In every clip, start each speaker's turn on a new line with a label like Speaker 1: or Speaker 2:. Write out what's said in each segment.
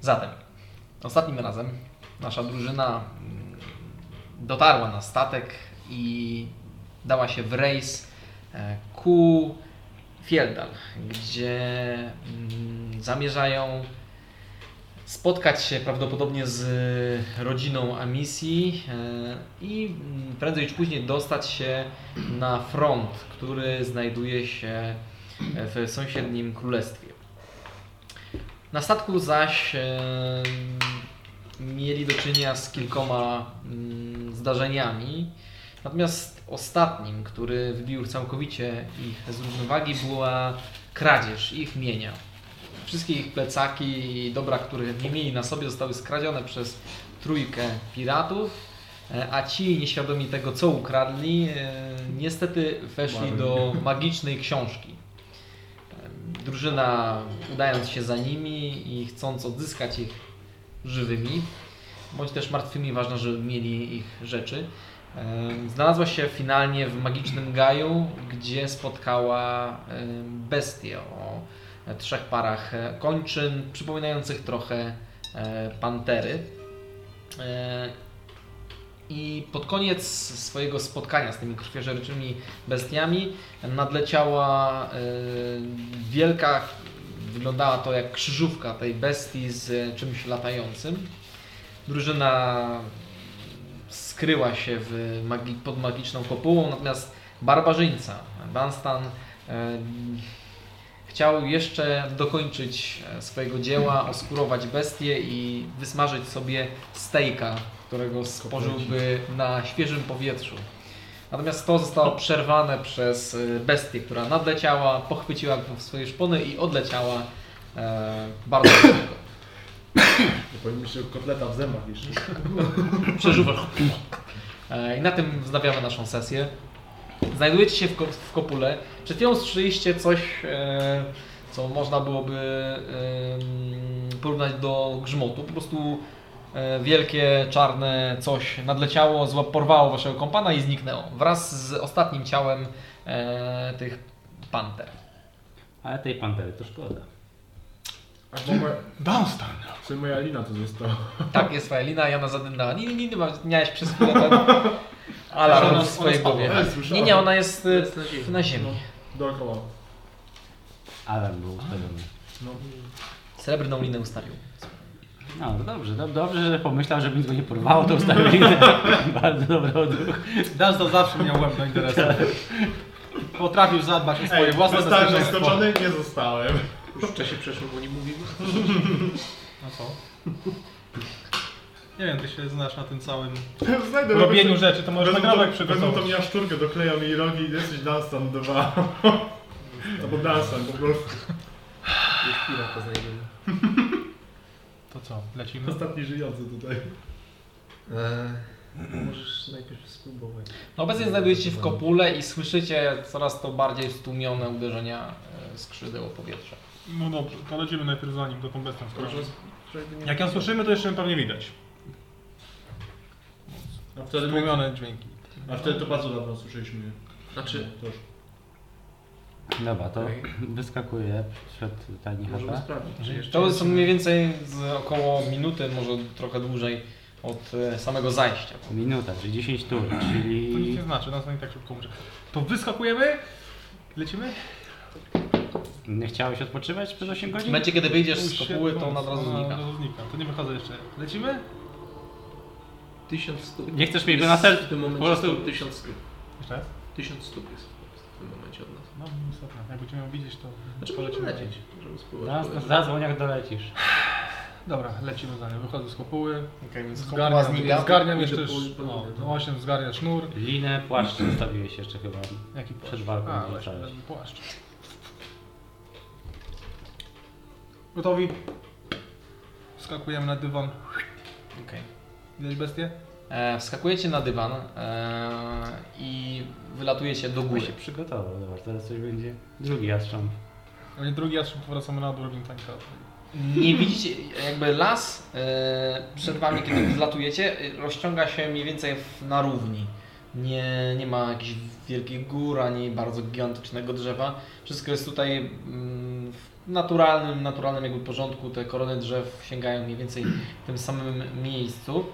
Speaker 1: Zatem, ostatnim razem nasza drużyna mm, dotarła na statek i dała się w rejs e, ku Fieldal, gdzie mm, zamierzają spotkać się prawdopodobnie z rodziną Amisji e, i mm, prędzej czy później dostać się na front, który znajduje się e, w sąsiednim królestwie. Na statku zaś e, mieli do czynienia z kilkoma mm, zdarzeniami. Natomiast ostatnim, który wybił całkowicie ich z równowagi, była kradzież ich mienia. Wszystkie ich plecaki i dobra, które nie mieli na sobie, zostały skradzione przez trójkę piratów, e, a ci nieświadomi tego, co ukradli, e, niestety weszli do magicznej książki. E, Drużyna, udając się za nimi i chcąc odzyskać ich żywymi, bądź też martwymi, ważne, żeby mieli ich rzeczy, Em, Znalazła się finalnie w magicznym gaju, gdzie spotkała em, bestię o trzech parach e, kończyn, przypominających trochę e, pantery. E, I pod koniec swojego spotkania z tymi krwiożerczymi bestiami nadleciała e, wielka, wyglądała to jak krzyżówka tej bestii z e, czymś latającym. Drużyna skryła się w magi- pod magiczną kopułą, natomiast barbarzyńca, Dunstan, e, chciał jeszcze dokończyć e, swojego dzieła, oskurować bestię i wysmażyć sobie stejka, którego spożyłby na świeżym powietrzu. Natomiast to zostało przerwane przez e, bestię, która nadleciała, pochwyciła go w swoje szpony i odleciała e, bardzo szybko.
Speaker 2: Bo powinien mieć tego kotleta w zębach jeszcze.
Speaker 1: przeżuwasz. E, I na tym wznawiamy naszą sesję. Znajdujecie się w, ko- w kopule. Przed chwilą słyszeliście coś, e, co można byłoby em, porównać do grzmotu. Po prostu e, wielkie, czarne coś nadleciało, zła- porwało waszego kompana i zniknęło. Wraz z ostatnim ciałem e, tych panter.
Speaker 3: Ale tej pantery to szkoda.
Speaker 2: Albo moja,
Speaker 4: Dunstan!
Speaker 2: czy moja lina tu została?
Speaker 1: Tak, jest Faelina, Jana zadymnęła. Nie, nie, nie, ma- miałeś przez chwilę ten alarm
Speaker 2: Ona-
Speaker 1: w swojej
Speaker 2: ona spadła,
Speaker 1: głowie.
Speaker 2: ale słyszałem.
Speaker 1: Nie, nie, ona jest e,
Speaker 5: na ziemi.
Speaker 1: na ziemi.
Speaker 2: Dookoła.
Speaker 3: Alarm był ustawiony.
Speaker 2: No.
Speaker 1: Srebrną linę ustawił.
Speaker 3: No to dobrze, dob- dobrze, że pomyślał, żeby nic go nie porwało, to ustawił linę. Bardzo dobry odruch.
Speaker 5: Dunstan zawsze miał łeb do interesu. Potrafił zadbać o swoje własne
Speaker 2: zostałem
Speaker 5: bezpieczeństwo.
Speaker 2: zaskoczony? Nie zostałem.
Speaker 5: Już wcześniej przeszło, bo nie mówimy. No co? Nie wiem, ty się znasz na tym całym
Speaker 2: Znajdę
Speaker 5: robieniu rzeczy, to możesz
Speaker 2: Wezmą
Speaker 5: nagrabek
Speaker 2: to- Wezmą tą
Speaker 5: przygotować.
Speaker 2: jaszczurkę, doklejam jej rogi i jesteś Dunstan 2. Albo Dunstan po prostu.
Speaker 5: To co, lecimy?
Speaker 2: Ostatni żyjący tutaj.
Speaker 5: Możesz najpierw spróbować.
Speaker 1: No obecnie znajdujecie się w kopule i słyszycie coraz to bardziej stłumione uderzenia e, skrzydeł o powietrze.
Speaker 6: No dobrze, to lecimy najpierw za nim, do tą bestią. skoro-
Speaker 5: Jak ją słyszymy, to jeszcze pewnie widać.
Speaker 2: A wtedy,
Speaker 5: Stłumione dźwięki.
Speaker 2: a wtedy to bardzo dawno słyszeliśmy. je.
Speaker 5: Znaczy,
Speaker 2: To już.
Speaker 3: Dobra, to wyskakuje przed tani chata.
Speaker 5: sprawdzić,
Speaker 1: To są mniej więcej z około minuty, może trochę dłużej od e, samego zajścia.
Speaker 3: Minuta, czyli 10 tur,
Speaker 6: To nic
Speaker 3: czyli...
Speaker 6: nie znaczy, nas i tak szybko umrze. To wyskakujemy, lecimy?
Speaker 3: Nie chciałeś odpoczywać przez 8
Speaker 1: W
Speaker 3: godzin?
Speaker 1: momencie, kiedy wyjdziesz z
Speaker 6: Się-
Speaker 1: kopuły, to ona od razu
Speaker 6: ona
Speaker 1: znika.
Speaker 6: Od razu znika, to nie wychodzę jeszcze. Lecimy?
Speaker 5: 1000 stóp.
Speaker 3: Nie chcesz mieć go na sercu?
Speaker 5: tym
Speaker 3: po prostu-
Speaker 5: stąd 1000 stóp.
Speaker 6: Jeszcze raz?
Speaker 5: 1000 stóp jest po prostu w tym momencie od nas.
Speaker 6: No, istotne. Jak będziemy ją widzieć, to
Speaker 5: Znaczy, możemy
Speaker 6: polecimy.
Speaker 5: lecieć, Możemy spróbować.
Speaker 3: Zaraz zadzwoń jak dolecisz.
Speaker 6: Dobra, lecimy za nią. Wychodzę z kopuły.
Speaker 1: Okej, więc kopuła
Speaker 6: Zgarniam,
Speaker 1: znika.
Speaker 6: zgarniam
Speaker 5: Pójdę
Speaker 6: jeszcze...
Speaker 5: po-
Speaker 6: sz-
Speaker 5: po-
Speaker 6: No, no 8 zgarnia sznur.
Speaker 3: Linę, płaszcz zostawiłeś jeszcze chyba.
Speaker 6: Jaki płaszcz?
Speaker 3: Przed walką
Speaker 6: A,
Speaker 3: nie
Speaker 6: właśnie,
Speaker 3: rzucałeś.
Speaker 6: ten płaszcz. Gotowi? Skakujemy na dywan.
Speaker 1: Okej.
Speaker 6: Widać bestię?
Speaker 1: E, Wskakujecie na dywan e, i wylatujecie do
Speaker 3: Bo
Speaker 1: góry.
Speaker 3: się przygotował, zobacz, teraz coś będzie. Drugi jastrząb.
Speaker 6: A nie drugi, a szybko wracamy na drugim tańka.
Speaker 1: Nie widzicie, jakby las e, przed wami, kiedy wylatujecie, e, rozciąga się mniej więcej w, na równi. Nie, nie ma jakichś wielkich gór ani bardzo gigantycznego drzewa. Wszystko jest tutaj mm, w w naturalnym, naturalnym jakby porządku te korony drzew sięgają mniej więcej w tym samym miejscu.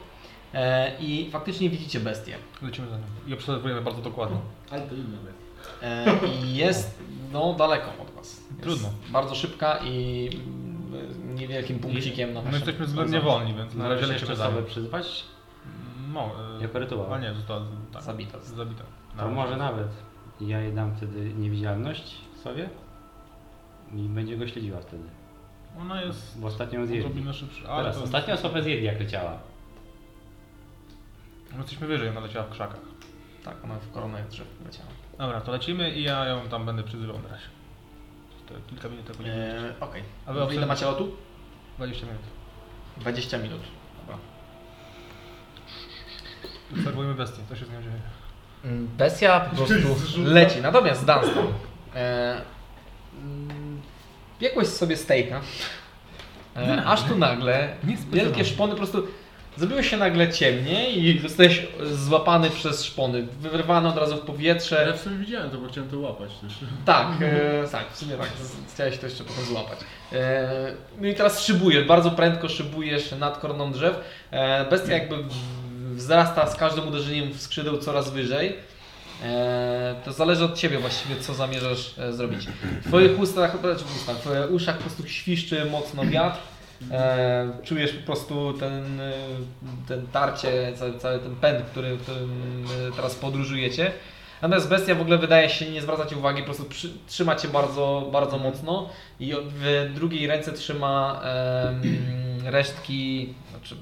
Speaker 1: E, I faktycznie widzicie bestię.
Speaker 6: Lecimy za nią i obserwujemy bardzo dokładnie.
Speaker 3: No,
Speaker 5: Ale to inne bez.
Speaker 1: E, I jest no, daleką od Was. Jest
Speaker 6: Trudno.
Speaker 1: Bardzo szybka i mm, niewielkim punkcikiem na
Speaker 6: My
Speaker 1: waszym
Speaker 6: jesteśmy względnie wolni, więc na razie
Speaker 3: Należy
Speaker 6: lecimy
Speaker 3: jeszcze
Speaker 6: za
Speaker 3: osobę
Speaker 6: nią.
Speaker 3: przyzwać?
Speaker 6: No, e,
Speaker 3: Jak rytuał.
Speaker 6: A nie, została tak,
Speaker 1: Zabita.
Speaker 6: zabita.
Speaker 5: No.
Speaker 3: To może nawet. Ja jej dam wtedy niewidzialność sobie i będzie go śledziła wtedy.
Speaker 6: Ona jest
Speaker 3: Bo ostatnio ją zjedli.
Speaker 6: odrobinę szybsza. ale
Speaker 3: Teraz,
Speaker 6: to-
Speaker 3: ostatnią osobę zjedli jak leciała.
Speaker 6: My No, jesteśmy wyżej, ona leciała w krzakach.
Speaker 1: Tak, ona w koronach drzew leciała.
Speaker 6: Dobra, to lecimy i ja ją tam będę przyzywał na razie. To kilka minut tak będzie.
Speaker 1: E, Okej.
Speaker 6: A wy obserw-
Speaker 1: Ile macie lotu?
Speaker 6: 20 minut.
Speaker 1: 20 minut.
Speaker 6: Obserwujemy bestię, co się z nią dzieje.
Speaker 1: Mm, Bestia po prostu leci. Natomiast Dunstan. E, mm, biegłeś sobie stejka. E, aż tu nagle wielkie szpony po prostu zrobiło się nagle ciemniej i zostałeś złapany przez szpony. Wyrwany od razu w powietrze.
Speaker 2: Ja w sumie widziałem to, bo chciałem to łapać też.
Speaker 1: Tak, e, tak, w sumie tak. z- Chciałeś to jeszcze potem złapać. E, no i teraz szybujesz, bardzo prędko szybujesz nad koroną drzew. E, bestia jakby w- wzrasta z każdym uderzeniem w skrzydeł coraz wyżej. E, to zależy od Ciebie właściwie, co zamierzasz e, zrobić. W Twoich ustach, znaczy w, ustach, w uszach po prostu świszczy mocno wiatr. E, czujesz po prostu ten, e, ten tarcie, cały, cały ten pęd, który, którym e, teraz podróżujecie. Natomiast bestia w ogóle wydaje się nie zwracać uwagi, po prostu przy, trzyma cię bardzo, bardzo mocno i w drugiej ręce trzyma em, resztki, znaczy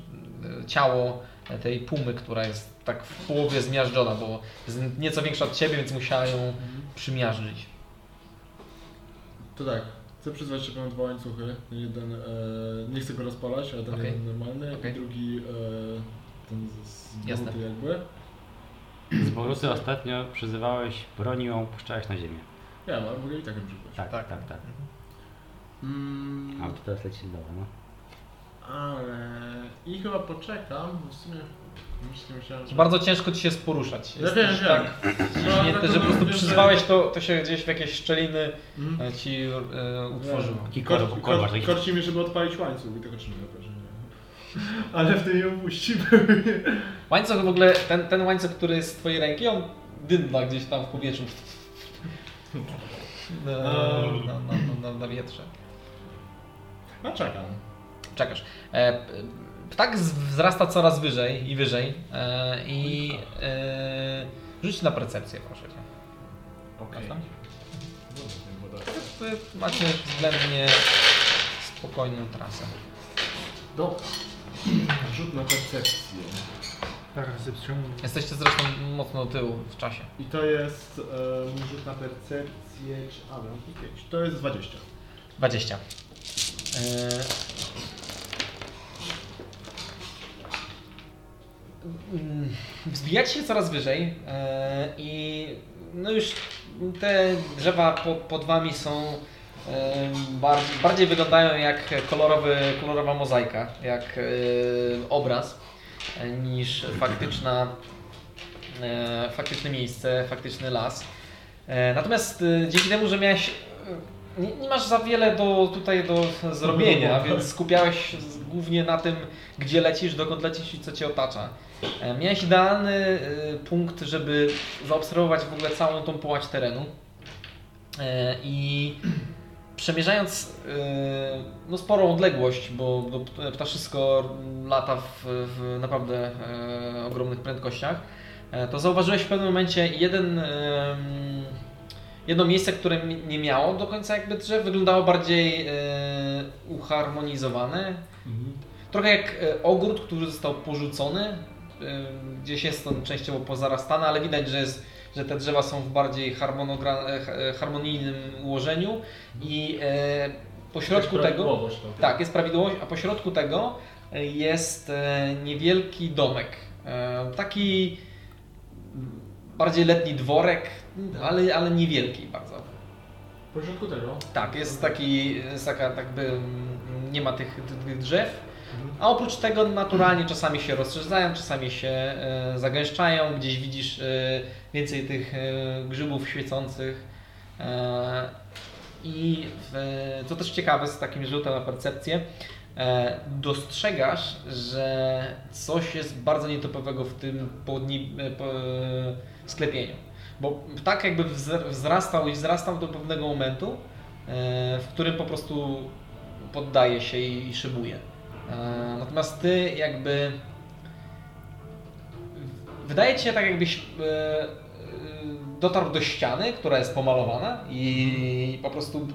Speaker 1: e, ciało tej pumy, która jest tak w połowie zmiażdżona, bo jest nieco większa od ciebie, więc musiała ją przymiażdżyć.
Speaker 2: To tak, chcę przyzwać, że mam dwa łańcuchy. Jeden, e, nie chcę go rozpalać, ale ten
Speaker 1: Okej.
Speaker 2: jeden normalny
Speaker 1: Okej.
Speaker 2: i drugi e, ten z, z
Speaker 1: Jasne.
Speaker 2: buty jakby.
Speaker 3: Z Borusy ostatnio przyzywałeś, bronią, puszczałeś na ziemię.
Speaker 2: Ja, ale mogę i tak ją przyzwać.
Speaker 3: Tak,
Speaker 1: Tak.
Speaker 3: tak, tak. tak.
Speaker 2: Mm,
Speaker 3: A to teraz leci do no.
Speaker 2: ale... I chyba poczekam, bo w sumie myślę, myślałem, że...
Speaker 1: Bardzo ciężko ci się poruszać.
Speaker 2: Ja wiem,
Speaker 1: Jesteś
Speaker 2: wiem.
Speaker 1: tak
Speaker 2: No,
Speaker 1: ciśnięty,
Speaker 2: dlatego
Speaker 1: że po prostu
Speaker 2: wiem, że-
Speaker 1: przyzwałeś to, to się gdzieś w jakieś szczeliny
Speaker 2: Mm.
Speaker 1: e, ci e, utworzyło.
Speaker 3: Taki
Speaker 2: Kor,
Speaker 3: korba,
Speaker 2: kor,
Speaker 3: korba, taki
Speaker 2: korci mnie, żeby odpalić łańcuch i tego czynię Ale wtedy ją puści były.
Speaker 1: Łańcuch w ogóle, ten, ten łańcuch, który jest z twojej ręki, on dymna gdzieś tam w powietrzu. Na, na, na, na, na wietrze.
Speaker 2: No czekam.
Speaker 1: Czekasz. E, p- ptak z- wzrasta coraz wyżej i wyżej. E, I e, rzuć na percepcję, proszę cię.
Speaker 2: Okej.
Speaker 1: Tam? Wy macie względnie spokojną trasę.
Speaker 2: Dobra. Rzut na percepcję.
Speaker 6: Tak, recepcją.
Speaker 1: Jesteście zresztą mocno do tyłu w czasie.
Speaker 2: I to jest e, mój rzut na percepcję, czy a, mam tu pięć. To jest 20.
Speaker 1: 20. Yy... Mm, Wzbijacie się coraz wyżej yy, i no już te drzewa po, pod wami są yy, bar, bardziej wyglądają jak kolorowy, kolorowa mozaika, jak yy, obraz yy, niż faktyczna, yy, faktyczne miejsce, faktyczny las. E, Natomiast e, dzięki temu, że miałeś. e, Nie, nie masz za wiele do, tutaj do zrobienia, więc skupiałeś się z- głównie na tym, gdzie lecisz, dokąd lecisz i co cię otacza. E, Miałeś idealny e, punkt, żeby zaobserwować w ogóle całą tą połać terenu. E, I przemierzając e, no, sporą odległość, bo, bo pt- ptaszysko lata w, w naprawdę e, ogromnych prędkościach, E, to zauważyłeś w pewnym momencie jeden, em, jedno miejsce, które mi- nie miało do końca jakby drzew, wyglądało bardziej e, uharmonizowane.
Speaker 2: Mhm.
Speaker 1: Trochę jak e, ogród, który został porzucony, e, gdzieś jest on częściowo pozarastany, ale widać, że, jest, że te drzewa są w bardziej harmonogra- e, ha- e, harmonijnym ułożeniu i e, pośrodku
Speaker 2: Jakaś
Speaker 1: tego...
Speaker 2: prawidłowość tam.
Speaker 1: Tak, jest prawidłowość, a pośrodku tego jest e, niewielki domek. E, Taki bardziej letni dworek, ale, ale niewielki bardzo.
Speaker 2: W pośrodku tego.
Speaker 1: Tak, jest taki, jest taka, tak by mm, nie ma tych, tych drzew. A oprócz tego naturalnie czasami się rozszerzają, czasami się e, zagęszczają, gdzieś widzisz e, więcej tych e, grzybów świecących. E, i w, co też ciekawe z takim rzutem na percepcję, e, dostrzegasz, że coś jest bardzo nietypowego w tym południ, e, po, e, sklepieniu. Bo tak jakby wzr- wzrastał i wzrastał do pewnego momentu, e, w którym po prostu poddaje się i i szybuje. E, Natomiast ty jakby Wydaje ci się tak, jakbyś e, e, dotarł do ściany, która jest pomalowana i po prostu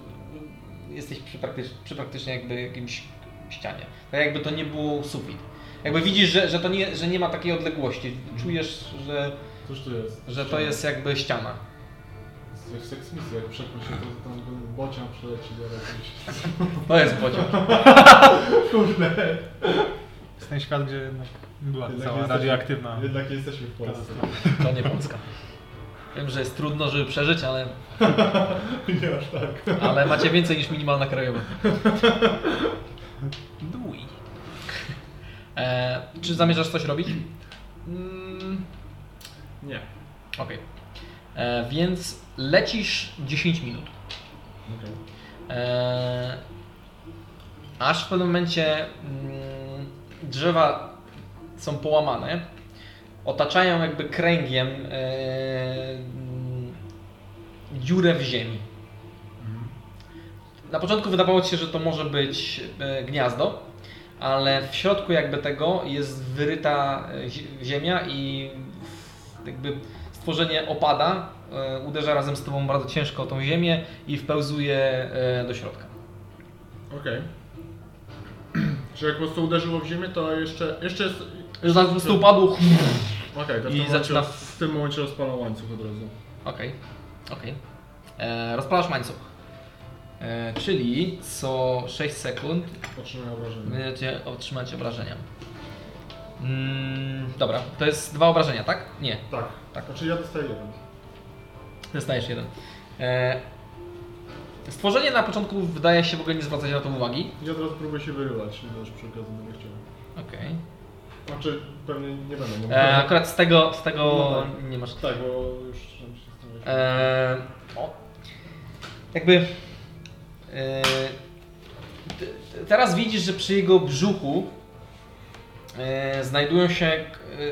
Speaker 1: jesteś przy, praktycz, przy praktycznie jakby jakimś ścianie. Tak jakby to nie był sufit. Jakby widzisz, że, że to nie, że nie ma takiej odległości. Czujesz, że,
Speaker 2: Cóż tu jest?
Speaker 1: że to jest jakby ściana.
Speaker 2: To jest seks misja, jak przekroczy się, to tam ten bocian przeleci zaraz. gdzieś.
Speaker 1: To jest pociąg.
Speaker 2: Kurde,
Speaker 6: Jest ten świat, gdzie jednak była
Speaker 2: Jednak
Speaker 6: cała
Speaker 2: jesteśmy-
Speaker 6: radioaktywna.
Speaker 2: jednak jesteśmy w Polsce.
Speaker 1: To nie Polska. Wiem, że jest trudno, żeby przeżyć, ale,
Speaker 2: Nie aż tak.
Speaker 1: ale macie więcej niż minimalna krajowa. Dłuj. E, czy zamierzasz coś robić?
Speaker 2: Mm, nie.
Speaker 1: Okej. E, Więc lecisz 10 minut.
Speaker 2: Okej.
Speaker 1: E, aż w pewnym momencie mm, drzewa są połamane, otaczają jakby kręgiem e, mm, dziurę w ziemi. Na początku wydawało ci się, że to może być e, gniazdo, ale w środku jakby tego jest wyryta e, zi- ziemia i jakby stworzenie opada, e, uderza razem z tobą bardzo ciężko o tą ziemię i wpełzuje e, do środka.
Speaker 2: Okej. Czy jak po prostu uderzyło w ziemię, to jeszcze, jeszcze jest...
Speaker 1: Już na po prostu upadł.
Speaker 2: Okej, to w
Speaker 1: I
Speaker 2: tym
Speaker 1: zaczyna-
Speaker 2: momencie, w tym momencie rozpalam łańcuch od razu.
Speaker 1: Okej, okej. E, Rozpalasz łańcuch. E, Czyli co 6 sekund
Speaker 2: Otrzymuję obrażenie.
Speaker 1: będziecie otrzymać obrażenia. Mm, dobra, to jest dwa obrażenia, tak? Nie,
Speaker 2: Tak.
Speaker 1: Tak.
Speaker 2: tak. Znaczy ja dostaję jeden.
Speaker 1: Dostajesz jeden. E, stworzenie na początku wydaje się w ogóle nie zwracać na to uwagi.
Speaker 2: Ja teraz próbuję się wyrywać, nie też przy okazji będę chciał.
Speaker 1: Okej.
Speaker 2: Znaczy, pewnie nie będę mógł.
Speaker 1: E, akurat z tego, z tego
Speaker 2: No tak.
Speaker 1: nie masz.
Speaker 2: Tak, bo już się zastanawiam.
Speaker 1: E, o. Jakby. E, te- te- teraz widzisz, że przy jego brzuchu e, znajdują się e,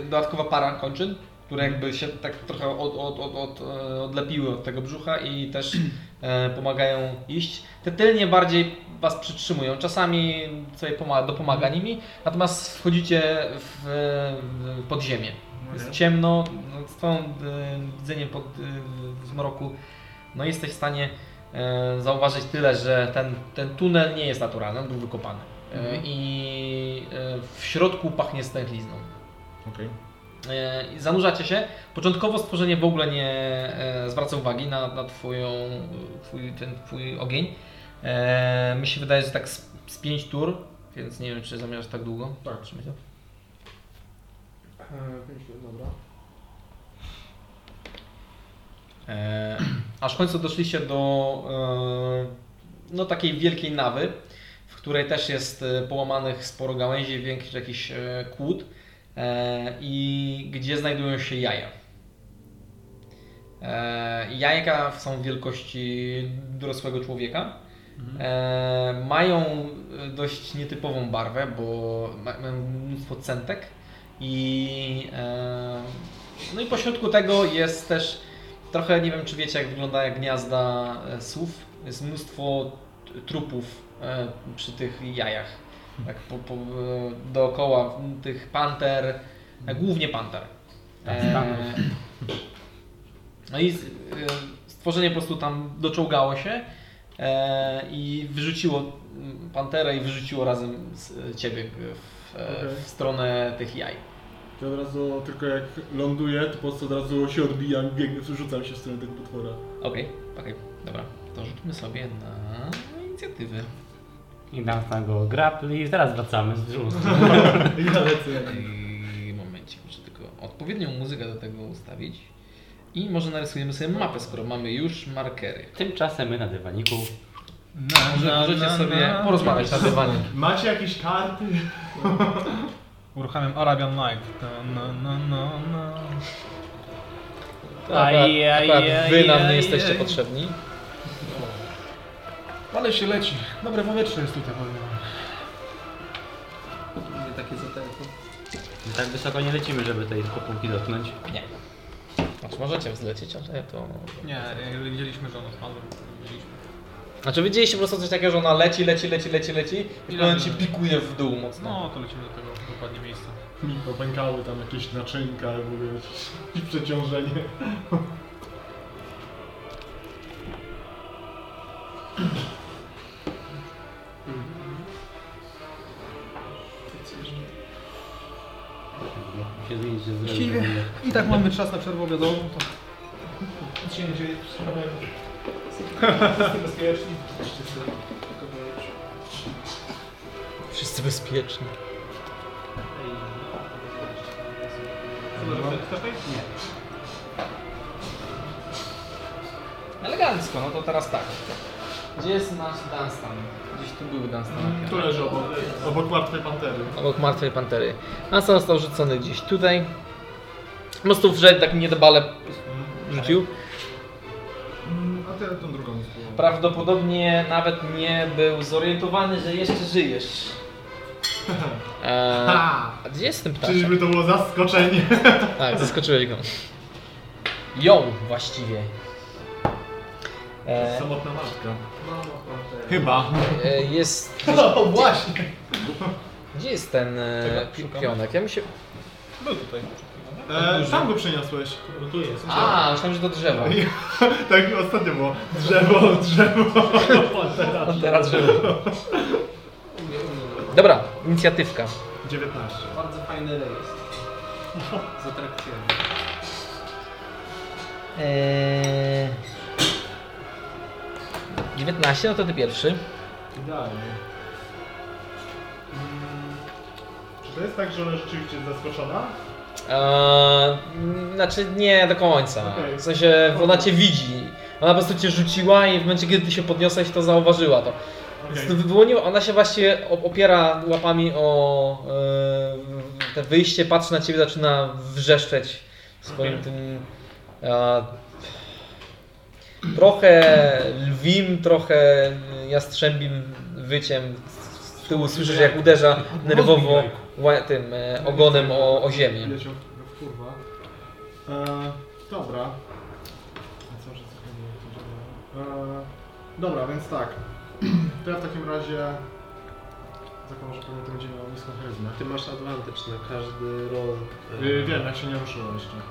Speaker 1: dodatkowa para kończyn, które jakby się tak trochę od, od, od, od, e, odlepiły od tego brzucha i też e, pomagają iść. Te tylnie bardziej was przytrzymują. Czasami sobie pomaga, dopomaga nimi, natomiast wchodzicie w, w podziemie. Jest ciemno, no, z twoim widzeniem pod, y, w zmroku no jesteś w stanie e, zauważyć tyle, że ten, ten tunel nie jest naturalny, on był wykopany. E, I e, w środku pachnie stęchlizną.
Speaker 2: Okej.
Speaker 1: E, i zanurzacie się. Początkowo stworzenie w ogóle nie e, zwraca uwagi na, na twoją, twój, ten twój ogień. E, mi się wydaje, że tak z, z pięć tur, więc nie wiem, czy zamierzasz tak długo.
Speaker 2: Tak.
Speaker 1: Trzymaj się.
Speaker 2: E, pięć minut, Dobra.
Speaker 1: E, aż w końcu doszliście do e, no, takiej wielkiej nawy, w której też jest e, połamanych sporo gałęzi, większych jakichś e, kłód e, i gdzie znajdują się jaja. E, jajka są wielkości dorosłego człowieka. E, mają e, dość nietypową barwę, bo ma- mają mnóstwo centek i e, no i pośrodku tego jest też trochę nie wiem czy wiecie jak wygląda jak gniazda e, słów. Jest mnóstwo t- trupów e, przy tych jajach. Tak po, po, e, dookoła m, tych panter, e, głównie panter. E,
Speaker 3: Tak, stanów.
Speaker 1: no i z- e, stworzenie po prostu tam doczołgało się. E, i wyrzuciło mm, panterę i wyrzuciło razem z e, ciebie e, w, e,
Speaker 2: Okej.
Speaker 1: w stronę tych jaj.
Speaker 2: To od razu, tylko jak ląduję, to po prostu od razu się odbijam, biegnę, rzucam się w stronę tego potwora.
Speaker 1: Okej, okej, dobra. To rzućmy sobie na inicjatywy.
Speaker 3: I dam na go grapple i zaraz wracamy z brzuchu.
Speaker 2: I ja lecę.
Speaker 1: I momencie, muszę tylko odpowiednią muzykę do tego ustawić. I może narysujemy sobie mapę, skoro mamy już markery.
Speaker 3: Tymczasem my na dywaniku.
Speaker 6: Na,
Speaker 1: Może możecie sobie porozmawiać na dywanie.
Speaker 5: Macie jakieś karty?
Speaker 6: Uruchamiam Arabian Night. Na, na, na, na, na.
Speaker 1: Akurat,
Speaker 3: Ajajaj,
Speaker 1: akurat wy nam nie
Speaker 3: ajajaj.
Speaker 1: jesteście potrzebni.
Speaker 7: Ale się leci. Dobre powietrze jest tutaj, powiem. wam.
Speaker 8: Nie takie zatarki.
Speaker 3: My tak wysoko nie lecimy, żeby tej kopułki dotknąć.
Speaker 1: Nie. Znaczy możecie wzlecieć, ale to...
Speaker 7: Nie, e, widzieliśmy, że ona spadła. Widzieliśmy.
Speaker 1: Znaczy widzieliście po prostu coś takiego, że ona leci, leci, leci, leci, leci i w pewnym momencie pikuje w dół mocno.
Speaker 7: No, to lecimy do tego dokładnie miejsca.
Speaker 5: Mi popękały tam jakieś naczynka albo wiesz, i przeciążenie.
Speaker 3: Jak Się zmienić, że
Speaker 7: Właściwie
Speaker 3: zrobimy.
Speaker 7: i tak mamy czas na przerwę obiadową, to
Speaker 9: Nic się nie dzieje, trzymałem.
Speaker 1: Wszyscy bezpieczni.
Speaker 8: Elegancko, no to teraz tak. Gdzie jest nasz Dunstan? Gdzieś tu był Dunstan.
Speaker 5: Tu leży Mm, obok, obok martwej pantery.
Speaker 1: Mm, Obok martwej pantery. Asa został rzucony gdzieś tutaj. Po prostu wszedł, tak niedobale rzucił.
Speaker 5: Mm, A ty tą drugą spróbuj.
Speaker 1: Prawdopodobnie nawet nie był zorientowany, że jeszcze żyjesz. Eee, a gdzie jest ten ptaszek?
Speaker 5: Czyżby to było zaskoczenie?
Speaker 1: Tak, zaskoczyłeś go. Ją właściwie. E,
Speaker 5: Samotna matka. Chyba.
Speaker 1: e, jest.
Speaker 5: No właśnie.
Speaker 1: Gdzie jest ten e,
Speaker 7: Czego? Szukamy.
Speaker 1: pionek? Ja mi się.
Speaker 7: był tutaj.
Speaker 5: E, sam go przeniosłeś.
Speaker 9: Tu jest.
Speaker 1: A, myślałem, że do drzewa.
Speaker 5: No Tak ostatnio było. Drzewo, drzewo.
Speaker 1: A teraz drzewo. Dobra, inicjatywka.
Speaker 5: 19.
Speaker 8: Bardzo fajny rejestr. Z atrakcjami.
Speaker 1: Eee... 19, no to ty pierwszy.
Speaker 5: Idealnie. Czy to jest tak, że ona rzeczywiście jest zaskoczona?
Speaker 1: Eee, znaczy nie do końca.
Speaker 5: Okej.
Speaker 1: W sensie ona cię widzi. Ona po prostu cię rzuciła i w momencie, kiedy ty się podniosłeś, to zauważyła to.
Speaker 5: Okej.
Speaker 1: Więc to wyłoniła, ona się właśnie op- opiera łapami o e, te wyjście, patrzy na ciebie, zaczyna wrzeszczeć swoim
Speaker 5: Okej.
Speaker 1: tym e, trochę lwim, trochę jastrzębim wyciem. Z tyłu słyszysz jak uderza nerwowo ła- tym e, ogonem o, o ziemię.
Speaker 5: Leciał w kurwa. E, dobra. A co, że co było? To działało. E, dobra, więc tak. To ja w takim razie zakładam, że pewnie to będzie miało niską charyzmę.
Speaker 6: Ty masz advantage na każdy roll.
Speaker 5: Y, wiem, jak się nie ruszyło jeszcze.
Speaker 6: E.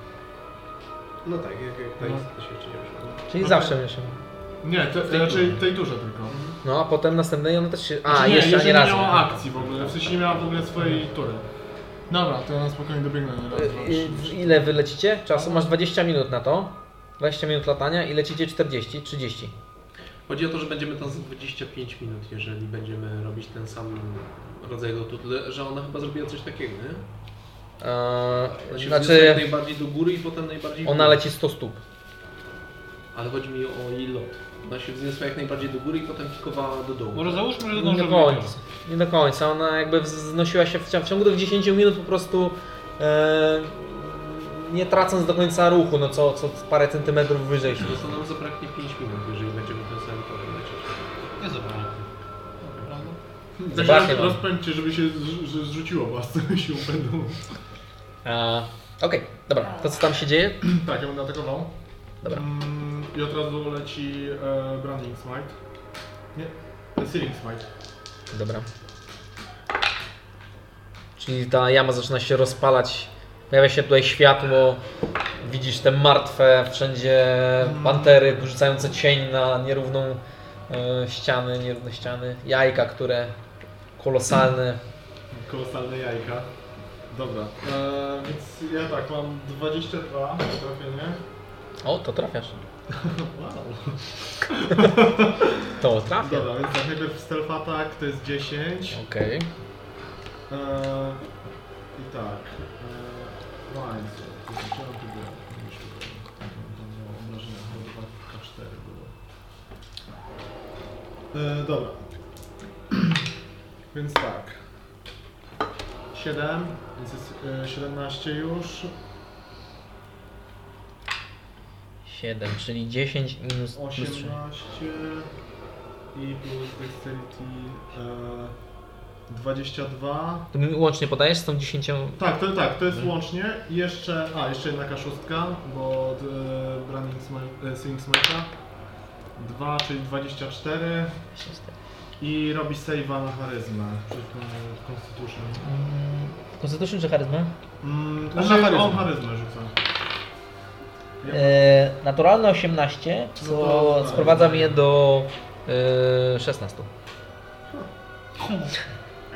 Speaker 6: No tak, jak, jak tak
Speaker 5: No.
Speaker 6: jest, to się jeszcze nie przyda.
Speaker 1: Czyli
Speaker 5: Okej.
Speaker 1: zawsze wiesz.
Speaker 5: Nie, te, tej znaczy tej dużej tylko.
Speaker 6: Mhm.
Speaker 1: No a potem następnej ona też się... A,
Speaker 5: Znaczy
Speaker 1: jeszcze
Speaker 5: jeżeli
Speaker 1: ani
Speaker 5: nie
Speaker 1: razu.
Speaker 5: miała akcji w ogóle, w sensie nie miała w ogóle swojej tury. Dobra, to ja na spokojnie dobiegnę. nie
Speaker 6: E,
Speaker 5: raz, dwa,
Speaker 1: Y, y,
Speaker 5: trzy.
Speaker 1: Ile wy lecicie? Czasu masz 20 minut na to. 20 minut latania i lecicie 40, 30.
Speaker 6: Chodzi o to, że będziemy tam za 25 minut, jeżeli będziemy robić ten sam rodzaj lotu, tyle, że ona chyba zrobiła coś takiego, nie? Ona
Speaker 1: Eee,
Speaker 6: się znaczy...
Speaker 1: znaczy
Speaker 6: najbardziej do góry i potem najbardziej w
Speaker 1: ona
Speaker 6: dół.
Speaker 1: leci 100 stóp.
Speaker 6: Ale chodzi mi o jej lot. Ona się wzniosła jak najbardziej do góry i potem kikowała do dołu.
Speaker 7: Może załóżmy,
Speaker 3: No,
Speaker 7: że
Speaker 1: Nie do
Speaker 7: zdążymy.
Speaker 1: końca. Nie do końca. Ona jakby wznosiła się w, cia- w ciągu tych 10 minut po prostu eee, nie tracąc do końca ruchu, no co, co parę centymetrów wyżej się.
Speaker 6: To nam zabraknie 5 minut, jeżeli będziemy ten sam torem lecieć.
Speaker 3: Nie zabraknie.
Speaker 5: Tak
Speaker 1: Zobaczmy.
Speaker 5: roz- rozpędźcie, żeby się zrzu- że zrzuciło was, siłą będą.
Speaker 1: Eee, Okej, dobra. To co tam się dzieje?
Speaker 5: Tak, ja będę atakował.
Speaker 1: Dobra.
Speaker 5: Mm, I od razu leci e, Branding Smite. Nie, e, Sealing Smite.
Speaker 1: Dobra. Czyli ta jama zaczyna się rozpalać. Pojawia się tutaj światło. Widzisz te martwe wszędzie pantery rzucające cień na nierówną e, ściany, nierówne ściany. Jajka, które kolosalne.
Speaker 5: Kolosalne jajka. Dobra, e, więc ja tak, mam 22 na trafienie.
Speaker 1: O, to trafiasz.
Speaker 5: Wow.
Speaker 1: To trafia.
Speaker 5: Dobra, więc tak, najpierw stealth attack to jest 10.
Speaker 1: Okej.
Speaker 5: E, I tak. E, lines. Zaczęłam tu było. Już było. Tak, mam tam miało obrażenia. Chyba 2K4 było. E, dobra. Więc tak. 7, więc jest e, 17 już.
Speaker 1: 7, czyli 10 minus
Speaker 5: 18.
Speaker 1: plus 3.
Speaker 5: i plus dexterity e, 22.
Speaker 1: To mi łącznie podajesz z tą 10.
Speaker 5: Tak, to, tak, to jest łącznie. I jeszcze, a, jeszcze jedna K6, bo od e, Branding Smi- e, Sing Smite'a. 2, czyli 24 i robi save'a na charyzmę przed e, Constitution.
Speaker 1: Konstytucją Mm, czy charyzmę?
Speaker 5: Mm,
Speaker 6: On
Speaker 5: znaczy,
Speaker 6: na charyzmę.
Speaker 5: on charyzmę rzuca.
Speaker 1: E, naturalne 18,
Speaker 5: No to-
Speaker 1: co sprowadza mnie do e, 16.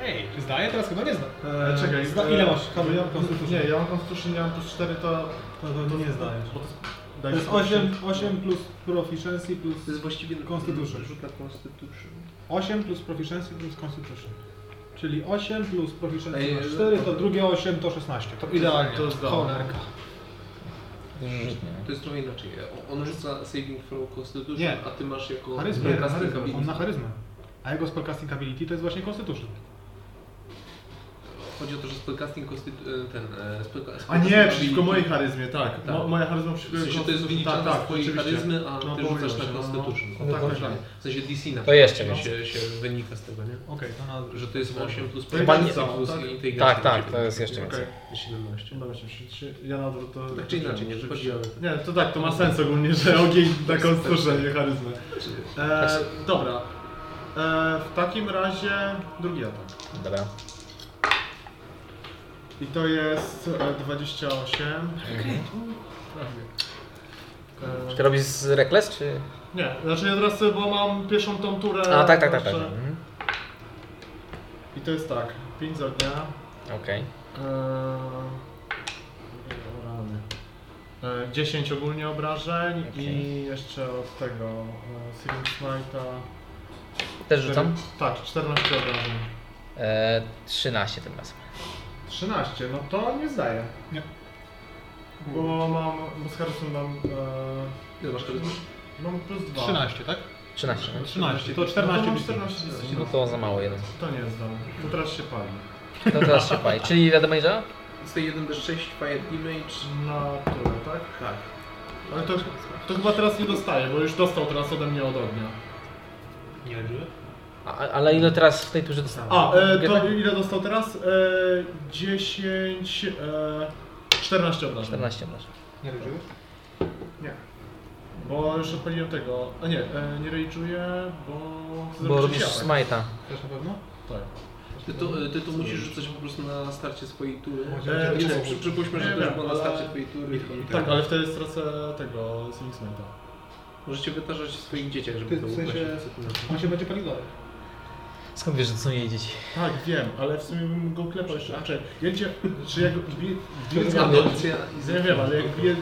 Speaker 6: Ej, czy zdaje? Teraz chyba nie zda.
Speaker 5: E, czekaj,
Speaker 6: zda,
Speaker 5: e,
Speaker 6: ile masz?
Speaker 5: bo ja
Speaker 6: Kamil,
Speaker 5: mam
Speaker 6: konstytucji?
Speaker 5: Constitution. Nie, ja mam Constitution, ja mam plus 4, to...
Speaker 6: To, to nie zdajesz.
Speaker 5: bo to-
Speaker 6: To
Speaker 5: daj
Speaker 6: jest
Speaker 5: mi
Speaker 6: 8, 8 plus proficiency plus...
Speaker 10: To jest właściwie
Speaker 6: Constitution.
Speaker 10: rzut na Constitution.
Speaker 6: 8 plus proficiency plus constitution. Czyli 8 plus proficiency
Speaker 5: Ej,
Speaker 6: masz
Speaker 5: to-
Speaker 6: 4, to drugie 8 to 16. To idealnie.
Speaker 5: to zdało.
Speaker 6: Cholerka.
Speaker 10: To jest trochę inaczej. O- On rzuca saving throw Constitution,
Speaker 6: Nie.
Speaker 10: a ty masz jako
Speaker 6: Charyzmę,
Speaker 10: spellcasting
Speaker 6: charyzmę.
Speaker 10: ability.
Speaker 6: On na charyzmę. A jego spellcasting ability to jest właśnie constitution.
Speaker 10: Chodzi o to, że spellcasting Constitu- e, ten...
Speaker 5: A
Speaker 10: e, spellca- spellcasting
Speaker 5: nie,
Speaker 10: ability-
Speaker 5: przeciwko mojej charyzmie, tak.
Speaker 10: Tak.
Speaker 5: Mo, moja charyzma
Speaker 10: W
Speaker 5: przeciwko...
Speaker 10: sensie to jest wyliczane
Speaker 5: tak,
Speaker 10: z twojej
Speaker 5: oczywiście.
Speaker 10: charyzmy, a
Speaker 5: No,
Speaker 10: ty
Speaker 5: bo
Speaker 10: rzucasz na
Speaker 5: mówiłeś, no, no.
Speaker 10: Constitution.
Speaker 5: No tak,
Speaker 10: tak,
Speaker 5: tak.
Speaker 10: W sensie DC na
Speaker 1: To jeszcze
Speaker 10: przykład
Speaker 1: no.
Speaker 10: się, się wynika z tego, nie?
Speaker 6: Okej, to na...
Speaker 10: Że to jest 8 plus
Speaker 5: Chyba Tak. nie-
Speaker 10: plus, plus
Speaker 5: tak.
Speaker 10: inteligencja.
Speaker 1: Tak,
Speaker 10: na
Speaker 1: tak,
Speaker 10: siebie.
Speaker 1: to jest jeszcze
Speaker 5: Okej.
Speaker 1: więcej.
Speaker 10: 17.
Speaker 5: Udało się, przy- przy- ja na odwrót to...
Speaker 10: Tak czy inaczej, nie chodzi o...
Speaker 5: Nie, to tak, to ma sens ogólnie, że ogień na Constitution, nie charyzmę. E, dobra. E, w takim razie drugi atak.
Speaker 1: Dobra.
Speaker 5: I to jest e, 28. Prawie.
Speaker 1: Ty
Speaker 5: E,
Speaker 1: robisz z Reckless, czy...
Speaker 5: nie, znaczy ja teraz sobie, bo mam pierwszą tą turę.
Speaker 1: A, tak, tak, tak. tak.
Speaker 5: jeszcze.
Speaker 1: Mhm.
Speaker 5: I to jest tak, 5 z ognia.
Speaker 1: Okej.
Speaker 5: E, rany. E, 10 ogólnie obrażeń i
Speaker 1: Okej.
Speaker 5: jeszcze od tego e, Silent Smite'a.
Speaker 1: Też rzucam?
Speaker 5: Tak, 14 obrażeń.
Speaker 1: E, 13 tym razem.
Speaker 5: 13, no to nie zdaje.
Speaker 6: Nie.
Speaker 5: Bo mam, bo z Harrison mam, e,
Speaker 10: Ile masz charyzmy?
Speaker 5: mam plus 2.
Speaker 6: 13, tak?
Speaker 10: No,
Speaker 1: 13.
Speaker 5: Mhm.
Speaker 6: 13, to 14.
Speaker 5: No to mam
Speaker 6: czyli-
Speaker 5: 14,
Speaker 1: No to za mało jeden.
Speaker 5: to nie zdam. To teraz się pali.
Speaker 1: No teraz się pali. Czyli ile damage'a?
Speaker 10: Z tej 1d6 Fire Image.
Speaker 5: Na tyle, tak?
Speaker 10: Tak.
Speaker 5: Ale to, to chyba teraz nie dostaje, bo już dostał teraz ode mnie od ognia.
Speaker 10: Nie wiem,
Speaker 1: A- Ale ile teraz w tej turze dostałem?
Speaker 5: A, e,
Speaker 1: tak-
Speaker 5: to ile dostał teraz? E, 10, e, 14 obrażeń.
Speaker 1: 14 masz.
Speaker 6: Nie robisz?
Speaker 5: Nie. Bo już odpaliłem tego. A nie, e, nie rage'uję, bo... chcę
Speaker 1: Bo
Speaker 5: zobaczyć
Speaker 1: robisz
Speaker 5: jak.
Speaker 1: smajta.
Speaker 6: Też na pewno?
Speaker 5: Tak.
Speaker 10: Ty to, e, ty to musisz rzucać po prostu na starcie swojej tury.
Speaker 5: E,
Speaker 10: Więc
Speaker 5: nie,
Speaker 10: przy, przypuśćmy,
Speaker 5: nie
Speaker 10: że to już
Speaker 5: wiem,
Speaker 10: było na
Speaker 5: ale-
Speaker 10: starcie twojej tury. I
Speaker 5: Tak, ale wtedy stracę tego Sonic Smite'a.
Speaker 10: Możecie wytarzać swoich dzieciach, żeby
Speaker 6: Ty,
Speaker 10: to
Speaker 6: w
Speaker 10: ukłasić.
Speaker 6: sensie- On się będzie palił dalej.
Speaker 1: Skąd wiesz, że to są jej dzieci?
Speaker 5: Tak, wiem, ale w sumie bym go klepał jeszcze. Czekaj, ja cię, czy jak bije... bije
Speaker 10: Jest
Speaker 5: dwie-
Speaker 10: adopcja i
Speaker 5: Nie wiem, ale jak bije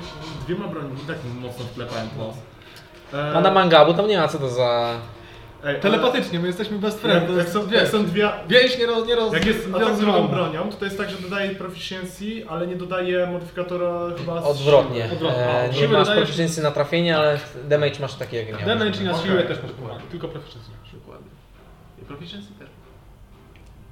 Speaker 5: dwiema broniami, tak mocno wklepałem po nos. E,
Speaker 1: A No, na mangabu tam nie ma co to za...
Speaker 5: ej,
Speaker 6: Tak, Telepatycznie, my jesteśmy best
Speaker 5: ale,
Speaker 6: friend.
Speaker 5: jak, jak, są, jak są dwie...
Speaker 6: Więź nie roz... Nie roz
Speaker 5: Jak jest
Speaker 3: tak
Speaker 5: atak z drugą
Speaker 6: rozgrana.
Speaker 5: bronią, to to jest tak, że dodaje proficiency, ale nie dodaje modyfikatora chyba... z
Speaker 1: Odwrotnie.
Speaker 5: siły.
Speaker 1: E, nie
Speaker 6: Siły
Speaker 1: masz
Speaker 6: dodajesz-
Speaker 1: proficiency na trafienie, ale damage masz taki jak miałeś.
Speaker 6: Damage i na siłę
Speaker 5: Okej.
Speaker 6: też masz pomaga. Tylko proficiency.
Speaker 10: Dokładnie. I proficiency też.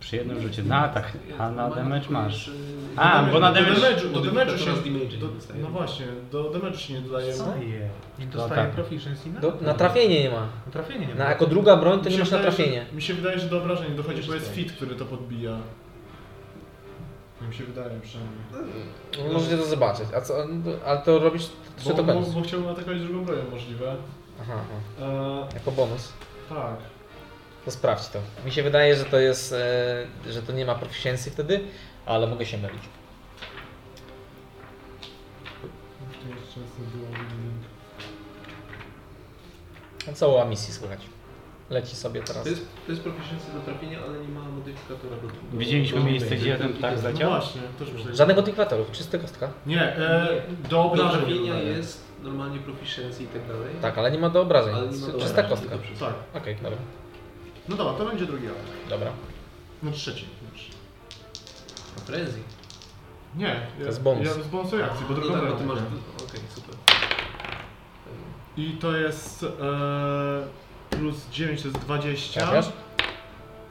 Speaker 3: Przy jednym rzucie na atak, a na damage masz.
Speaker 10: e,
Speaker 3: A, bo na
Speaker 5: Do
Speaker 3: damage...
Speaker 5: damage'u, do damage'u
Speaker 10: Modyfikatora z tak.
Speaker 5: się...
Speaker 10: damage'u
Speaker 5: Do,
Speaker 10: nie dostaje.
Speaker 5: no właśnie, do damage'u się nie dodaje.
Speaker 6: je? Nie
Speaker 3: No
Speaker 6: dostaje
Speaker 3: tak.
Speaker 6: proficiency na?
Speaker 1: Do, na trafienie nie ma.
Speaker 6: Na trafienie nie
Speaker 1: Na,
Speaker 6: ma.
Speaker 1: jako druga broń No to
Speaker 5: Mi
Speaker 1: nie
Speaker 5: się
Speaker 1: masz na
Speaker 5: wydaje,
Speaker 1: trafienie.
Speaker 5: Że, mi się wydaje, że do obrażeń nie dochodzi, bo jest fit, który to podbija. Mi się wydaje przynajmniej.
Speaker 1: No, Możecie to zobaczyć. A co, no, ale to robisz trzy
Speaker 5: Bo, bo,
Speaker 1: tokeny.
Speaker 5: bo chciałbym atakować drugą broją możliwe.
Speaker 1: Aha, aha,
Speaker 5: E,
Speaker 1: jako bonus.
Speaker 5: tak.
Speaker 1: To sprawdź to. Mi się wydaje, że to jest, e, że to nie ma proficiency wtedy, ale mogę się mylić.
Speaker 5: Tu Jeszcze jestem było link.
Speaker 1: A co o misji słychać? Leci sobie teraz.
Speaker 10: To jest, to jest proficiency do trafienia, ale nie ma modyfikatora do do-
Speaker 3: Widzieliśmy
Speaker 10: do-
Speaker 3: miejsce,
Speaker 10: do-
Speaker 3: gdzie tak ten ptak
Speaker 5: No
Speaker 3: zleciał?
Speaker 5: właśnie, też myślę.
Speaker 1: Żadnego tych kwaterów, czysta kostka.
Speaker 5: Nie, e, do
Speaker 10: Do
Speaker 5: obrażeń. nie
Speaker 10: trafienia
Speaker 5: dodaje.
Speaker 10: jest normalnie proficiency i tak dalej.
Speaker 1: Tak, ale nie ma do obrażeń.
Speaker 10: Ale nie ma do
Speaker 1: czysta
Speaker 10: obrażeń,
Speaker 1: kostka.
Speaker 10: tylko przez-
Speaker 5: Tak.
Speaker 1: Okej, dobra.
Speaker 5: No dobra, to będzie drugi atak.
Speaker 1: Dobra.
Speaker 5: No trzeci. już.
Speaker 10: Frenzy.
Speaker 5: Nie, ja,
Speaker 1: jest bonus.
Speaker 5: Ja z bonusowej akcji, bo
Speaker 10: No
Speaker 5: drugą
Speaker 10: tak, no
Speaker 5: broń
Speaker 10: ty masz...
Speaker 5: atakuję.
Speaker 10: Okej, super.
Speaker 5: I to jest e, plus 9, to jest 20.
Speaker 1: Trafiasz?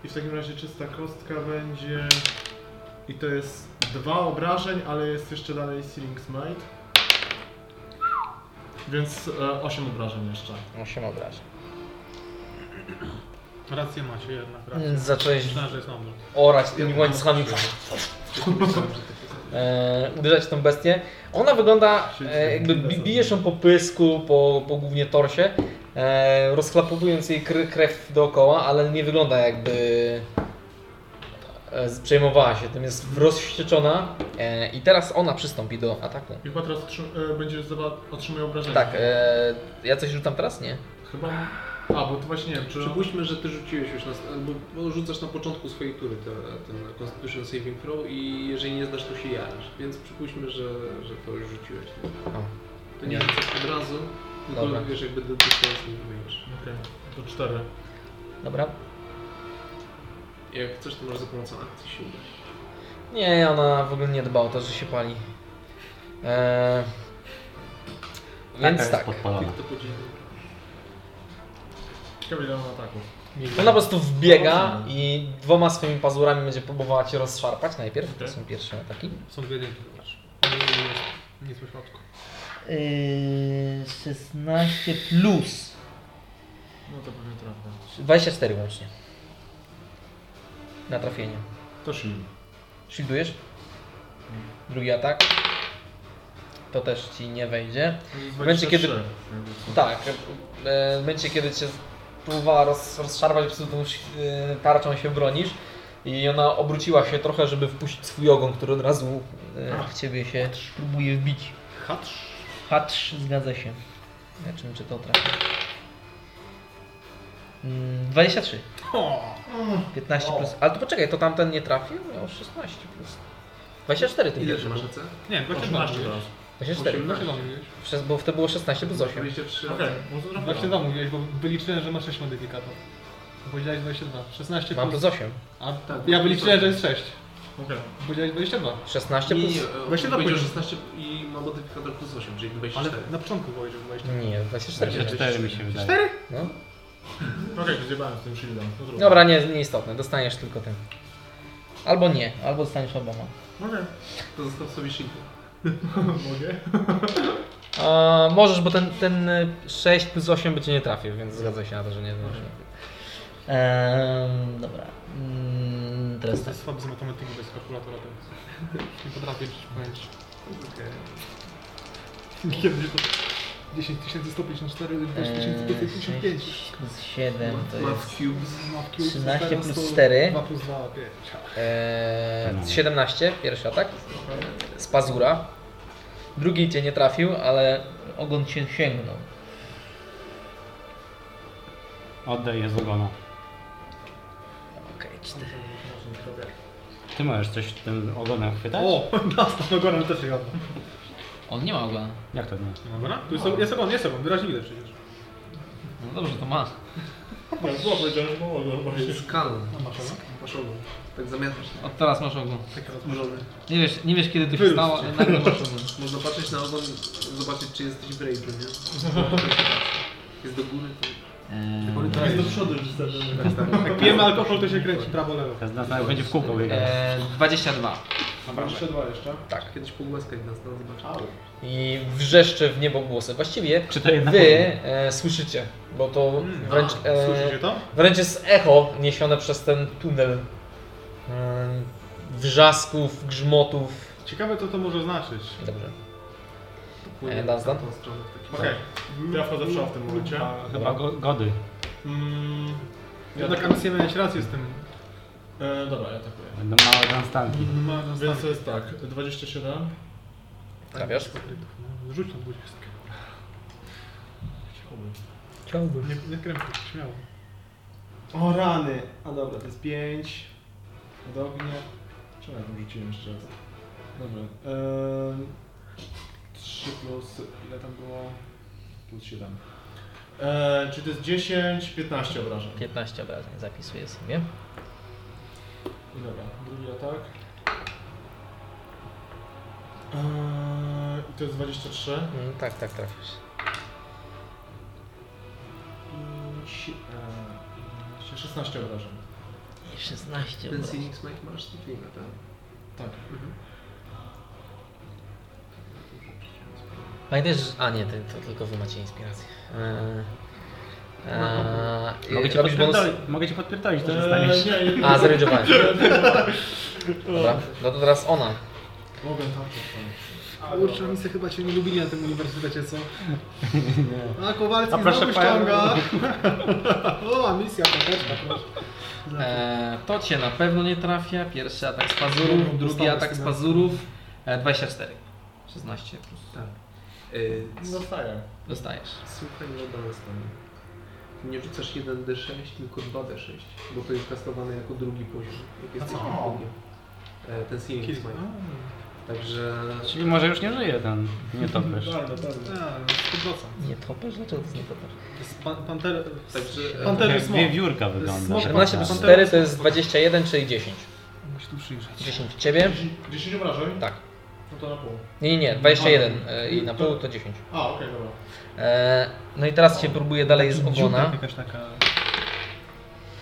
Speaker 5: I w takim razie czysta kostka będzie. I to jest dwa obrażeń, ale jest jeszcze dalej Sealing Smite. Więc e, 8 obrażeń jeszcze.
Speaker 1: 8 obrażeń.
Speaker 6: Rację macie jednak, rację.
Speaker 1: Więc Zacząłeś
Speaker 6: Myślałem, że jest na odwrót.
Speaker 1: orać tymi łańcuchami, e, uderzać w tą bestię. Ona wygląda, e, jakby bi- bijesz ją po pysku, po, po głównie torsie, e, rozchlapowując jej kr- krew dookoła, ale nie wygląda jakby e, z- przejmowała się tym, jest rozwścieczona e, i teraz ona przystąpi do ataku.
Speaker 5: I chyba teraz trzy- e, będziesz zawa- otrzymuje obrażenia.
Speaker 1: Tak, e, ja coś rzucam teraz? Nie.
Speaker 5: Chyba. A, bo to właśnie nie
Speaker 6: No.
Speaker 5: wiem, czy.
Speaker 10: Przypuśćmy, że ty rzuciłeś już, na, albo bo rzucasz na początku swojej tury te, ten Constitution Saving Throw i jeżeli nie zdasz, to się jarasz. Więc przypuśćmy, że, że to już rzuciłeś. To nie
Speaker 1: Nie.
Speaker 10: rzucasz od razu, tylko
Speaker 1: Dobra.
Speaker 10: wiesz, jakby do dystans nie wymienisz.
Speaker 5: Okej, to cztery.
Speaker 1: Dobra.
Speaker 10: Jak chcesz, to możesz za pomocą akcji się udać.
Speaker 1: Nie, ona w ogóle nie dba o to, że się pali. E,
Speaker 3: e,
Speaker 1: więc tak.
Speaker 3: podpalona.
Speaker 10: To podzielił.
Speaker 5: Ciekawe ile mam ataków.
Speaker 1: Ona po No,
Speaker 6: No.
Speaker 1: prostu wbiega i dwoma swoimi pazurami będzie próbowała cię rozszarpać najpierw. To są pierwsze ataki.
Speaker 6: Są dwie jedynki, zobacz. Nie jest po środku.
Speaker 11: 16 plus
Speaker 5: No to pewnie trafia.
Speaker 1: 24 łącznie. Na trafienie.
Speaker 5: To shield.
Speaker 1: Shieldujesz? Drugi atak. To też ci nie wejdzie. W momencie, kiedy-
Speaker 5: 23, jakby co.
Speaker 1: Tak, e, w momencie kiedy cię próbowała roz, rozszarpać, po prostu tą ś- e, tarczą się bronisz i ona obróciła się trochę, żeby wpuścić swój ogon, który od razu e, w ciebie się próbuje wbić. Hatrz? Hatrz, zgadza się. Ja czym czy to trafi? Mm, 23. 15 plus. Ale to poczekaj, to tamten nie trafił? Miał 16 plus. 24 ty
Speaker 10: Ile
Speaker 1: pierwszy
Speaker 10: ty masz
Speaker 1: był.
Speaker 10: AC?
Speaker 5: 18 teraz.
Speaker 1: 24.
Speaker 6: tak.
Speaker 10: 18.
Speaker 1: Przez, bo wtedy było 16 plus 8.
Speaker 10: 23
Speaker 5: Okej,
Speaker 10: okay.
Speaker 5: może to
Speaker 6: No Właśnie
Speaker 5: trafię.
Speaker 6: to mówiłeś, bo wyliczyłem, że masz 6 modyfikatorów. Powiedziałeś 22. 16
Speaker 1: Mam plus 8.
Speaker 6: A
Speaker 10: Tak,
Speaker 6: ja
Speaker 10: plus
Speaker 6: wyliczyłem,
Speaker 10: osiem.
Speaker 6: że jest 6.
Speaker 5: Okej.
Speaker 6: Powiedziałeś 22.
Speaker 1: 16
Speaker 10: Nie,
Speaker 1: plus.
Speaker 10: nie,
Speaker 6: Właśnie
Speaker 10: właśnie
Speaker 6: to
Speaker 10: powiedział
Speaker 6: powiedział.
Speaker 10: 16 i ma modyfikator plus 8, czyli 24.
Speaker 6: Ale na początku powiedział, że 22.
Speaker 1: Nie, 24.
Speaker 3: 24 mi się wydaje.
Speaker 1: No.
Speaker 5: Okej, to zjebałem z tym shieldem. No trudno.
Speaker 1: Dobra, nie, nieistotne, dostaniesz tylko tym. Albo nie, albo no. dostaniesz oboma.
Speaker 5: Okej.
Speaker 10: To zostaw sobie shield.
Speaker 5: Mogę?
Speaker 1: A, możesz, bo ten, ten y, 6 plus 8 by cię nie trafił, więc zgadzaj się na to, że nie zdążysz. Ehm, dobra. Mm, teraz
Speaker 6: To
Speaker 1: tak.
Speaker 6: jest słaby z matematyki bez kalkulatora teraz. Nie potrafię liczyć pojęć.
Speaker 10: Okej.
Speaker 6: Kiedyś to 10 154, 2555.
Speaker 11: 6 plus 7 Eee, to jest
Speaker 10: Math cubes.
Speaker 6: Ma w kiju
Speaker 11: 13
Speaker 6: 14,
Speaker 11: plus 4.
Speaker 6: 2 plus 2, 5.
Speaker 1: Eee, 17, pierwszy atak. Z pazura. Drugi cię nie trafił, ale
Speaker 11: ogon cię sięgnął.
Speaker 3: Oddaję z ogona.
Speaker 1: okej, cztery.
Speaker 3: Ty możesz coś tym ogonem chwytać?
Speaker 6: O, nas na ogonem też jadł.
Speaker 11: On nie ma ogona.
Speaker 3: Jak to nie?
Speaker 6: Nie ma No. Tu jest, jest ogon, jest ogon, wyraźnie widać przecież.
Speaker 11: No dobrze, to ma.
Speaker 5: Dobra, było powiedziane, że mogę. właśnie.
Speaker 10: Skalny.
Speaker 6: A masz ogon?
Speaker 10: Masz ogon. Tak zamiatasz.
Speaker 11: Od teraz masz ogon.
Speaker 10: Tak rozmrożony.
Speaker 11: Nie wiesz, nie wiesz kiedy to się
Speaker 6: Wyrósł
Speaker 11: stało, ale nagle masz ogon.
Speaker 10: Można patrzeć na ogon, zobaczyć czy jesteś w rage'u, nie? Jest do góry, to... Tak,
Speaker 6: Tak, jest do przodu już Jak pijemy alkohol, to się kręci prawo, lewo.
Speaker 3: Teraz nas nawet będzie w
Speaker 1: E,
Speaker 3: kółko biegać.
Speaker 11: Eee, 22.
Speaker 5: Mam jeszcze dwa jeszcze.
Speaker 10: tak. Kiedyś pogłaskać nas, no zobacz.
Speaker 1: I wrzeszczy w niebo głosy. Właściwie
Speaker 3: Czy to jednak
Speaker 1: wy e, słyszycie, bo to
Speaker 6: Mm,
Speaker 1: wręcz...
Speaker 6: a,
Speaker 1: e,
Speaker 6: Słyszycie to?
Speaker 1: Wręcz jest echo niesione przez ten tunel. Ym, Wrzasków, grzmotów.
Speaker 6: Ciekawe co to może znaczyć.
Speaker 1: Dobrze.
Speaker 10: Płynie
Speaker 1: E, Dazdan?
Speaker 10: na
Speaker 6: Tak.
Speaker 10: tą stronę w takim
Speaker 5: Okej. Ja wchodzę w szaf w tym momencie.
Speaker 3: Chyba go, gody.
Speaker 5: Mm, ja
Speaker 6: Jednak
Speaker 5: tak,
Speaker 6: Amisja miałeś rację z tym.
Speaker 5: e, dobra, ja atakuję.
Speaker 3: Będą małe konstanki.
Speaker 5: Mm,
Speaker 6: Ma na
Speaker 5: Więc to
Speaker 6: stanie.
Speaker 5: jest tak, 27.
Speaker 1: Trafiasz?
Speaker 6: Tak, No, Rzuć tą 20.
Speaker 1: Chciałbym.
Speaker 6: Nie, nie krępuj, śmiało.
Speaker 5: O rany! A dobra, to jest 5. Od ognia. Czemu ja tam rzuciłem jeszcze raz? Dobra. Ehm, 3 plus... ile tam było? Plus 7. Eee, czyli to jest 10, 15 obrażeń.
Speaker 1: 15 obrażeń zapisuję sobie.
Speaker 5: I dobra, drugi atak. Eee, I to jest 23.
Speaker 1: Mm, tak, tak, trafisz.
Speaker 5: I si- eee, 16 obrażeń.
Speaker 1: I 16
Speaker 10: Ten
Speaker 1: obrażeń.
Speaker 10: Sinix Mike masz Stephena, tak? Mhm.
Speaker 5: Tak.
Speaker 1: Pamiętaj, że... A nie, ty, to tylko wy macie inspirację. Yy, Eee,
Speaker 3: Mogę cię,
Speaker 1: E, robisz bonus?
Speaker 3: podpierdolić, mogę cię podpierdolić, to
Speaker 5: Eee,
Speaker 3: dostaniesz.
Speaker 5: nie, nie,
Speaker 1: A, zrejdżowałem. Dobra, no to teraz ona.
Speaker 5: Mogę tam coś Kurczę, oni se chyba cię nie lubili na tym uniwersytecie, co? A Kowalski
Speaker 6: A proszę
Speaker 5: znowu
Speaker 6: pana.
Speaker 5: ściąga. o, misja tak pateczka, proszę.
Speaker 1: E,
Speaker 12: Eee, to cię na pewno nie trafia. Pierwszy atak z pazurów, drugi
Speaker 5: Dostałem
Speaker 12: atak z
Speaker 5: sobie.
Speaker 12: pazurów. E, 24. 16 plus.
Speaker 10: Yy,
Speaker 5: Zostaje.
Speaker 12: Dostajesz.
Speaker 10: Słuchaj, no dalej stanie. Nie rzucasz 1d6, tylko 2d6, bo to jest kastowane jako drugi poziom. Jak jesteś
Speaker 5: co?
Speaker 10: na poziomie. E, ten Seeing is Mine. Także... e,
Speaker 3: Czyli może już nie żyje ten nietoperz.
Speaker 1: No,
Speaker 5: Dobra, dobra.
Speaker 1: Nie topisz? Dlaczego to jest nie topisz?
Speaker 5: To jest pan, panter...
Speaker 10: Także...
Speaker 5: Pantery
Speaker 3: Jak
Speaker 5: smok.
Speaker 3: dwie wiórka
Speaker 12: No,
Speaker 3: wygląda.
Speaker 5: Smok.
Speaker 1: 14 plus 4 to jest 21, czyli 10.
Speaker 6: Musi tu przyjrzeć.
Speaker 1: 10 ciebie?
Speaker 5: 10 obrażeń?
Speaker 1: Tak.
Speaker 5: No to na pół.
Speaker 1: Nie, nie, nie, 21 e, i na pół to 10.
Speaker 5: A, okej, dobra.
Speaker 1: E, No i teraz cię próbuje dalej z
Speaker 6: Dziurka
Speaker 1: ogona.
Speaker 6: jakaś taka...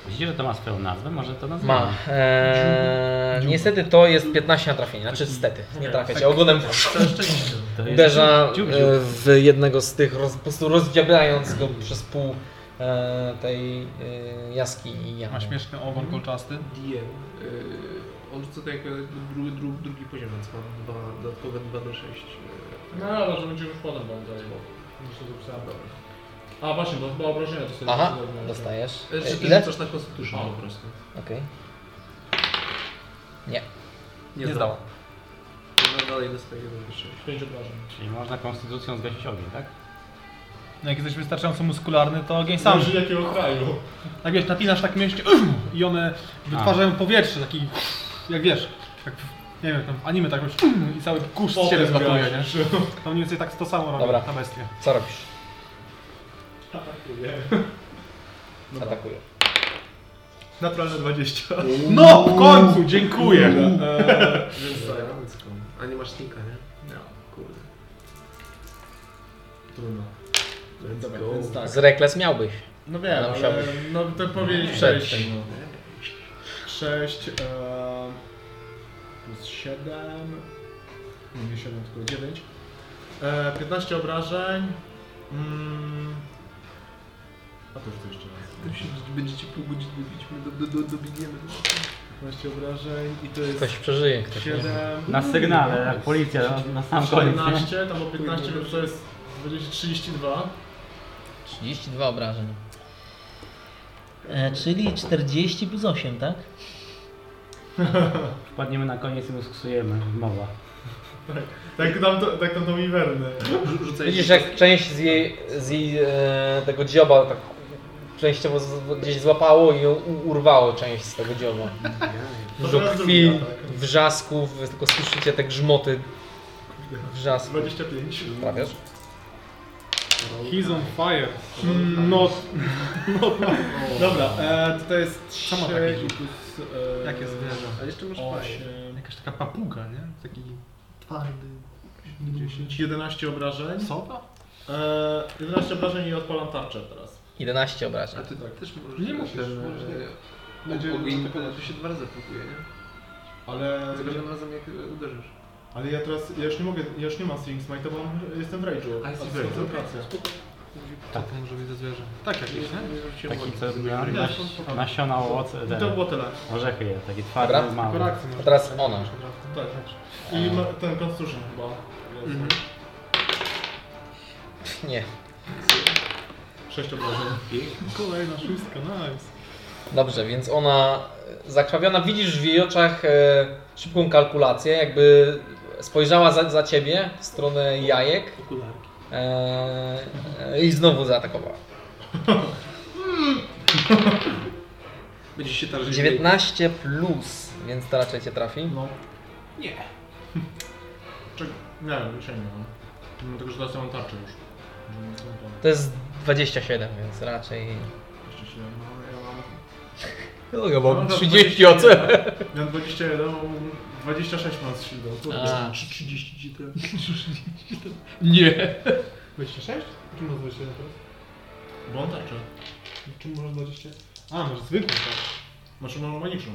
Speaker 3: Widzicie, że to ma swoją nazwę? Może to nazwa?
Speaker 1: Ma. E, niestety to jest 15 na trafienie, znaczy stety, nie trafia cię. Ogonem
Speaker 10: Całe szczęście.
Speaker 3: To jest
Speaker 1: uderza
Speaker 3: dziób,
Speaker 1: e,
Speaker 3: dziób.
Speaker 1: w jednego z tych, roz, po prostu rozdziabiając go przez pół e, tej e, jaskini. i jamy.
Speaker 6: Ma śmieszny ogon kolczasty.
Speaker 10: DM. Yy, on rzuca to jako drugi, drugi, drugi poziom, więc mam dwa, e, dodatkowe 2d6.
Speaker 13: No ale że będzie już potem wam daje. Już to zapisałem. A właśnie, bo chyba obrażenia to sobie tak.
Speaker 1: Aha,
Speaker 13: zapisałem.
Speaker 1: dostajesz.
Speaker 10: Yy,
Speaker 1: E,
Speaker 10: Czy ty
Speaker 1: ile?
Speaker 10: rzucasz na Constitution po prostu?
Speaker 1: Okej. Nie,
Speaker 10: Nie, nie
Speaker 1: zdała.
Speaker 10: No dalej dostaję 1d6.
Speaker 13: Pięć obrażeń.
Speaker 3: Czyli można konstytucją zgasić ogień, tak?
Speaker 6: No jak jesteś wystarczająco muskularny, to ogień sam.
Speaker 13: Sam. Zależy jakiego kraju.
Speaker 6: Tak wiesz, napinasz tak mięśnie i one wytwarzają powietrze, taki... Jak wiesz, jak... w- Nie wiem, tam w anime tak już i cały kurz z ciebie zlatuje, nie? Tam mniej więcej tak to samo robi
Speaker 1: Dobra.
Speaker 6: ta bestia.
Speaker 1: co robisz?
Speaker 12: Atakuje.
Speaker 14: Naturalne 20. No, w końcu, dziękuję. E,
Speaker 10: Więc A nie masz snika, nie? No. Kurde.
Speaker 5: Trudno.
Speaker 10: Let's
Speaker 5: Dobra,
Speaker 10: go.
Speaker 5: więc tak.
Speaker 1: Z Rekles miałbyś.
Speaker 5: No wiem,
Speaker 1: No,
Speaker 5: ale
Speaker 1: musiałbyś.
Speaker 5: no to powiedzieć
Speaker 1: Przed no.
Speaker 5: 6. 6 e, plus 7. Nie, nie 7, tylko 9. E, 15 obrażeń. Mm. A to już to jeszcze
Speaker 10: Tym
Speaker 5: raz.
Speaker 10: się będziecie pół godziny bić, my do, do, do, dobijemy.
Speaker 5: 15 obrażeń i to jest
Speaker 1: Ktoś przeżyje, ktoś nie.
Speaker 5: 7.
Speaker 3: Na sygnale, jak policja no, na- na sam koniec, nie?
Speaker 5: 14, tam było 15, więc to jest 20, 32.
Speaker 1: 32 obrażeń. E, czyli 40 plus 8, tak?
Speaker 3: Wpadniemy na koniec i uskusujemy, mowa.
Speaker 5: Tak tam, to, tak tam tą Iwernę.
Speaker 10: Rzucaj
Speaker 1: Widzisz, jak część z jej, z jej e, tego dzioba tak częściowo z, gdzieś złapało i ją u- urwało część z tego dzioba. Dużo
Speaker 5: teraz
Speaker 1: krwi,
Speaker 5: drugi atak.
Speaker 1: wrzasków, wy tylko słyszycie te grzmoty wrzasków.
Speaker 5: 25.
Speaker 1: Trafiasz?
Speaker 6: He's on fire. Mm,
Speaker 5: No. Dobra, e, to jest 3
Speaker 6: Samo takie
Speaker 5: plus... E,
Speaker 6: Jakie zwierzę.
Speaker 10: A jeszcze masz paść.
Speaker 5: 8,
Speaker 6: Jakaś taka papuga, nie? Taki...
Speaker 5: twardy, 10, 11 obrażeń.
Speaker 6: Sowa?
Speaker 5: E, 11 obrażeń i odpalam tarczę teraz.
Speaker 1: 11 obrażeń.
Speaker 10: A ty tak też możesz...
Speaker 6: Nie musisz,
Speaker 10: też
Speaker 6: możesz
Speaker 10: możesz-
Speaker 5: Będzie-
Speaker 10: Ogień, to się dwa razy próbuje, nie?
Speaker 5: Ale,
Speaker 10: Za każdym razem jak e, uderzysz.
Speaker 5: ale ja teraz, ja już nie mogę, ja już nie mam Swing Smite, bo mam- jestem w Rage'u.
Speaker 10: A, jesteś w
Speaker 5: to jest
Speaker 10: rage'u,
Speaker 5: koncentracja.
Speaker 6: Tak. To może być ze zwierzę. Tak jakieś, nie?
Speaker 3: Taki, co na,
Speaker 5: Nie,
Speaker 3: na,
Speaker 5: to-
Speaker 3: nasiona owoce,
Speaker 5: I to
Speaker 3: te
Speaker 5: było tyle.
Speaker 3: orzechy je, takie
Speaker 1: Dobra.
Speaker 3: twarde,
Speaker 5: Tylko
Speaker 3: małe.
Speaker 5: reakcję
Speaker 1: A
Speaker 5: może-
Speaker 1: teraz ona.
Speaker 5: Tak, i ma, ten Constitution chyba.
Speaker 10: Mhm.
Speaker 1: 11. Nie.
Speaker 5: 6 obrażeń.
Speaker 6: Kolejna szóstka, nice.
Speaker 1: Dobrze, więc ona e, zakrwawiona, widzisz w jej oczach e, szybką kalkulację, jakby spojrzała za, za ciebie w stronę jajek
Speaker 10: Okularki.
Speaker 1: e, e, i znowu zaatakowała.
Speaker 10: Będziesz się tarżyć.
Speaker 1: 19 plus, więc to raczej cię trafi.
Speaker 5: No.
Speaker 10: Nie.
Speaker 5: Czek... Nie, dzisiaj nie mam. Mimo tego, że teraz ja mam tarczę już. Że są to
Speaker 1: To jest 27, więc raczej...
Speaker 5: jeszcze się- no, ja mam-
Speaker 1: No, ja
Speaker 5: ja mam teraz
Speaker 1: 30 OC.
Speaker 5: 21, Ja mam 21, mam 26 mam z shieldą.
Speaker 1: A.
Speaker 5: Kurde.
Speaker 10: 30 ci te...
Speaker 5: 26? Czym masz 21 teraz? Bo mam tarczę. Czym masz 20? A, masz zwykłą tak. tarczę. Masz mam magiczną.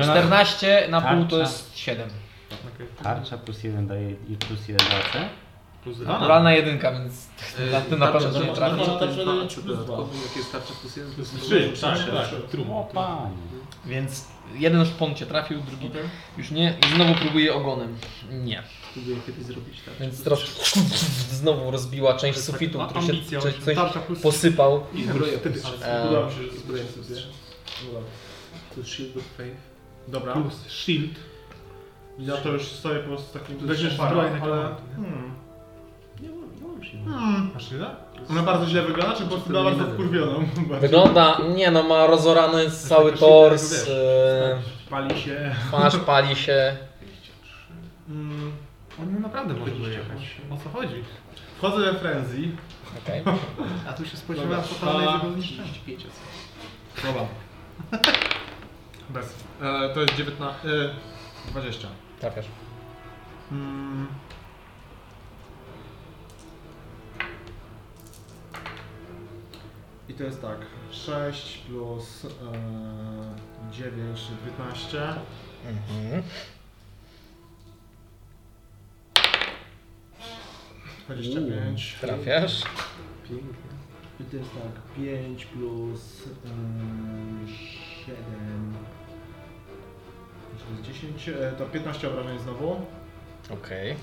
Speaker 3: ona
Speaker 1: 14 na pół to
Speaker 3: Tarcza.
Speaker 1: jest 7.
Speaker 3: tarcza plus jeden daje i plus jeden AC.
Speaker 6: plus dwa.
Speaker 15: Naturalna jedynka, więc na, ty na pewno
Speaker 10: Tarcza,
Speaker 15: cię nie trafi.
Speaker 10: tarcza,
Speaker 16: No, tak
Speaker 10: tarcza,
Speaker 16: wtedy
Speaker 10: tarcza,
Speaker 16: plus
Speaker 10: dodatkowo,
Speaker 16: dwa.
Speaker 10: Jak jest tarcza plus jeden, plus
Speaker 16: Trzy, tak, tak.
Speaker 3: O panie.
Speaker 15: Więc jeden szpon cię trafił, drugi
Speaker 16: Okej.
Speaker 15: już nie. I znowu próbuje ogonem. Nie.
Speaker 10: Próbuję kiedyś zrobić tak, tarczę.
Speaker 1: Więc teraz znowu rozbiła część sufitu, który się
Speaker 6: Ambicja,
Speaker 1: coś, coś
Speaker 6: tarcza plus
Speaker 1: posypał.
Speaker 10: I zbroję plus trzy.
Speaker 15: E,
Speaker 16: Udało mi się, że
Speaker 10: I
Speaker 16: zbroję
Speaker 10: zbroję plus
Speaker 16: sobie.
Speaker 10: trzy. To jest Shield of Faith.
Speaker 5: Dobra.
Speaker 6: plus shield.
Speaker 5: Ja to już stoję po prostu z takim
Speaker 6: Weźmiesz
Speaker 5: parą,
Speaker 6: zbroję na
Speaker 5: ale...
Speaker 6: komandę,
Speaker 5: Hmm.
Speaker 10: Nie mam, nie mam Shield.
Speaker 5: Hmm.
Speaker 6: Masz tyle?
Speaker 5: Ona bardzo źle wygląda, czy po prostu była bardzo wkurwioną?
Speaker 1: Wygląda, nie no, ma rozorany
Speaker 17: Znaczy,
Speaker 1: cały tors, e,
Speaker 17: Pali się.
Speaker 1: twarz pali się.
Speaker 5: Mm.
Speaker 6: On naprawdę może wyjechać. O co chodzi?
Speaker 5: Wchodzę we frenzy.
Speaker 1: Okej.
Speaker 6: A tu się
Speaker 5: Dobra.
Speaker 6: spodziewa totalnej jego zniszczenia.
Speaker 10: 35 jest.
Speaker 5: Dobra. Bez. E, to jest 19... E, 20.
Speaker 1: Trafiasz.
Speaker 5: Mm. I to jest tak, 6 plus e, 9, czyli 19.
Speaker 1: Mhm.
Speaker 5: 25.
Speaker 1: Trafiasz.
Speaker 10: Pięknie.
Speaker 5: I to jest tak, 5 plus e, 7. To jest 10, e, to 15 obrażeń znowu.
Speaker 1: Okej.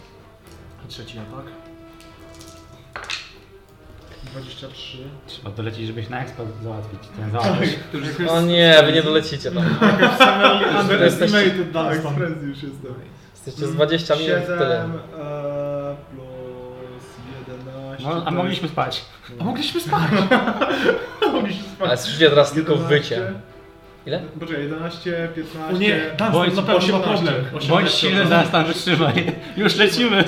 Speaker 5: I trzeci atak. 23.
Speaker 3: Trzeba dolecić, żebyś na ekspert załatwić ten
Speaker 1: No,
Speaker 5: Tak,
Speaker 3: załatwić.
Speaker 10: To już jest
Speaker 5: No,
Speaker 1: O nie, wy nie dolecicie tam.
Speaker 5: Underestimated
Speaker 6: dalej
Speaker 5: dalej
Speaker 6: stąd.
Speaker 5: frenzy już jest dalej.
Speaker 1: Jesteście z 20 minut w
Speaker 5: 7
Speaker 1: tyle.
Speaker 5: e, plus 11.
Speaker 3: No, a mogliśmy spać.
Speaker 6: A mogliśmy spać!
Speaker 1: Ale słyszycie teraz tylko wycie. Ile?
Speaker 5: Poczekaj, 11, 15.
Speaker 6: O nie,
Speaker 3: Bądź-
Speaker 6: Dunstan, na pewno ma
Speaker 5: 18.
Speaker 6: problem.
Speaker 3: Bądź silny, zaraz tam wytrzymaj. Już lecimy.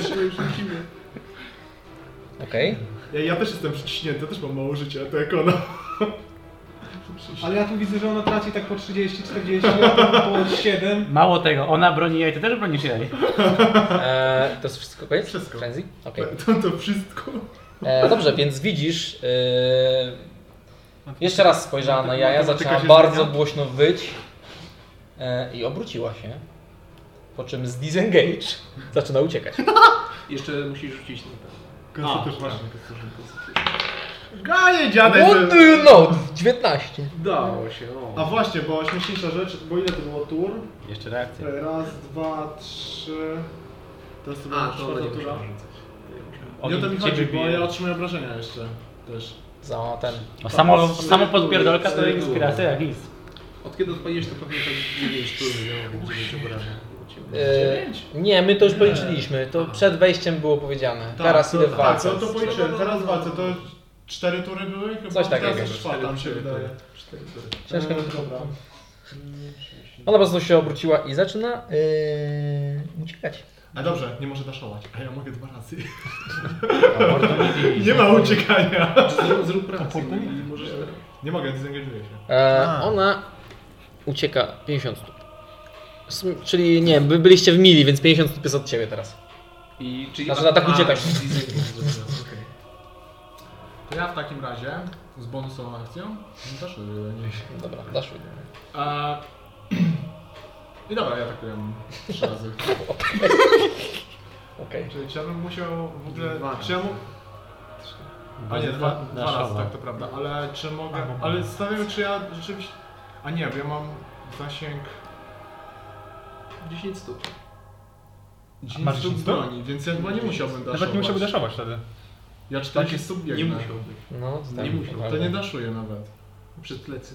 Speaker 1: Okej.
Speaker 5: Ja, ja też jestem przyciśnięty, też mam mało życia, to jak ona.
Speaker 6: Ale ja tu widzę, że ona traci tak po 30-40, ja tam po 7.
Speaker 3: Mało tego, ona broni jej, ty też bronisz jej.
Speaker 1: E, To jest wszystko koniec?
Speaker 5: Wszystko.
Speaker 1: Frenzy? Okej.
Speaker 5: To, to wszystko.
Speaker 1: E, Dobrze, więc widzisz. E, jeszcze raz spojrzała na jaja, zaczęła bardzo głośno wyć e, i obróciła się. Po czym z disengage zaczyna uciekać.
Speaker 10: Jeszcze musisz rzucić na pewno.
Speaker 5: Konstytucja. właśnie.
Speaker 17: Gaje dziadek!
Speaker 1: What do you know? 19.
Speaker 5: Dało.
Speaker 10: Dało się,
Speaker 5: A
Speaker 10: o.
Speaker 5: właśnie, bo śmieszniejsza rzecz, bo ile to było tur?
Speaker 3: Jeszcze reakcja.
Speaker 5: Raz, dwa, trzy. Teraz to była
Speaker 10: A, to ona nie
Speaker 5: czwarta tura.
Speaker 10: musiała rzucać. Nie musiała.
Speaker 3: Ogień
Speaker 16: Nie o to mi
Speaker 3: ciebie
Speaker 16: chodzi, bo
Speaker 3: bije.
Speaker 16: ja otrzymuję obrażenia jeszcze też.
Speaker 1: Za ten.
Speaker 3: O, samo, samo podpierdolka to inspiracja jak nic.
Speaker 10: Od kiedy odpaliłeś to pewnie tak 9 tur miało być 9 obrażeń. u ciebie.
Speaker 1: E, nie, my to już policzyliśmy. To przed wejściem było powiedziane. Teraz
Speaker 5: to,
Speaker 1: ile walce?
Speaker 5: Tak, to, to policzyłem, teraz walce, to cztery tury były? Chyba
Speaker 1: Coś takiego.
Speaker 5: Teraz już czwarta mi się
Speaker 10: Cztery tury.
Speaker 5: wydaje.
Speaker 10: Cztery tury.
Speaker 1: Ciężko
Speaker 5: E,
Speaker 1: to-
Speaker 5: Dobra.
Speaker 1: Ona po prostu się obróciła i zaczyna yy, uciekać.
Speaker 5: A dobrze, nie może daszować, a ja mogę dwa razy. nie ma uciekania.
Speaker 10: Zrób, zrób pracę i możesz teraz.
Speaker 5: Nie mogę, dezengageuję się.
Speaker 1: E,
Speaker 6: A.
Speaker 1: ona ucieka 50 stóp. Sm- Czyli nie, wy byliście w mili, więc 50 stóp jest od ciebie teraz.
Speaker 10: I czyli...
Speaker 1: Znaczy, na tak
Speaker 10: a,
Speaker 1: uciekasz.
Speaker 10: czyli z jednym zrobiłem, okej.
Speaker 5: To ja w takim razie z bonusową akcją daszuję.
Speaker 1: Dobra, dasz mi.
Speaker 5: A... I dobra, ja atakuję trzy razy.
Speaker 1: Okej.
Speaker 5: Czyli czy ja bym musiał w ogóle...
Speaker 10: Dwa
Speaker 5: czy ja mu... A nie, dwa, dwa razy, tak to prawda. Ale czy mogę... Ale stawiam, czy ja rzeczywiście... A nie, bo ja mam zasięg...
Speaker 10: 10 stóp.
Speaker 5: 10 stóp broni, więc ja chyba nie musiałbym daszować.
Speaker 6: Nawet nie musiałby daszować wtedy.
Speaker 5: Ja 40 stóp biegnę.
Speaker 10: Nie musiał być.
Speaker 1: No, to
Speaker 10: Nie
Speaker 1: tam,
Speaker 10: musiał,
Speaker 5: To nie daszuję nawet.
Speaker 10: Przed plecy.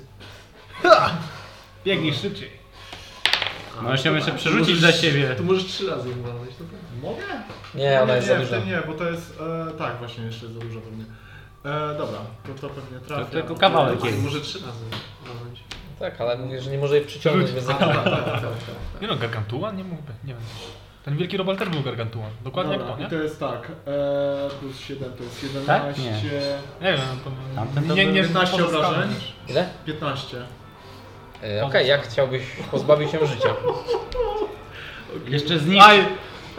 Speaker 6: Biegnij szybciej.
Speaker 10: A,
Speaker 3: Możesz ją
Speaker 10: to
Speaker 3: No jeszcze
Speaker 10: tak.
Speaker 3: przerzucić
Speaker 10: Możesz-
Speaker 3: za siebie.
Speaker 10: To możesz trzy razy ją walnąć, to tak.
Speaker 5: Mogę?
Speaker 1: Nie, ona
Speaker 5: nie,
Speaker 1: jest
Speaker 5: No nie,
Speaker 1: za duża.
Speaker 5: wtedy Nie, bo to jest... E, tak, właśnie, jeszcze za dużo pewnie. E, dobra, to, to pewnie trafia.
Speaker 3: tylko kawałek.
Speaker 10: Ale może trzy razy walnąć.
Speaker 1: Tak, ale mówię, że nie może jej przyciągnąć, więc
Speaker 10: A, tak, tak, tak, tak.
Speaker 6: Nie no, Gargantuan? Nie mógłby, nie wiem. Ten wielki robal też był Gargantuan. Dokładnie
Speaker 5: Dobra,
Speaker 6: jak to, nie?
Speaker 5: I to jest tak, e, plus 7 to jest 11,
Speaker 3: Tak? Nie.
Speaker 6: Nie wiem, to...
Speaker 3: Tamten to
Speaker 6: nie,
Speaker 3: był
Speaker 6: nie
Speaker 5: 15
Speaker 6: pozostały.
Speaker 5: obrażeń.
Speaker 1: Ile?
Speaker 5: 15.
Speaker 1: Yy, Okej, jak chciałbyś pozbawić się życia?
Speaker 3: Jeszcze z nich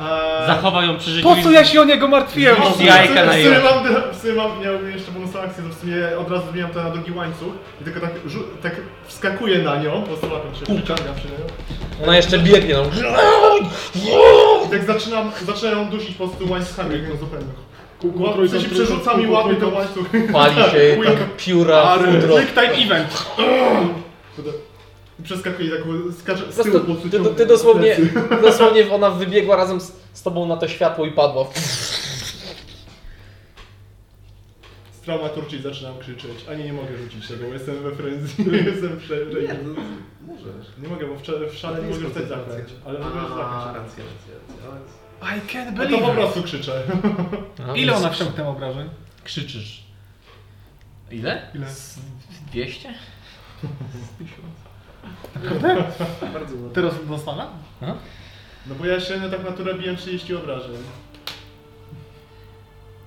Speaker 5: E,
Speaker 3: zachowa ją przy życiu.
Speaker 6: Po co ja się o niego martwiłem?
Speaker 3: Z jajka na
Speaker 5: w sumie
Speaker 3: jajka.
Speaker 5: mam, w sumie mam, miałbym jeszcze bonus akcję, to w sumie od razu zmieniam to na drugi łańcuch i tylko tak, rzu- tak wskakuję na nią, po prostu łapię się, przyciągam się na nią
Speaker 1: Ona jeszcze biegnie, no.
Speaker 5: i tak zaczynam, zaczynam ją dusić po prostu łańcuchami, jak ją zupełnie. Kółko trójką, się przerzuca mi łapy do łańcucha.
Speaker 18: Pali się
Speaker 5: Quick.
Speaker 18: tak pióra futro.
Speaker 5: Quick time event. Przeskakuje tak, skacze z
Speaker 18: Po
Speaker 5: tyłu
Speaker 18: prostu
Speaker 5: po
Speaker 18: Ty, ty, ty dosłownie, dosłownie ona wybiegła razem z, z tobą na to światło i padła.
Speaker 5: Strama turczy i zaczynam krzyczeć. Ani nie mogę rzucić tego, bo jestem we frenzy, jestem prze...
Speaker 10: Nie, no, możesz.
Speaker 5: Nie mogę, bo w, cze- w szale nie mogę wstać zaklęć. Ale mogę już
Speaker 10: A,
Speaker 5: zaklęć.
Speaker 10: racja, racja, racja. Ale
Speaker 6: I can't
Speaker 5: No to
Speaker 6: believe
Speaker 5: po
Speaker 6: it.
Speaker 5: prostu krzyczę.
Speaker 6: Ile ona wsiąknęła obrażeń?
Speaker 1: Krzyczysz. Ile?
Speaker 6: Ile?
Speaker 1: Z 200?
Speaker 10: Bardzo ładnie.
Speaker 6: Teraz dostanę?
Speaker 5: No bo ja średnio tak naturę biłem 30 obrażeń.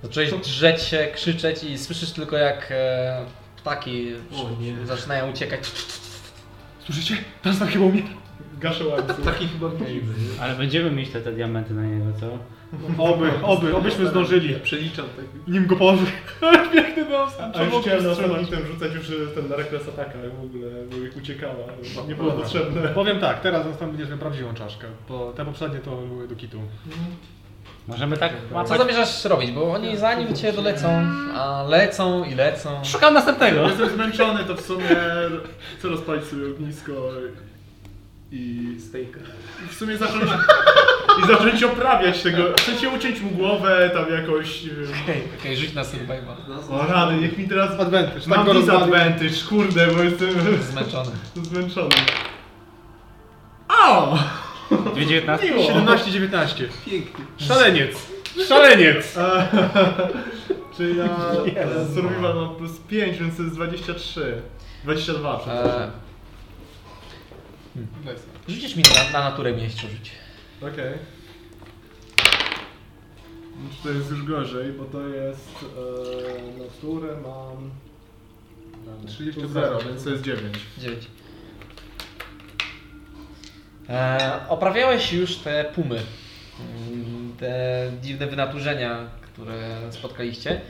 Speaker 1: Zacząłeś drzeć się, krzyczeć i słyszysz tylko jak e, ptaki
Speaker 10: O nie.
Speaker 1: zaczynają uciekać.
Speaker 6: Słyszycie? Teraz tam chyba umie.
Speaker 5: Gaszę łańcuch.
Speaker 18: Tak,
Speaker 10: Taki chyba widzimy. nie?
Speaker 3: Ale będziemy mieć te, te diamenty na niego, co?
Speaker 6: Oby, oby, obyśmy zdążyli.
Speaker 10: Przeliczam tak.
Speaker 6: Nim go położy. Ale piękny dostęp.
Speaker 5: A już chciałem na ostatnim tym rzucać już y, ten na rekres ataka w ogóle, bo ich uciekała. Nie było potrzebne.
Speaker 6: Powiem tak, teraz następnie będziesz miał prawdziwą czaszkę, bo te poprzednie to były do kitu.
Speaker 3: Możemy tak
Speaker 1: A co
Speaker 3: łapać?
Speaker 1: zamierzasz robić? Bo oni zanim cię dolecą, a lecą i lecą.
Speaker 3: Szukam następnego!
Speaker 5: Jestem zmęczony, to w sumie chcę rozpalić sobie ognisko i,
Speaker 10: Stejka.
Speaker 5: i w sumie zacząć, i zacząć oprawiać tego. W sensie uciąć mu głowę tam jakoś. nie wiem.
Speaker 1: Okej, okay, okay, żyć na survival.
Speaker 5: O rany, niech mi teraz.
Speaker 6: Advantage, tak
Speaker 5: Mam
Speaker 6: go rozwalił.
Speaker 5: disadvantage, kurde, bo jestem
Speaker 1: Zmęczony.
Speaker 5: zmęczony. O!
Speaker 3: 219?
Speaker 5: Miło!
Speaker 6: 17-19.
Speaker 10: Pięknie.
Speaker 6: Szaleniec! Szaleniec!
Speaker 5: Czyli ja e, survival mam plus 5, więc to jest 23. 22 przepraszam.
Speaker 1: E, rzucisz mi na, na naturę mieście rzuć.
Speaker 5: Okej. No, czy To jest już gorzej, bo to jest e, naturę mam
Speaker 6: 30
Speaker 5: plus 0, więc to jest 9.
Speaker 1: 9. E, oprawiałeś już te pumy. Mm, Te dziwne wynaturzenia, które spotkaliście.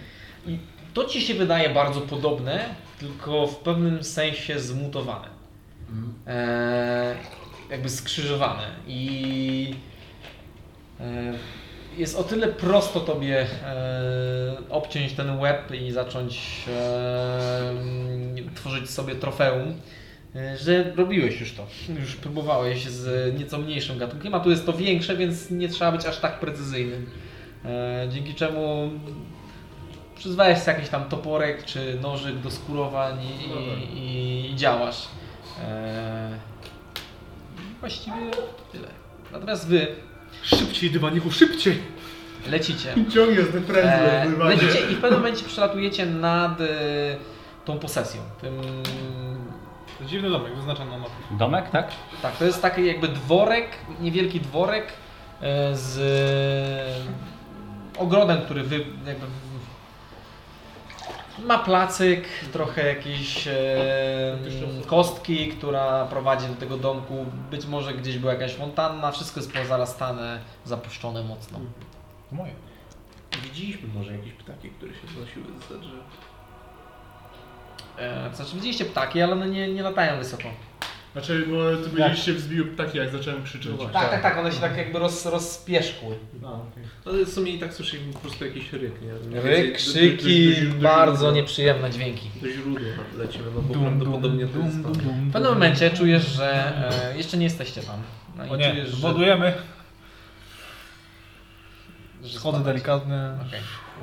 Speaker 1: I to ci się wydaje bardzo podobne, tylko w pewnym sensie zmutowane. E, jakby skrzyżowane. I e, jest o tyle prosto tobie e, obciąć ten łeb i zacząć e, mm, tworzyć sobie trofeum, e, że robiłeś już to. Już próbowałeś z nieco mniejszym gatunkiem, a tu jest to większe, więc nie trzeba być aż tak precyzyjnym. E, dzięki czemu przyzwałeś sobie jakiś tam toporek czy nożyk do skurowań i, i, i działasz. E, właściwie tyle. Natomiast wy
Speaker 6: Szybciej, dywaniku, szybciej!
Speaker 1: lecicie.
Speaker 5: Ciągle z depresji
Speaker 1: E,
Speaker 5: eee,
Speaker 1: lecicie i w pewnym momencie przelatujecie nad e, tą posesją. Tym,
Speaker 6: To Dziwny domek, wyznaczam na mapie.
Speaker 3: Domek, tak?
Speaker 1: tak, to jest taki jakby dworek, niewielki dworek e, z e, ogrodem, który wy jakby w- ma placyk, trochę jakieś e, kostki, która prowadzi do tego domku. Być może gdzieś była jakaś fontanna, wszystko jest pozarastane, zapuszczone mocno.
Speaker 19: Moje.
Speaker 10: Widzieliśmy może jakieś ptaki, które się znosiły z drzew.
Speaker 1: E, to znaczy widzieliście ptaki, ale one nie, nie latają wysoko.
Speaker 5: Znaczy, bo ty byliście w zbił ptaki, jak zacząłem krzyczeć.
Speaker 10: No właśnie.
Speaker 1: Tak, tak, tak, one się tak jakby roz, rozpieszkły.
Speaker 5: A, okej.
Speaker 10: Ale w sumie i tak słyszeliśmy po prostu jakiś ryk, nie? Mniej więcej
Speaker 18: Ryk,
Speaker 10: do-
Speaker 18: krzyki,
Speaker 10: do- do- do- do- do-
Speaker 18: bardzo nieprzyjemne dźwięki.
Speaker 10: Do źródła lecimy, no bo prawdopodobnie to jest tam.
Speaker 1: W pewnym momencie czujesz, że e, jeszcze nie jesteście tam. No i
Speaker 19: O nie,
Speaker 1: czujesz, że,
Speaker 19: wodujemy. Schody
Speaker 1: że spadacie.
Speaker 19: delikatne.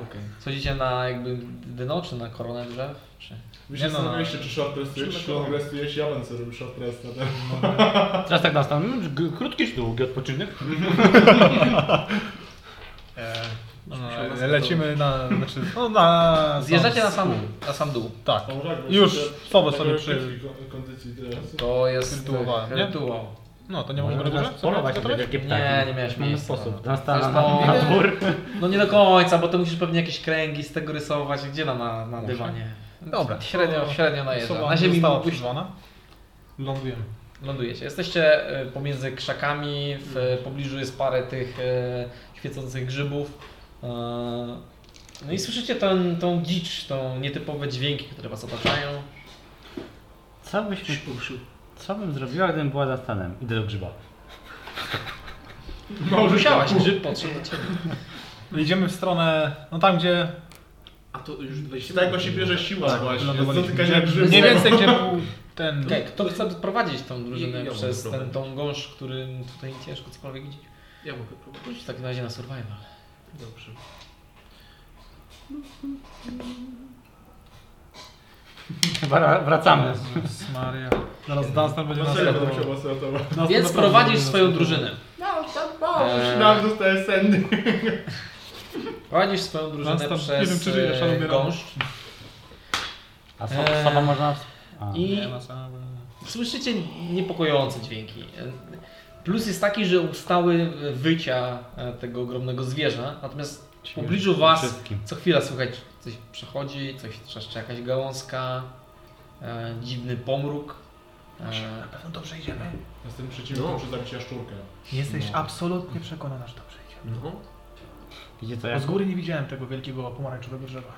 Speaker 1: Okej. Schodzicie na jakby dno, czy na koronę drzew? Czy...
Speaker 5: Wy
Speaker 19: Nie
Speaker 5: się
Speaker 19: no,
Speaker 5: zastanawialiście, czy short
Speaker 10: Czy
Speaker 5: restujesz,
Speaker 10: na
Speaker 5: czy long restujesz, ja będę sobie robił short resta. tak?
Speaker 3: Teraz tak następny. Krótki czy długi odpoczynek?
Speaker 6: E,
Speaker 19: No, no, Lecimy na, znaczy, no na...
Speaker 1: Zjeżdżacie na sam, na sam dół.
Speaker 19: Tak.
Speaker 5: A może tak, bo
Speaker 19: Już
Speaker 5: się-
Speaker 19: sobę
Speaker 5: tak
Speaker 19: sobie
Speaker 5: robię
Speaker 19: przy...
Speaker 5: kon- kondycji teraz.
Speaker 1: To jest
Speaker 19: Rytuał, nie?
Speaker 1: rytuał.
Speaker 19: No, to nie możemy
Speaker 3: teraz
Speaker 19: robić.
Speaker 3: polować na wielkie ptaki.
Speaker 1: Nie, nie miałeś
Speaker 3: Mamy
Speaker 1: miejsca.
Speaker 3: sposób. Na, na, na,
Speaker 1: Zresztą-
Speaker 3: na dwór.
Speaker 1: No nie do końca, bo to musisz pewnie jakieś kręgi z tego rysować. Gdzie na, na, na dywanie?
Speaker 19: Dobra.
Speaker 1: Średnio, średnio najeżdża.
Speaker 19: Osoba
Speaker 1: No, Na ziemi
Speaker 19: została
Speaker 1: mógłbyś
Speaker 19: przyzwana. Lądujemy.
Speaker 1: Lądujecie. Jesteście e, pomiędzy krzakami, w e, pobliżu jest parę tych e, świecących grzybów. E, No i słyszycie ten, tą dzicz, tą nietypowe dźwięki, które was otaczają.
Speaker 3: Co byśmy... Co bym zrobiła, gdybym była za stanem? Idę do grzyba.
Speaker 5: tak.
Speaker 1: No, musiałaś grzyb podszedł do ciebie.
Speaker 6: Idziemy w stronę, no tam gdzie...
Speaker 10: A to już 20
Speaker 20: Z
Speaker 5: tak
Speaker 20: tego się bierze siła właśnie. Z
Speaker 6: wylądowaliśmy.
Speaker 20: dotykania
Speaker 6: Gdzie-
Speaker 20: grzybu.
Speaker 6: Mniej więcej gdzie był ten...
Speaker 1: Okej, kto chce prowadzić tą drużynę
Speaker 10: Ja- ja mam
Speaker 1: przez
Speaker 10: problem.
Speaker 1: ten, tą gąszcz, którym tutaj ciężko cokolwiek idzie?
Speaker 10: Ja mogę próbować. Tak,
Speaker 1: Rzuć w takim razie na survival.
Speaker 10: Dobrze.
Speaker 3: Chyba wracamy.
Speaker 6: Jezus Maria. Zaraz Dunstan będzie nas
Speaker 5: Dlaczego to
Speaker 6: ratował.
Speaker 5: musiał was ratować?
Speaker 6: Dunstan
Speaker 1: Więc
Speaker 6: naprawdę
Speaker 1: prowadzisz
Speaker 6: będzie nas
Speaker 1: swoją
Speaker 6: ratował.
Speaker 1: drużynę. Eee.
Speaker 5: Przynajmniej dostaję senny.
Speaker 1: Prowadzisz swoją drużynę
Speaker 6: Dunstan,
Speaker 1: przez
Speaker 6: nie wiem, czy żyjesz, ale
Speaker 1: e,
Speaker 6: umieram.
Speaker 1: gąszcz
Speaker 3: A so,
Speaker 1: Eee.
Speaker 3: sama można... A.
Speaker 1: i
Speaker 6: Nie ma sensu.
Speaker 1: słyszycie niepokojące dźwięki. E, Plus jest taki, że ustały wycia e, tego ogromnego zwierza, natomiast w pobliżu was
Speaker 3: Wszystkim.
Speaker 1: Co chwila słychać coś przechodzi, coś trzeszczy, jakaś gałązka, e, dziwny pomruk. E,
Speaker 5: Jestem przeciwko
Speaker 10: No.
Speaker 5: przy zabicia szczurkę.
Speaker 6: Jesteś absolutnie przekonana, że dobrze idzie.
Speaker 10: No.
Speaker 3: Wiecie co,
Speaker 6: Bo
Speaker 3: jak...
Speaker 6: z góry nie widziałem tego wielkiego pomarańczowego drzewa.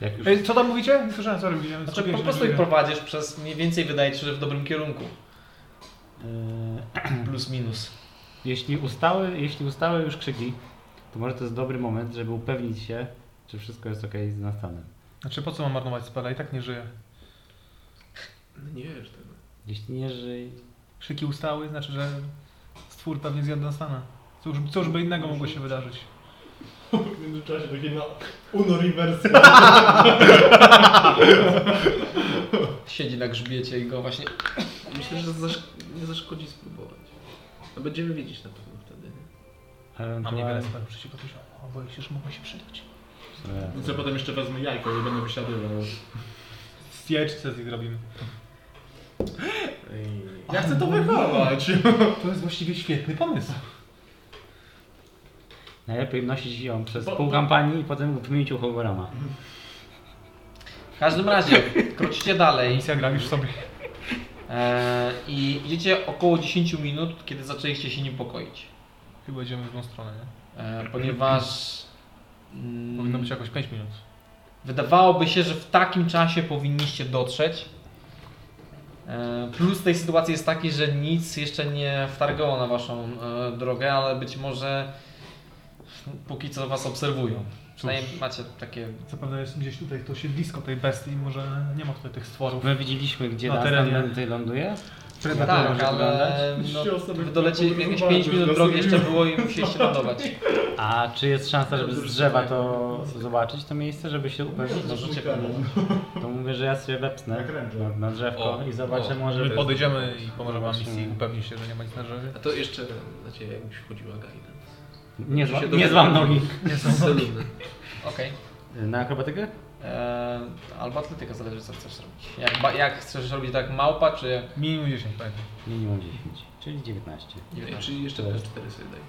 Speaker 3: jak już...
Speaker 6: Ej, co tam mówicie? Nie słyszałem, sorry, widziałem.
Speaker 1: znaczy po prostu ich prowadzisz przez mniej więcej wydaje ci się, że w dobrym kierunku.
Speaker 3: Eee,
Speaker 6: Hmm.
Speaker 1: Plus minus.
Speaker 3: Jeśli ustały, jeśli ustały już krzyki, to może to jest dobry moment, żeby upewnić się, czy wszystko jest ok z nastanem.
Speaker 6: Znaczy po co mam marnować spela? I tak nie żyję.
Speaker 10: No nie wiesz tego.
Speaker 3: Jeśli nie żyj,
Speaker 6: Krzyki ustały, znaczy, że stwór pewnie zjadł Dunstana. Cóż, cóż by innego mogło się wydarzyć?
Speaker 5: W międzyczasie takie na Uno reverse.
Speaker 1: Siedzi na grzbiecie i go właśnie
Speaker 10: Myślę, że zasz- nie zaszkodzi spróbować. A będziemy wiedzieć na pewno wtedy. nie?
Speaker 6: Mam niewiele
Speaker 3: ewentualnie...
Speaker 6: spelów przeciwko tuziomu, a boję się, że mogą się przydać.
Speaker 3: No
Speaker 5: I co potem jeszcze wezmę jajko i będę wysiadywał.
Speaker 6: Z jajeczce z nich robimy.
Speaker 10: Ej.
Speaker 5: Ja chcę to wychować.
Speaker 6: To jest właściwie świetny pomysł.
Speaker 3: Najlepiej nosić ją przez pół kampanii i potem wymienić u Hogorama.
Speaker 1: W każdym razie kroczycie dalej
Speaker 6: Misja gram już sobie.
Speaker 1: e, i idziecie około 10 minut, kiedy zaczęliście się niepokoić.
Speaker 6: Chyba idziemy w drugą stronę, nie?
Speaker 1: E, ponieważ mm,
Speaker 6: Powinno być jakoś 5 minut.
Speaker 1: Wydawałoby się, że w takim czasie powinniście dotrzeć. E, Plus tej sytuacji jest taki, że nic jeszcze nie wtargało na waszą e, drogę, ale być może póki co was obserwują. Przynajmniej macie takie.
Speaker 6: Zapewne jest gdzieś tutaj to siedlisko tej bestii, może nie ma tutaj tych stworów.
Speaker 3: My widzieliśmy, gdzie
Speaker 6: Na
Speaker 3: Dunstan
Speaker 6: terenie.
Speaker 3: tutaj ląduje.
Speaker 1: Tak,
Speaker 3: może
Speaker 1: ale
Speaker 5: wyglądać?
Speaker 1: no,
Speaker 5: Trzy osoby
Speaker 1: wy dolecie
Speaker 5: podróżowały,
Speaker 1: jakieś 5 minut
Speaker 5: już
Speaker 1: drogi jeszcze
Speaker 5: rozumiem.
Speaker 1: było i musieliście lądować.
Speaker 3: A czy jest szansa, żeby z drzewa to zobaczyć to miejsce, żeby się upewnić? No,
Speaker 1: Możecie próbować.
Speaker 3: To mówię, że ja sobie wepnę
Speaker 5: Jak ręczę.
Speaker 3: na, na drzewko
Speaker 10: O,
Speaker 3: i zobaczę
Speaker 10: o.
Speaker 3: może...
Speaker 6: My podejdziemy i pomożemy wam
Speaker 3: Zobaczymy.
Speaker 6: misji i upewnij się, że nie ma nic na drzewie.
Speaker 10: A to jeszcze na ciebie jakbyś wchodziła guidance.
Speaker 3: Nie, zła,
Speaker 10: się
Speaker 3: nie złam nogi.
Speaker 10: Nie są celne.
Speaker 1: Okej.
Speaker 3: Y, Na akrobatykę?
Speaker 1: E, Albo atletyka zależy co chcesz robić. Jak, ba- jak chcesz robić tak małpa, czy jak
Speaker 6: Minimum 10 pamiętaj.
Speaker 3: Minimum 10, czyli 19.
Speaker 10: Ej,
Speaker 1: 19?
Speaker 10: Czyli jeszcze
Speaker 3: To
Speaker 10: te
Speaker 3: jest-
Speaker 10: 4 sobie daj.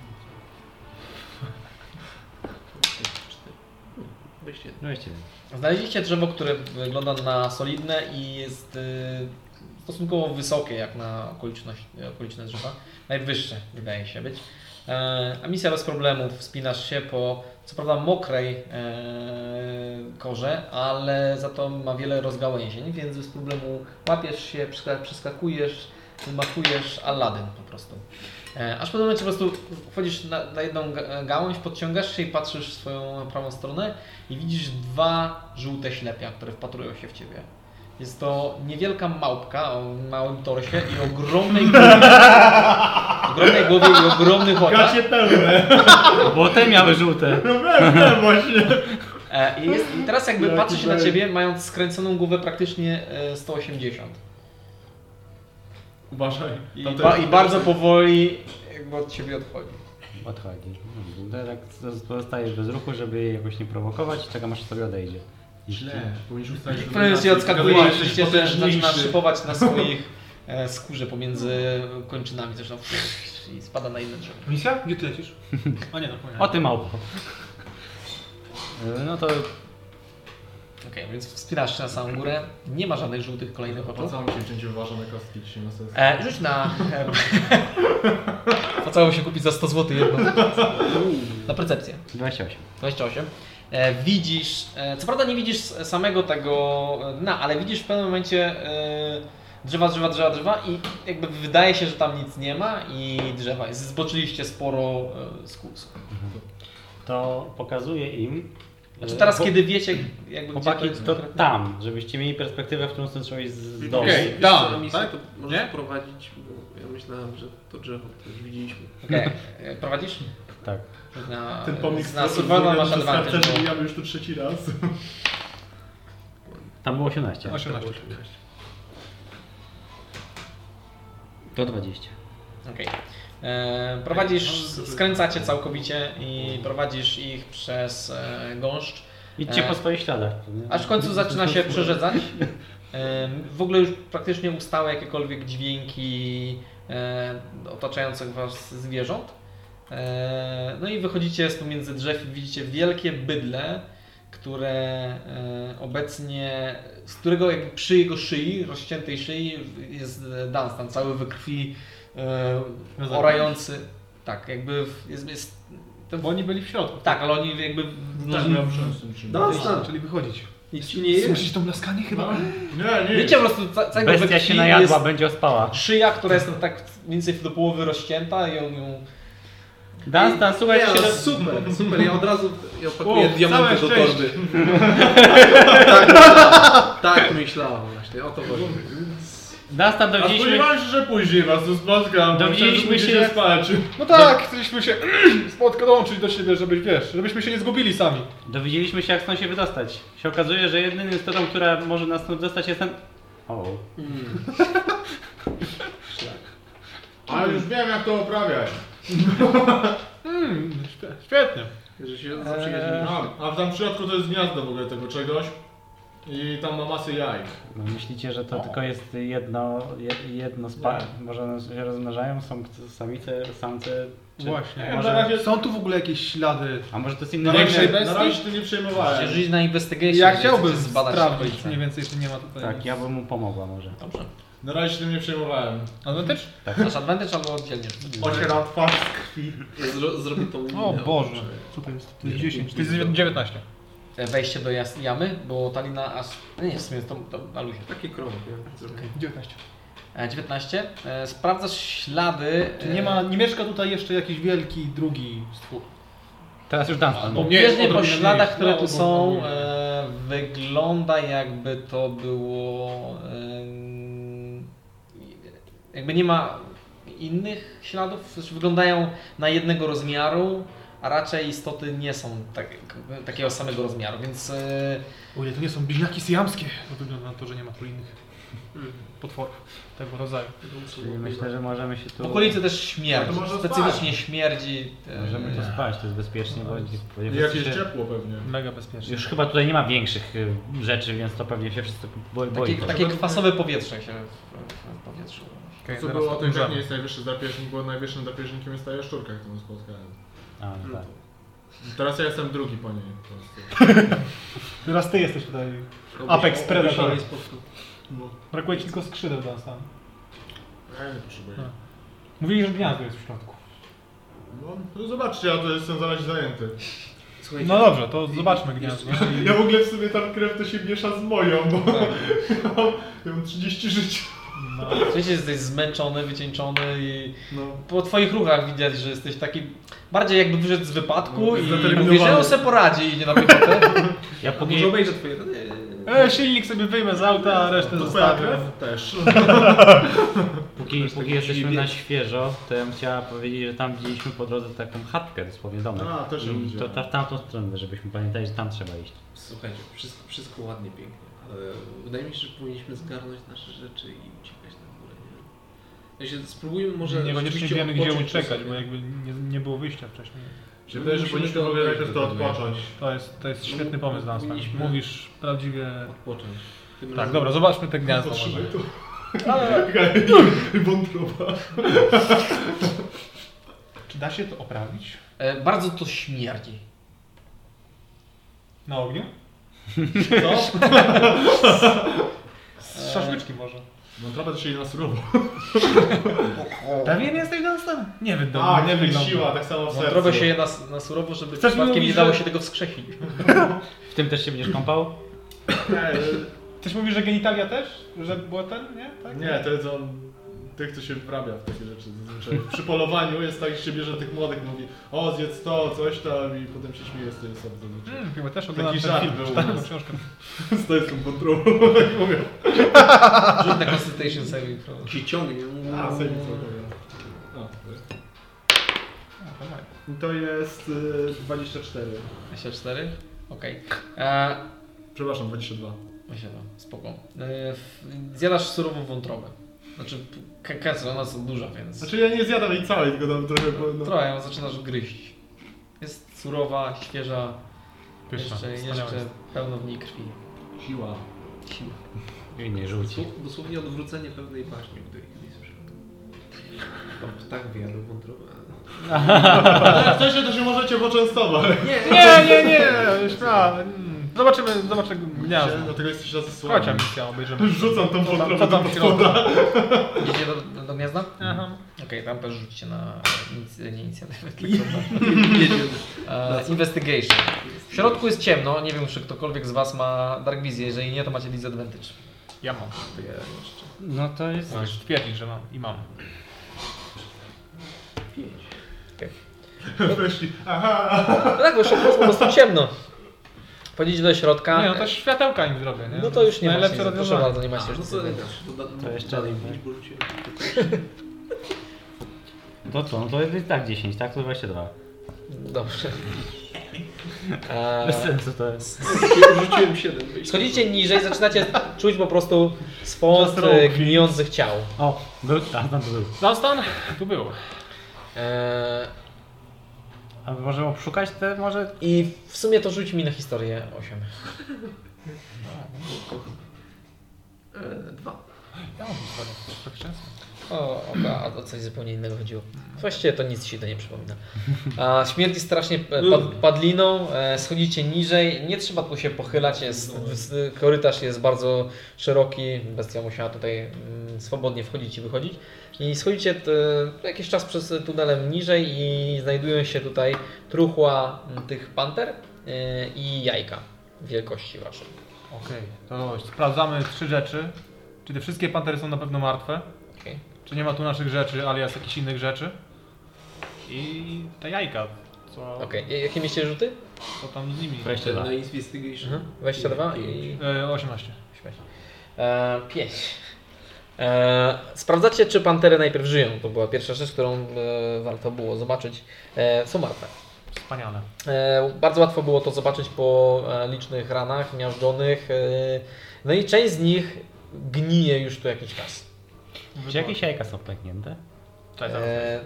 Speaker 10: 4. 21.
Speaker 3: 21.
Speaker 1: Znaleźliście drzewo, które wygląda na solidne i jest y, stosunkowo wysokie jak na okoliczność, okoliczne drzewa. Najwyższe wydaje się być. E, a misja bez problemów. Wspinasz się po co prawda mokrej e, korze, ale za to ma wiele rozgałęzień, więc bez problemu łapiesz się, przeska- przeskakujesz, machujesz Aladdin po prostu. E, aż w pewnym momencie po prostu wchodzisz na, na jedną ga- gałąź, podciągasz się i patrzysz w swoją prawą stronę i widzisz dwa żółte ślepia, które wpatrują się w ciebie. Jest to niewielka małpka o małym torsie i ogromnej głowie, ogromnej głowie i ogromnych oczach.
Speaker 5: Gacie pełne.
Speaker 3: No Bo te miały żółte.
Speaker 5: No pełne właśnie.
Speaker 1: E, i jest, I teraz jakby
Speaker 5: Jaki
Speaker 1: patrzy się na
Speaker 5: bajer.
Speaker 1: ciebie, mając skręconą głowę praktycznie e, 180.
Speaker 5: Uważaj.
Speaker 1: I,
Speaker 5: Tam
Speaker 1: ba,
Speaker 5: też-
Speaker 1: I bardzo powoli jakby od ciebie odchodzi.
Speaker 3: Odchodzi. Derek pozostaje bez ruchu, żeby jej jakoś nie prowokować, czekam aż sobie odejdzie. I-
Speaker 5: Źle. Powinniśmy ustalić
Speaker 1: W pewnym momencie odskakuje,
Speaker 5: Zgadujesz,
Speaker 1: oczywiście,
Speaker 5: jesteś
Speaker 1: że zaczyna
Speaker 5: potężniejszy.
Speaker 1: szybować na swoich e, skórze pomiędzy kończynami zresztą pff, i spada na inne drzewo.
Speaker 6: Misja? Gdzie ty lecisz? A nie, no powiem.
Speaker 3: O ty małpo. No to
Speaker 1: Okej, więc wspinasz się na samą górę, nie ma żadnych żółtych kolejnych oczu.
Speaker 5: Opłacało mi się wziąć uważane kostki dzisiaj na sesji.
Speaker 1: E, rzuć na... Pocało się kupić za 100 zł jedną. Na percepcję.
Speaker 3: 28.
Speaker 1: 28. E, widzisz, e, co prawda nie widzisz samego tego dna, ale widzisz w pewnym momencie e, drzewa, drzewa, drzewa, drzewa i jakby wydaje się, że tam nic nie ma i drzewa. Zboczyliście sporo e, z kursu.
Speaker 3: To pokazuję im.
Speaker 1: Znaczy
Speaker 3: e,
Speaker 1: teraz,
Speaker 3: bo-
Speaker 1: kiedy wiecie, jakby gdzie
Speaker 3: Chłopaki,
Speaker 1: jest
Speaker 3: to
Speaker 1: konkretnie-
Speaker 3: tam, żebyście mieli perspektywę, w którą stąd trzeba iść z domu.
Speaker 6: Okej.
Speaker 10: Wiesz
Speaker 6: tam,
Speaker 10: co, na misję
Speaker 6: tak?
Speaker 10: to możesz
Speaker 6: Nie?
Speaker 10: prowadzić, bo ja myślałem, że to drzewo to już widzieliśmy.
Speaker 1: Okej, e, prowadzisz?
Speaker 3: Tak.
Speaker 21: Na,
Speaker 22: Ten pomnik
Speaker 21: na survival masz advantage, bo
Speaker 22: Ja już tu trzeci raz.
Speaker 3: Tam było 18.
Speaker 6: 18.
Speaker 3: To 20.
Speaker 1: Okej. E, Prowadzisz, skręcacie całkowicie i prowadzisz ich przez e, gąszcz,
Speaker 3: Idźcie
Speaker 1: E,
Speaker 3: po swoich śladach.
Speaker 1: aż w końcu zaczyna się przerzedzać. E, w ogóle już praktycznie ustały jakiekolwiek dźwięki e, otaczających was zwierząt. E, no i wychodzicie z pomiędzy drzew i widzicie wielkie bydle, które e, obecnie, z którego jakby przy jego szyi, rozciętej szyi jest Dunstan, cały we krwi, e,
Speaker 6: Na zewnątrz?
Speaker 1: orający. Tak, jakby w- jest, jest to,
Speaker 6: Bo oni byli w środku.
Speaker 1: tak, ale oni jakby No,
Speaker 23: Tak, miałem przemysł.
Speaker 6: No,
Speaker 10: Dunstan!
Speaker 6: Czyli wychodzić.
Speaker 10: Nic ci nie jest?
Speaker 6: Słyszysz to blaskanie chyba?
Speaker 23: Nie, nie.
Speaker 1: Wiecie po prostu, ca- całego we
Speaker 3: Bestia
Speaker 1: krwi
Speaker 3: się najadła,
Speaker 1: Tak, jest
Speaker 3: będzie ospała.
Speaker 1: szyja, która jest tak mniej więcej do połowy rozcięta i on ją...
Speaker 3: Dunstan, słuchaj,
Speaker 10: Nie,
Speaker 3: jak się
Speaker 10: no,
Speaker 3: roz...
Speaker 10: super, super, ja od razu ja
Speaker 6: O,
Speaker 10: pakuję
Speaker 6: całe
Speaker 10: diamenty do
Speaker 6: szczęście.
Speaker 10: torby. tak, myślałem, tak myślałem właśnie, o to chodzi.
Speaker 3: Dunstan,
Speaker 23: A
Speaker 3: dowiedzieliśmy,
Speaker 23: spodziewałem się, że później was tu spotkam. bo
Speaker 3: Dowiedzieliśmy
Speaker 23: chciałem, że pójdziecie
Speaker 3: się-
Speaker 23: spać.
Speaker 6: No tak, chcieliśmy się spotkać, dołączyć do siebie, żebyś wiesz, żebyśmy się nie zgubili sami.
Speaker 3: dowiedzieliśmy się, jak stąd się wydostać. Się okazuje, że jedynym istotą, która może nas stąd dostać jest ten... O,
Speaker 10: Mm.
Speaker 5: Ale już wiem jak to oprawiać.
Speaker 6: Hmm, świe- świetnie.
Speaker 10: Że
Speaker 6: Eee,
Speaker 10: się zaprzyjaźnimy.
Speaker 23: A, a w tam środku to jest gniazdo w ogóle tego czegoś. I tam ma masę jaj.
Speaker 3: no myślicie, że to tylko jest jedno, jed- jedno spa... Może one się rozmnażają, są samice, samce, czy...
Speaker 6: Właśnie.
Speaker 23: Na
Speaker 3: Może...
Speaker 23: razie,
Speaker 6: Są tu w ogóle jakieś ślady
Speaker 3: A może to jest
Speaker 6: Na
Speaker 3: inny
Speaker 6: większej
Speaker 3: wymiar?
Speaker 23: nie,
Speaker 6: bestii?
Speaker 23: na razie się tym nie przejmowałem.
Speaker 1: Żyć na investigation,
Speaker 6: Tak. Ja
Speaker 1: więc
Speaker 6: chciałbym
Speaker 1: chcecie zbadać
Speaker 6: sprawdzić
Speaker 1: okolice.
Speaker 6: mniej więcej, czy nie ma tutaj.
Speaker 3: Tak, ja bym mu pomogła może.
Speaker 1: Dobrze.
Speaker 23: Na razie się tym nie przejmowałem.
Speaker 6: Ale też?
Speaker 1: Masz advantage albo oddzielnie.
Speaker 22: Ociera twarz z krwi.
Speaker 10: Ja zro, zrobię tą minę.
Speaker 6: O Boże. Co to jest? To jest 10. To jest 19.
Speaker 1: E, Wejście do jas- jamy, bo Talina aż... no Nie, w sumie to, to na luzie.
Speaker 10: Taki krąg, nie? Zrobię.
Speaker 6: 19.
Speaker 1: E, 19. E, Sprawdzasz ślady...
Speaker 6: Czy nie
Speaker 1: e,
Speaker 6: ma, nie mieszka tutaj jeszcze jakiś wielki drugi stwór?
Speaker 3: Teraz już Dunstan.
Speaker 23: Albo- Nie,
Speaker 1: Bieżnie po
Speaker 23: odrobinę
Speaker 1: śladach,
Speaker 23: mniej.
Speaker 1: które
Speaker 23: No,
Speaker 1: tu
Speaker 23: bo-
Speaker 1: są,
Speaker 23: bo-
Speaker 1: e, wygląda jakby to było. E, jakby nie ma innych śladów. Znaczy, wyglądają na jednego rozmiaru, a raczej istoty nie są tak, takiego samego rozmiaru, więc. E,
Speaker 6: O ile to nie są bliźniaki syjamskie. To wygląda na to, że nie ma tu innych
Speaker 10: Mm.
Speaker 6: potworów tego rodzaju.
Speaker 3: Czyli myślę, że możemy się
Speaker 1: w
Speaker 3: tu...
Speaker 1: okolicy też
Speaker 22: No
Speaker 1: śmierdzi.
Speaker 22: to może
Speaker 1: Specyficznie śmierdzi. e,
Speaker 3: Możemy tu spać, to jest bezpiecznie, bo
Speaker 23: I
Speaker 3: bo-
Speaker 23: jakieś
Speaker 3: się-
Speaker 23: ciepło pewnie.
Speaker 6: Mega bezpiecznie.
Speaker 3: Już chyba tutaj nie ma większych y, rzeczy, więc to pewnie się wszyscy bo- boi.
Speaker 1: Takie,
Speaker 3: tego.
Speaker 1: takie kwasowe powietrze się w, w powietrzu.
Speaker 6: Okej,
Speaker 5: Co
Speaker 6: zaraz
Speaker 5: było o tym, że jak
Speaker 6: odgrzamy.
Speaker 5: nie jest najwyższy drapieżnik, bo najwyższym drapieżnikiem jest ta jaszczurka, którą spotkałem.
Speaker 3: A, no tak.
Speaker 5: Teraz ja jestem drugi po niej po prostu.
Speaker 6: Teraz ty jesteś tutaj.
Speaker 10: Robię-
Speaker 6: Apex
Speaker 10: robię
Speaker 6: Predator.
Speaker 10: się spotkam.
Speaker 6: Brakuje ci tylko skrzydeł dla nas tam.
Speaker 5: Ja nie potrzebuję.
Speaker 6: No. Mówili, że gniazdo jest w środku.
Speaker 5: No, to zobaczcie, ja to jestem zaraz zajęty.
Speaker 10: Słuchajcie,
Speaker 6: No dobrze, to zobaczmy gniazdo.
Speaker 5: Ja w ogóle w sobie tam krew to się miesza z moją, bo ja mam, ja mam 30 życia.
Speaker 6: No.
Speaker 1: Oczywiście jesteś zmęczony, wycieńczony i
Speaker 5: No.
Speaker 1: po twoich ruchach widać, że jesteś taki bardziej jakby wyszedł z wypadku
Speaker 5: No,
Speaker 1: i
Speaker 5: zdeterminowany.
Speaker 1: mówisz, że on sobie poradzi i idzie na piechotę.
Speaker 3: Ja
Speaker 10: a
Speaker 3: podnie...
Speaker 10: może obejrzę twoje... Nie, nie, nie.
Speaker 6: E, silnik sobie wyjmę z auta, a resztę
Speaker 5: To twoja
Speaker 6: zostawię.
Speaker 5: krew? Też.
Speaker 3: Póki, póki jesteśmy
Speaker 10: dziwi.
Speaker 3: na świeżo, to ja bym chciała powiedzieć, że tam widzieliśmy po drodze taką chatkę, dosłownie domek.
Speaker 5: A, też ją
Speaker 3: I to
Speaker 5: widziałem.
Speaker 3: ta, w tamtą stronę, żebyśmy pamiętali, że tam trzeba iść.
Speaker 10: Słuchajcie, wszystko, wszystko ładnie, pięknie, ale wydaje mi się, że powinniśmy zgarnąć nasze rzeczy i uciekać na górę, nie? Ja się spróbujmy może...
Speaker 6: Nie, koniecznie
Speaker 10: rzeczywiście
Speaker 6: wiemy gdzie
Speaker 10: odpocząć
Speaker 6: uciekać,
Speaker 10: sobie.
Speaker 6: bo jakby nie, nie było wyjścia wcześniej.
Speaker 5: Się wydaje, że
Speaker 10: Musimy
Speaker 5: powinniśmy
Speaker 10: to
Speaker 5: w ogóle najpierw to
Speaker 10: odkryć,
Speaker 5: odpocząć.
Speaker 6: To jest, to jest
Speaker 5: No,
Speaker 6: świetny pomysł dla nas. tak.
Speaker 10: Powinniśmy-
Speaker 6: Mówisz prawdziwie...
Speaker 10: Odpocząć. Tym
Speaker 6: Tak,
Speaker 10: razem-
Speaker 6: dobra, zobaczmy te gniazdo.
Speaker 5: Potrzymaj
Speaker 6: może.
Speaker 5: tu. Tak. Wątroba.
Speaker 6: Czy da się to oprawić?
Speaker 1: E, Bardzo to śmierdzi.
Speaker 6: Na ogniu? Co? Z szaszłyczki może.
Speaker 5: Wątroba to się na surowo.
Speaker 6: Pewien jesteś Dunstan? Nie wygląda.
Speaker 5: A, nie wiem,
Speaker 6: wygląda.
Speaker 5: siła, tak samo w sercu.
Speaker 1: Wątrobę No, się je na, na surowo, żeby
Speaker 6: Chcesz mi
Speaker 1: przypadkiem
Speaker 6: mówić,
Speaker 1: nie dało
Speaker 6: że-
Speaker 1: się tego wskrzesić.
Speaker 3: W tym też się będziesz kąpał?
Speaker 5: Ej,
Speaker 6: Ktoś mówi, że genitalia też? Że było ten, nie? Tak?
Speaker 5: Nie, to jest on tych, co się wrabia w takie rzeczy zazwyczaj. Przy polowaniu jest tak, że się bierze tych młodych, mówi o zjedz to, coś tam i potem się śmieje z tej osoby zazwyczaj.
Speaker 6: Hmm, chyba też
Speaker 5: Taki
Speaker 6: oglądałem ten
Speaker 5: żart
Speaker 6: film,
Speaker 5: był u
Speaker 6: czytałem tą
Speaker 5: nas.
Speaker 6: książkę.
Speaker 5: Stoję z tą wątrobą, tak mówią.
Speaker 24: Rzut na Constitution Saving Throw.
Speaker 10: Się ciągnie.
Speaker 5: A, tak. sobie nic nie powiem. I To jest y, 24.
Speaker 24: 24? Okej. E,
Speaker 5: Przepraszam, 22.
Speaker 1: no
Speaker 24: Właśnie tam, spoko. E, f- Zjadasz surową wątrobę. Znaczy, k- kacel, ona jest duża, więc
Speaker 5: Znaczy ja nie zjadam jej całej, tylko tam trochę... bo- No.
Speaker 24: trochę ją zaczynasz gryźć. Jest surowa, świeża, jeszcze, jeszcze pełno w niej krwi.
Speaker 5: Siła.
Speaker 3: I nie rzuci.
Speaker 10: Dosłownie- Dosłownie odwrócenie pewnej baśni, o której kiedyś słyszałem. Tam ptak wyjadł wątrobę.
Speaker 5: Ale chcecie, to się możecie poczęstować.
Speaker 6: Nie, nie, nie, śmiało. Mm. Zobaczymy, zobaczę gniazdo.
Speaker 5: Dlatego jesteś na zasłonię.
Speaker 6: Chodź, misja, obejrzymy.
Speaker 5: Rzucam tą
Speaker 6: co
Speaker 5: wątrobę
Speaker 6: tam
Speaker 5: do
Speaker 6: w
Speaker 5: podwoda.
Speaker 24: Idziecie do, do, do gniazda?
Speaker 6: Aha.
Speaker 24: Okej, tam też rzućcie na nic, nie inicjatywę, tylko na, e, Investigation. W środku jest ciemno, nie wiem czy ktokolwiek z Was ma Dark Vision, jeżeli nie to macie Disadvantage.
Speaker 6: Ja mam.
Speaker 3: No to jest...
Speaker 6: Możesz twierdzić, że mam i mam.
Speaker 5: Weszli. Aha.
Speaker 1: No tak, bo już jest po prostu ciemno. Wchodzicie do środka.
Speaker 6: Nie, no to światełka im zrobię, nie?
Speaker 1: No to już nie ma
Speaker 6: Najlepsze
Speaker 1: się, proszę
Speaker 6: rozwiązanie.
Speaker 1: bardzo, nie ma się
Speaker 10: No
Speaker 1: już
Speaker 10: co,
Speaker 1: nic.
Speaker 10: to, da, no,
Speaker 3: To jeszcze
Speaker 10: dalej
Speaker 3: jeden.
Speaker 1: no.
Speaker 10: pić, bo rzuciłem.
Speaker 3: To co, no to jest tak 10, tak? To 22.
Speaker 1: Dobrze. Eee,
Speaker 3: Bez sensu to jest.
Speaker 10: Rzuciłem 7. wyjść.
Speaker 1: schodzicie niżej, zaczynacie czuć po prostu swąd e, gnijących ciał.
Speaker 3: O, był, a tam był.
Speaker 6: Zastan? Tu było.
Speaker 1: Eee,
Speaker 3: A możemy obszukać te może?
Speaker 1: I w sumie to rzuć mi na historię 8.
Speaker 10: E, Dwa.
Speaker 6: Ja mam historię, tak często.
Speaker 1: O, oba, a o coś zupełnie innego chodziło. Właściwie to nic ci to nie przypomina. A śmierdzi strasznie e, pad, padliną, e, schodzicie niżej, nie trzeba tu się pochylać, jest, s- korytarz jest bardzo szeroki, bestia musiała tutaj mm, swobodnie wchodzić i wychodzić. I schodzicie t, e, jakiś czas przez tunelem niżej i znajdują się tutaj truchła m, tych panter e, i jajka wielkości waszej.
Speaker 6: Okej, to sprawdzamy trzy rzeczy. Czy te wszystkie pantery są na pewno martwe?
Speaker 1: Okej.
Speaker 6: Czy nie ma tu naszych rzeczy, alias jakichś innych rzeczy? I te jajka, co,
Speaker 1: Okej, j- jakie mieliście rzuty?
Speaker 6: co tam z nimi?
Speaker 3: 22.
Speaker 10: Na investigation.
Speaker 1: 22 Mhm. i...
Speaker 6: E, 18.
Speaker 1: Śmiać. E, pięć. E, sprawdzacie, czy pantery najpierw żyją. To była pierwsza rzecz, którą e, warto było zobaczyć. E, są martwe.
Speaker 6: Wspaniale.
Speaker 1: E, bardzo łatwo było to zobaczyć po e, licznych ranach miażdżonych. E, no i część z nich gnije już tu jakiś czas.
Speaker 3: Czy jakieś jajka są pęknięte?
Speaker 6: Cześć, zaraz.
Speaker 1: E,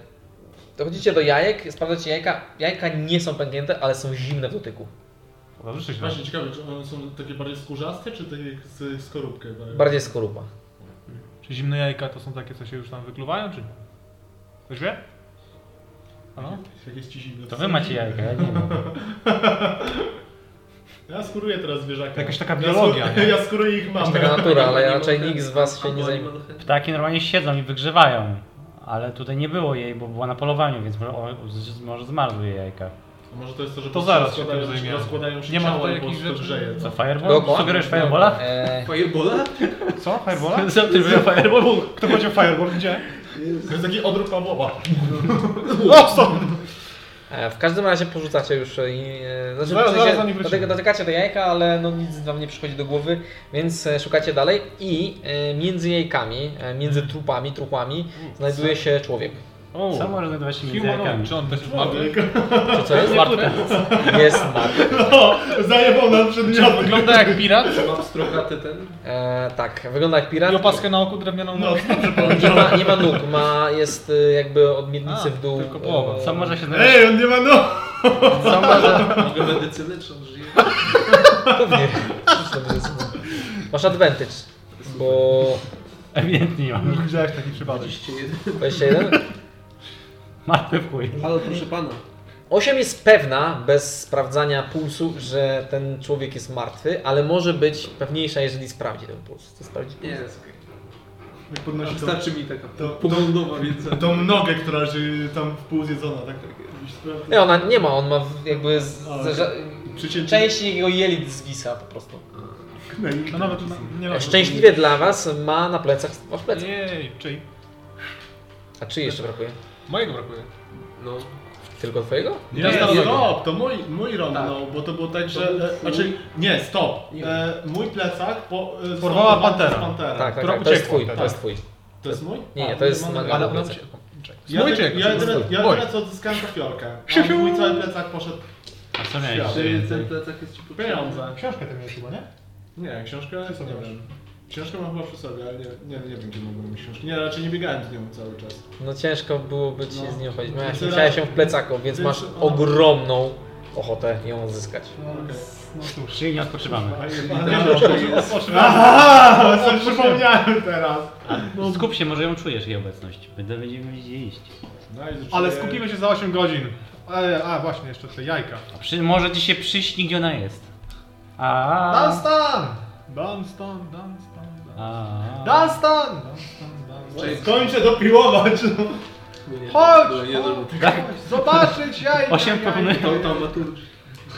Speaker 1: dochodzicie do jajek, sprawdzacie jajka. Jajka nie są pęknięte, ale są zimne w dotyku.
Speaker 6: Dobrze, się
Speaker 5: Właśnie ciekawe, czy one są takie bardziej skórzaste, czy takie z skorupkę?
Speaker 1: Bardziej skorupa.
Speaker 6: Czy zimne jajka to są takie, co się już tam wykluwają, czy nie? Ktoś wie? Ano?
Speaker 5: Jak jest ci zimno.
Speaker 3: To wy macie jajka, ja nie mam.
Speaker 5: Ja skuruję teraz zwierzaka.
Speaker 6: Jakaś taka
Speaker 5: Ja
Speaker 6: biologia,
Speaker 5: skur-
Speaker 6: nie?
Speaker 5: Ja skuruję ich
Speaker 1: Jest
Speaker 5: mamę.
Speaker 1: taka natura, ale
Speaker 10: Animal
Speaker 1: raczej
Speaker 10: health
Speaker 1: nikt z Was się
Speaker 10: albo
Speaker 1: nie zajmuje.
Speaker 10: animal health.
Speaker 3: Ptaki normalnie siedzą i wygrzewają, ale tutaj nie było jej, bo była na polowaniu, więc może, o, z- może zmarzły jej jajka.
Speaker 5: A Może to jest to, że
Speaker 6: To
Speaker 5: po
Speaker 6: zaraz się
Speaker 5: prostu rozkładają
Speaker 6: tym zajmiemy.
Speaker 5: rozkładają się
Speaker 6: Nie ma
Speaker 5: ciała
Speaker 6: tutaj
Speaker 5: i po
Speaker 6: jakichś
Speaker 5: prostu
Speaker 6: rzeczy?
Speaker 5: grzeje.
Speaker 3: Co,
Speaker 5: Co?
Speaker 3: fireball?
Speaker 1: Dookoła?
Speaker 3: Sugerujesz firebola?
Speaker 1: E,
Speaker 10: Firebola?
Speaker 6: Co? Firebola?
Speaker 3: Co ty mówisz o fireballu?
Speaker 6: Kto powiedział fireball? Gdzie?
Speaker 5: To jest taki odruch Pawłowa.
Speaker 1: E, W każdym razie porzucacie już e, i... e, Znaczy,
Speaker 6: Zaraz,
Speaker 1: w
Speaker 6: zaraz do nich wrócimy.
Speaker 1: doteka- dotykacie do jajka, ale no nic wam nie przychodzi do głowy, więc e, szukacie dalej i e, między jajkami, e, między
Speaker 6: Mm.
Speaker 1: trupami, trupami znajduje się człowiek.
Speaker 6: O,
Speaker 3: Co może znajdować się między jajkami?
Speaker 6: Humanoid. Czy on też jest martwy?
Speaker 1: Czy co jest? Martwy. Jest tak. martwy.
Speaker 5: No, Zajebał nam przedmioty.
Speaker 6: Wygląda jak pirat
Speaker 10: Mam strokaty ten.
Speaker 1: E, tak, wygląda jak pirat.
Speaker 6: i opaskę na oku drewnianą
Speaker 5: No,
Speaker 6: no.
Speaker 5: dobrze
Speaker 1: Nie
Speaker 5: powiedział.
Speaker 1: ma, nie ma nóg, ma, jest e, jakby od miednicy
Speaker 6: A,
Speaker 1: w dół.
Speaker 6: tylko połowa.
Speaker 1: e,
Speaker 3: Co może się znajdować?
Speaker 5: Ej, on nie ma no!
Speaker 3: Co może...
Speaker 10: Mogę medycynę, czy on żyje?
Speaker 1: Pewnie. Przecież to będzie super. Masz advantage, bo...
Speaker 3: Ewidentnie nie mam.
Speaker 6: Widziałeś taki przypadek.
Speaker 10: 21.
Speaker 1: 21?
Speaker 3: Martwy w chuj.
Speaker 10: Ale proszę pana.
Speaker 1: Osiem jest pewna, bez sprawdzania pulsu, że ten człowiek jest martwy, ale może być pewniejsza, jeżeli sprawdzi ten puls. Chce sprawdzić
Speaker 10: Nie,
Speaker 1: puls?
Speaker 10: jest okej. No,
Speaker 5: Jak podnosi tą,
Speaker 10: Wystarczy mi taka
Speaker 5: No to-
Speaker 10: poglądowa wiedza.
Speaker 5: tą nogę, która leży tam w pół zjedzona, tak? Gdzieś sprawdzę.
Speaker 1: Nie, ona nie ma, on ma w- jakby z,
Speaker 5: Ale-
Speaker 1: z, że-
Speaker 5: Przycięcie-
Speaker 1: część jego jelit zwisa po prostu.
Speaker 6: No nawet na, nie raz.
Speaker 4: Szczęśliwie dla was ma na plecach wasz plecak.
Speaker 6: Jej, czyli
Speaker 4: A czy jeszcze brakuje?
Speaker 6: mojego brakuje.
Speaker 10: No.
Speaker 4: Tylko twojego?
Speaker 5: Nie,
Speaker 6: Nie, nie,
Speaker 5: stop, to mój, mój rondo, bo to było tak, że... E, znaczy, nie, stop. E, mój plecak po, e, został
Speaker 6: Porwała
Speaker 5: porwany
Speaker 6: Pantera.
Speaker 5: z Pantera.
Speaker 4: Tak, tak, tak.
Speaker 6: która
Speaker 4: To jest
Speaker 6: uciekła,
Speaker 4: twój, to
Speaker 6: tak.
Speaker 4: jest twój.
Speaker 5: To jest mój? Tak,
Speaker 4: Nie, nie,
Speaker 5: A,
Speaker 4: to jest
Speaker 5: mam-
Speaker 4: Magana
Speaker 6: Ale
Speaker 4: plecak.
Speaker 6: uciekł.
Speaker 5: Ja,
Speaker 6: Mój
Speaker 5: ty-
Speaker 6: czek.
Speaker 5: ja, jedyne, ja
Speaker 6: Oj.
Speaker 5: jedyne co odzyskałem to fiorkę. A mój cały plecak poszedł
Speaker 3: A co miałeś?
Speaker 5: Świat.
Speaker 3: Więcej?
Speaker 10: Ten plecak jest ci potrzebny.
Speaker 5: pieniądze.
Speaker 6: Książkę tę miałeś chyba, nie?
Speaker 5: Nie, książkę
Speaker 6: Ty sobie
Speaker 5: nie
Speaker 6: masz.
Speaker 5: wiem. Książkę mam chyba przy sobie, ale nie, nie, nie wiem gdzie mogłem mieć książkę. Nie, raczej nie biegałem z nią cały czas.
Speaker 4: No ciężko byłoby ci
Speaker 5: No.
Speaker 4: z nią chodzić. Miałeś,
Speaker 5: Tyle-
Speaker 4: musiałeś ją w plecaku, więc
Speaker 5: tyle-
Speaker 4: masz ogromną ochotę ją odzyskać.
Speaker 6: No, no cóż.
Speaker 3: Czyli nie odpoczywamy.
Speaker 5: Aha, sobie przypomniałem teraz.
Speaker 3: Skup się, może ją czujesz jej obecność. Będę- Będziemy gdzie iść.
Speaker 6: Ale skupimy się za 8 godzin. E, a właśnie, jeszcze te jajka.
Speaker 3: A Przy, może ci się przyśni, gdzie ona jest. A.
Speaker 6: Dunstan! Dunstan, Dunstan, Dunstan.
Speaker 3: A.
Speaker 6: Dunstan! Dunstan, Dunstan.
Speaker 5: Skończę dopiłować.
Speaker 10: No nie,
Speaker 6: Chodź!
Speaker 10: dobra, nie, dobra.
Speaker 6: Chodź, Zobaczyć jajka!
Speaker 3: Osiem
Speaker 6: jajka.
Speaker 3: proponuję.
Speaker 10: To tam maturczy.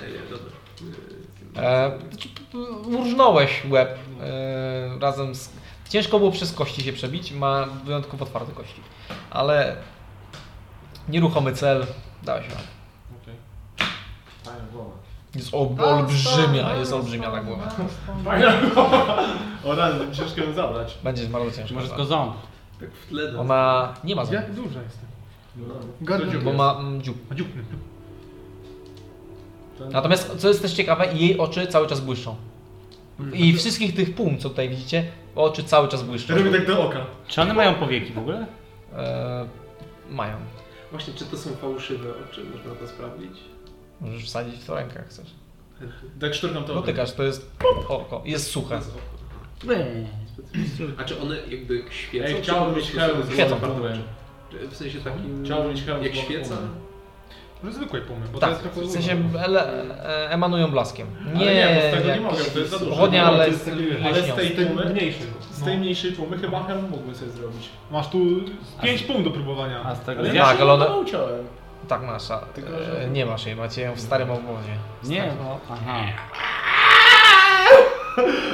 Speaker 10: Nie, nie, dobra.
Speaker 1: E, znaczy, p- p- urżnąłeś łeb e, razem z... Ciężko było przez kości się przebić, ma wyjątkowo otwarte kości. Ale nieruchomy cel, dałeś radę.
Speaker 5: Fajna głowa.
Speaker 1: Jest ob- olbrzymia, jest olbrzymia ta głowa.
Speaker 5: Fajna głowa. O rany, ciężko ją zabrać.
Speaker 1: Będzie bardzo ciężko.
Speaker 3: Może tylko
Speaker 1: tak.
Speaker 3: ząb.
Speaker 10: Tak w tle da.
Speaker 1: Ona nie ma zębów,
Speaker 6: Jak duża jest ta?
Speaker 5: No,
Speaker 6: Gardło.
Speaker 5: dziób
Speaker 1: bo
Speaker 5: jest.
Speaker 1: ma mm, dziób.
Speaker 6: A dziupny.
Speaker 5: Ten-
Speaker 1: Natomiast, co jest też ciekawe, jej oczy cały czas błyszczą. I wszystkich tych pum, co tutaj widzicie, oczy cały czas błyszczą.
Speaker 5: Mhm. Ja robię tak do oka.
Speaker 3: Czy one mają powieki w ogóle?
Speaker 1: E, mają.
Speaker 10: Właśnie, czy to są fałszywe oczy? Można to sprawdzić.
Speaker 1: Możesz wsadzić w to rękę, jak chcesz.
Speaker 5: Tak szturkam to.
Speaker 1: Dotykasz, to jest oko, jest suche.
Speaker 5: Tak.
Speaker 10: Bez oko. A czy one jakby świecą?
Speaker 5: Ej,
Speaker 10: czy
Speaker 5: chciałbym
Speaker 10: po
Speaker 5: mieć
Speaker 10: prostu
Speaker 5: hełm z
Speaker 1: Świecą.
Speaker 5: głową.
Speaker 10: są- W sensie takim...
Speaker 5: Chciałbym mieć hełm
Speaker 10: Jak
Speaker 5: z no. głową.
Speaker 10: świeca?
Speaker 6: Może No, zwykłej pumy, bo
Speaker 1: Tak,
Speaker 6: to jest trochę
Speaker 1: w sensie ele, e, emanują blaskiem.
Speaker 5: No Nie, nie, bo z tego nie
Speaker 1: jak-
Speaker 5: mogę, to jest za dużo.
Speaker 1: pochodnia,
Speaker 5: No, to
Speaker 1: ale
Speaker 5: jest taki- Ale z tej
Speaker 6: Ten
Speaker 5: tłumy,
Speaker 6: mniejszy.
Speaker 5: z tej mniejszej tłumy chyba hełm mógłbym sobie zrobić.
Speaker 6: Masz tu 5 punktów do próbowania.
Speaker 3: A z tego.
Speaker 5: Ale
Speaker 3: Ja,
Speaker 5: ja
Speaker 1: Tak,
Speaker 5: się
Speaker 1: ale one-
Speaker 5: chyba uciąłem.
Speaker 1: Tak, masz. A,
Speaker 5: Tylko, że-
Speaker 1: e, nie masz jej, macie ją w starym obwodzie.
Speaker 3: nie, bo. Aha.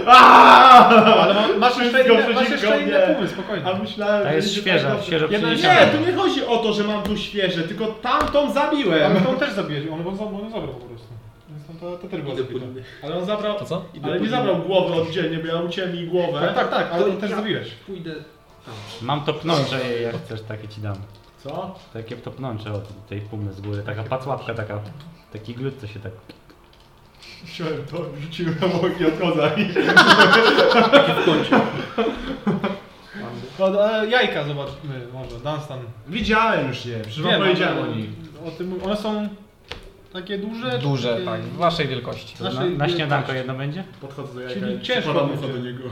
Speaker 6: No, Ale ma- masz jeszcze
Speaker 5: Wszystko
Speaker 6: inne, masz
Speaker 5: przeciwko
Speaker 6: jeszcze
Speaker 5: mnie.
Speaker 6: inne pumy,
Speaker 5: A
Speaker 6: spokojnie.
Speaker 5: myślałem,
Speaker 3: To jest
Speaker 5: że
Speaker 3: świeża,
Speaker 5: tak-
Speaker 3: świeżo
Speaker 5: Jednak
Speaker 3: przyniesiona.
Speaker 5: nie, tu nie chodzi o to, że mam tu świeże, tylko tamtą
Speaker 6: A my
Speaker 5: zabiłem.
Speaker 6: tą też zabiję, on go zabrał, on zabrał po prostu. Więc tam to, to też było
Speaker 10: Idę
Speaker 6: zabite.
Speaker 10: po inny.
Speaker 5: Ale on zabrał.
Speaker 1: To co?
Speaker 5: Ale nie zabrał głowy oddzielnie, bo ja uciąłem jej głowę.
Speaker 6: Tak, tak, tak, ale
Speaker 10: To
Speaker 6: on też
Speaker 10: ja-
Speaker 6: zabiłeś.
Speaker 10: Pójdę...
Speaker 3: Mam to pnącze, jak chcesz, takie ci dam.
Speaker 5: Co?
Speaker 3: Takie to pnącze od tej pumy z góry. Taka pacłapka, taka. Taki glut, co się tak.
Speaker 5: Wziąłem to, rzuciłem na boki od koza i
Speaker 6: No, e, jajka zobaczmy może, Dunstan.
Speaker 5: Widziałem już je, przecież wam powiedziałem o
Speaker 6: one-
Speaker 5: nich.
Speaker 6: O tym, one są takie duże.
Speaker 1: Duże,
Speaker 6: takie-
Speaker 1: tak, w waszej wielkości.
Speaker 3: Na,
Speaker 5: Znaczy,
Speaker 6: Naszej-
Speaker 3: na śniadanko jedno będzie?
Speaker 5: Podchodzę do jajka
Speaker 6: Czyli
Speaker 5: i
Speaker 6: ciężko
Speaker 5: podam
Speaker 6: będzie.
Speaker 5: ucho do niego.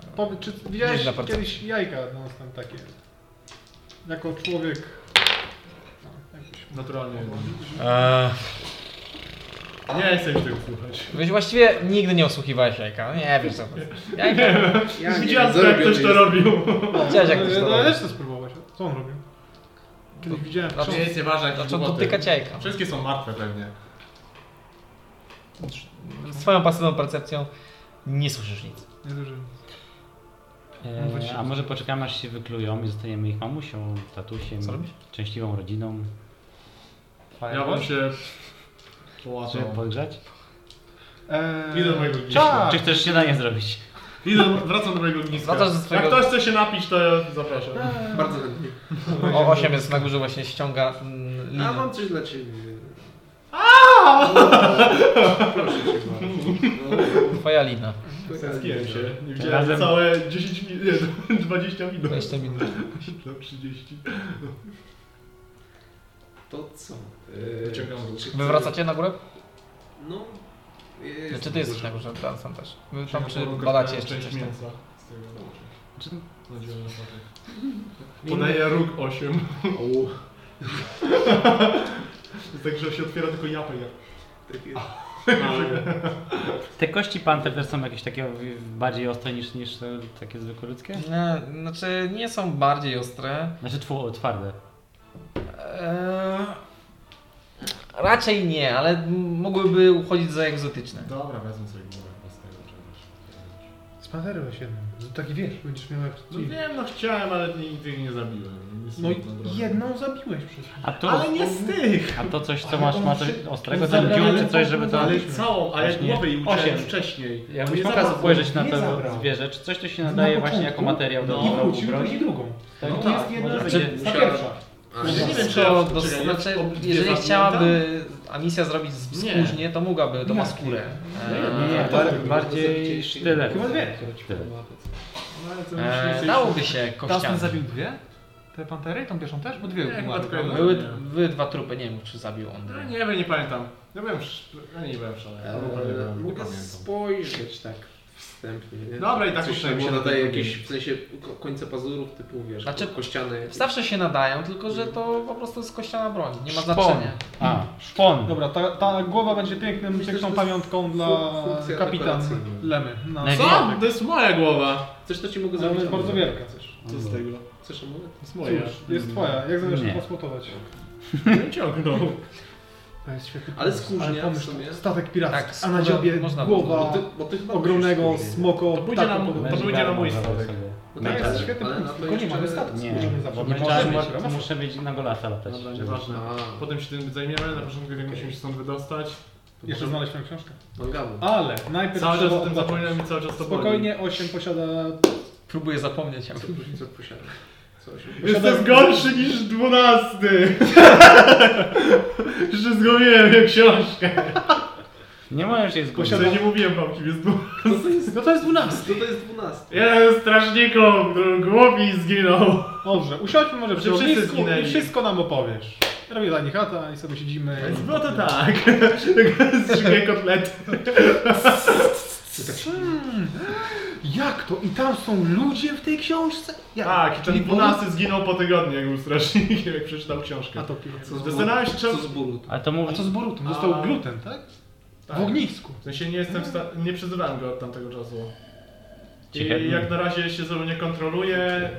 Speaker 1: tak.
Speaker 6: Powiedz, czy
Speaker 1: Nieźle
Speaker 6: widziałeś
Speaker 1: bardzo.
Speaker 6: kiedyś jajka Dunstan takie? Jako człowiek. No, jakoś-
Speaker 5: Naturalnie.
Speaker 1: Eee,
Speaker 5: Nie jestem tego słuchać.
Speaker 1: Wiesz, właściwie nigdy nie osłuchiwałeś jajka. Nie wiesz co to jest. Jajka.
Speaker 10: Ja
Speaker 5: Widziałem, jak ktoś to robił.
Speaker 1: Widziałeś jak
Speaker 6: No,
Speaker 1: ktoś to
Speaker 6: No, ja
Speaker 1: robi.
Speaker 6: też to spróbować. Co on robił? Kiedyś widziałem.
Speaker 1: Znaczy,
Speaker 5: jest nieważne, jakiś
Speaker 1: Zaczął
Speaker 5: głupoty.
Speaker 1: dotykać jajka.
Speaker 5: Wszystkie są martwe pewnie.
Speaker 1: Swoją pasywną percepcją nie słyszysz nic.
Speaker 6: Nie duży.
Speaker 5: E,
Speaker 3: Eee, a może poczekamy aż się wyklują i zostaniemy ich mamusią, tatusiem,
Speaker 1: Co robisz?
Speaker 3: szczęśliwą rodziną.
Speaker 5: Ja wam się
Speaker 3: Czy
Speaker 5: połatał.
Speaker 3: podgrzać?
Speaker 6: Eee,
Speaker 5: Idę do mojego gniazda.
Speaker 6: tak.
Speaker 3: Czy chcesz śniadanie zrobić?
Speaker 5: Idę, wracam do mojego ogniska.
Speaker 1: Wracasz do swojego-
Speaker 5: Jak ktoś chce się napić, to ja zapraszam.
Speaker 10: Bardzo chętnie.
Speaker 1: O 8 jest na górze właśnie ściąga mm,
Speaker 10: A
Speaker 1: linę.
Speaker 10: mam coś dla ciebie. O, Proszę cię bardzo.
Speaker 1: Twoja lina.
Speaker 10: No,
Speaker 5: Zaskiłem się. Nie widziałem
Speaker 3: Razem-
Speaker 5: całe 10 minut, nie, 20 minut.
Speaker 1: 20 minut.
Speaker 5: No, 30.
Speaker 10: To co?
Speaker 5: Wyciągam ruch.
Speaker 10: czy
Speaker 1: Wy wracacie na górę?
Speaker 10: No.
Speaker 1: Czy
Speaker 10: Jest
Speaker 1: ty jesteś na górze? Dansan też. Wy tam
Speaker 5: Wyciągam
Speaker 1: czy
Speaker 5: rurkę,
Speaker 1: badacie
Speaker 5: część
Speaker 1: jeszcze coś tam.
Speaker 5: mięsa z tego Znadziłem na sobie. Podaję róg 8. Jest tak, że się otwiera tylko japę. jak-
Speaker 10: Tak jest.
Speaker 3: Te kości panter też są jakieś takie bardziej ostre niż, niż te takie zwykłe ludzkie?
Speaker 1: Nie, Znaczy nie są bardziej ostre.
Speaker 3: Znaczy twu, twarde.
Speaker 1: Eee, raczej nie, ale m- mogłyby uchodzić za egzotyczne.
Speaker 5: Dobra, wezmę sobie głowę bez tego. że-
Speaker 6: Spancerowałeś jedną. Taki wiesz, będziesz miał jak...
Speaker 5: No wiem, no chciałem, ale nigdy ich nie zabiłem.
Speaker 6: No
Speaker 5: Niestety, dobra.
Speaker 6: jedną zabiłeś przecież.
Speaker 3: A to,
Speaker 5: Ale nie z tych!
Speaker 3: a to coś, co
Speaker 5: Ale
Speaker 3: masz,
Speaker 5: on
Speaker 3: masz
Speaker 5: przy-
Speaker 3: ostrego,
Speaker 5: on
Speaker 3: ten
Speaker 5: zabrał-
Speaker 3: dziób czy coś, żeby to...
Speaker 5: Ale całą, a ja
Speaker 3: Właśnie.
Speaker 5: głowę jej uczyłem
Speaker 3: Osiem.
Speaker 5: wcześniej.
Speaker 3: Jakbyś
Speaker 5: Nie
Speaker 3: mógł
Speaker 5: zabrał.
Speaker 3: raz spojrzeć na
Speaker 6: nie
Speaker 3: to
Speaker 6: zabrał.
Speaker 3: zwierzę, czy coś to się nadaje właśnie jako materiał do
Speaker 6: I
Speaker 3: do
Speaker 6: wrócił,
Speaker 3: broni?
Speaker 6: weź i drugą.
Speaker 3: Tak,
Speaker 5: No
Speaker 3: to
Speaker 5: tak,
Speaker 3: jest jedna
Speaker 5: może
Speaker 3: rzecz.
Speaker 5: będzie.
Speaker 6: Ta
Speaker 5: Musiałem-
Speaker 6: pierwsza.
Speaker 10: A,
Speaker 5: Ja nie wiem, czy
Speaker 1: Skoro
Speaker 5: ja,
Speaker 1: dos-
Speaker 5: czekaj, ja
Speaker 1: znaczy,
Speaker 5: ob-
Speaker 1: jeżeli
Speaker 5: nie
Speaker 1: chciałaby Amicia zrobić z-
Speaker 5: Nie.
Speaker 1: skórznie, to mogłaby, to ma skórę.
Speaker 6: No
Speaker 3: Nie, nie,
Speaker 6: tak.
Speaker 1: Eee,
Speaker 3: bar- bardziej sztylet. Sztylet.
Speaker 10: E,
Speaker 5: pamiętam, No, ale to już nie
Speaker 1: Eee,
Speaker 5: chcę
Speaker 1: dałoby się
Speaker 6: Dustin
Speaker 1: kościami.
Speaker 6: zabił dwie? Te pantery? Tą pierwszą też? Bo dwie
Speaker 5: Nie,
Speaker 6: umarły,
Speaker 5: chyba tylko
Speaker 6: prawda?
Speaker 5: jedną.
Speaker 1: Były, były dwa trupy, nie wiem czy zabił on.
Speaker 5: No nie wiem, nie pamiętam. Ja byłem, sz- ja nie byłem szalony.
Speaker 10: Eee, Mogę spojrzeć tak wstępnie. Nie?
Speaker 5: Dobra, i tak
Speaker 10: Coś tam
Speaker 5: usłyszałem,
Speaker 10: mi się
Speaker 5: bo
Speaker 10: nadaje
Speaker 5: tak
Speaker 10: jakieś, w sensie ko- końce pazurów typu, wiesz,
Speaker 1: Znaczy,
Speaker 10: znaczy, kościany.
Speaker 1: Zawsze się nadają, tylko że to po prostu jest kościana broń, nie ma
Speaker 3: Szpon.
Speaker 1: znaczenia.
Speaker 3: A, szpon.
Speaker 6: Dobra, ta, ta głowa będzie pięknym,
Speaker 10: Myślę, że
Speaker 6: piękną
Speaker 10: to
Speaker 6: pamiątką dla
Speaker 10: fun- funkcja
Speaker 6: kapitan
Speaker 10: dekoracyjna.
Speaker 6: Lemy. No.
Speaker 3: Najwi-
Speaker 5: Co? To jest moja głowa!
Speaker 10: Coś to ci
Speaker 6: Ale
Speaker 10: mogę zrobić.
Speaker 6: No, jest bardzo wielka.
Speaker 5: Co z tego?
Speaker 10: Chcesz amulet?
Speaker 5: To jest moja.
Speaker 6: Cóż, jest twoja. Jak zamierzasz
Speaker 3: Nie.
Speaker 6: to posłotować?
Speaker 5: Nie ciągnął.
Speaker 6: To jest świetny
Speaker 10: Ale
Speaker 6: pomysł.
Speaker 10: skórznia
Speaker 6: pomysł,
Speaker 10: w sumie.
Speaker 6: Statek piracki,
Speaker 1: Tak,
Speaker 6: a na
Speaker 1: skóra
Speaker 6: dziobie
Speaker 1: można
Speaker 10: Bo
Speaker 6: głowa
Speaker 10: ty, bo ty chyba
Speaker 6: ogromnego
Speaker 10: musisz skórę.
Speaker 6: smoko
Speaker 5: To pójdzie
Speaker 6: ptaka
Speaker 5: na mój-
Speaker 6: podobnego.
Speaker 5: to będzie na mój statek.
Speaker 10: No
Speaker 3: Mage
Speaker 10: tak,
Speaker 3: Armor.
Speaker 10: jest
Speaker 6: świetny
Speaker 10: świetny
Speaker 6: pomysł,
Speaker 10: pomysł,
Speaker 6: tylko nie mamy statku.
Speaker 3: Nie,
Speaker 6: Skórzny
Speaker 3: bo
Speaker 6: zawsze.
Speaker 3: Mage
Speaker 6: Może
Speaker 3: Armor
Speaker 6: być,
Speaker 3: to
Speaker 6: masz-
Speaker 3: muszę być na golasa latać.
Speaker 5: Dobra,
Speaker 3: żeby-
Speaker 5: nieważne.
Speaker 10: A,
Speaker 5: Potem się tym zajmiemy, na początku okay. musimy się stąd wydostać.
Speaker 6: Jeszcze znaleźć tę książkę.
Speaker 10: Mangabu.
Speaker 6: Ale najpierw
Speaker 5: Cały czas
Speaker 6: trzeba
Speaker 5: o tym
Speaker 6: oddać.
Speaker 5: zapominam i cały czas to boli.
Speaker 6: Spokojnie, 8 posiada...
Speaker 1: Próbuję zapomnieć.
Speaker 10: Co później co posiada? Coś.
Speaker 5: Jestem gorszy niż dwunasty! Jeszcze zgubiłem jak książkę.
Speaker 3: Nie możesz jej zgubić.
Speaker 5: Posiadam... nie mówiłem wam, kim jest dwunasty.
Speaker 10: No to jest,
Speaker 6: No to jest 12.
Speaker 10: no to jest 12.
Speaker 5: Jeden strażnikom, który głowi zginął.
Speaker 6: Dobrze, usiądźmy może przy
Speaker 5: Wszyscy
Speaker 6: ognisku i
Speaker 5: zginęli.
Speaker 6: wszystko nam opowiesz. Robię dla nich chata i sobie siedzimy.
Speaker 5: Więc było to tak. Zrzucę kotlety.
Speaker 6: Hmm. Jak to? I tam są ludzie w tej książce? Jak?
Speaker 5: Tak, i
Speaker 6: I
Speaker 5: ten
Speaker 6: on-
Speaker 5: dwunasty zginął po tygodniu, jak był strażnikiem, jak przeczytał książkę.
Speaker 6: A to piwo.
Speaker 10: Co z
Speaker 5: Zastanawiam się,
Speaker 10: Boruto?
Speaker 5: czemu-
Speaker 10: Co z Boruto?
Speaker 3: Ale to
Speaker 6: A
Speaker 3: mówi...
Speaker 6: co z Borutem? Dostał
Speaker 5: A.
Speaker 6: gluten, tak?
Speaker 5: Tak.
Speaker 6: W ognisku.
Speaker 5: W sensie nie jestem w sta- nie przezywałem go od tamtego czasu.
Speaker 3: Ciekawe.
Speaker 5: I jak na razie się ze mną nie kontroluje,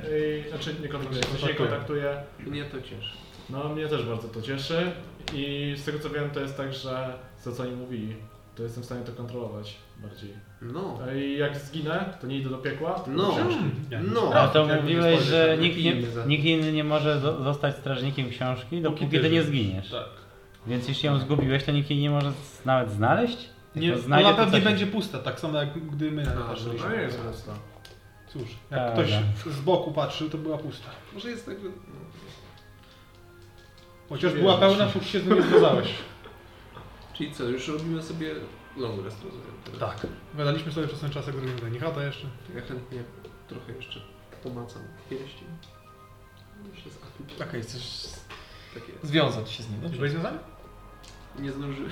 Speaker 5: i, znaczy nie kontroluje, w sensie nie kontaktuje.
Speaker 10: Mnie to cieszy.
Speaker 5: No mnie też bardzo to cieszy i z tego co wiem to jest tak, że za co oni mówili, to jestem w stanie to kontrolować bardziej.
Speaker 10: No.
Speaker 5: A I jak zginę, to nie idę do piekła, tylko
Speaker 10: No.
Speaker 5: do książki.
Speaker 10: No.
Speaker 3: Ale to
Speaker 6: Jakby
Speaker 3: mówiłeś,
Speaker 6: spojrzeć
Speaker 3: że
Speaker 10: na
Speaker 3: nikt, nie,
Speaker 10: film za-
Speaker 3: nikt inny nie może zo- zostać strażnikiem książki, dopóki
Speaker 5: ty
Speaker 3: ty nie
Speaker 5: żyjesz.
Speaker 3: zginiesz.
Speaker 6: Tak.
Speaker 3: Więc jeśli ją zgubiłeś, to nikt jej nie może z- nawet znaleźć?
Speaker 6: Nie,
Speaker 3: Tylko
Speaker 6: ona
Speaker 3: to
Speaker 6: pewnie
Speaker 3: coś-
Speaker 6: będzie pusta, tak samo jak gdy my na
Speaker 10: A,
Speaker 6: nią
Speaker 5: No
Speaker 6: patrzyliśmy.
Speaker 5: nie jest prosto.
Speaker 6: Cóż,
Speaker 3: Tak,
Speaker 6: jak ktoś
Speaker 3: tak.
Speaker 6: z boku patrzył, to była pusta.
Speaker 10: Może jest tak, że...
Speaker 6: Chociaż
Speaker 5: Nie
Speaker 6: była
Speaker 5: wiem,
Speaker 6: pełna, póki się z nią nie zgadzałeś.
Speaker 10: Czyli co, już robimy sobie long rest, rozumiem. teraz.
Speaker 6: Tak. Gadaliśmy sobie przez ten czas, jak robimy Denichata jeszcze.
Speaker 10: Ja chętnie trochę jeszcze pomacam pierścień. Jeszcze z
Speaker 1: Okej,
Speaker 10: atutów.
Speaker 1: chcesz
Speaker 10: Tak jest.
Speaker 1: związać się z nim.
Speaker 6: Byłeś związany?
Speaker 10: Nie zdążyłem.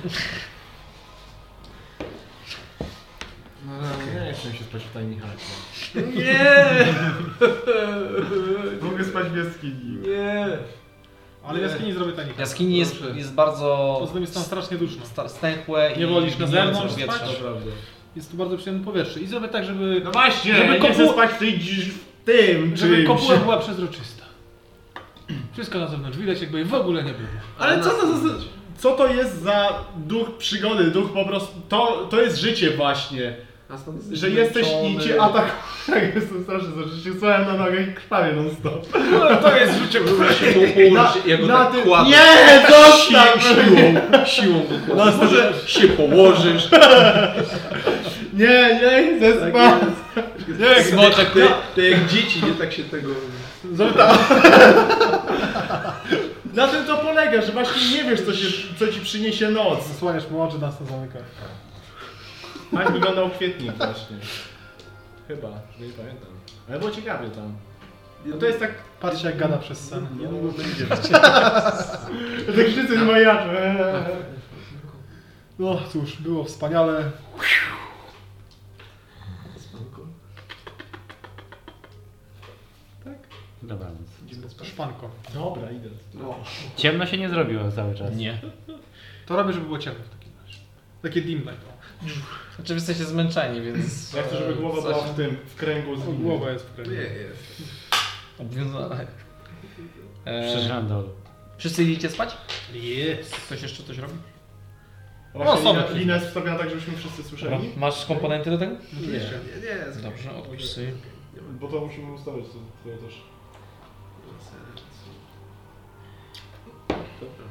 Speaker 5: No, ja nie chcę się spać w tajnych chacie.
Speaker 10: Nie!
Speaker 5: Mogę spać w jaskini.
Speaker 10: Nie!
Speaker 6: Ale w jaskini zrobię
Speaker 1: W
Speaker 6: Denichata.
Speaker 1: jaskini jest,
Speaker 10: Proszę.
Speaker 1: jest bardzo
Speaker 6: Poza tym jest tam strasznie duszno.
Speaker 1: sta- stęchłe
Speaker 6: Nie
Speaker 1: i
Speaker 6: wolisz na
Speaker 1: gnijące
Speaker 6: zewnątrz
Speaker 1: powietrze.
Speaker 6: spać?
Speaker 5: Naprawdę.
Speaker 6: Jest tu bardzo przyjemne powietrze. I zrobię tak, żeby,
Speaker 5: No właśnie,
Speaker 6: Żeby
Speaker 5: żeby nie
Speaker 6: kopu-
Speaker 5: chcę spać w tej dzi- w tym
Speaker 6: żeby
Speaker 5: czymś.
Speaker 6: kopuła była przezroczysta. Wszystko na zewnątrz widać, jakby jej w ogóle nie było.
Speaker 5: Ale co to, za, co to jest za duch przygody, duch po prostu, to, to jest życie właśnie.
Speaker 10: A stąd
Speaker 5: Że jesteś i
Speaker 10: zmęczony.
Speaker 5: cię atakują. Tak, jestem straszny, że się słuchałem na nogach i krwawię non stop.
Speaker 6: to jest życie.
Speaker 10: Na, ja go
Speaker 5: na
Speaker 10: tak
Speaker 5: tym-
Speaker 10: kładę.
Speaker 5: Nie,
Speaker 10: Siłą,
Speaker 5: dostaw!
Speaker 10: siłą, siłą go kładę.
Speaker 5: No,
Speaker 10: Może się położysz.
Speaker 5: Nie, nie chcę
Speaker 10: Tak
Speaker 5: spać.
Speaker 10: Nie, Smoczek, ty, ty jak dzieci nie tak się tego...
Speaker 5: tak. Na tym to polega, że właśnie nie wiesz, co, się, co ci przyniesie noc.
Speaker 6: Zasłaniasz mu oczy, nas to zamyka.
Speaker 5: Tak wyglądał kwietnik właśnie. Chyba, że nie pamiętam. Ale było ciekawie tam. No to jest tak...
Speaker 6: Patrzcie, jak gada przez sen.
Speaker 10: No,
Speaker 5: Niedługo będzie. Te krzycy z majaczy.
Speaker 6: No cóż, było wspaniale.
Speaker 3: Dobra, więc...
Speaker 6: Szpanko.
Speaker 5: Dobra, idę.
Speaker 10: No,
Speaker 3: Ciemno się nie zrobiło cały czas.
Speaker 1: Nie.
Speaker 6: To robię, żeby było ciemno w takim razie. Takie dim light. o.
Speaker 1: Znaczy wy jesteście zmęczeni, więc...
Speaker 5: Ja chcę, żeby głowa była w tym, w kręgu z
Speaker 6: O,
Speaker 5: nim.
Speaker 6: Głowa jest w
Speaker 10: Nie,
Speaker 6: kręgu.
Speaker 10: jest.
Speaker 1: Obwiązane. E, Eee,
Speaker 3: Przyszedłem do...
Speaker 1: wszyscy idziecie spać?
Speaker 6: Jest.
Speaker 1: Ktoś jeszcze coś robi?
Speaker 5: Właśnie
Speaker 6: No, są
Speaker 5: linia,
Speaker 6: jakieś.
Speaker 5: linia jest wstawiona tak, żebyśmy wszyscy słyszeli.
Speaker 1: Masz komponenty do tego?
Speaker 25: Oczywiście.
Speaker 10: Nie, nie, jest.
Speaker 1: Dobrze, odpisz sobie.
Speaker 5: Bo to musimy ustawić to, to też.
Speaker 10: Dobra.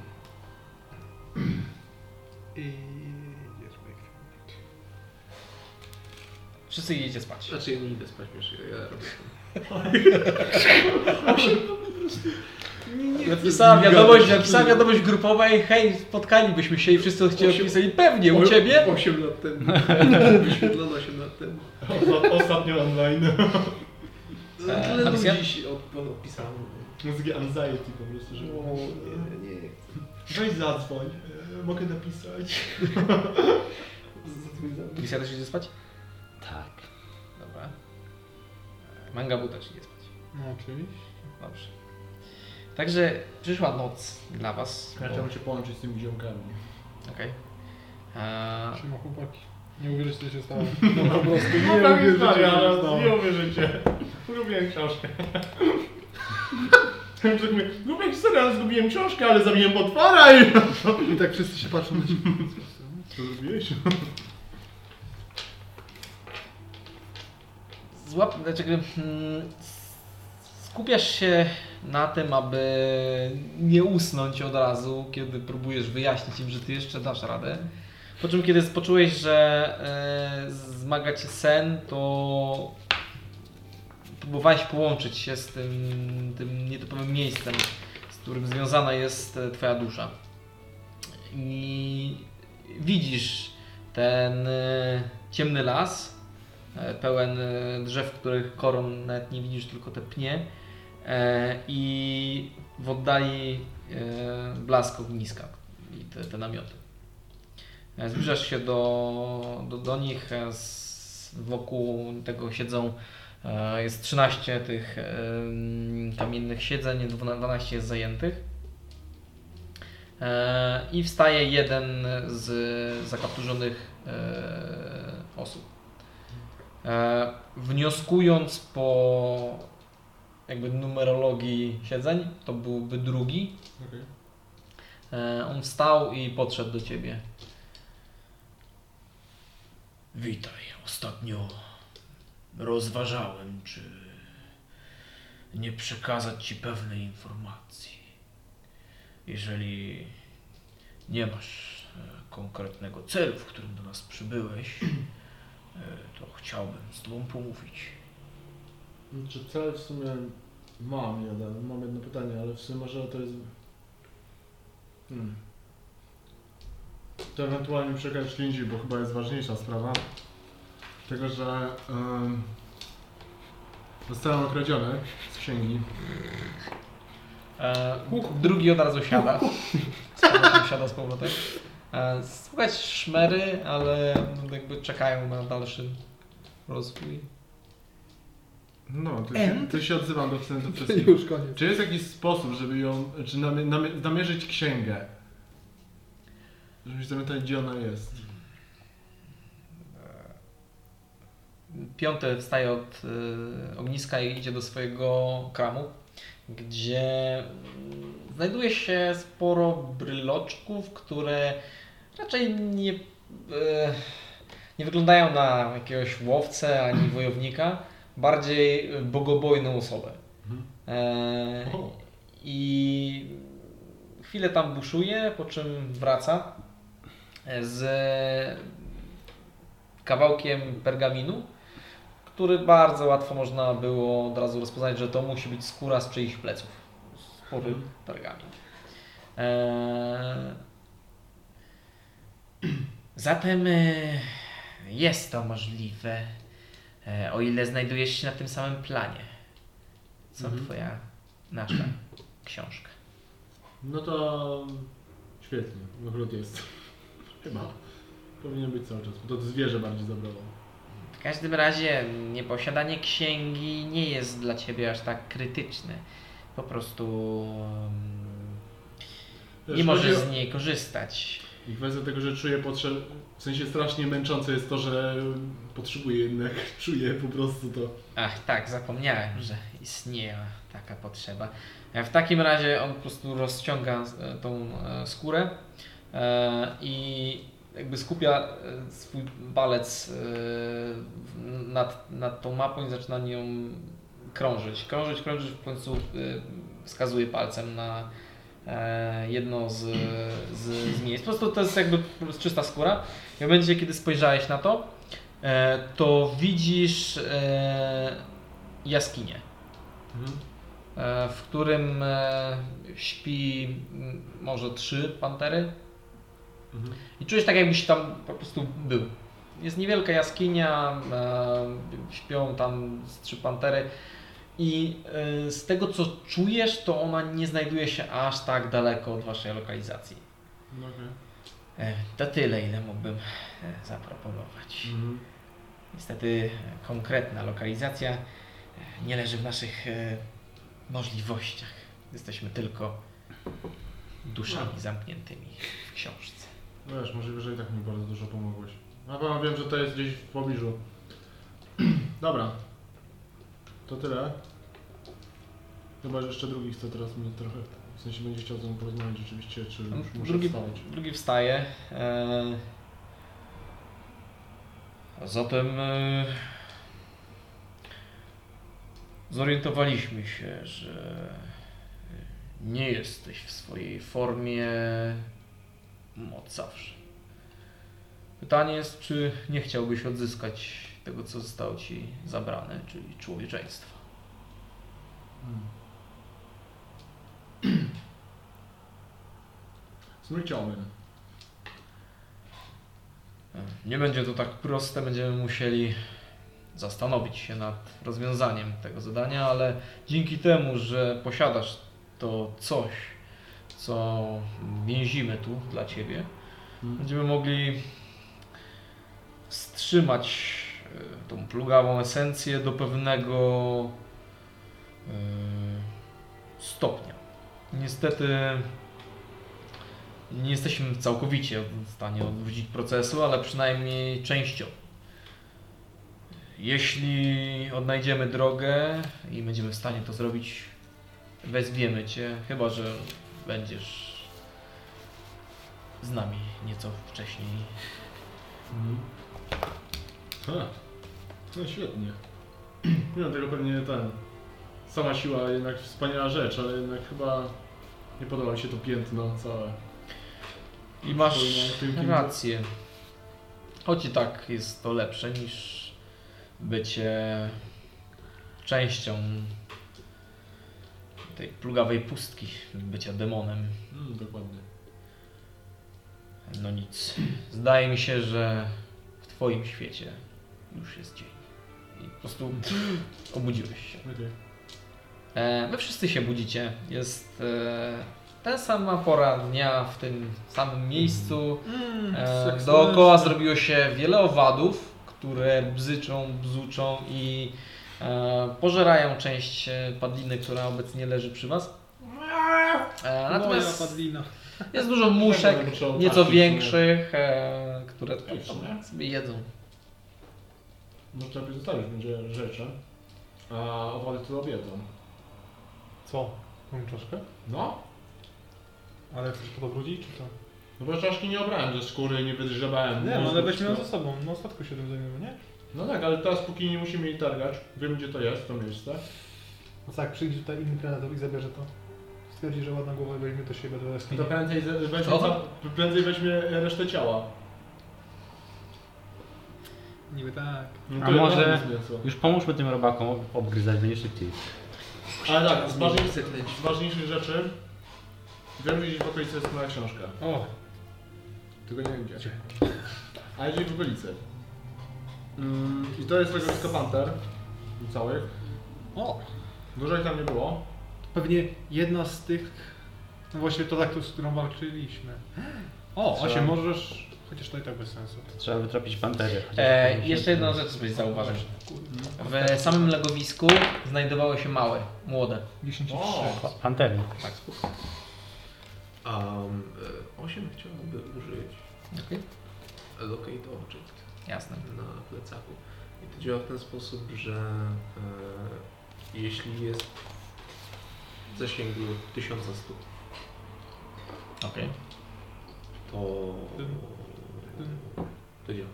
Speaker 1: Wszyscy idziecie spać.
Speaker 10: Znaczy ja nie idę spać, wiesz, ja robię.
Speaker 1: Napisała wiadomość, napisała wiadomość grupowej, hej, spotkalibyśmy się i wszyscy chcieli
Speaker 10: Osiem-
Speaker 1: odpisali, pewnie, u ciebie?
Speaker 10: 8 lat temu. Wyświetlono 8 lat temu.
Speaker 5: Osta- Ostatnio online.
Speaker 1: Eee,
Speaker 10: No, Tyle
Speaker 1: napisałem?
Speaker 10: ludzi od, odpisało.
Speaker 5: Muzyki anxiety po prostu, że
Speaker 1: No,
Speaker 10: O, nie, nie,
Speaker 1: tak,
Speaker 10: nie.
Speaker 5: weź zadzwoń, e, mogę napisać.
Speaker 10: Zadzwoń za mnie.
Speaker 1: Misja też idzie spać?
Speaker 3: Tak.
Speaker 1: Dobra. E, Manga Buta też idzie spać.
Speaker 6: No oczywiście.
Speaker 1: Dobrze. Także przyszła noc dla was.
Speaker 5: Ja chciałbym się połączyć z tymi ziomkami.
Speaker 1: Okej. Eee,
Speaker 6: Trzyma chłopaki. Nie uwierzycie, co się stało.
Speaker 5: Po prostu nie
Speaker 6: tak jest dalej,
Speaker 5: uwierzycie,
Speaker 6: ale
Speaker 5: ale nie uwierzycie. Zgubiłem książkę. Zgubiłem serial, zgubiłem książkę, ale zabiłem potwora i...
Speaker 25: I tak wszyscy się patrzą na ciebie.
Speaker 5: Co zrobiłeś?
Speaker 1: złap, znaczy, jakby, mm, skupiasz się na tym, aby nie usnąć od razu, kiedy próbujesz wyjaśnić im, że ty jeszcze dasz radę. Po czym, kiedy poczułeś, że e, zmaga cię sen, to próbowałeś połączyć się z tym, tym nietypowym miejscem, z którym związana jest e, twoja dusza. I widzisz ten e, ciemny las, e, pełen e, drzew, których koron nawet nie widzisz, tylko te pnie E, i w oddali e, blask ogniska i te, te namioty. E, Zbliżasz się do, do, do nich, e, z, wokół tego siedzą, e, jest 13 tych e, kamiennych siedzeń, 12 jest zajętych. E, I wstaje jeden z zakapturzonych e, osób. E, wnioskując po jakby numerologii siedzeń, to byłby drugi. E, on wstał i podszedł do ciebie.
Speaker 26: Witaj. Ostatnio rozważałem, czy nie przekazać ci pewnej informacji. Jeżeli nie masz e, konkretnego celu, w którym do nas przybyłeś, e, to chciałbym z tobą pomówić.
Speaker 5: Czy Znaczy, cel w sumie mam jeden, mam jedno pytanie, ale w sumie może to jest... Hmm. To ewentualnie przekazać Lindzi, bo chyba jest ważniejsza sprawa. Tego, że em, zostałem okradziony z księgi.
Speaker 1: E, drugi od razu siada. Z powrotem siada z powrotem. E, słuchać szmery, ale jakby czekają na dalszy rozwój.
Speaker 5: No, to się, to się odzywam do w tym do wszystkich.
Speaker 25: Już koniec.
Speaker 5: Czy jest jakiś sposób, żeby ją, czy namie, namie, namierzyć księgę? Żebyś zapytać, gdzie ona jest.
Speaker 1: Piąty wstaje od y, ogniska i idzie do swojego kramu, gdzie mm, znajduje się sporo bryloczków, które raczej nie, e, nie wyglądają na jakiegoś łowcę ani wojownika, bardziej y, bogobojną osobę. E,
Speaker 5: O.
Speaker 1: I chwilę tam buszuje, po czym wraca e, z kawałkiem pergaminu, który bardzo łatwo można było od razu rozpoznać, że to musi być skóra z czyichś pleców. Spory pergamin. Eee,
Speaker 26: Zatem e, jest to możliwe, e, o ile znajdujesz się na tym samym planie, co twoja, nasza książka.
Speaker 5: No to świetnie, ogród jest. Chyba. Powinien być cały czas, bo to zwierzę bardziej zabrało.
Speaker 26: W każdym razie nieposiadanie księgi nie jest dla ciebie aż tak krytyczne. Po prostu mm, nie
Speaker 5: Też
Speaker 26: możesz
Speaker 5: chodzi
Speaker 26: z niej korzystać.
Speaker 5: I kwestia tego, że czuję potrzebę, w sensie strasznie męczące jest to, że potrzebuję jednak, czuję po prostu to.
Speaker 26: Ach tak, zapomniałem, że istnieje taka potrzeba. W takim razie on po prostu rozciąga e, tą e, skórę e, i
Speaker 1: jakby skupia e, swój palec e, nad, nad tą mapą i zaczyna nią krążyć. Krążyć, krążyć, w końcu e, wskazuje palcem na e, jedno z, z, z miejsc. Po prostu to jest jakby po prostu czysta skóra. I w momencie, kiedy spojrzałeś na to, e, to widzisz e, jaskinię, e, w którym e, śpi m, może trzy pantery.
Speaker 5: Mhm.
Speaker 1: I czujesz tak, jakbyś tam po prostu był. Jest niewielka jaskinia, e, śpią tam z trzy pantery. I e, z tego co czujesz, to ona nie znajduje się aż tak daleko od waszej lokalizacji.
Speaker 5: Mhm.
Speaker 1: E, To tyle, ile mógłbym e, zaproponować.
Speaker 5: Mhm.
Speaker 1: Niestety e, konkretna lokalizacja e, nie leży w naszych e, możliwościach. Jesteśmy tylko duszami zamkniętymi w książce.
Speaker 5: No wiesz, możliwe, że i tak mi bardzo dużo pomogłeś. Na pewno wiem, że to jest gdzieś w pobliżu. Dobra. To tyle. Chyba, że jeszcze drugi chce teraz mnie trochę... W sensie będzie chciał ze mną porozmawiać rzeczywiście, czy już muszę
Speaker 1: No, Drugi,
Speaker 5: wstawać.
Speaker 1: drugi wstaje. E... A Zatem e... zorientowaliśmy się, że nie jesteś w swojej formie od zawsze. Pytanie jest, czy nie chciałbyś odzyskać tego, co zostało ci zabrane, czyli człowieczeństwa.
Speaker 5: Hmm. Smryciomyn.
Speaker 1: Nie będzie to tak proste, będziemy musieli zastanowić się nad rozwiązaniem tego zadania, ale dzięki temu, że posiadasz to coś, co więzimy tu dla Ciebie,
Speaker 5: Mm.
Speaker 1: będziemy mogli wstrzymać e, tą plugawą esencję do pewnego e, stopnia. Niestety nie jesteśmy całkowicie w stanie odwrócić procesu, ale przynajmniej częściowo. Jeśli odnajdziemy drogę i będziemy w stanie to zrobić, wezwiemy Cię, chyba że będziesz z nami nieco wcześniej.
Speaker 5: Mhm. Ha. No świetnie. Nie no, tego pewnie ten. Sama siła jednak wspaniała rzecz, ale jednak chyba nie podoba mi się to piętno całe.
Speaker 1: I masz
Speaker 5: Wspólnie, tym, kim-
Speaker 1: rację. Choć i tak jest to lepsze niż bycie częścią tej plugawej pustki, bycia demonem.
Speaker 5: Mm, dokładnie.
Speaker 1: No nic. Zdaje mi się, że w Twoim świecie już jest dzień. I po prostu obudziłeś się.
Speaker 5: Okej.
Speaker 1: E, Wy wszyscy się budzicie. Jest e, ta sama pora dnia w tym samym miejscu. E, dookoła zrobiło się wiele owadów, które bzyczą, bzuczą i e, pożerają część e, padliny, która obecnie leży przy Was. E,
Speaker 6: Moja
Speaker 1: natomiast
Speaker 6: padlina.
Speaker 1: jest dużo muszek,
Speaker 5: Będę musiał
Speaker 1: nieco
Speaker 5: patrzeć,
Speaker 1: większych, e, które tam
Speaker 5: Dobrze.
Speaker 1: sobie jedzą.
Speaker 5: nie? Może lepiej No, zostawić, będzie rzeczy. A owady tu obiedzą.
Speaker 6: Co? Mam czaszkę?
Speaker 5: No?
Speaker 6: Ale chcesz to dobrudzić, czy co?
Speaker 5: No bo czaszki nie obrałem ze skóry, nie wydrzebałem.
Speaker 6: Nie, no ale
Speaker 5: mózgu,
Speaker 6: weźmy ją
Speaker 5: no.
Speaker 6: ze sobą. No statku się tym zajmiemy, nie?
Speaker 5: No tak, ale teraz póki nie musimy jej targać, wiem gdzie to jest, to miejsce.
Speaker 6: No tak, przyjdzie tutaj inny predator i zabierze to. Stwierdzi, że ładna głowa i weźmie do siebie do jaskini.
Speaker 5: To prędzej ze- weźmie,
Speaker 1: Co?
Speaker 5: ca- prędzej weźmie resztę ciała.
Speaker 6: Niby tak.
Speaker 5: No
Speaker 3: A
Speaker 5: to
Speaker 3: może-
Speaker 5: jednak nic więcej.
Speaker 3: Już pomóżmy tym robakom ob- obgryzać, będzie szybciej.
Speaker 5: Ale tak, z, ważniejsz, z ważniejszych rzeczy wiem, że gdzieś w okolicy jest moja książka.
Speaker 6: O,
Speaker 5: Tylko nie wiem gdzie. Ale gdzieś w okolicy. Mm, I to jest legowisko Panter. Całych.
Speaker 6: o!
Speaker 5: Dużo ich tam nie było.
Speaker 6: Pewnie jedna z tych... No właśnie to tak, z którą walczyliśmy. O,
Speaker 5: Co?
Speaker 6: właśnie możesz... Chociaż to i tak bez sensu.
Speaker 3: Trzeba wytropić pantery. chociaż
Speaker 1: E,
Speaker 3: powinien się-
Speaker 1: jeszcze jedną rzecz byś zauważył. Mhm. W samym legowisku znajdowały się małe, młode.
Speaker 6: 10 i
Speaker 5: O!
Speaker 6: 3.
Speaker 3: Pa- Pantery.
Speaker 1: Tak,
Speaker 10: Um, 8 chciałbym użyć Locate Object
Speaker 1: Jasne.
Speaker 10: na plecaku. I to działa w ten sposób, że e, jeśli jest w zasięgu 1100,
Speaker 1: Okej.
Speaker 10: to
Speaker 6: tym.
Speaker 10: To działa.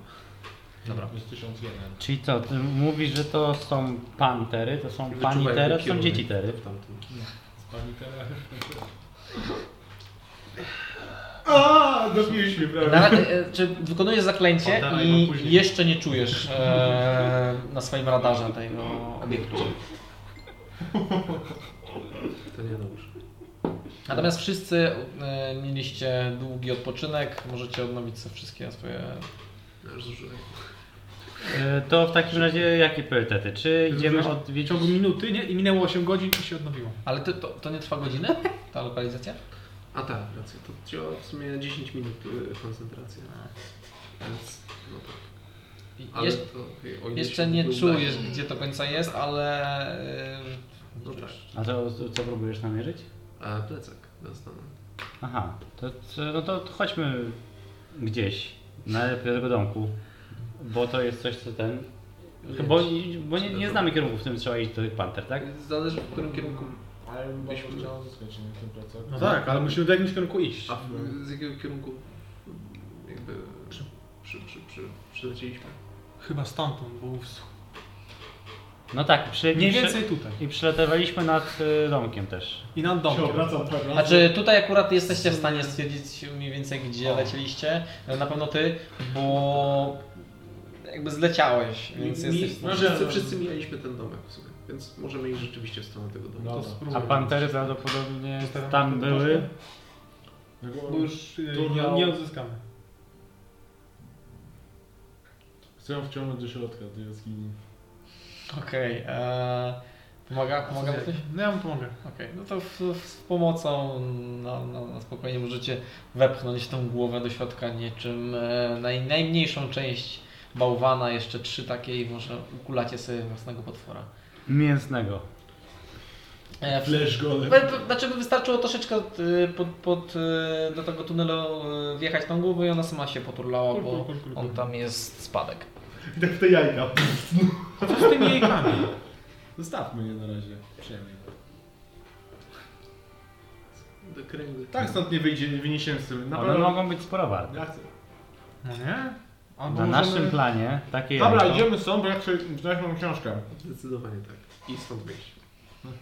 Speaker 1: Dobra.
Speaker 27: To jest 1001.
Speaker 3: Czyli co, ty mówisz, że to są pantery, to są
Speaker 10: Wyczuwaj
Speaker 3: panitery, to są
Speaker 10: kierunek
Speaker 3: dziecitery.
Speaker 10: W tamtym.
Speaker 27: Pani teraz.
Speaker 5: A, dobiliśmy, prawda?
Speaker 1: Na, e, czy wykonujesz zaklęcie
Speaker 6: Oddawaj
Speaker 1: i
Speaker 6: go później.
Speaker 1: jeszcze nie czujesz e, na swoim radarze tego obiektu.
Speaker 10: To nie no dobrze.
Speaker 1: Natomiast wszyscy e, mieliście długi odpoczynek, możecie odnowić sobie wszystkie swoje...
Speaker 10: Ja już zużyłem.
Speaker 3: E, To w takim razie jakie priorytety? Czy idziemy
Speaker 6: W
Speaker 3: odwiedzić...
Speaker 6: ciągu minuty, nie? I minęło 8 godzin i się odnowiło.
Speaker 1: Ale ty, to, to nie trwa godziny, ta lokalizacja?
Speaker 10: A tak, racja. To działa w sumie 10 minut y, koncentracja. Więc, no tak.
Speaker 1: I
Speaker 10: Ale
Speaker 1: jeszcze,
Speaker 10: to, okej, o ile
Speaker 1: jeszcze
Speaker 10: się
Speaker 1: nie
Speaker 10: udaje.
Speaker 1: czujesz, gdzie to końca jest, ale... e,
Speaker 10: No tak.
Speaker 3: A to co próbujesz namierzyć?
Speaker 10: A E, plecak dostanę.
Speaker 3: Aha, to, to, no to chodźmy gdzieś, najlepiej do tego domku, bo to jest coś, co ten... Chyba, bo nie, nie znamy kierunku, w którym trzeba iść do tych panter, tak?
Speaker 10: Zależy w którym kierunku.
Speaker 27: Ale
Speaker 10: Byśmy-
Speaker 27: byśmy chciał zyskać nie, ten plecak.
Speaker 6: No tak, ale musimy w jakimś kierunku iść.
Speaker 10: A w, z jakiego kierunku jakby przy, przy, przy, przy, przylecieliśmy?
Speaker 6: Chyba stamtąd, bo wschód.
Speaker 3: No tak, przy,
Speaker 6: Mniej
Speaker 3: przy-
Speaker 6: więcej tutaj.
Speaker 3: I przylatywaliśmy nad y, domkiem też.
Speaker 6: I nad
Speaker 5: Się
Speaker 6: domkiem.
Speaker 5: obracam tak raz.
Speaker 1: Znaczy tutaj akurat jesteście w stanie stwierdzić mniej więcej gdzie lecieliście, E, na pewno ty, bo jakby zleciałeś, więc
Speaker 5: Mi-
Speaker 1: jesteś...
Speaker 5: mi-
Speaker 10: Wszyscy, wszyscy mijaliśmy ten domek w sumie, więc możemy iść rzeczywiście w stronę tego
Speaker 1: No.
Speaker 10: domu.
Speaker 6: To
Speaker 27: Dobra.
Speaker 3: A
Speaker 6: spróbuj.
Speaker 3: pantery prawdopodobnie tam były.
Speaker 5: No
Speaker 6: Bo już y,
Speaker 27: Turno.
Speaker 6: nie, nie odzyskamy.
Speaker 27: Chcę wciągnąć do środka, do jaskini.
Speaker 1: Okej, eee, pomaga? Pomaga mu coś?
Speaker 6: No ja mu pomogę.
Speaker 1: Okej, no to w, w, z pomocą na, na, na spokojnie możecie wepchnąć tą głowę do środka niczym e, naj, najmniejszą część bałwana, jeszcze trzy takie i może ukulacie sobie własnego potwora.
Speaker 3: Mięsnego.
Speaker 1: E, w-
Speaker 5: Flash golem.
Speaker 1: Pe- pe- Znaczy by wystarczyło troszeczkę y, pod, pod, y, do tego tunelu y, wjechać tą głowę i ona sama się poturlała, bo on tam jest spadek.
Speaker 5: Tak w te jajka.
Speaker 6: A co z tymi jajkami?
Speaker 27: Zostawmy je na razie. Przynajmniej.
Speaker 10: Do kręgu.
Speaker 5: Tak stąd nie wyjdzie, nie wyniesiemy z tym. Na
Speaker 3: One
Speaker 5: pewno.
Speaker 3: mogą być sporo warte.
Speaker 5: Ja chcę.
Speaker 6: No nie? Albo
Speaker 3: Na
Speaker 6: możemy-
Speaker 3: naszym planie takie
Speaker 5: Dobra,
Speaker 3: jajko-
Speaker 5: idziemy stąd, bo ja chcę znaleźć moją książkę. No,
Speaker 10: Zdecydowanie tak. I stąd wyjść.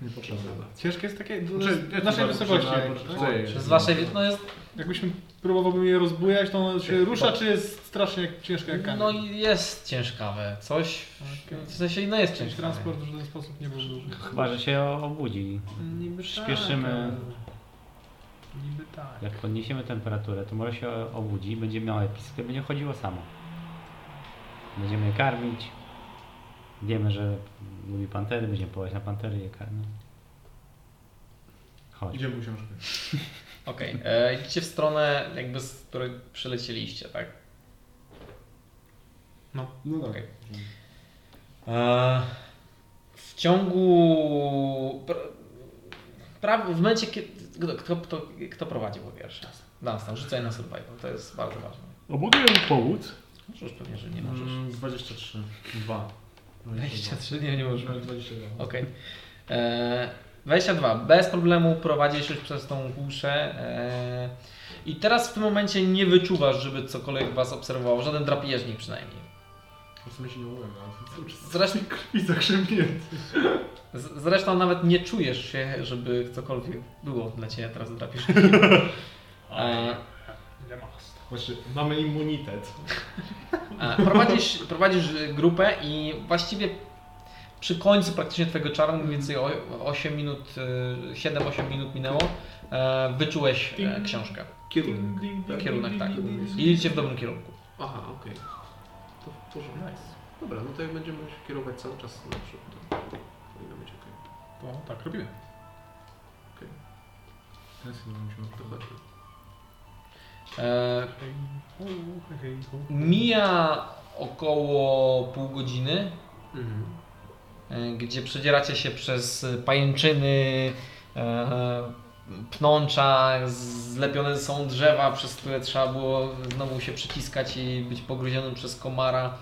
Speaker 5: Nie potrzebna.
Speaker 6: Ciężkie jest takie... do-
Speaker 5: Znaczy,
Speaker 6: No, z naszej wysokości. jakoś, tak?
Speaker 1: Z waszej wiedzy no jest,
Speaker 6: Jakbyśmy próbowałbym je rozbujać, to ono się rusza, czy jest strasznie ciężka jak kamień?
Speaker 1: no i jest ciężkawe, coś, w sensie no jest
Speaker 6: Jakiś
Speaker 1: ciężkawe.
Speaker 6: transport w żaden sposób nie był duży.
Speaker 3: Chyba, że się o- obudzi.
Speaker 6: Niby
Speaker 3: Śpieszymy.
Speaker 6: Tak, ale- Niby tak.
Speaker 3: Jak podniesiemy temperaturę, to może się o- obudzi, będzie miała piskę, będzie chodziło samo. Będziemy je karmić. Wiemy, że lubi pantery, będziemy połać na pantery i je karmić. Chodź.
Speaker 5: no, Idziemy po książkę.
Speaker 1: Okej, e, idziecie w stronę jakby z której przylecieliście, tak?
Speaker 5: No tak.
Speaker 1: Okej. E, W ciągu. pr- Pra, w momencie, kiedy. Kto, kto, kto, kto prowadzi był pierwszy? Dunstan, rzucaj na survival, to jest bardzo ważne.
Speaker 3: Obuduję powódz.
Speaker 1: Możesz pewnie, że nie możesz.
Speaker 5: Mm, 23. 2.
Speaker 1: 23, nie,
Speaker 5: No,
Speaker 1: nie możesz.
Speaker 5: 22.
Speaker 1: Okej. E, 22. Bez problemu prowadzisz już przez tą głuszę. E, I teraz w tym momencie nie wyczuwasz, żeby cokolwiek was obserwował. Żaden drapieżnik przynajmniej.
Speaker 5: W sumie się nie mogłem, ale cały czas
Speaker 1: Zresztą,
Speaker 5: krwi zakrzemięty.
Speaker 1: z- zresztą nawet nie czujesz się, żeby cokolwiek było dla ciebie teraz drapieżnikiem. E,
Speaker 5: Znaczy, mamy immunitet.
Speaker 1: E, Prowadzisz, prowadzisz e, grupę i właściwie przy końcu praktycznie twojego czaru, mniej więcej o- 8 minut, e, 7-8 minut minęło, e, wyczułeś e, książkę.
Speaker 10: Kierunek. tak?
Speaker 1: Kierunek, tak.
Speaker 10: Kierunek.
Speaker 6: Mm-hmm.
Speaker 1: I idziecie w dobrym kierunku.
Speaker 10: Aha, okej. To w porządku. Dobra, no to jak będziemy się kierować cały czas na przód, to powinno być okej.
Speaker 6: To tak robimy.
Speaker 5: Teraz nie musimy
Speaker 10: To chodźmy.
Speaker 1: E,
Speaker 6: Hej, hu, hej, hu.
Speaker 1: Mija około pół godziny,
Speaker 10: Mhm.
Speaker 1: e, gdzie przedzieracie się przez pajęczyny, e, pnącza, zlepione są drzewa, przez które trzeba było znowu się przyciskać i być pogryzionym przez komara.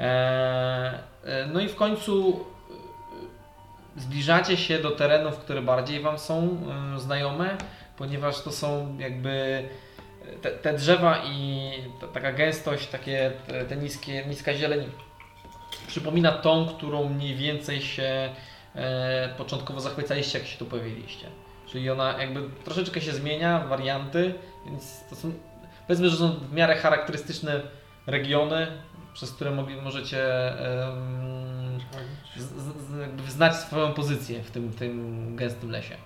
Speaker 1: E, e, No i w końcu e, zbliżacie się do terenów, które bardziej Wam są e, znajome, ponieważ to są jakby te, te drzewa i ta, taka gęstość, takie te, te niskie, niska zieleń przypomina tą, którą mniej więcej się e, początkowo zachwycaliście, jak się tu pojawiliście. Czyli ona jakby troszeczkę się zmienia, warianty, więc to są, powiedzmy, że są w miarę charakterystyczne regiony, przez które mogli, możecie em, z, z, z, jakby znać swoją pozycję w tym, tym gęstym lesie.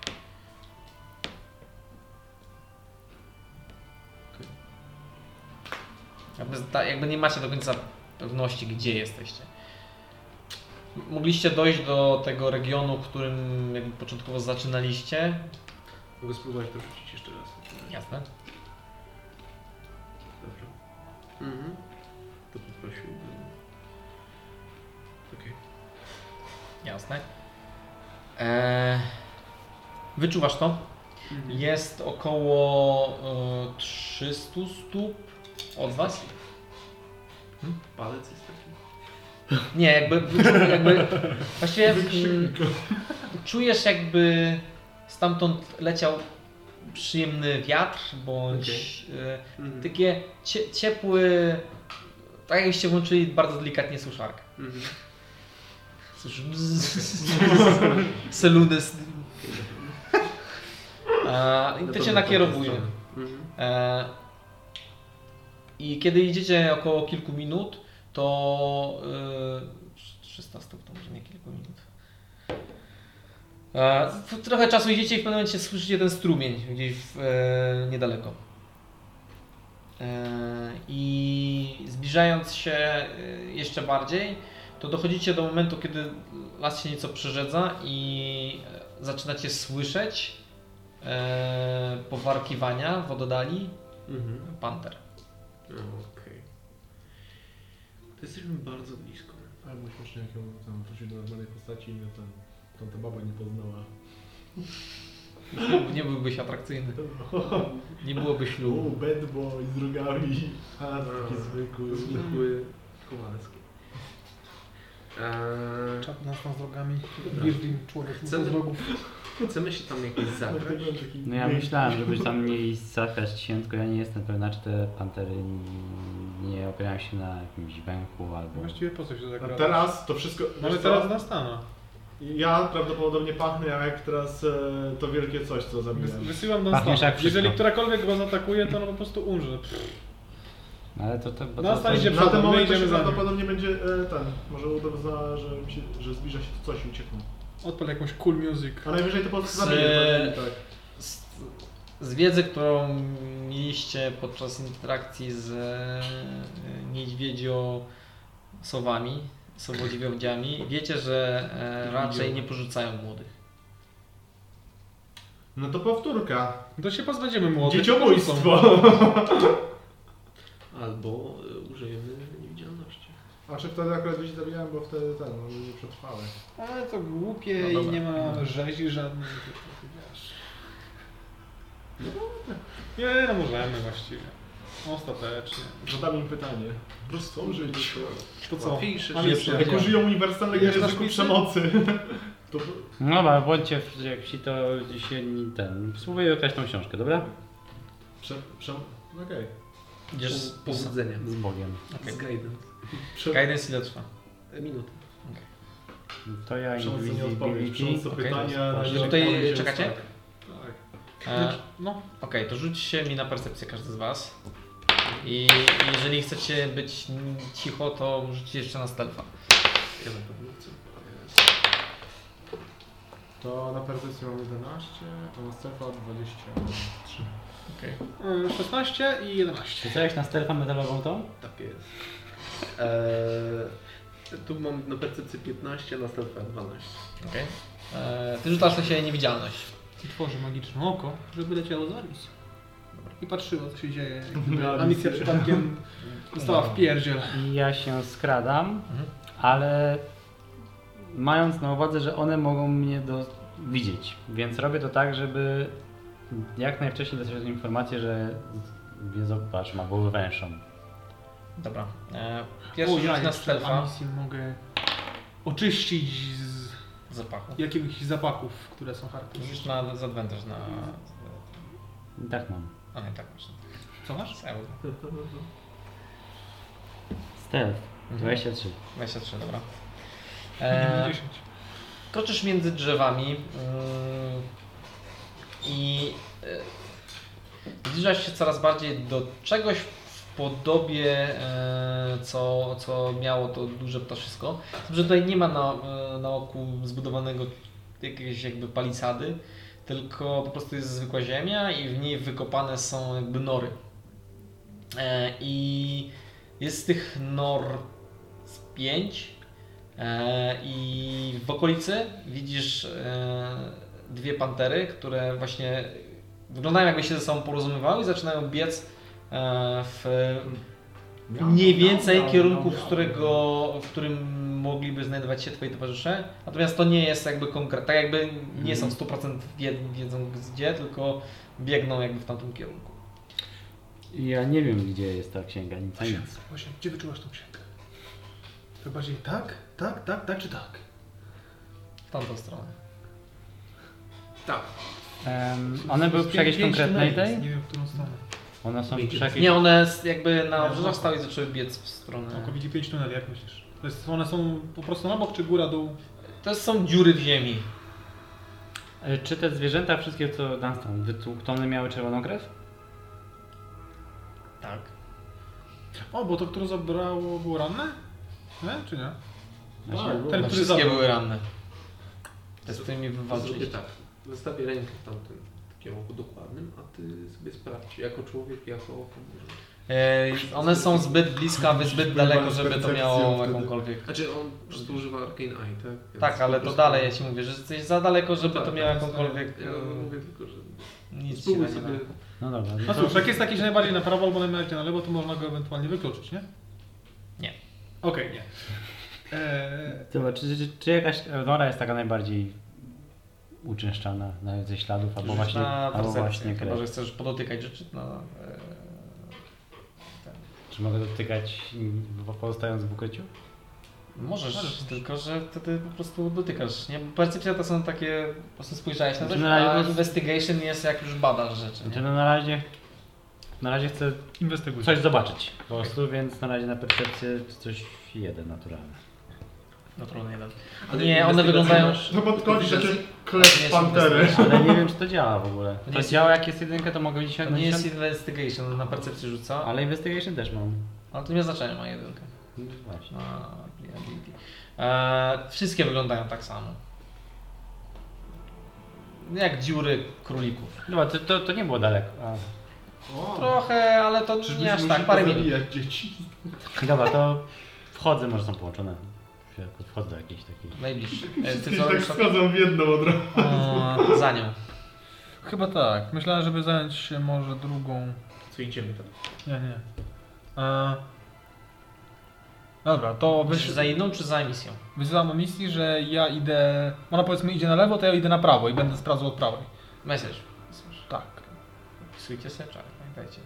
Speaker 1: Jakby, ta, jakby nie macie do końca pewności, gdzie jesteście. M- Mogliście dojść do tego regionu, którym jakby początkowo zaczynaliście.
Speaker 10: Mogę spróbować to rzucić jeszcze raz.
Speaker 1: Jasne.
Speaker 10: Dobrze. Mhm. To poprosiłbym. Okej.
Speaker 1: Jasne. Eee, wyczuwasz to? Jest około e, 300 stóp od was.
Speaker 10: Palec jest taki.
Speaker 1: Nie, jakby, wyczu- jakby właściwie mm, czujesz jakby stamtąd leciał przyjemny wiatr, bądź e,
Speaker 10: Mhm.
Speaker 1: takie cie, ciepły, tak jakbyście włączyli bardzo delikatnie suszarkę.
Speaker 10: Mhm.
Speaker 1: Słyszysz Selunes. E, I to cię
Speaker 10: tak
Speaker 1: nakierowuje.
Speaker 10: Mhm.
Speaker 1: E, I kiedy idziecie około kilku minut, to e, 300 stóp to może nie kilku minut. E, w- Trochę czasu idziecie i w pewnym momencie słyszycie ten strumień gdzieś w, e, niedaleko. E, I zbliżając się e, jeszcze bardziej, to dochodzicie do momentu, kiedy las się nieco przerzedza i e, zaczynacie słyszeć e, powarkiwania w oddali
Speaker 10: Mhm.
Speaker 1: panter.
Speaker 10: No, Okej. To jesteśmy bardzo blisko.
Speaker 5: Ale mój śmieszniak ją tam wrócił do normalnej postaci i mnie tam, tam ta baba nie poznała.
Speaker 1: Nie byłbyś atrakcyjny. Nie byłoby
Speaker 5: U,
Speaker 1: ślubu.
Speaker 5: bad boy z drogami. A, taki zwykły.
Speaker 10: Zwykły Kowalski. Eee,
Speaker 6: Czap nas z drogami. Wirgin, człowiek no
Speaker 10: Chcę-
Speaker 6: z drogów.
Speaker 10: chcemy się tam jakoś
Speaker 5: Tak.
Speaker 10: zabrać.
Speaker 3: No ja myślałem, żeby tam nie iść zakraść się, tylko ja nie jestem pewna, czy te pantery n- nie opierają się na jakimś węchu albo...
Speaker 6: Właściwie po co się
Speaker 5: A
Speaker 6: zagrać?
Speaker 5: teraz to wszystko...
Speaker 6: Mamy
Speaker 5: wiesz co?
Speaker 6: teraz nastana.
Speaker 5: Ja prawdopodobnie pachnę jak teraz e, to wielkie coś, co
Speaker 6: Wys-
Speaker 5: zabiłem.
Speaker 6: Wysyłam na
Speaker 3: Pachniesz
Speaker 6: stan.
Speaker 3: jak wszystko.
Speaker 6: Jeżeli którakolwiek was atakuje, to ona po prostu umrze. Pff,
Speaker 3: No ale to... to, bo
Speaker 6: No,
Speaker 3: to, to,
Speaker 6: stanie się-
Speaker 5: Na
Speaker 6: przodem,
Speaker 5: ten
Speaker 6: my
Speaker 5: moment to
Speaker 6: idziemy
Speaker 5: się
Speaker 6: za nim.
Speaker 5: prawdopodobnie będzie e, ten. Może uda za, że, mi się, że zbliża się to coś i uciekną.
Speaker 6: Odpal jakąś cool music.
Speaker 5: A najwyżej to po prostu
Speaker 1: Z-
Speaker 5: zabiję. Tak.
Speaker 1: Z, z wiedzy, którą mieliście podczas interakcji z e, niedźwiedzio-sowami, sowodziewiądziami, wiecie, że e, raczej nie porzucają młodych.
Speaker 5: No to powtórka.
Speaker 6: To się pozbędziemy młodych.
Speaker 5: Dzieciobójstwo.
Speaker 10: Albo e, użyjemy niewidzialności.
Speaker 5: A czy wtedy akurat gdzieś zabijałem, bo wtedy ten, no, nie przetrwały.
Speaker 6: Ale to głupie
Speaker 1: No
Speaker 6: i
Speaker 1: dobra.
Speaker 6: nie ma rzezi żadnej. Wiesz. Nie, no możemy właściwie. Ostatecznie.
Speaker 5: Zadam im pytanie. Prostą żyć.
Speaker 6: To
Speaker 5: no.
Speaker 6: co?
Speaker 10: Łatwiejsze
Speaker 6: Mam
Speaker 10: życie.
Speaker 6: jeszcze-
Speaker 5: Jak użyją uniwersalnego
Speaker 6: Jest
Speaker 5: języku
Speaker 6: nasz
Speaker 5: przemocy. To
Speaker 3: No dobra, bądźcie w- jak się to się nie ten... Spróbuję okraść tą książkę, dobra?
Speaker 5: prze, prze, no okej.
Speaker 1: Idziesz z
Speaker 10: Po- Powodzenia.
Speaker 3: Z Bogiem.
Speaker 10: Z guidem.
Speaker 1: Guidance ile trwa?
Speaker 10: E, Minuta.
Speaker 3: To ja
Speaker 5: Przemocy nie odpowiedź. Przemocy to
Speaker 3: invisibility.
Speaker 1: Okej. No
Speaker 5: pytania.
Speaker 3: Czy
Speaker 5: na-
Speaker 1: tutaj
Speaker 5: na- na-
Speaker 1: czekacie?
Speaker 5: Tak.
Speaker 1: E,
Speaker 6: No,
Speaker 1: Okej, to rzućcie mi na percepcję każdy z Was. I jeżeli chcecie być cicho, to rzućcie jeszcze na stealtha.
Speaker 10: Ja na pewno chcę.
Speaker 5: To na percepcję mam 11, a na Stefa 23.
Speaker 6: y, 16 i 11.
Speaker 3: Czytałeś na stealth'a metalową tą?
Speaker 10: Tak jest. Eee, tu mam na percepcji 15, a następna 12.
Speaker 1: Okej. E, Ty rzucasz na siebie niewidzialność.
Speaker 6: I tworzy magiczne oko, żeby leciało za Aris. I patrzyło, co się dzieje.
Speaker 5: Na
Speaker 6: A
Speaker 5: Alicję.
Speaker 6: misja przypadkiem została w pierdziel.
Speaker 3: I ja się skradam,
Speaker 6: Mhm.
Speaker 3: ale mając na uwadze, że one mogą mnie do... widzieć, więc robię to tak, żeby jak najwcześniej dostać od nich informację, że wiedzą patrzą albo węszą.
Speaker 1: Dobra. E, Pierwszy rzut na
Speaker 6: jeszcze a
Speaker 1: stealtha
Speaker 6: misję mogę oczyścić z
Speaker 1: zapachu.
Speaker 6: jakichś zapachów, które są charakterystyczne.
Speaker 1: Rzuć na z advantage na...
Speaker 3: I tak mam.
Speaker 1: A nie, tak właśnie.
Speaker 6: Co masz?
Speaker 3: Stealth.
Speaker 6: Mhm.
Speaker 1: Mhm.
Speaker 3: 23.
Speaker 1: 23, dobra. E,
Speaker 3: Eee,
Speaker 1: kroczysz między drzewami mm, i e, zbliżasz się coraz bardziej do czegoś w podobie, e, co, co miało to duże ptaszysko. Że tutaj nie ma na, e, na oku zbudowanego jakiejś jakby palisady, tylko po prostu jest zwykła ziemia i w niej wykopane są jakby nory. E, I jest z tych nor z pięć e, i w okolicy widzisz e, dwie pantery, które właśnie wyglądają jakby się ze sobą porozumiewały i zaczynają biec e, w mniej więcej kierunku, w, którego, w którym mogliby znajdować się Twoi towarzysze. Natomiast to nie jest jakby konkretne, tak jakby nie są w 100% wied- wiedzą gdzie, tylko biegną jakby w tamtym kierunku.
Speaker 3: Ja nie wiem, gdzie jest ta księga, nic. a
Speaker 6: Właśnie,
Speaker 3: nic.
Speaker 6: właśnie, gdzie wyczułasz tą księgę? To bardziej tak, tak, tak, tak czy tak?
Speaker 1: W tamtą stronę.
Speaker 3: Em, one były przy jakiejś
Speaker 6: Pięć
Speaker 3: konkretnej
Speaker 6: tuneli jest,
Speaker 3: tej?
Speaker 6: Nie wiem, w którą stronę.
Speaker 3: One są przy jakiejś...
Speaker 1: Nie, one s- jakby na obrzeżach stały i zaczęły biec w
Speaker 3: Eee.
Speaker 1: stronę.
Speaker 6: Całkowicie pięć tuneli, jak myślisz? To jest, one są po prostu na bok czy góra, dół?
Speaker 1: To są dziury w ziemi.
Speaker 3: E, Czy te zwierzęta, wszystkie co tam są, wytłuktone miały czerwoną krew?
Speaker 1: Tak.
Speaker 6: O, bo to, które zabrało, było ranne? Nie, czy nie? Tak,
Speaker 3: Znaczy,
Speaker 6: Ten,
Speaker 1: No,
Speaker 6: który
Speaker 1: wszystkie
Speaker 6: zabrał.
Speaker 1: były ranne. Te, z którymi wywalczyliście.
Speaker 10: Zrobię tak. Zostawię rękę w tamtym takim oku dokładnym, a ty sobie sprawdź. Jako człowiek, jako podróż.
Speaker 1: E, one są zbyt blisko, a wy zbyt daleko, żeby to
Speaker 5: percepcją
Speaker 1: miało
Speaker 5: wtedy.
Speaker 1: jakąkolwiek.
Speaker 10: Znaczy on po prostu używa Arcane Eye, tak? Więc
Speaker 1: Tak, ale
Speaker 10: po
Speaker 1: to
Speaker 10: prostu-
Speaker 1: dalej, ja ci mówię, że jesteś za daleko, żeby
Speaker 10: Tak,
Speaker 1: to miało
Speaker 10: tak,
Speaker 1: jakąkolwiek.
Speaker 10: Ja
Speaker 1: E,
Speaker 10: mówię tylko, że
Speaker 1: nic ci na
Speaker 10: spróbuj
Speaker 1: nie da.
Speaker 10: sobie
Speaker 3: No dobra.
Speaker 6: No
Speaker 3: to-
Speaker 6: cóż, jak jest jakiś najbardziej na prawo albo najbardziej na lewo, to można go ewentualnie wykluczyć, nie?
Speaker 1: Nie.
Speaker 6: Okej, nie. Eee,
Speaker 3: Dobra, czy, znaczy, czy, czy jakaś nora jest taka najbardziej uczęszczana na- ze śladów, albo
Speaker 1: Rzuć
Speaker 3: właśnie,
Speaker 1: na
Speaker 3: albo właśnie
Speaker 1: percepcję, chyba
Speaker 3: krew?
Speaker 1: że chcesz podotykać rzeczy na... E,
Speaker 3: Czy mogę dotykać mm, bo pozostając w ukryciu?
Speaker 1: możesz, tylko że wtedy po prostu dotykasz, nie? Bo Percepcja to są takie, po prostu spojrzałeś na coś,
Speaker 3: Znaczy, na
Speaker 1: a
Speaker 3: razie-
Speaker 1: investigation jest jak już badasz rzeczy,
Speaker 3: Znaczy,
Speaker 1: nie?
Speaker 3: no na razie, na razie chcę
Speaker 6: inwestyguj.
Speaker 3: coś zobaczyć po prostu, więc na razie na percepcję coś jeden naturalny.
Speaker 1: No trudno, jeden.
Speaker 10: Ale
Speaker 1: Nie, one wyglądają...
Speaker 5: No bo odchodzisz
Speaker 10: Tylko
Speaker 5: takie
Speaker 1: Nie,
Speaker 5: klep pantery.
Speaker 3: Ale nie wiem, czy to działa w ogóle.
Speaker 1: To nie
Speaker 3: To
Speaker 1: jest-
Speaker 3: działa, jak jest jedynka, to mogę liczyć
Speaker 1: To
Speaker 3: jak
Speaker 1: nie
Speaker 3: na
Speaker 1: jest
Speaker 3: dziesiąt-
Speaker 1: investigation, na percepcję rzuca,
Speaker 3: Ale investigation też mam.
Speaker 1: ale to nie ma znaczenia, ma jedynkę.
Speaker 3: No Właśnie.
Speaker 1: Na ability. E, wszystkie wyglądają tak samo. Jak dziury królików.
Speaker 3: Dobra, to, to, to nie było daleko.
Speaker 1: Trochę, ale to nie aż tak, parę minut.
Speaker 5: Jak dzieci.
Speaker 3: Dobra, to wchodzę, może są połączone. Wchodzę do jakiejś takiej.
Speaker 1: Najbliższy. E, ty
Speaker 5: Ty
Speaker 1: co
Speaker 5: tak
Speaker 1: robisz?
Speaker 5: schodzą w jedną od razu.
Speaker 1: E, za nią.
Speaker 6: Chyba tak. Myślałem, żeby zająć się może drugą...
Speaker 10: Co idziemy tam?
Speaker 6: Nie, nie. Eee, dobra, to
Speaker 1: Czy
Speaker 6: wyś...
Speaker 1: za jedną, czy za misją?
Speaker 6: wysyłam misji, że ja idę... Ona powiedzmy idzie na lewo, to ja idę na prawo i będę sprawdzał od prawej.
Speaker 1: Message.
Speaker 6: Tak.
Speaker 1: Wpisujcie sobie czar, pamiętajcie.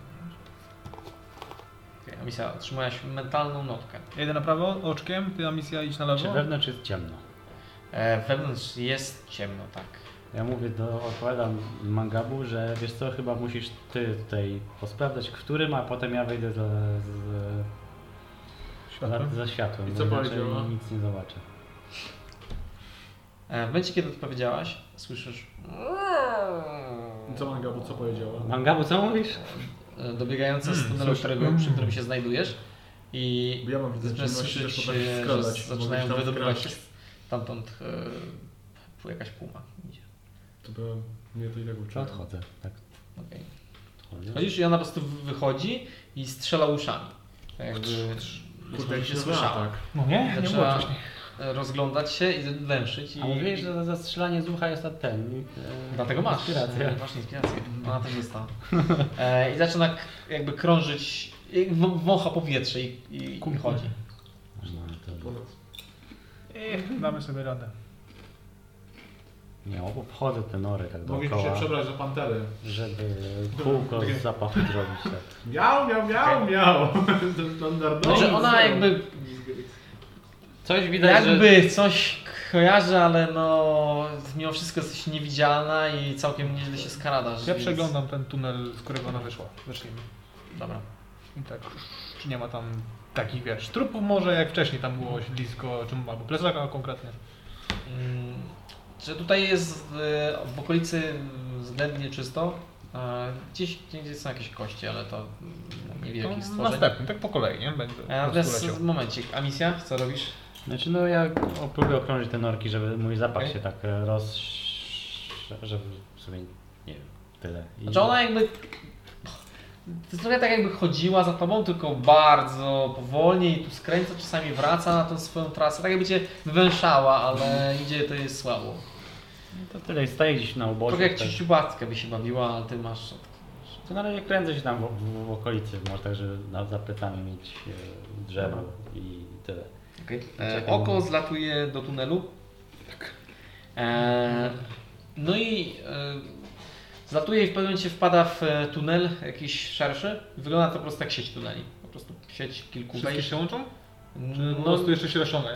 Speaker 1: Okej, a misja, otrzymałaś mentalną notkę.
Speaker 6: Ja idę na prawo oczkiem, ty a misja idź na lewo.
Speaker 3: Czy wewnątrz jest ciemno?
Speaker 1: E, wewnątrz jest ciemno, tak.
Speaker 3: Ja mówię do, odpowiadam Mangabu, że wiesz co, chyba musisz ty tutaj posprawdzać, którym, a potem ja wyjdę za, z,
Speaker 6: Światłem.
Speaker 3: za światłem.
Speaker 5: I
Speaker 3: bo
Speaker 5: co
Speaker 3: inaczej
Speaker 5: powiedziała?
Speaker 3: Nic nie zobaczę.
Speaker 1: E, w momencie, kiedy odpowiedziałaś, słyszysz...
Speaker 5: Co manga, bo co powiedziała?
Speaker 3: Mangabu, co mówisz?
Speaker 1: e, dobiegające
Speaker 5: Hmm,
Speaker 1: z tunelu, którego, przy którym się znajdujesz i
Speaker 5: Bo ja mam widzę,
Speaker 1: zaczynasz
Speaker 5: że się też
Speaker 1: słyszeć,
Speaker 5: potrafi
Speaker 1: e, że
Speaker 5: skradać.
Speaker 1: zaczynają
Speaker 5: Mogę się tam
Speaker 1: wydobywać się
Speaker 5: wkraść.
Speaker 1: stamtąd e, jakaś puma. Idzie.
Speaker 5: To by mnie to i
Speaker 1: No
Speaker 5: tak
Speaker 3: Czy
Speaker 5: uczyło.
Speaker 3: odchodzę? Tak,
Speaker 1: Okej.
Speaker 3: odchodzę.
Speaker 5: Hmm.
Speaker 1: Chodzisz i ona po prostu wychodzi i strzela uszami. Tak Jakby
Speaker 5: Kurde,
Speaker 1: Kurde,
Speaker 5: jak
Speaker 1: się
Speaker 5: się słyszała.
Speaker 1: słyszała.
Speaker 5: Tak.
Speaker 6: No nie? Nie było
Speaker 1: Zaczęła
Speaker 6: wcześniej.
Speaker 1: e, rozglądać się i węszyć. I,
Speaker 3: A mówiłeś, że zastrzelanie z ucha jest na ten. e,
Speaker 1: Dlatego masz. E,
Speaker 3: Inspiracja. Mhm.
Speaker 1: Masz inspirację. Ona też dostała. E, I zaczyna k- jakby krążyć, i w- wącha powietrze i, i, i chodzi.
Speaker 3: No, to
Speaker 6: Ech, Damy sobie radę.
Speaker 3: nie, obchodzę te nory tak
Speaker 5: Mogliśmy się
Speaker 3: dookoła,
Speaker 5: przebrać za pantery.
Speaker 3: żeby kółko z zapachu zrobić. Tak.
Speaker 5: Miał, miał, miał, miał. To
Speaker 3: No
Speaker 5: standardowo.
Speaker 1: Znaczy ona jakby
Speaker 3: Coś widać,
Speaker 1: Jakby coś kojarzy, ale no mimo wszystko jesteś niewidzialna i całkiem nieźle się skaradasz.
Speaker 6: Ja
Speaker 1: więc-
Speaker 6: przeglądam ten tunel, z którego ona wyszła. Zacznijmy.
Speaker 1: Dobra.
Speaker 6: I tak, czy nie ma tam takich, wiesz, trupów może, jak wcześniej tam było siedlisko, czy albo plecaka konkretnie.
Speaker 1: Mm, Czy tutaj jest e, w okolicy względnie czysto? E, Gdzieś, gdzieś są jakieś kości, ale to mm, niewielkich
Speaker 6: To
Speaker 1: stworzeń.
Speaker 6: następny, tak po kolei, nie? Będę
Speaker 1: E,
Speaker 6: po prostu leciał.
Speaker 1: Natomiast momencik, a misja? Co robisz?
Speaker 3: Znaczy no ja o- próbuję okrążyć te norki, żeby mój zapach
Speaker 1: Okej.
Speaker 3: się tak e, roz... żeby w sumie nie wiem, tyle. I-
Speaker 1: Znaczy ona jakby... To jest trochę tak jakby chodziła za tobą, tylko bardzo powolnie i tu skręca, czasami wraca na tą swoją trasę. Tak jakby cię wywęszała, ale idzie to jest słabo.
Speaker 3: To tyle, staję gdzieś na uboczu.
Speaker 1: Trochę jak
Speaker 3: tak.
Speaker 1: ciuciubackę by się bawiła, ale ty masz...
Speaker 3: To na razie kręcę się tam w, w, w okolicy, może tak, żeby na zapytaniu mieć e, drzewo i tyle.
Speaker 1: E,
Speaker 3: Czekam.
Speaker 1: oko zlatuje do tunelu.
Speaker 6: Tak.
Speaker 1: E, no i e, zlatuje i w pewnym momencie wpada w e, tunel jakiś szerszy. Wygląda to po prostu jak sieć tuneli. Po prostu sieć kilku
Speaker 6: Wszystkie
Speaker 1: wejść.
Speaker 6: się łączą?
Speaker 1: No,
Speaker 6: Po prostu jeszcze się rozciąga.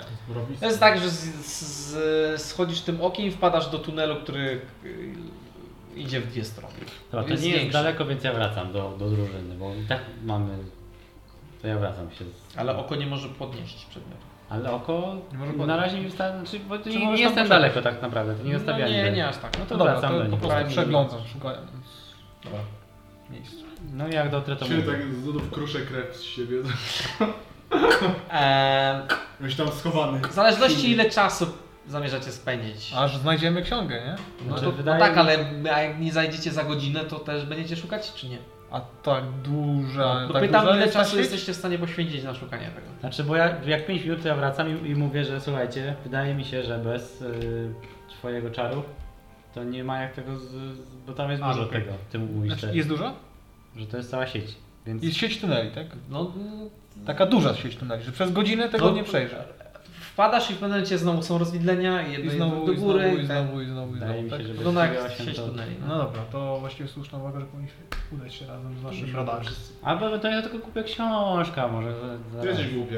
Speaker 1: to jest tak, że z, z, schodzisz tym okiem i wpadasz do tunelu, który e, idzie w dwie strony.
Speaker 3: Dobra, to
Speaker 1: Jest
Speaker 3: nie jest
Speaker 1: większy.
Speaker 3: daleko, więc ja wracam do, do drużyny, bo i tak mamy... To ja wracam się z...
Speaker 1: Ale oko nie może podnieść przedmiotu.
Speaker 3: Ale oko
Speaker 6: Nie może
Speaker 3: na
Speaker 6: podnieść.
Speaker 3: razie mi wystarczy, znaczy, bo to
Speaker 6: Czy
Speaker 3: nie,
Speaker 6: możesz
Speaker 3: nie
Speaker 6: tam
Speaker 3: jestem
Speaker 6: poczekać?
Speaker 3: daleko tak naprawdę, to nie
Speaker 1: no
Speaker 3: zostawiam.
Speaker 1: nie, nie aż tak.
Speaker 3: No
Speaker 6: To
Speaker 3: to
Speaker 6: dobra,
Speaker 3: wracam do
Speaker 6: to po
Speaker 3: nich.
Speaker 6: prostu
Speaker 1: Prawie
Speaker 6: przeglądam, szukam
Speaker 1: Dobra.
Speaker 6: miejsc.
Speaker 3: No jak dotrę to
Speaker 5: Się
Speaker 3: mówię.
Speaker 5: tak z nudów kruszę krew z siebie.
Speaker 1: E,
Speaker 5: Byś tam schowany.
Speaker 1: w zależności ile czasu zamierzacie spędzić.
Speaker 6: Aż znajdziemy księgę, nie?
Speaker 1: No,
Speaker 3: Znaczy,
Speaker 1: to, no
Speaker 3: wydaje
Speaker 1: tak,
Speaker 3: mi-
Speaker 1: ale a jak nie zajdziecie za godzinę, to też będziecie szukać, czy nie?
Speaker 6: A tak duża,
Speaker 1: No, to
Speaker 6: tak
Speaker 1: pytam,
Speaker 6: duża
Speaker 1: ile
Speaker 6: jest ta
Speaker 1: czasu
Speaker 6: sieć?
Speaker 1: jesteście w stanie poświęcić na szukanie tego.
Speaker 3: Znaczy, bo ja, jak 5 minut to ja wracam i, i mówię, że słuchajcie, wydaje mi się, że bez y, twojego czaru to nie ma jak tego, z, z, bo tam jest
Speaker 6: A,
Speaker 3: dużo
Speaker 6: okej.
Speaker 3: tego, ty mówisz,
Speaker 6: Znaczy,
Speaker 3: że-
Speaker 6: jest duża?
Speaker 3: że to jest cała sieć, więc
Speaker 6: Jest sieć tuneli, tak?
Speaker 1: No, mm,
Speaker 6: Taka duża sieć tuneli, że przez godzinę tego
Speaker 1: No.
Speaker 6: nie przejrzę.
Speaker 1: wpadasz i w pewnym momencie znowu są rozwidlenia,
Speaker 6: I
Speaker 1: jedno
Speaker 6: znowu,
Speaker 1: no, do
Speaker 6: i znowu,
Speaker 1: góry.
Speaker 6: i znowu, i znowu, i
Speaker 3: wydaje
Speaker 6: znowu,
Speaker 3: mi
Speaker 6: tak?
Speaker 3: się, że bez
Speaker 1: Wygląda
Speaker 3: twojego
Speaker 1: jak
Speaker 3: się
Speaker 1: sieć
Speaker 3: to...
Speaker 1: tuneli.
Speaker 6: No dobra, to właściwie słuszna uwaga, że powinniśmy udać się razem z naszym rodakiem. No,
Speaker 3: Albo to ja tylko kupię książkę, może za-
Speaker 5: Ty
Speaker 3: zaraz.
Speaker 5: jesteś głupia.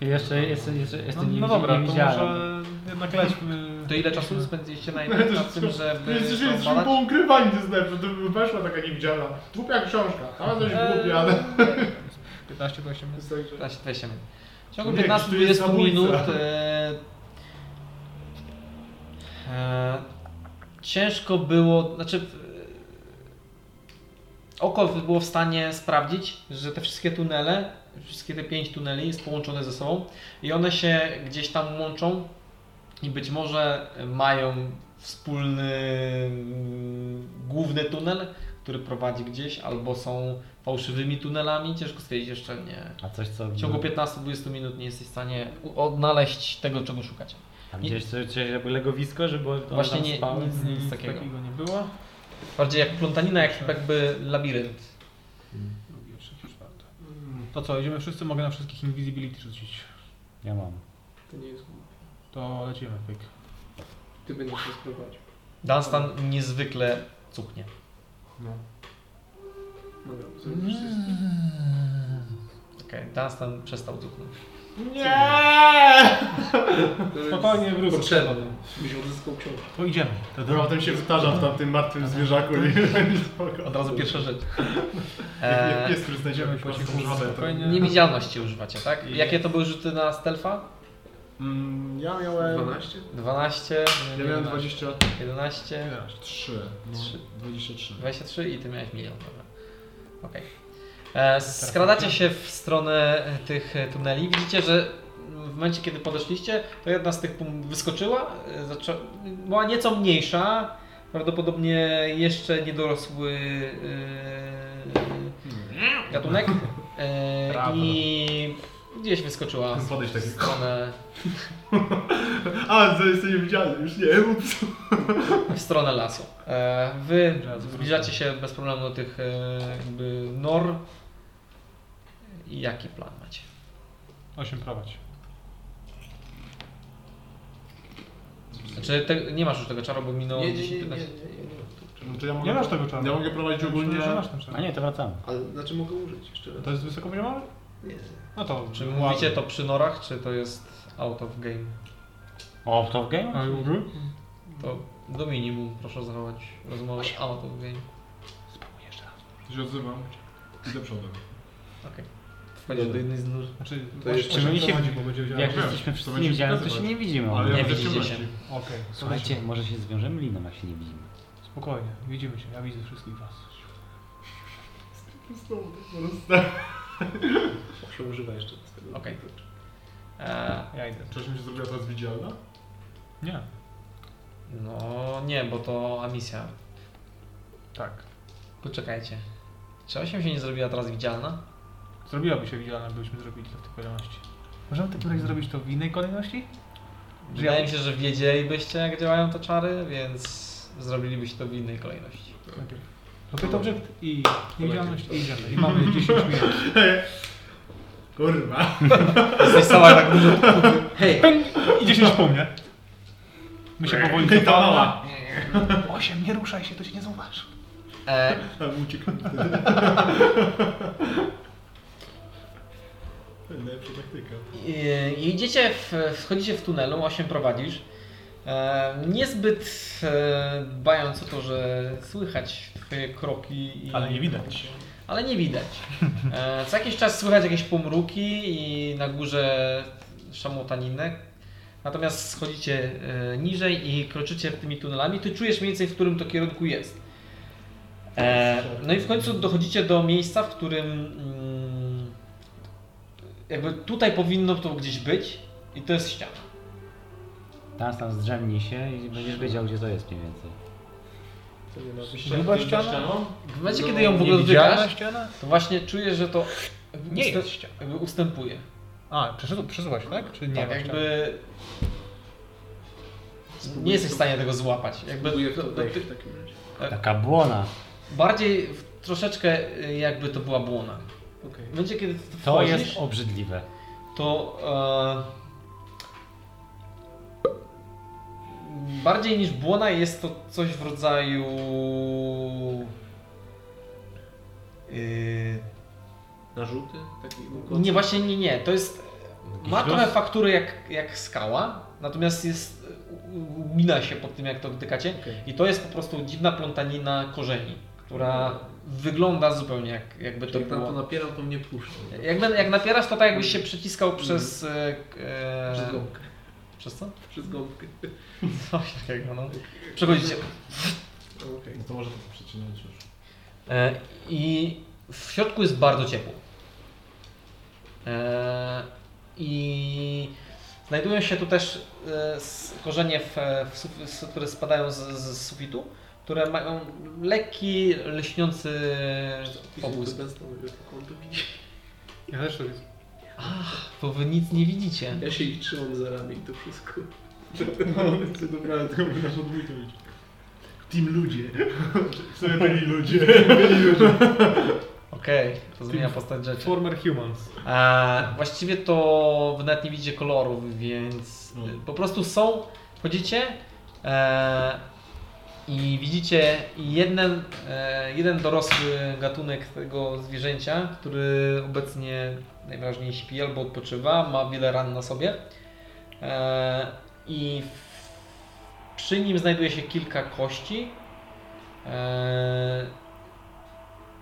Speaker 3: Jeszcze, jeszcze, jeszcze, jeszcze
Speaker 6: No,
Speaker 3: nie,
Speaker 6: no dobra,
Speaker 3: nie
Speaker 6: to
Speaker 3: widziałem.
Speaker 6: może jednak lećmy.
Speaker 1: To ile czasu spędziliście na,
Speaker 5: No, to
Speaker 1: na
Speaker 5: jest-
Speaker 1: tym, żeby
Speaker 5: Jesteś
Speaker 1: to
Speaker 5: jesteśmy
Speaker 1: badać?
Speaker 5: poukrywani, to znaczy, to by weszła taka niewidzialna. Głupia książka, tam jesteś
Speaker 1: Eee.
Speaker 5: głupia, ale...
Speaker 6: 15-20 minut.
Speaker 5: Jest tak, że-
Speaker 1: 15, 20 minut. W ciągu
Speaker 5: Nie, tu
Speaker 1: 15-20
Speaker 5: jest zabójca.
Speaker 1: minut e, e, ciężko było, znaczy e, oko było w stanie sprawdzić, że te wszystkie tunele, wszystkie te pięć tuneli jest połączone ze sobą i one się gdzieś tam łączą i być może mają wspólny mm, główny tunel, który prowadzi gdzieś, albo są fałszywymi tunelami, ciężko stwierdzić jeszcze, nie,
Speaker 3: A coś co...
Speaker 1: w ciągu 15-20 minut nie jesteś w stanie u- odnaleźć tego, czego szukacie.
Speaker 3: Tam gdzieś coś, coś jakby legowisko, żeby one
Speaker 1: Właśnie
Speaker 3: tam
Speaker 1: nie,
Speaker 3: spały?
Speaker 1: nic, nic takiego.
Speaker 6: No, Takiego nie było.
Speaker 1: Bardziej jak plątanina, jak jakby labirynt.
Speaker 6: Drugi, trzeci, czwarty.
Speaker 5: Mm,
Speaker 6: To co, idziemy wszyscy, mogę na wszystkich invisibility rzucić.
Speaker 3: Ja mam.
Speaker 10: To nie jest głupie.
Speaker 6: To lecimy, pyk.
Speaker 10: Ty będziesz się sprowadził.
Speaker 1: Dunstan niezwykle cuchnie.
Speaker 5: no.
Speaker 10: Dobra, zrobisz wszystko.
Speaker 1: Okej, Dunstan przestał cuchnąć.
Speaker 6: Spokojnie wrócę.
Speaker 10: Potrzeba, byś odzyskał książkę.
Speaker 6: To idziemy.
Speaker 5: Ta droga tam się wytarza w tamtym martwym zwierzaku i
Speaker 1: Tak.
Speaker 5: spoko.
Speaker 1: Od razu pierwsza rzecz.
Speaker 5: Jak
Speaker 1: E,
Speaker 5: pies, który znajdziemy po cichu żabę, to...
Speaker 6: Spokojnie.
Speaker 1: niewidzialności używacie, tak? Jakie to były rzuty na stealtha?
Speaker 5: Mm, Ja miałem...
Speaker 10: 12?
Speaker 1: 12,
Speaker 5: Ja miałem 20...
Speaker 1: 11,
Speaker 5: 3. No,
Speaker 1: Trzy.
Speaker 5: 23.
Speaker 1: 23 i ty miałeś milion, dobra. Okej. E, Skradacie się w stronę tych e, tuneli. Widzicie, że w momencie, kiedy podeszliście, to jedna z tych pum wyskoczyła. e, zaczę- Była nieco mniejsza. Prawdopodobnie jeszcze niedorosły e, gatunek. E, I gdzieś wyskoczyła w
Speaker 5: Podejść taki...
Speaker 1: stronę,
Speaker 5: A, to jest niewidzialny, już nie, ups.
Speaker 1: w stronę lasu. E, Wy zbliżacie się bez problemu do tych e, jakby nor. I jaki plan macie?
Speaker 6: 8 prowadź.
Speaker 1: Znaczy te, nie masz już tego czaru, bo minęło
Speaker 10: Nie, nie, nie, nie,
Speaker 1: 10-15.
Speaker 10: nie, nie, nie.
Speaker 5: No to ja mogę...
Speaker 6: Nie masz tego czaru.
Speaker 5: Ja mogę prowadzić ogólnie...
Speaker 6: Że masz ten czar.
Speaker 3: A nie, to wracamy.
Speaker 10: Ale znaczy mogę użyć jeszcze raz.
Speaker 6: To jest wysokopoziomowy?
Speaker 10: Nie.
Speaker 6: No to...
Speaker 1: Czy
Speaker 6: ładnie.
Speaker 1: mówicie to przy norach, czy to jest out of game?
Speaker 3: O, w to w game?
Speaker 6: A, mhm.
Speaker 1: To do minimum proszę zachować rozmowę out of game.
Speaker 6: Spróbuj jeszcze raz.
Speaker 5: To się odzywam. Idę przodem.
Speaker 4: Wchodzisz do jednej z nóż.
Speaker 6: Znaczy,
Speaker 10: To jest-
Speaker 3: Czy my się-
Speaker 6: chodzi, bo będzie wiedziała.
Speaker 3: Jak
Speaker 5: wiem,
Speaker 3: jesteśmy
Speaker 5: to
Speaker 3: wszyscy
Speaker 5: będzie
Speaker 3: niewidzialni, to się
Speaker 5: pokazywać.
Speaker 3: nie widzimy.
Speaker 5: Ale
Speaker 3: No, Nie
Speaker 5: ja mam
Speaker 3: widzimy.
Speaker 5: ciemności.
Speaker 6: Okej, słuchajcie.
Speaker 3: Słuchajcie, może się zwiążemy liną, jak się nie widzimy.
Speaker 6: Spokojnie, widzimy się, ja widzę wszystkich was.
Speaker 10: się używa jeszcze z tego.
Speaker 1: Okej. E,
Speaker 6: Ja idę.
Speaker 5: Czyż mi się zrobiła teraz widzialna?
Speaker 6: Nie.
Speaker 1: no nie, bo to emisja.
Speaker 6: Tak.
Speaker 1: Poczekajcie. Czy 8 się nie zrobiła teraz widzialna?
Speaker 6: Zrobiłaby się widzialna, gdybyśmy zrobili to w tej kolejności. Możemy ten projekt zrobić to w innej kolejności? Że ja-
Speaker 1: Wydaje mi się, że wiedzielibyście jak działają te czary, więc zrobilibyście to w innej kolejności.
Speaker 6: Najpierw. Robię to obiekt i niewidzialność i idziemy. I mamy 10 minut.
Speaker 5: Kurwa.
Speaker 1: Jesteś sama tak dużo... Hej,
Speaker 6: I 10 po mnie. My się powoli cofamy. Osiem, nie ruszaj się, to się nie zauważy.
Speaker 1: e,
Speaker 5: Tam uciekł. Najlepsza taktyka.
Speaker 1: E, Idziecie, w, wchodzicie w tunelu, 8 prowadzisz. E, niezbyt e, dbając o to, że słychać twoje kroki. I,
Speaker 6: Ale nie widać.
Speaker 1: Ale nie widać. E, co jakiś czas słychać jakieś pomruki i na górze szamotaninek. Natomiast schodzicie e, niżej i kroczycie tymi tunelami. Ty czujesz mniej więcej, w którym to kierunku jest. E, no i w końcu dochodzicie do miejsca, w którym mm, jakby tutaj powinno to gdzieś być i to jest ściana.
Speaker 3: Teraz tam zdrzemnij się i będziesz wiedział, gdzie to jest mniej więcej.
Speaker 10: To nie ma
Speaker 6: Gruba ściana?
Speaker 1: W momencie, kiedy ją w ogóle dotykasz,
Speaker 6: ściana?
Speaker 1: No, to właśnie czujesz, że to
Speaker 6: Nie
Speaker 1: ustę-
Speaker 6: jest ściana.
Speaker 1: jakby ustępuje.
Speaker 6: A, przesu- przesuwa się, tak? Czy nie?
Speaker 1: tak,
Speaker 6: ma ściany?
Speaker 1: jakby nie jesteś w stanie tego złapać. Jakby
Speaker 10: Próbuję w to wejść w takim razie.
Speaker 5: Tak.
Speaker 3: Taka błona.
Speaker 1: bardziej w- troszeczkę y, jakby to była błona.
Speaker 10: Okej.
Speaker 1: W momencie, kiedy w-
Speaker 3: To
Speaker 1: wchodzisz,
Speaker 3: jest obrzydliwe.
Speaker 1: to e, bardziej niż błona jest to coś w rodzaju y,
Speaker 10: Narzuty? Taki układ?
Speaker 1: Nie, właśnie nie, nie. To jest. Ma
Speaker 3: Jakiś
Speaker 1: trochę
Speaker 3: los?
Speaker 1: faktury jak, jak skała, natomiast jest. u- Mina się pod tym, jak to dotykacie.
Speaker 10: Okej.
Speaker 1: I to jest po prostu dziwna plątanina korzeni, która wygląda zupełnie jak, jakby to
Speaker 10: Znaczy, Jak tam
Speaker 1: było.
Speaker 10: to napieram, to mnie puszczą.
Speaker 1: Jak, ben- jak napierasz, to tak jakbyś się przyciskał przez. e, k- e,
Speaker 10: Mm. Przez gąbkę.
Speaker 1: przez co?
Speaker 10: Przez gąbkę.
Speaker 1: Coś takiego, no. Przechodzicie.
Speaker 10: Okej.
Speaker 5: No to może to przecinać już.
Speaker 1: E, I w środku jest bardzo ciepło. E, I znajdują się tu też e, s- korzenie, w, w, suf- s- które spadają z, z sufitu, które mają lekki, lśniący
Speaker 10: Obóz.
Speaker 1: obłysk.
Speaker 6: Ja też to jest.
Speaker 1: Bo wy nic nie widzicie.
Speaker 10: Ja się ich trzymam za ramię i to wszystko.
Speaker 5: Co dobra, to mówię nasz odmówić. Team ludzie. Co ja byli ludzie. Byli ludzie.
Speaker 1: Okej, to zmienia postać rzeczy.
Speaker 6: Former Humans.
Speaker 1: E, właściwie to wy nawet nie widzicie kolorów, więc
Speaker 5: No.
Speaker 1: y, po prostu są, wchodzicie e, i widzicie jeden, e, jeden dorosły gatunek tego zwierzęcia, który obecnie najważniej śpi albo odpoczywa, ma wiele ran na sobie e, i w, przy nim znajduje się kilka kości. E,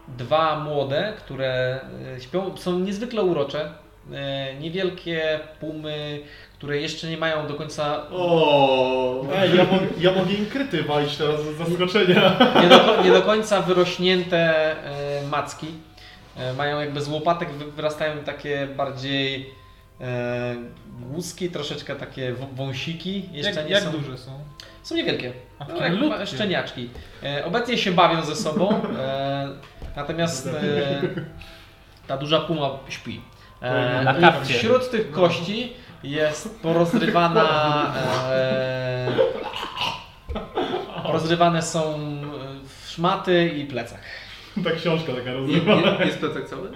Speaker 1: dwa młode, które e, śpią, są niezwykle urocze. E, Niewielkie pumy, które jeszcze nie mają do końca.
Speaker 5: O. Ej, ja, mo ja mogę im kryty walić teraz z zaskoczenia.
Speaker 1: Nie do, nie do końca wyrośnięte e, macki. E, Mają jakby z łopatek wy- wyrastają takie bardziej e, głuski, troszeczkę takie w- wąsiki. Jeszcze
Speaker 6: Jak,
Speaker 1: nie są.
Speaker 6: jak duże są?
Speaker 1: Są niewielkie.
Speaker 6: A
Speaker 1: No, jak ma- szczeniaczki. E, obecnie się bawią ze sobą, e, natomiast e, ta duża puma śpi. E,
Speaker 3: no, Na
Speaker 1: i
Speaker 3: kapcie.
Speaker 1: wśród tych
Speaker 6: No.
Speaker 1: kości jest porozrywana. E, rozrywane są e, w szmaty i plecach.
Speaker 5: Ta książka taka
Speaker 10: Nie,
Speaker 5: rozrywa.
Speaker 10: nie, jest plecak cały?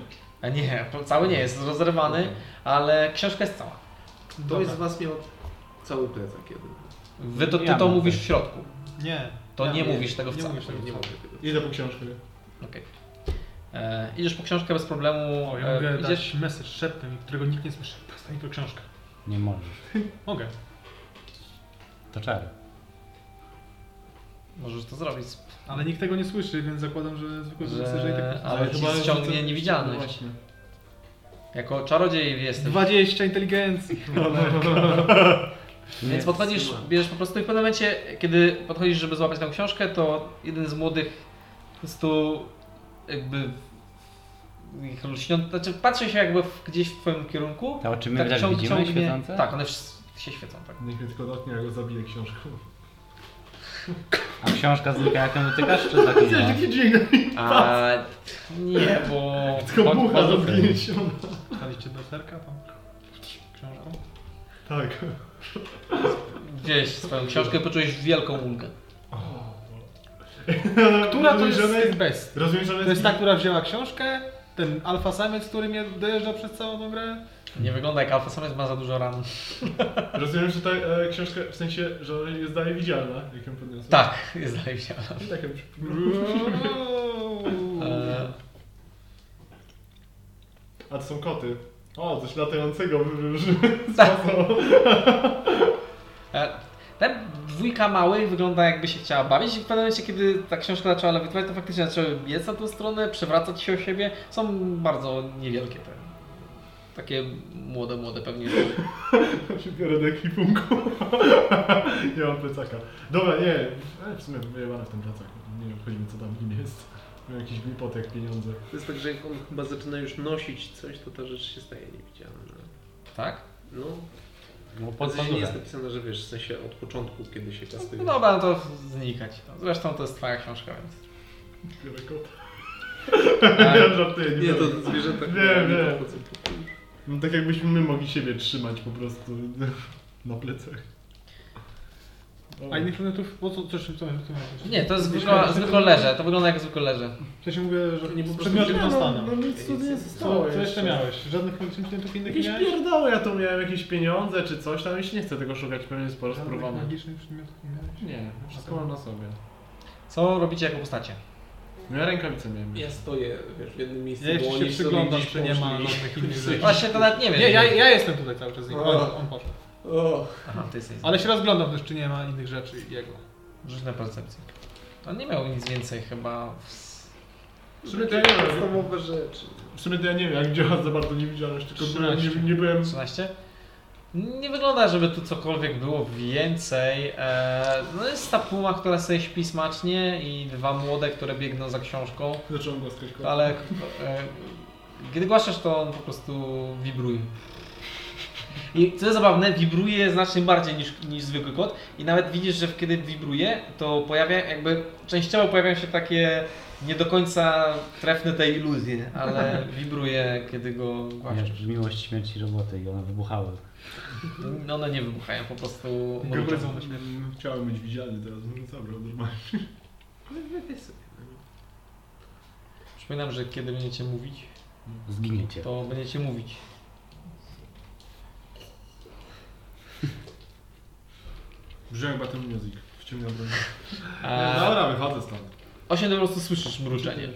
Speaker 1: A nie, cały nie jest rozrywany, ale książka jest cała.
Speaker 10: Ktoś z was miał cały plecak jeden.
Speaker 1: Wy to, ty
Speaker 3: Ja
Speaker 1: to
Speaker 3: mam
Speaker 1: mówisz
Speaker 6: tak.
Speaker 3: też.
Speaker 1: w środku.
Speaker 6: Nie.
Speaker 1: To
Speaker 6: Ja
Speaker 1: nie mówisz tego
Speaker 6: nie
Speaker 1: wcale.
Speaker 6: mówisz tego
Speaker 10: Nie
Speaker 6: wcale.
Speaker 10: mogę tego.
Speaker 5: Idę po książkę.
Speaker 1: Okej. E, Idziesz po książkę bez problemu.
Speaker 6: O, ja
Speaker 1: e,
Speaker 6: mogę
Speaker 1: idziesz,
Speaker 6: dać message szeptem, którego nikt nie słyszy. Postań to książkę.
Speaker 3: Nie możesz.
Speaker 6: Mogę.
Speaker 3: To czary.
Speaker 1: Możesz to zrobić.
Speaker 6: Ale nikt tego nie słyszy, więc zakładam, że zwykły rycerze i
Speaker 1: Że... No
Speaker 6: tak...
Speaker 1: Ale ci ściągnie niewidzialność. Jako czarodziej jesteś.
Speaker 6: 20 inteligencji.
Speaker 1: Więc podchodzisz, bierzesz po prostu i w pewnym momencie, kiedy podchodzisz, żeby złapać tę książkę, to jeden z młodych po prostu jakby ich lśnią, znaczy patrzy się jakby w, gdzieś w twoim kierunku.
Speaker 3: To czy my tak,
Speaker 1: ciąg-
Speaker 3: widzimy świecące?
Speaker 1: Tak, one wszyscy się świecą, tak.
Speaker 5: Niech mnie tylko dotknie, ja go zabiję książką.
Speaker 3: A książka znika jak ją dotykasz, czy tak nie?
Speaker 5: Taki dźwięk,
Speaker 1: A nie, bo...
Speaker 5: tylko bucha
Speaker 1: pod-
Speaker 5: rozgniesiona.
Speaker 6: Daliście do serka tam książką?
Speaker 5: Tak.
Speaker 1: Gdzieś swoją książkę poczułeś wielką ulgę.
Speaker 6: Która to
Speaker 5: Rozumiem,
Speaker 6: jest
Speaker 5: że ona
Speaker 6: z tych best?
Speaker 5: Rozumiem, że ona
Speaker 6: To jest tak- ta, która wzięła książkę, ten alfa samiec, który mnie dojeżdża przez całą tą grę.
Speaker 1: Nie wygląda jak alfa samec, ma za dużo ran.
Speaker 5: Rozumiem, że ta e, książka, w sensie, że ona jest dalej widzialna, jak ją podniosłem.
Speaker 1: Tak, jest zajęcia.
Speaker 5: I tak ją
Speaker 1: E,
Speaker 5: A to są koty. O, coś latającego wyróży.
Speaker 1: Tak. E, Ten dwójka małych wygląda jakby się chciała bawić i w pewnym momencie, kiedy ta książka zaczęła lewitować, to faktycznie zaczęły biec na tą stronę, przewracać się o siebie. Są bardzo niewielkie te. Takie młode, młode pewnie. że-
Speaker 5: Biorę do ekwipunku. nie mam plecaka. Dobra, nie. Ale w sumie wyjebane w tym plecaku. Nie obchodzi mnie, co tam w nim jest. Miałem jakiś głupotek, pieniądze.
Speaker 10: To jest tak, że jak on chyba zaczyna już nosić coś, to ta rzecz się staje niewidzialna.
Speaker 1: Tak?
Speaker 10: No,
Speaker 3: No, pod
Speaker 10: pod nie
Speaker 3: pazurę.
Speaker 10: jest napisane, że wiesz, w sensie od początku, kiedy się kastuje.
Speaker 1: No dobra, no to znikać. Zresztą to jest twoja książka, więc.
Speaker 5: Biorę kota.
Speaker 1: E,
Speaker 5: Ja żartuję, nie,
Speaker 10: Nie,
Speaker 5: to...
Speaker 10: to zwierzęta
Speaker 5: Wiem,
Speaker 10: chyba nie
Speaker 5: wiem.
Speaker 10: pochodzą.
Speaker 5: No tak jakbyśmy my mogli siebie trzymać po prostu na plecach. O,
Speaker 6: A innych przedmiotów, bo co, coś co, co, co,
Speaker 1: Nie, to jest zwykła, zwykle leże. To wygląda jak zwykle leże.
Speaker 6: W sensie mówię, że
Speaker 10: Nie, po
Speaker 6: z
Speaker 10: prostu
Speaker 6: przedmiotów
Speaker 10: nie,
Speaker 5: no, no,
Speaker 6: dostanę.
Speaker 5: no nic tu nie
Speaker 6: Co,
Speaker 5: zostało
Speaker 6: co jeszcze miałeś? Żadnych przedmiotów innych nie
Speaker 5: Jakieś
Speaker 6: miałeś?
Speaker 5: pierdoły, ja tu miałem jakieś pieniądze czy coś, tam już nie chcę tego szukać, pewnie sporo
Speaker 6: Żadnych
Speaker 5: spróbowałem.
Speaker 6: magicznych przedmiotów nie miałeś?
Speaker 5: Nie, wszystko mam na sobie.
Speaker 1: Co robicie jako postacie?
Speaker 5: No ja rękawice miałem.
Speaker 10: Ja stoję, wiesz, w jednym miejscu,
Speaker 6: Ja
Speaker 10: bo
Speaker 6: jeszcze się
Speaker 10: oni sobie
Speaker 6: przyglądam,
Speaker 10: gdzieś
Speaker 6: czy nie ma
Speaker 10: poszli.
Speaker 6: żadnych innych rzeczy.
Speaker 1: Właśnie to nawet nie wiem.
Speaker 6: Nie, ja, ja jestem tutaj cały czas z nim. On,
Speaker 10: O.
Speaker 6: on poszedł.
Speaker 10: O,
Speaker 1: Aha, ty jesteś.
Speaker 6: Ale się rozglądam też, czy nie ma innych rzeczy jego.
Speaker 1: Rzuć na percepcję. On nie miał nic więcej chyba. W...
Speaker 5: W sumie to ja nie wiem.
Speaker 10: podstawowe rzeczy.
Speaker 5: W sumie to ja nie wiem, jak działa za bardzo niewidzialność, tylko byłem, nie,
Speaker 6: 13.
Speaker 5: nie byłem...
Speaker 1: 13. Nie wygląda, żeby tu cokolwiek było więcej. Eee, no jest ta puma, która sobie śpi smacznie i dwa młode, które biegną za książką,
Speaker 5: Zacząłem głaskać kota.
Speaker 1: ale e, kiedy głaszasz, to on po prostu wibruje. I co jest zabawne, wibruje znacznie bardziej niż, niż zwykły kot i nawet widzisz, że kiedy wibruje, to pojawia jakby częściowo pojawiają się takie nie do końca trefne te iluzje, ale wibruje, kiedy go głaszczasz.
Speaker 3: Miałeś miłość śmierci roboty i one wybuchały.
Speaker 1: No One nie wybuchają, po prostu mruczą.
Speaker 5: Gryzą na śmierć. Mm, Chciałem być widzialny teraz, może zabrał normalnie.
Speaker 1: Przypominam, że kiedy będziecie mówić,
Speaker 3: Zginiecie.
Speaker 1: to będziecie mówić.
Speaker 5: Brzmiałem Battle Music, wciągnął broń.
Speaker 1: Eee,
Speaker 5: No, Dobra, wychodzę stąd.
Speaker 1: osiem to po prostu słyszysz mruczenie.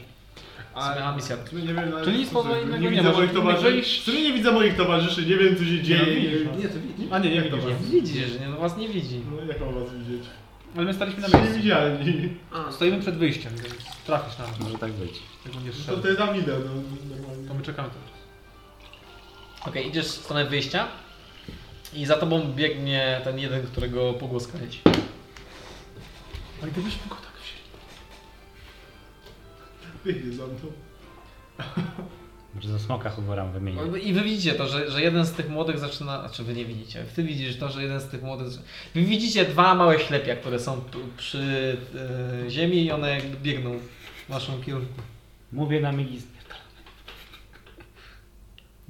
Speaker 6: A-
Speaker 1: Zmiana misja.
Speaker 5: W sumie nie wiem, ale-
Speaker 6: Czyli nic poza innego nie
Speaker 5: nie widzę
Speaker 6: ma,
Speaker 5: moich
Speaker 6: żeby
Speaker 5: towarzyszy.
Speaker 6: wyjść.
Speaker 5: W sumie nie widzę moich towarzyszy, nie wiem co się dzieje.
Speaker 6: widzisz,
Speaker 5: Nie,
Speaker 10: to widzisz.
Speaker 5: A nie, jak to
Speaker 6: widzisz.
Speaker 5: was?
Speaker 1: Widzisz, że nie, no was nie widzi.
Speaker 5: No jak mam was widzieć?
Speaker 6: Ale my staliśmy na
Speaker 5: Jesteście
Speaker 6: miejscu.
Speaker 5: niewidzialni.
Speaker 10: A,
Speaker 6: Stoimy przed wyjściem, więc trafisz na nas,
Speaker 3: Może tak być.
Speaker 6: jak będziesz
Speaker 5: To
Speaker 6: szedł.
Speaker 5: ty tam idę, no normalnie.
Speaker 6: To my czekamy cały czas.
Speaker 1: Okej, idziesz w stronę wyjścia i za tobą biegnie ten jeden, którego pogłoskałeś.
Speaker 6: Ale gdybyśmy go tak wzięli.
Speaker 5: Biegnie za mną.
Speaker 3: Może za smoka huboram wymienię.
Speaker 1: I wy widzicie to, że, że jeden z tych młodych zaczyna. Znaczy wy nie widzicie. Ty widzisz to, że jeden z tych młodych. Wy widzicie dwa małe ślepia, które są tu przy e, ziemi i one jakby biegną w waszą kierunku.
Speaker 3: Mówię na migi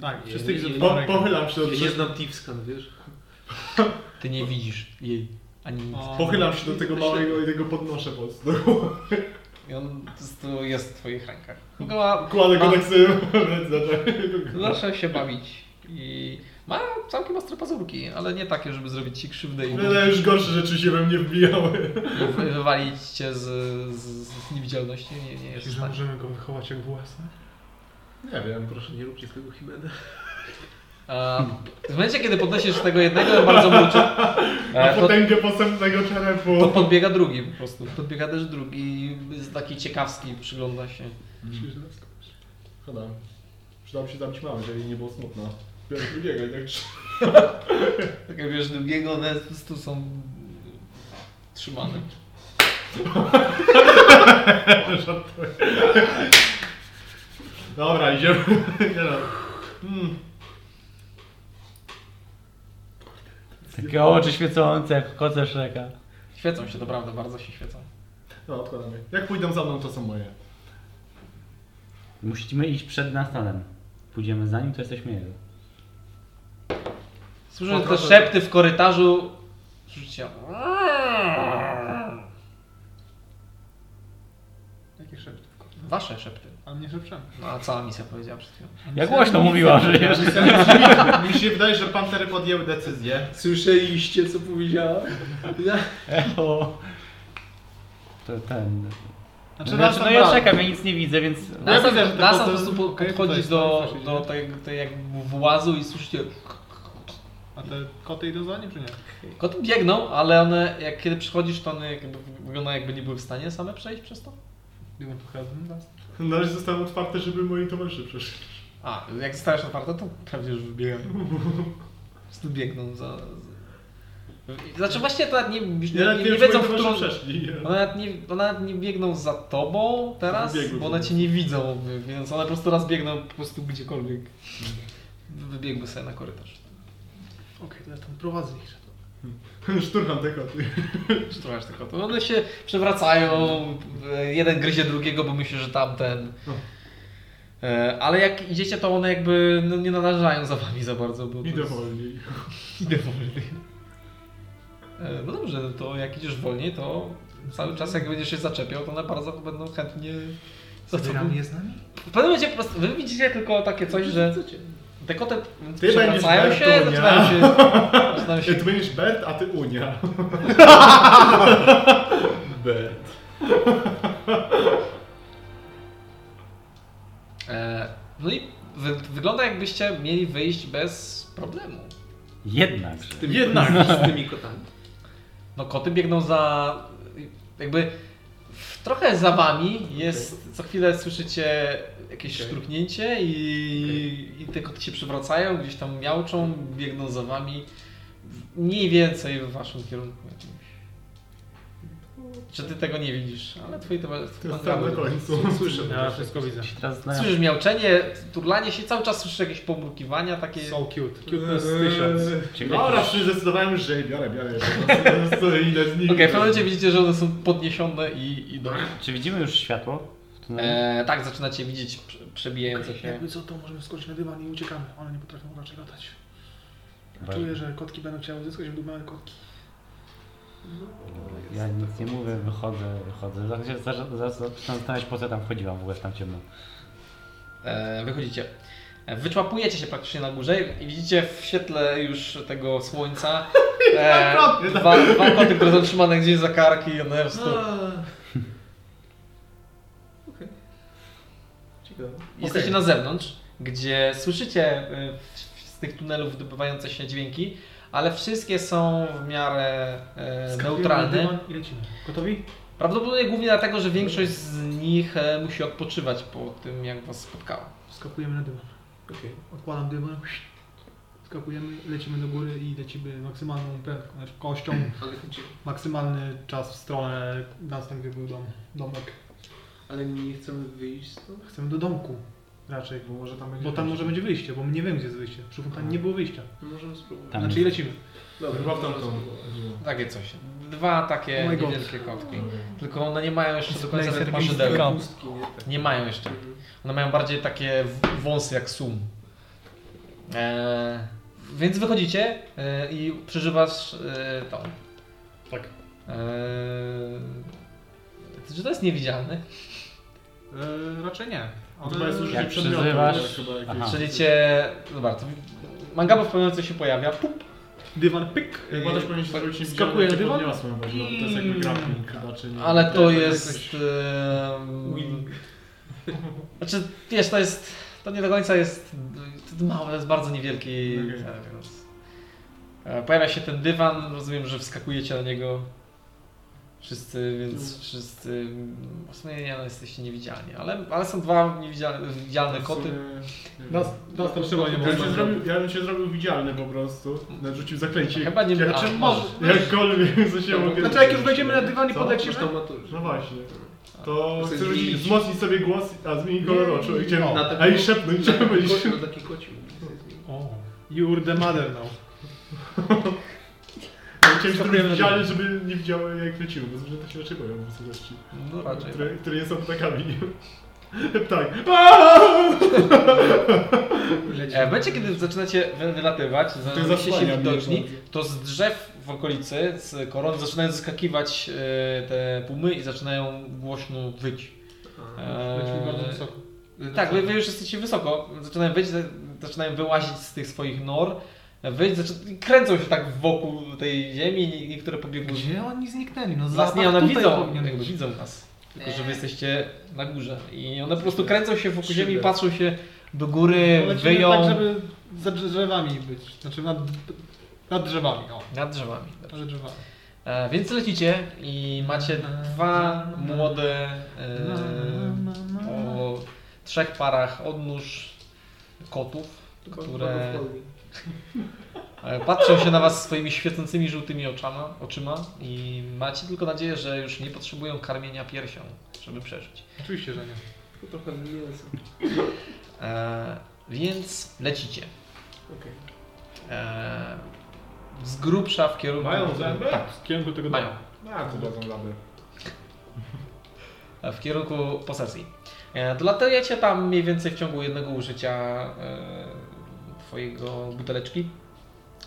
Speaker 6: Tak,
Speaker 10: Nie,
Speaker 6: wszyscy
Speaker 10: nie,
Speaker 6: ich
Speaker 10: nie,
Speaker 5: Po,
Speaker 6: ręką.
Speaker 5: pochylam się od
Speaker 10: ja nie znam Tivskan, wiesz?
Speaker 1: Ty nie widzisz jej ani nic.
Speaker 6: O,
Speaker 5: Pochylam się do tego małego i tego podnoszę po prostu.
Speaker 1: I on po prostu jest w twoich rękach. Goła
Speaker 5: Kładę go
Speaker 1: A. No.
Speaker 5: tak sobie w ręce. tak.
Speaker 1: zaczął się bawić. I ma całkiem ostre pazurki, ale nie takie, żeby zrobić ci krzywdę i
Speaker 5: Ale już gorsze rzeczy się we mnie wbijały.
Speaker 1: i wy- wywalić cię z, z, z niewidzialności. Nie, nie jest tak. w
Speaker 6: Myślisz, że
Speaker 1: stanie.
Speaker 6: możemy go wychować jak własne?
Speaker 5: Nie wiem,
Speaker 10: Proszę, nie róbcie z tego Himena.
Speaker 1: E, W momencie, kiedy podnosisz tego jednego bardzo mruczy,
Speaker 5: Na
Speaker 1: e, to,
Speaker 5: potęgę posępnego czerepu.
Speaker 1: to podbiega drugi po prostu. Podbiega też drugi i jest taki ciekawski, przygląda się.
Speaker 5: Szkoda. Przydało mi się zabić mamy, żeby jej nie było smutno. Biorę drugiego, jednak trzy.
Speaker 1: Tak jak wiesz, drugiego one po prostu są trzymane.
Speaker 5: Dobra, idziemy. Nie no. Mm.
Speaker 3: Takie oczy świecące, jak w koce Shreka.
Speaker 1: Świecą się, to prawda, bardzo się świecą.
Speaker 5: No, odkładam je. Jak pójdą za mną, to są moje.
Speaker 3: Musimy iść przed Nastanem. Pójdziemy za nim, to jesteśmy jego.
Speaker 1: Słyszę te szepty w korytarzu. Słyszycie.
Speaker 6: Jakie szepty?
Speaker 1: Wasze szepty.
Speaker 6: A mnie szepczemy.
Speaker 1: No a cała misja powiedziała przed chwilą.
Speaker 3: Ja głośno mówiła, że jest.
Speaker 5: Mi się wydaje, że pantery podjęły decyzję.
Speaker 10: Słyszeliście, co powiedziała? Ja...
Speaker 3: Echo. To ten.
Speaker 6: Znaczy,
Speaker 3: no,
Speaker 6: raz
Speaker 3: znaczy,
Speaker 6: tam
Speaker 3: no ja
Speaker 6: brałem.
Speaker 3: czekam, ja nic nie widzę, więc.
Speaker 6: Ja
Speaker 1: Nasa,
Speaker 6: widzę, że to
Speaker 1: Nasa po
Speaker 6: po to-
Speaker 1: prostu
Speaker 6: okej,
Speaker 1: podchodzi
Speaker 6: tutaj
Speaker 1: do,
Speaker 6: stoi,
Speaker 1: do
Speaker 6: słyszycie?
Speaker 1: tego, tego jak włazu i słyszycie...
Speaker 6: A te koty idą za nim, czy nie?
Speaker 1: Koty biegną, ale one, jak kiedy przychodzisz, to one jakby wyglądają jakby nie były w stanie same przejść przez to.
Speaker 6: Biegną tu razem.
Speaker 5: Na razie No, zostały otwarte, żeby moi towarzysze przeszli.
Speaker 1: A, jak zostajesz otwarte, to pewnie już wybiegają. Po prostu biegną za... za- Znaczy właśnie to nawet nie, już nie, nie,
Speaker 5: Ja nawet
Speaker 1: nie
Speaker 5: wiem, czy
Speaker 1: wiedzą,
Speaker 5: moi
Speaker 1: w którą...
Speaker 5: towarzysze przeszli.
Speaker 1: One nawet, nie, one nawet nie biegną za tobą teraz,
Speaker 5: Wybiegły
Speaker 1: bo one
Speaker 5: po
Speaker 1: cię nie widzą, więc one po prostu raz biegną po prostu gdziekolwiek.
Speaker 5: Mhm.
Speaker 1: Wybiegły sobie na korytarz.
Speaker 6: Okej, to ja tam prowadzę ich.
Speaker 5: Szturcham te koty.
Speaker 1: Szturchasz tylko to. One się przewracają, e, jeden gryzie drugiego, bo myślę, że tamten.
Speaker 5: No.
Speaker 1: E, Ale jak idziecie, to one jakby no, nie nadążają za wami za bardzo. Bo to
Speaker 5: Idę
Speaker 1: jest-
Speaker 5: wolniej.
Speaker 1: Idę wolniej. E, No dobrze, to jak idziesz wolniej, to cały czas jak będziesz się zaczepiał, to one bardzo będą chętnie za tobą
Speaker 28: Zabieramy je z nami?
Speaker 1: W pewnym momencie po prostu, wy widzicie tylko takie coś, że te koty
Speaker 5: Ty
Speaker 1: przewracają
Speaker 5: będziesz
Speaker 1: się,
Speaker 5: Bertunia.
Speaker 1: zaczynają się, zaczynają
Speaker 5: Ja,
Speaker 1: się...
Speaker 5: ty będziesz Bert, a ty Unia. Bert.
Speaker 1: E, no i wy, wygląda jakbyście mieli wyjść bez problemu.
Speaker 3: Jednakże.
Speaker 10: Tymi Jednak! Z tymi kotami.
Speaker 1: No koty biegną za... jakby w, trochę za wami jest, co chwilę słyszycie jakieś
Speaker 10: Okej.
Speaker 1: szturknięcie i, i te koty się przewracają, gdzieś tam miauczą, biegną za wami. W- Mniej więcej w waszym kierunku jakimś. Czy ty tego nie widzisz, ale twoi
Speaker 5: To
Speaker 1: towarzyszowie...
Speaker 5: jest tam na końcu.
Speaker 10: Słyszę.
Speaker 27: Ja wszystko widzę.
Speaker 3: Teraz znają.
Speaker 1: Słyszysz miauczenie, turlanie się, cały czas słyszysz jakieś pomrukiwania takie.
Speaker 27: So cute. Cuteness tysiąc.
Speaker 5: Eee, Dobra, się zdecydowałem, że biorę, biorę. Po prostu Ile z nich.
Speaker 1: Okej, w pewnym momencie widzicie, że one są podniesione i idą.
Speaker 3: Czy widzimy już światło? w tunelu?
Speaker 1: E, tak, zaczynacie widzieć prze- przebijające się.
Speaker 6: Jakby co, to możemy skoczyć na dywan i uciekamy. One nie potrafią raczej latać.
Speaker 3: Dobra.
Speaker 6: Czuję, że kotki będą chciały uzyskać, będą małe kotki.
Speaker 3: Ja nic nie mówię, wychodzę, wychodzę. Zaraz się zaraz- zaraz zaczynam zastanawiać, po co tam wchodziłam w ogóle w tam ciemno.
Speaker 1: E, wychodzicie. E, Wyczłapujecie się praktycznie na górze i widzicie w świetle już tego słońca e, dwa, dwa koty, które są trzymane gdzieś za karki i one po prostu...
Speaker 10: No.
Speaker 1: Jesteście na zewnątrz, gdzie słyszycie y, w- z tych tunelów wydobywające się dźwięki, ale wszystkie są w miarę e, neutralne.
Speaker 6: I lecimy. Gotowi?
Speaker 1: Prawdopodobnie głównie dlatego, że większość z nich e, musi odpoczywać po tym, jak was spotkało.
Speaker 6: Skakujemy na dywan.
Speaker 10: Okej.
Speaker 6: Odkładam dywan. Skakujemy, lecimy do góry i lecimy maksymalną prędkością,
Speaker 10: Ale chodzi...
Speaker 6: maksymalny czas w stronę miasta, gdzie był dom, domek.
Speaker 10: Ale nie chcemy wyjść stąd?
Speaker 6: Chcemy do domku raczej,
Speaker 5: Bo może tam będzie.
Speaker 6: bo tam może będzie wyjście, bo nie wiem gdzie jest wyjście. Przy fontannie nie było wyjścia.
Speaker 10: No możemy spróbować.
Speaker 3: Tam.
Speaker 1: Tak.
Speaker 6: Znaczy i lecimy.
Speaker 10: Dobra,
Speaker 5: Chyba w
Speaker 10: możemy
Speaker 5: tamtą.
Speaker 10: spróbować.
Speaker 1: Takie coś. Dwa takie
Speaker 6: Oh my God.
Speaker 1: niewielkie kotki. Tylko one nie mają jeszcze do końca
Speaker 3: Place
Speaker 1: tych
Speaker 3: at
Speaker 1: maszydełek.
Speaker 3: Mystic
Speaker 10: Pustki, nie tak.
Speaker 1: Nie mają jeszcze.
Speaker 10: Mhm.
Speaker 1: One mają bardziej takie w- wąsy jak sum. Eee, więc wychodzicie e, i przeżywasz e, tą.
Speaker 27: Tak.
Speaker 1: Eee, czy to jest niewidzialny?
Speaker 6: Eee, raczej nie.
Speaker 5: To chyba jest użycie
Speaker 3: Jak
Speaker 5: przedmiotu.
Speaker 3: przyzywasz-
Speaker 5: Chyba jakieś-
Speaker 3: Aha.
Speaker 1: Czyli cię. Dobra, to mangabo w pewnym momencie się pojawia. Pup.
Speaker 6: Dywan pyk.
Speaker 5: Chyba też powinien się zrobić
Speaker 6: Skakuje na dywan.
Speaker 5: Podniosłem, bo to jest jakby grappling chyba, czy nie. Tak,
Speaker 1: Ale to
Speaker 6: to
Speaker 1: jest.
Speaker 6: jakoś-
Speaker 1: em, Znaczy, wiesz, to jest. To nie do końca jest to małe, to jest bardzo niewielki. Okay. Więc... E, Pojawia się ten dywan, rozumiem, że wskakujecie na niego wszyscy, więc wszyscy. mm, W sumie nie, no, jesteście niewidzialni, ale, ale są dwa niewidzialne widzialne koty.
Speaker 5: No,
Speaker 1: No,
Speaker 2: Nas, nas tam chyba nie
Speaker 5: Ja bym, się
Speaker 2: było.
Speaker 5: zrobił, ja bym się zrobił widzialny po prostu. Narzucił zaklęcie.
Speaker 1: Chyba nie
Speaker 5: Jak,
Speaker 1: a,
Speaker 5: czym
Speaker 1: może.
Speaker 5: Jakkolwiek, co się
Speaker 6: No
Speaker 5: mogę...
Speaker 2: Znaczy jak już wejdziemy na dywan i
Speaker 5: Co?
Speaker 2: podlecimy,
Speaker 10: Zresztą ma to...
Speaker 5: No właśnie. To
Speaker 10: Chcesz
Speaker 5: chcę rzucić,
Speaker 10: zmienić?
Speaker 5: wzmocnić sobie głos, a zmieni kolor oczu. I Gdzie?
Speaker 6: no.
Speaker 10: Na taką-
Speaker 5: A i szepnąć,
Speaker 10: Na
Speaker 5: żeby
Speaker 10: taki
Speaker 5: powiedzieć.
Speaker 10: koci, na taki koci.
Speaker 6: O, you're the mother now.
Speaker 5: Ja Chciałem się zrobić widzialny, żeby nie widziały jak lecimy, bo zwierzęta się raczej boją wysokości.
Speaker 1: No raczej.
Speaker 5: Które, które nie są Tak. ptakami. Ptak.
Speaker 1: E, W momencie, kiedy zaczynacie wy- wylatywać, zaczynacie się
Speaker 5: zasłania mnie
Speaker 1: widoczni,
Speaker 5: bardzo.
Speaker 1: to z drzew w okolicy, z koron, zaczynają zaskakiwać e, te pumy i zaczynają głośno wyć. E,
Speaker 6: Lećmy bardzo wysoko.
Speaker 1: Tak, wy, wy już jesteście wysoko, zaczynają wyć, za- zaczynają wyłazić z tych swoich nor, wyć, zaczę- i kręcą się tak wokół tej ziemi, nie- niektóre pobiegły.
Speaker 6: Gdzie oni zniknęli? No
Speaker 1: Nas
Speaker 6: zapach
Speaker 1: nie, one
Speaker 6: tutaj
Speaker 1: widzą,
Speaker 6: powinien
Speaker 1: jakby
Speaker 6: być.
Speaker 1: widzą nas, tylko że wy
Speaker 6: E.
Speaker 1: jesteście na górze i one po prostu kręcą się wokół ziemi,
Speaker 5: Krzywe.
Speaker 1: patrzą się do góry,
Speaker 6: Lecimy
Speaker 1: wyją
Speaker 6: tak, żeby za drzewami być. Znaczy nad, nad drzewami, o.
Speaker 1: nad drzewami.
Speaker 6: Nad drzewami.
Speaker 1: E, więc lecicie i macie dwa młode e, o trzech parach odnóż kotów, które e, patrzą się na was swoimi świecącymi żółtymi oczama, oczyma i macie tylko nadzieję, że już nie potrzebują karmienia piersią, żeby przeżyć.
Speaker 6: Oczywiście, że nie.
Speaker 10: To trochę mięso.
Speaker 1: E, więc lecicie.
Speaker 10: Okej.
Speaker 1: E, z grubsza w kierunku...
Speaker 5: Mają zęby?
Speaker 1: Tak,
Speaker 5: W kierunku tego
Speaker 1: mają.
Speaker 5: A, to są laby.
Speaker 1: w kierunku posesji. E, Dolatujecie tam mniej więcej w ciągu jednego użycia e, twojego buteleczki.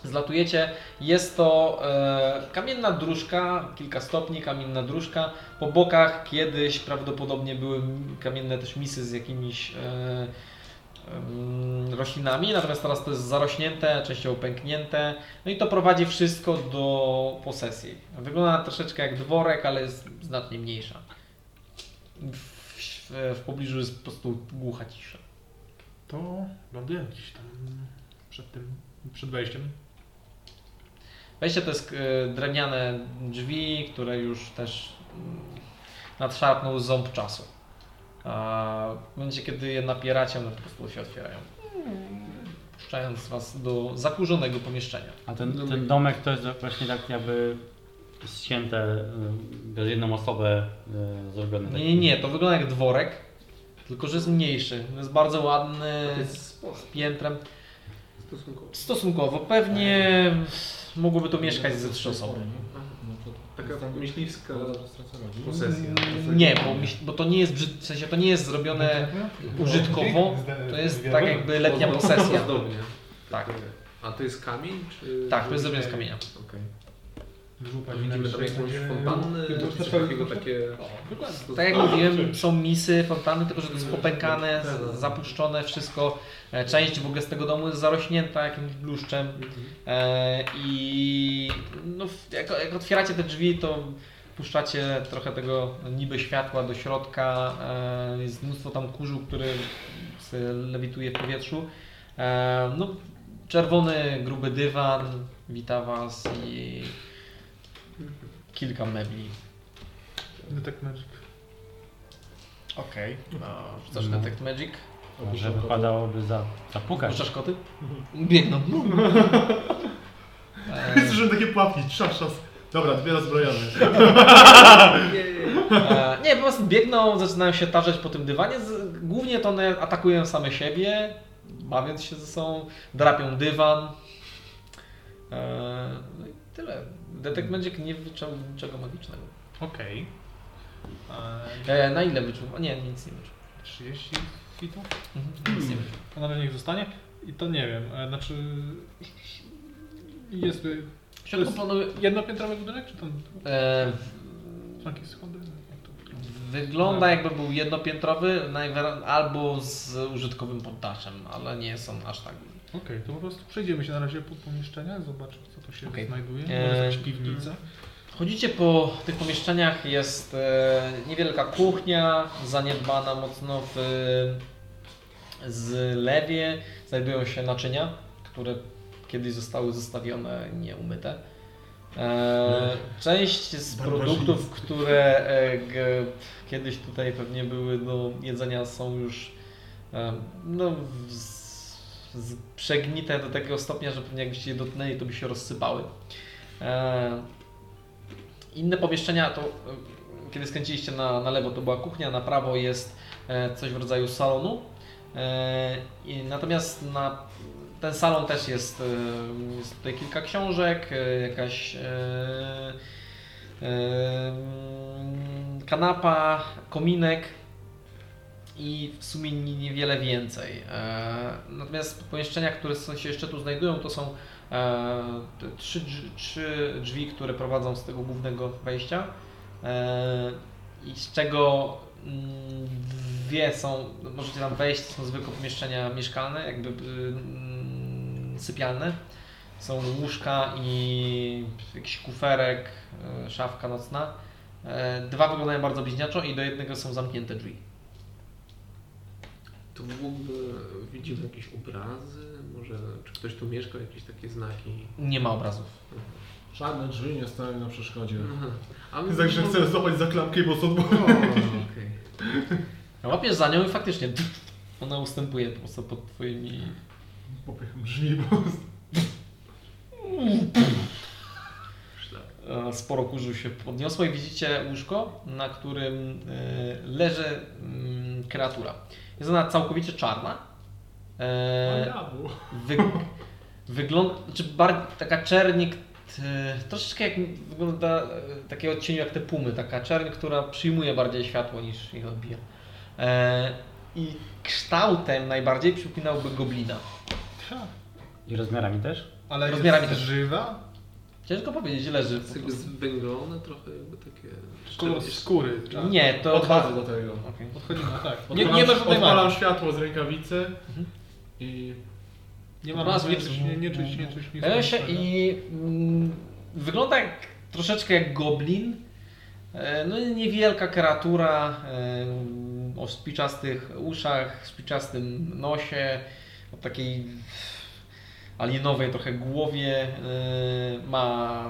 Speaker 1: Zlatujecie. Jest to e, kamienna dróżka, kilka stopni kamienna dróżka. Po bokach kiedyś prawdopodobnie były m- kamienne też misy z jakimiś e, em, roślinami, natomiast teraz to jest zarośnięte, częściowo pęknięte. No i to prowadzi wszystko do posesji. Wygląda troszeczkę jak dworek, ale jest znacznie mniejsza. W, w pobliżu jest po prostu głucha cisza.
Speaker 6: To ląduję gdzieś tam przed tym, przed wejściem.
Speaker 1: Wejście to jest e, drewniane drzwi, które już też mm, nadszarpnął ząb czasu. A w momencie, kiedy je napieracie, one po prostu się otwierają. Puszczając was do zakurzonego pomieszczenia.
Speaker 3: A ten, ten domek to jest właśnie tak jakby ścięte, y, przez jedną osobę y, zrobione.
Speaker 1: Nie, nie, nie, to wygląda jak dworek, tylko że jest mniejszy. Jest bardzo ładny,
Speaker 10: To jest
Speaker 1: z z piętrem.
Speaker 10: Stosunkowo.
Speaker 1: Stosunkowo, pewnie mogłoby tu mieszkać ze trzy osoby. no
Speaker 10: Taka myśliwska posesja.
Speaker 5: Posesja.
Speaker 1: Mm, Nie, bo, myśl- bo to nie jest brzyd... w sensie to nie jest zrobione
Speaker 5: No
Speaker 1: użytkowo, to jest tak jakby letnia posesja.
Speaker 10: Podobnie.
Speaker 1: Tak,
Speaker 10: A to jest kamień? Czy...
Speaker 1: tak, to jest zrobione z kamienia.
Speaker 10: Okej. Widzimy tam jakąś fontannę,
Speaker 6: Ty, to
Speaker 10: czy
Speaker 6: też
Speaker 10: coś takiego takie...
Speaker 1: Tak jak mówiłem, są misy, fontanny, tylko że to jest popękane, z- zapuszczone wszystko. E, Część w ogóle z tego domu jest zarośnięta jakimś bluszczem. E, I no, w- jak, jak otwieracie te drzwi, to puszczacie trochę tego niby światła do środka. E, Jest mnóstwo tam kurzu, który se lewituje w powietrzu. E, No, czerwony, gruby dywan wita Was i kilka mebli.
Speaker 6: Detect Magic.
Speaker 1: Okej. No, Rzucasz Detect Magic.
Speaker 3: Może wypadałoby za, zapukać.
Speaker 1: Puszczasz koty? Biegną. no. E,
Speaker 5: Słyszę takie płatki, szas, szas. Dobra, dwie rozbrojone.
Speaker 1: E, nie, po prostu biegną, zaczynają się tarzać po tym dywanie. Z, głównie to one atakują same siebie, bawiąc się ze sobą, drapią dywan. E, no i tyle. Detect Magic nie wyczuł niczego magicznego.
Speaker 6: Okej. Okay.
Speaker 1: E, na ile wyczuł? O, Nie, nic nie wyczuł.
Speaker 6: 30 fitów?
Speaker 1: Mhm, nic nie wyczuł.
Speaker 6: A nawet niech zostanie? I to nie wiem, e, znaczy... Jest y,
Speaker 1: W środku planuje...
Speaker 6: jednopiętrowy budynek, czy tam
Speaker 1: E,
Speaker 6: są jakieś schody? Jak to?
Speaker 1: Wygląda jakby był jednopiętrowy najwyra- albo z użytkowym poddaszem, ale nie są aż tak.
Speaker 6: Okej, to po prostu przejdziemy się na razie po pomieszczeniach, zobaczymy co to się
Speaker 1: Okej.
Speaker 6: znajduje.
Speaker 1: E,
Speaker 6: Może jakaś piwnica.
Speaker 1: Chodzicie po tych pomieszczeniach, jest e, niewielka kuchnia, zaniedbana mocno w Z lewie znajdują się naczynia, które kiedyś zostały zostawione nieumyte. E, Część z produktów, które e, g- kiedyś tutaj pewnie były do jedzenia są już e, no, z, z przegnite do takiego stopnia, że pewnie jakbyście je dotknęli, to by się rozsypały. E, Inne pomieszczenia to, e, kiedy skręciliście na, na lewo, to była kuchnia, na prawo jest e, coś w rodzaju salonu. E, i- Natomiast na ten salon też jest, e, jest tutaj kilka książek, e, jakaś e, e, kanapa, kominek i w sumie ni- niewiele więcej. E, Natomiast pomieszczenia, które są- się jeszcze tu znajdują, to są e, te trzy, drz- trzy drzwi, które prowadzą z tego głównego wejścia. E, I z czego mm, dwie są, możecie tam wejść, to są zwykłe pomieszczenia mieszkalne, jakby y, mm, sypialne. Są łóżka i jakiś kuferek, e, szafka nocna. E, Dwa wyglądają bardzo bliźniaczo i do jednego są zamknięte drzwi.
Speaker 10: Tu w ogóle widzimy jakieś obrazy, może czy ktoś tu mieszkał, jakieś takie znaki.
Speaker 1: Nie ma obrazów.
Speaker 5: Żadne drzwi nie stają na przeszkodzie.
Speaker 10: Aha. A my
Speaker 5: Także tak, chcę złapać za klamkę, bo są
Speaker 10: O, Okej.
Speaker 1: No, łapiesz za nią i faktycznie ona ustępuje po prostu pod twoimi...
Speaker 5: popycham drzwi po prostu.
Speaker 10: Szlak.
Speaker 1: e, Sporo kurzu się podniosło i widzicie łóżko, na którym e, leży mm, kreatura. Jest ona całkowicie czarna. E,
Speaker 29: Diabłu.
Speaker 1: Wy, wygląda, znaczy bar, taka czernik, t, troszeczkę jak wygląda e, takiego odcieniu jak te pumy, taka czerń, która przyjmuje bardziej światło niż ich odbija. E, I kształtem najbardziej przypominałby goblina.
Speaker 3: I rozmiarami też?
Speaker 6: Ale
Speaker 1: Rozmiarami
Speaker 6: jest
Speaker 1: też.
Speaker 6: żywa?
Speaker 1: Ciężko powiedzieć, leży po
Speaker 10: Jest jakby
Speaker 1: prostu.
Speaker 10: zwęglone trochę, jakby takie...
Speaker 6: Kolor skóry. tak.
Speaker 1: Nie, to...
Speaker 5: Podchodzę do tego.
Speaker 1: Okej.
Speaker 6: Podchodzimy, tak.
Speaker 5: Odpalam,
Speaker 6: nie ma żadnej
Speaker 5: odpalam
Speaker 6: magii.
Speaker 5: światło z rękawicy
Speaker 1: Mhm.
Speaker 5: i
Speaker 6: Nie ma
Speaker 1: Raz,
Speaker 6: nie
Speaker 1: więc-
Speaker 6: czuć, nie, nie czuć, nie czuć nic.
Speaker 1: Pojawia E, się
Speaker 6: niczego.
Speaker 1: i mm, wygląda jak, troszeczkę jak goblin. E, No i niewielka kreatura e, o spiczastych uszach, spiczastym nosie, o takiej alienowej trochę głowie. e, Ma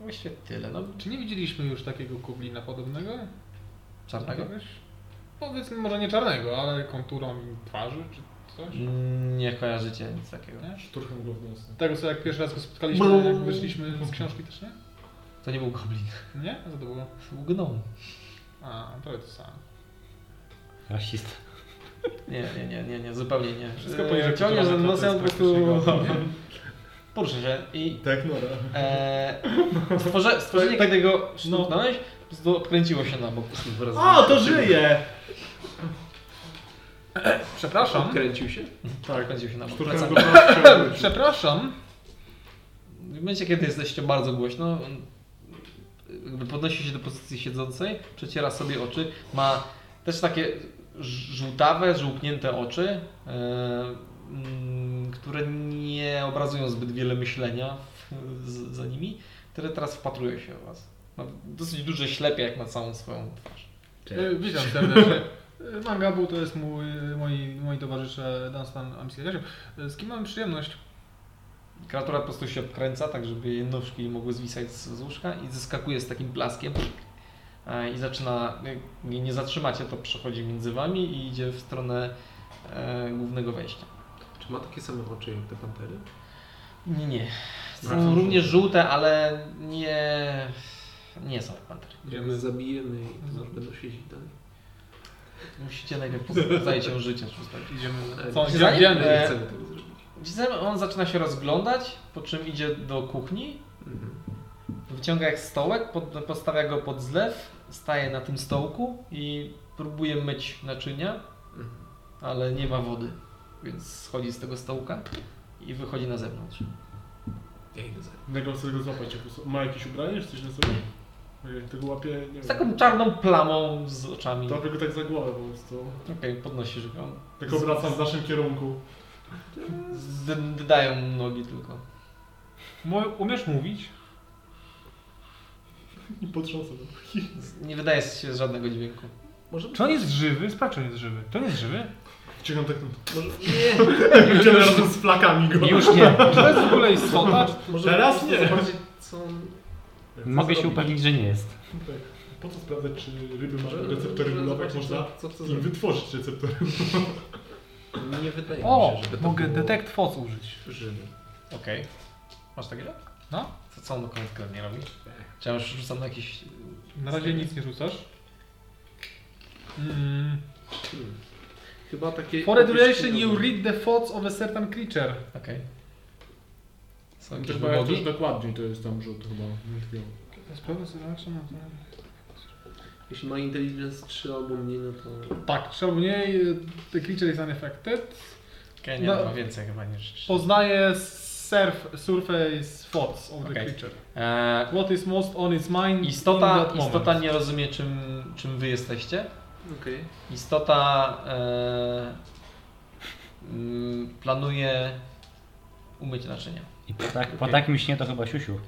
Speaker 1: właściwie tyle, no
Speaker 6: Czy nie widzieliśmy już takiego kublina podobnego?
Speaker 1: czarnego.
Speaker 6: Jakiegoś? Powiedzmy może nie czarnego, ale konturą twarzy czy coś.
Speaker 1: Mm, Nie kojarzycie nic takiego.
Speaker 5: szturcham go w nos.
Speaker 6: Tego co jak pierwszy raz go spotkaliśmy, jak wyszliśmy z książki też, nie?
Speaker 1: To nie był goblin,
Speaker 6: Nie? Co to było?
Speaker 1: to był gnom.
Speaker 6: A, to jest sam.
Speaker 3: Rasista.
Speaker 1: Nie, nie, nie, nie, nie, zupełnie nie.
Speaker 6: Wszystko
Speaker 1: E,
Speaker 6: poniżej
Speaker 1: Ciągniesz
Speaker 6: kilometra
Speaker 1: nosem
Speaker 6: to
Speaker 1: po
Speaker 6: jest
Speaker 1: prostu...
Speaker 6: praktycznie
Speaker 1: Poruszę się i
Speaker 5: Tak, Nora.
Speaker 1: e, stworze, stworzenie, którego sztuknąłeś, po prostu kręciło się na bok.
Speaker 10: Wraz
Speaker 5: O, to żyje!
Speaker 6: Przepraszam.
Speaker 10: Kręcił się?
Speaker 1: Tak, kręciło się na bok.
Speaker 5: Szturcham
Speaker 1: Wracam.
Speaker 5: go w nos.
Speaker 6: Przepraszam.
Speaker 1: W momencie, kiedy jesteście bardzo głośno, jakby podnosi się do pozycji siedzącej, przeciera sobie oczy, ma też takie ż- żółtawe, żółknięte oczy, e, mm, które nie obrazują zbyt wiele myślenia w- z, za nimi, które teraz wpatruje się w was. Ma dosyć duże ślepie jak na całą swoją twarz.
Speaker 6: Y, Witam serdecznie. Y, Mangabu to jest mój, moi, moi towarzysze Dunstan Amisiasiu. E, Z kim mam przyjemność?
Speaker 1: Kreatura po prostu się obkręca, tak żeby jej nóżki mogły zwisać z, z łóżka i zeskakuje z takim blaskiem e, i zaczyna, jak jej nie zatrzymacie, to przechodzi między wami i idzie w stronę e, głównego wejścia.
Speaker 10: Czy ma takie same oczy jak te pantery?
Speaker 1: Nie, nie. Są
Speaker 10: Wracam.
Speaker 1: również żółte, ale nie, nie są jak pantery.
Speaker 10: Jak my zabijemy i to nas będą siedzieć dalej.
Speaker 1: Musicie najpierw zająć się życiem. po prostu.
Speaker 6: Idziemy.
Speaker 10: Co,
Speaker 6: Co,
Speaker 1: gdzie
Speaker 6: gdzie
Speaker 1: idziemy?
Speaker 10: Nie
Speaker 1: E,
Speaker 10: chcemy tego zrobić.
Speaker 1: Widzę, on zaczyna się rozglądać, po czym idzie do kuchni
Speaker 10: Mhm.
Speaker 1: Wyciąga jak stołek, pod, postawia go pod zlew, staje na tym stołku i próbuje myć naczynia,
Speaker 10: Mhm.
Speaker 1: ale nie ma wody, więc schodzi z tego stołka i wychodzi na zewnątrz.
Speaker 10: Ja idę za
Speaker 5: Nego chcę go złapać. jak us- Ma jakieś ubranie czy coś na sobie? Bo Jak tego łapię, nie wiem.
Speaker 1: Z taką czarną plamą z oczami.
Speaker 5: Łapię go tak za głowę po prostu.
Speaker 1: Okej, podnosisz go.
Speaker 5: Tak obracam w naszym kierunku.
Speaker 1: Z- Dydają nogi tylko.
Speaker 6: Mo- umiesz mówić?
Speaker 5: I potrząsam.
Speaker 1: Nie wydaje się z żadnego dźwięku.
Speaker 10: Może
Speaker 6: Czy on jest żywy? Sprawdź, czy on jest żywy. To nie jest żywy?
Speaker 5: Ciągam tak
Speaker 10: Może, nie,
Speaker 5: Idziemy razem z flakami go.
Speaker 3: Już nie.
Speaker 6: Czy to jest w ogóle istota? Czy-
Speaker 10: może
Speaker 5: Teraz
Speaker 10: po prostu
Speaker 5: nie.
Speaker 10: Zobaczyć, co on...
Speaker 3: Mogę się
Speaker 5: zrobić?
Speaker 3: upewnić, że nie jest.
Speaker 5: Tak. Po co sprawdzać, czy ryby
Speaker 10: Może
Speaker 5: mają receptory
Speaker 10: może
Speaker 5: gulowe,
Speaker 10: zobaczyć,
Speaker 5: można
Speaker 10: co, co chce
Speaker 5: im
Speaker 10: zrobić.
Speaker 5: wytworzyć receptory.
Speaker 10: Nie wydaje mi
Speaker 6: O,
Speaker 10: się, żeby to
Speaker 6: mogę
Speaker 10: było
Speaker 6: detect foc użyć.
Speaker 10: Żywy.
Speaker 1: Okej. Masz takiego?
Speaker 6: No.
Speaker 1: To co on do końca tygodnia robi? Czy ja już rzucam na jakiś...
Speaker 6: Na razie nic nie rzucasz. Mm.
Speaker 10: Hmm. Chyba takie...
Speaker 6: For duration you read the thoughts of a certain creature.
Speaker 1: Okej. Są jakieś
Speaker 5: Też ma jak
Speaker 1: wymogi?
Speaker 5: też dokładniej to jest tam rzut chyba. nie tkwiło.
Speaker 10: Jeśli ma intelligence 3 albo mniej, no to...
Speaker 6: Tak, trzeba mniej. y, The creature is unaffected.
Speaker 1: Okej, nie,
Speaker 6: No.
Speaker 1: no. ma więcej chyba niż...
Speaker 6: Poznaje surf, surface thoughts of the
Speaker 1: Okej.
Speaker 6: creature.
Speaker 1: E,
Speaker 6: What is most on its mind in
Speaker 1: istota,
Speaker 6: that moment.
Speaker 1: istota nie rozumie czym, czym wy jesteście.
Speaker 10: Okej.
Speaker 1: Istota e, mm, planuje umyć naczynia.
Speaker 3: I po, tak, po takim śnie to chyba siusiu.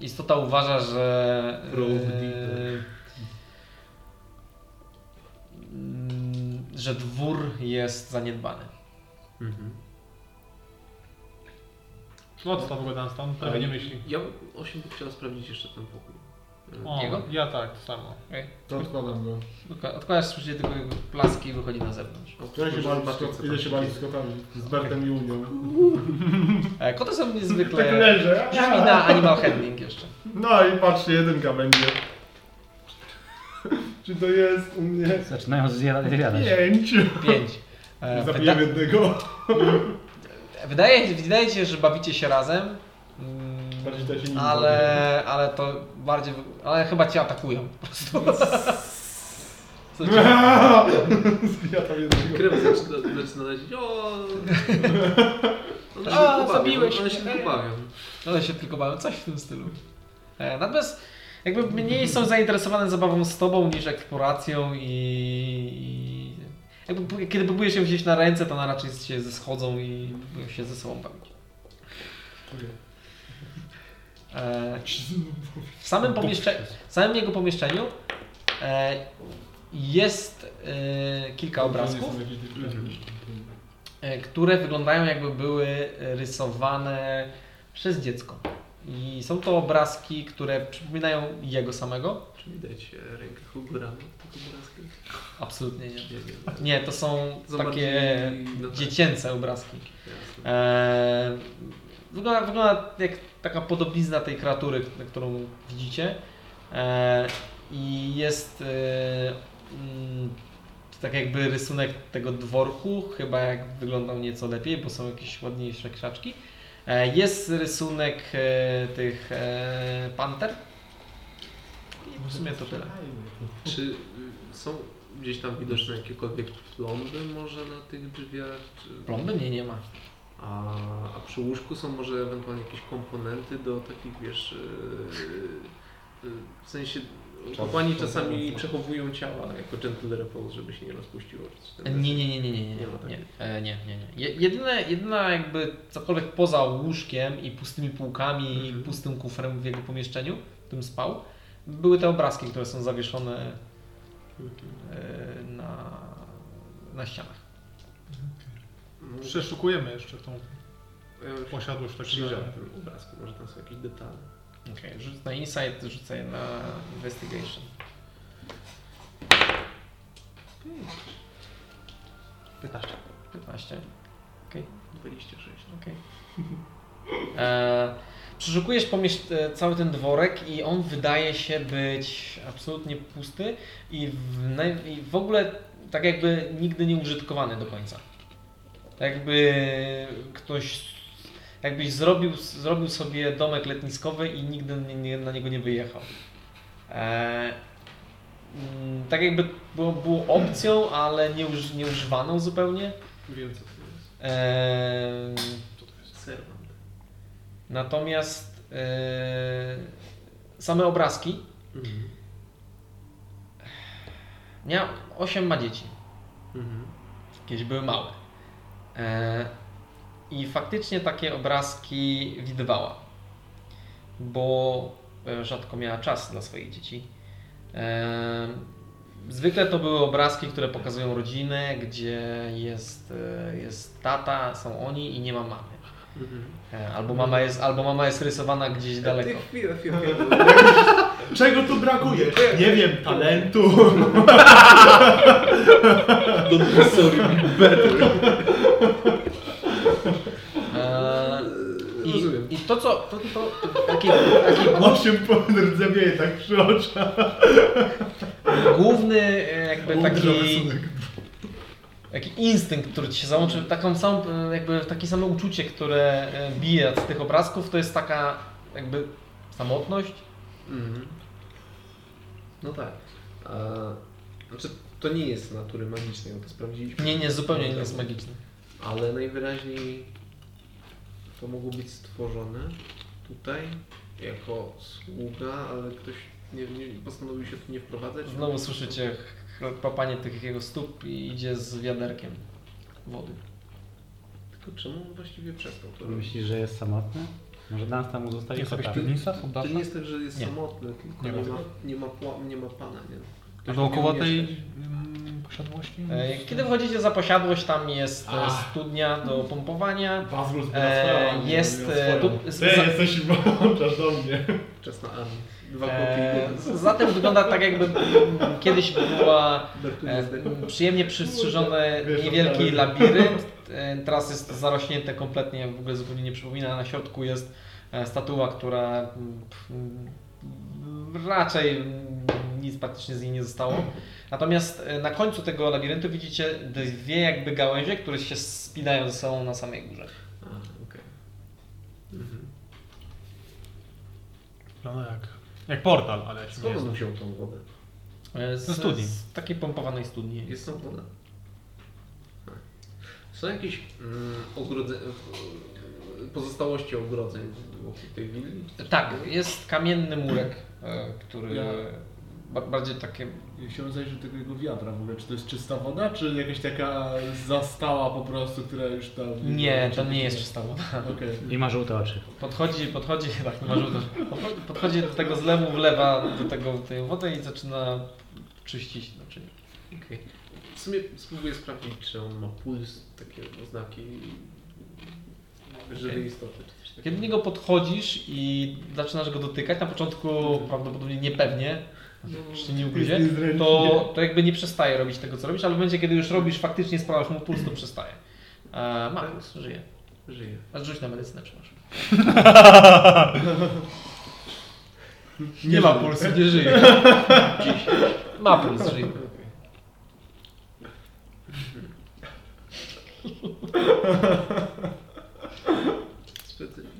Speaker 1: Istota uważa, że. e,
Speaker 10: Równy.
Speaker 1: Mm, że dwór jest zaniedbany.
Speaker 5: Mhm.
Speaker 6: No co tam w ogóle Tak. Dan stan? Prawie nie myśli.
Speaker 10: Ja bym 8 chciał sprawdzić jeszcze ten pokój.
Speaker 6: O,
Speaker 1: Jego?
Speaker 6: ja tak, to samo.
Speaker 5: To odkładam go.
Speaker 1: Odkła- Odkładasz, słyszycie tylko jego plaski i wychodzi na zewnątrz.
Speaker 10: O,
Speaker 5: Ja się
Speaker 10: może
Speaker 5: bawię,
Speaker 10: zobaczyć,
Speaker 5: z
Speaker 10: co
Speaker 5: Kot- idę
Speaker 10: tam
Speaker 5: się
Speaker 10: się
Speaker 5: bawić z kotami. Z Bertem i Unią.
Speaker 1: E, Koty są
Speaker 5: Tak
Speaker 1: niezwykle.
Speaker 5: leżę.
Speaker 1: I na Animal Handling jeszcze.
Speaker 5: No i patrzcie, jedynka będzie. Czy to jest u mnie?
Speaker 3: Zaczynają zjada- zjadać.
Speaker 5: Pięć.
Speaker 1: Pięć. E,
Speaker 5: Zabiję
Speaker 1: wyda-
Speaker 5: jednego.
Speaker 1: wydaje, wydaje ci się, że bawicie się razem. mm,
Speaker 5: Bardziej to ja się nim
Speaker 1: Ale, ale to bardziej. wy- Ale chyba cię atakują po prostu. Co cię-
Speaker 5: Zbijam jednego.
Speaker 10: Krew zaczyna, zaczyna lecieć. O! No, One się
Speaker 1: A,
Speaker 10: tylko bawią,
Speaker 1: zabiłeś
Speaker 10: One się
Speaker 1: mnie.
Speaker 10: tylko bawią.
Speaker 1: No się tylko bawią, coś w tym stylu. E, Natomiast jakby mniej są zainteresowane zabawą z tobą niż eksploracją i... i jakby, p- kiedy próbuje się wziąć na ręce, to na raczej się schodzą i próbują się ze sobą bawić. E, W samym, pomieszcze... w samym jego pomieszczeniu e, jest e, kilka obrazków
Speaker 5: Mhm.
Speaker 1: e, które wyglądają jakby były rysowane przez dziecko. I są to obrazki, które przypominają jego samego?
Speaker 10: Czy widać e, rękę Hugura? Tylko obrazki.
Speaker 1: Absolutnie nie.
Speaker 10: Nie wiem.
Speaker 1: Nie, to są
Speaker 10: Zobaczyli-
Speaker 1: takie
Speaker 10: Tak. no tak.
Speaker 1: dziecięce obrazki.
Speaker 10: Jasne.
Speaker 1: E, wygląda, wygląda jak taka podobizna tej kreatury, k- którą widzicie. E, I jest e, mm, tak jakby rysunek tego dworku, chyba jak wyglądał nieco lepiej, bo są jakieś ładniejsze krzaczki. E, jest rysunek e, tych e, panter. I w sumie to tyle.
Speaker 10: Czy y, są gdzieś tam widoczne jakiekolwiek plomby może na tych drzwiach? Czy...
Speaker 1: Plomby mnie nie ma.
Speaker 10: A, a przy łóżku są może ewentualnie jakieś komponenty do takich, wiesz, yy, yy, w sensie kapłani czasami przechowują ciała jako gentle repose, żeby się nie rozpuściło. czy
Speaker 1: Nie,
Speaker 10: ten-
Speaker 1: nie, nie, nie, nie, nie, nie,
Speaker 10: Nie ma takiej.
Speaker 1: nie, E, nie, nie, nie. Je- Jedyne, jedyna jakby cokolwiek poza łóżkiem i pustymi półkami i
Speaker 10: Mhm.
Speaker 1: pustym kufrem w jego pomieszczeniu, w którym spał, były te obrazki, które są zawieszone e, na, na ścianach.
Speaker 10: No,
Speaker 6: Przeszukujemy jeszcze tą
Speaker 10: ja już
Speaker 6: posiadłość tak
Speaker 10: E,
Speaker 5: No.
Speaker 10: przyjrzałem tym obrazku, może tam są jakieś detale.
Speaker 1: Okej, rzuć na insight, rzucaj na investigation.
Speaker 6: Pytasz.
Speaker 1: 15.
Speaker 10: 26.
Speaker 1: Okej. E, Przeszukujesz pomiesz- e, cały ten dworek i on wydaje się być absolutnie pusty i w, naj- i w ogóle tak jakby nigdy nie użytkowany do końca. Tak jakby ktoś, jakbyś zrobił, zrobił sobie domek letniskowy i nigdy nie, nie, na niego nie wyjechał. E, mm, tak jakby było, było opcją, ale nie, uż, nie używaną zupełnie.
Speaker 10: Wiem co to jest.
Speaker 1: E,
Speaker 10: Serwant.
Speaker 1: Natomiast e, same obrazki.
Speaker 10: Mhm.
Speaker 1: Miał 8 ma dzieci.
Speaker 10: Mhm.
Speaker 1: Kiedyś były małe. E, I faktycznie takie obrazki widywała. Bo e, rzadko miała czas dla swoich dzieci. E, Zwykle to były obrazki, które pokazują rodzinę, gdzie jest, e, jest tata, są oni i nie ma mamy. E, Albo mama jest, albo mama jest rysowana
Speaker 10: E,
Speaker 1: gdzieś daleko.
Speaker 10: Chwilę, chwilę, chwilę.
Speaker 2: Czego tu brakuje? Nie wiem, talentu.
Speaker 1: E, I,
Speaker 10: Rozumiem.
Speaker 1: I to co, to, to, taki, taki
Speaker 2: Osiem rdzewieje tak przy oczach.
Speaker 1: główny e, jakby
Speaker 2: Główny
Speaker 1: taki,
Speaker 2: rysunek.
Speaker 1: taki instynkt, który ci się załączy, taką sam, e, jakby takie samo uczucie, które e, bije z tych obrazków, to jest taka jakby samotność.
Speaker 10: Mhm. No tak. A, znaczy, to nie jest natury magicznej, bo to sprawdziliśmy.
Speaker 1: Nie, nie, zupełnie nie jest magiczny.
Speaker 10: Ale najwyraźniej to mogło być stworzone tutaj jako sługa, ale ktoś nie, nie postanowił się tu nie wprowadzać.
Speaker 1: Znowu słyszycie papanie tych jego stóp i idzie z wiaderkiem wody.
Speaker 10: Tylko czemu on właściwie przestał to robić?
Speaker 3: Myślisz, że jest samotny? Może nas tam zostaje
Speaker 6: Jest jakaś
Speaker 3: kota.
Speaker 6: piwnica
Speaker 10: To nie
Speaker 6: poddasza?
Speaker 10: jest tak, że jest
Speaker 1: Nie.
Speaker 10: samotny, tylko
Speaker 6: Nie
Speaker 10: nie,
Speaker 6: ma
Speaker 10: ma, nie, ma, pła- nie ma pana, nie?
Speaker 6: A
Speaker 10: Ktoś
Speaker 6: dookoła
Speaker 10: nie
Speaker 6: tej
Speaker 10: umieszcza.
Speaker 6: mm, posiadłości?
Speaker 1: E, Kiedy wchodzicie za posiadłość, tam jest e, studnia do pompowania.
Speaker 5: Bazgruz
Speaker 1: E, jest e, tu, z,
Speaker 5: Ty
Speaker 1: za,
Speaker 5: jesteś i włączasz do mnie.
Speaker 10: Wczesna armia. Dwa
Speaker 1: e,
Speaker 10: kopii.
Speaker 1: zatem wygląda tak jakby mm, kiedyś była
Speaker 10: Darkuje
Speaker 1: e,
Speaker 10: z tego.
Speaker 1: przyjemnie przystrzyżony
Speaker 5: Wiesz,
Speaker 1: niewielki
Speaker 5: odpalenie.
Speaker 1: labirynt. E, teraz jest zarośnięte kompletnie, w ogóle zupełnie nie przypomina. Na środku jest e, statua, która mm, pff, mm, raczej mm, nic praktycznie z niej nie zostało. Natomiast e, na końcu tego labiryntu widzicie dwie jakby gałęzie, które się spinają ze sobą na samej górze.
Speaker 10: A, okej. Mhm.
Speaker 6: Wygląda jak, jak portal, ale
Speaker 10: Skąd on
Speaker 6: śmieszny.
Speaker 10: wziął tą wodę?
Speaker 1: E, Z,
Speaker 6: Ze studni.
Speaker 1: Z takiej pompowanej studni.
Speaker 10: Jest tam woda. Są jakieś mm, ogrodze... pozostałości ogrodzeń wokół tej willi?
Speaker 1: Tak, jest kamienny murek, e, który
Speaker 5: Ja-
Speaker 1: ba- bardziej takie
Speaker 5: Ja Chciałem zajrzeć do tego jego wiadra w ogóle. Czy to jest czysta woda, czy jakaś taka zastała po prostu, która już tam...
Speaker 1: Nie, to nie jest czysta woda.
Speaker 5: Okej.
Speaker 3: I ma żółte oczy.
Speaker 1: Podchodzi, podchodzi, tak, nie ma żółtych. Podchodzi- podchodzi do tego zlewu, wlewa do tego tej wody i zaczyna czyścić naczynie.
Speaker 10: Okej. W sumie spróbuję sprawdzić, czy on ma puls, takie oznaki żywej
Speaker 1: Okej.
Speaker 10: istoty. Czy coś takiego.
Speaker 1: Kiedy do niego podchodzisz i zaczynasz go dotykać, na początku prawdopodobnie niepewnie, czy nie ugryzie, to, to jakby nie przestaje robić tego, co robisz, ale w momencie, kiedy już robisz, faktycznie sprawdzasz mu puls, to przestaje. E, ma, puls, żyje.
Speaker 10: Żyje.
Speaker 1: A Rzuć na medycynę, przepraszam.
Speaker 2: Nie, ma pulsu.
Speaker 1: Pulsu nie żyje. Ma puls, żyje.
Speaker 10: Specyficzne.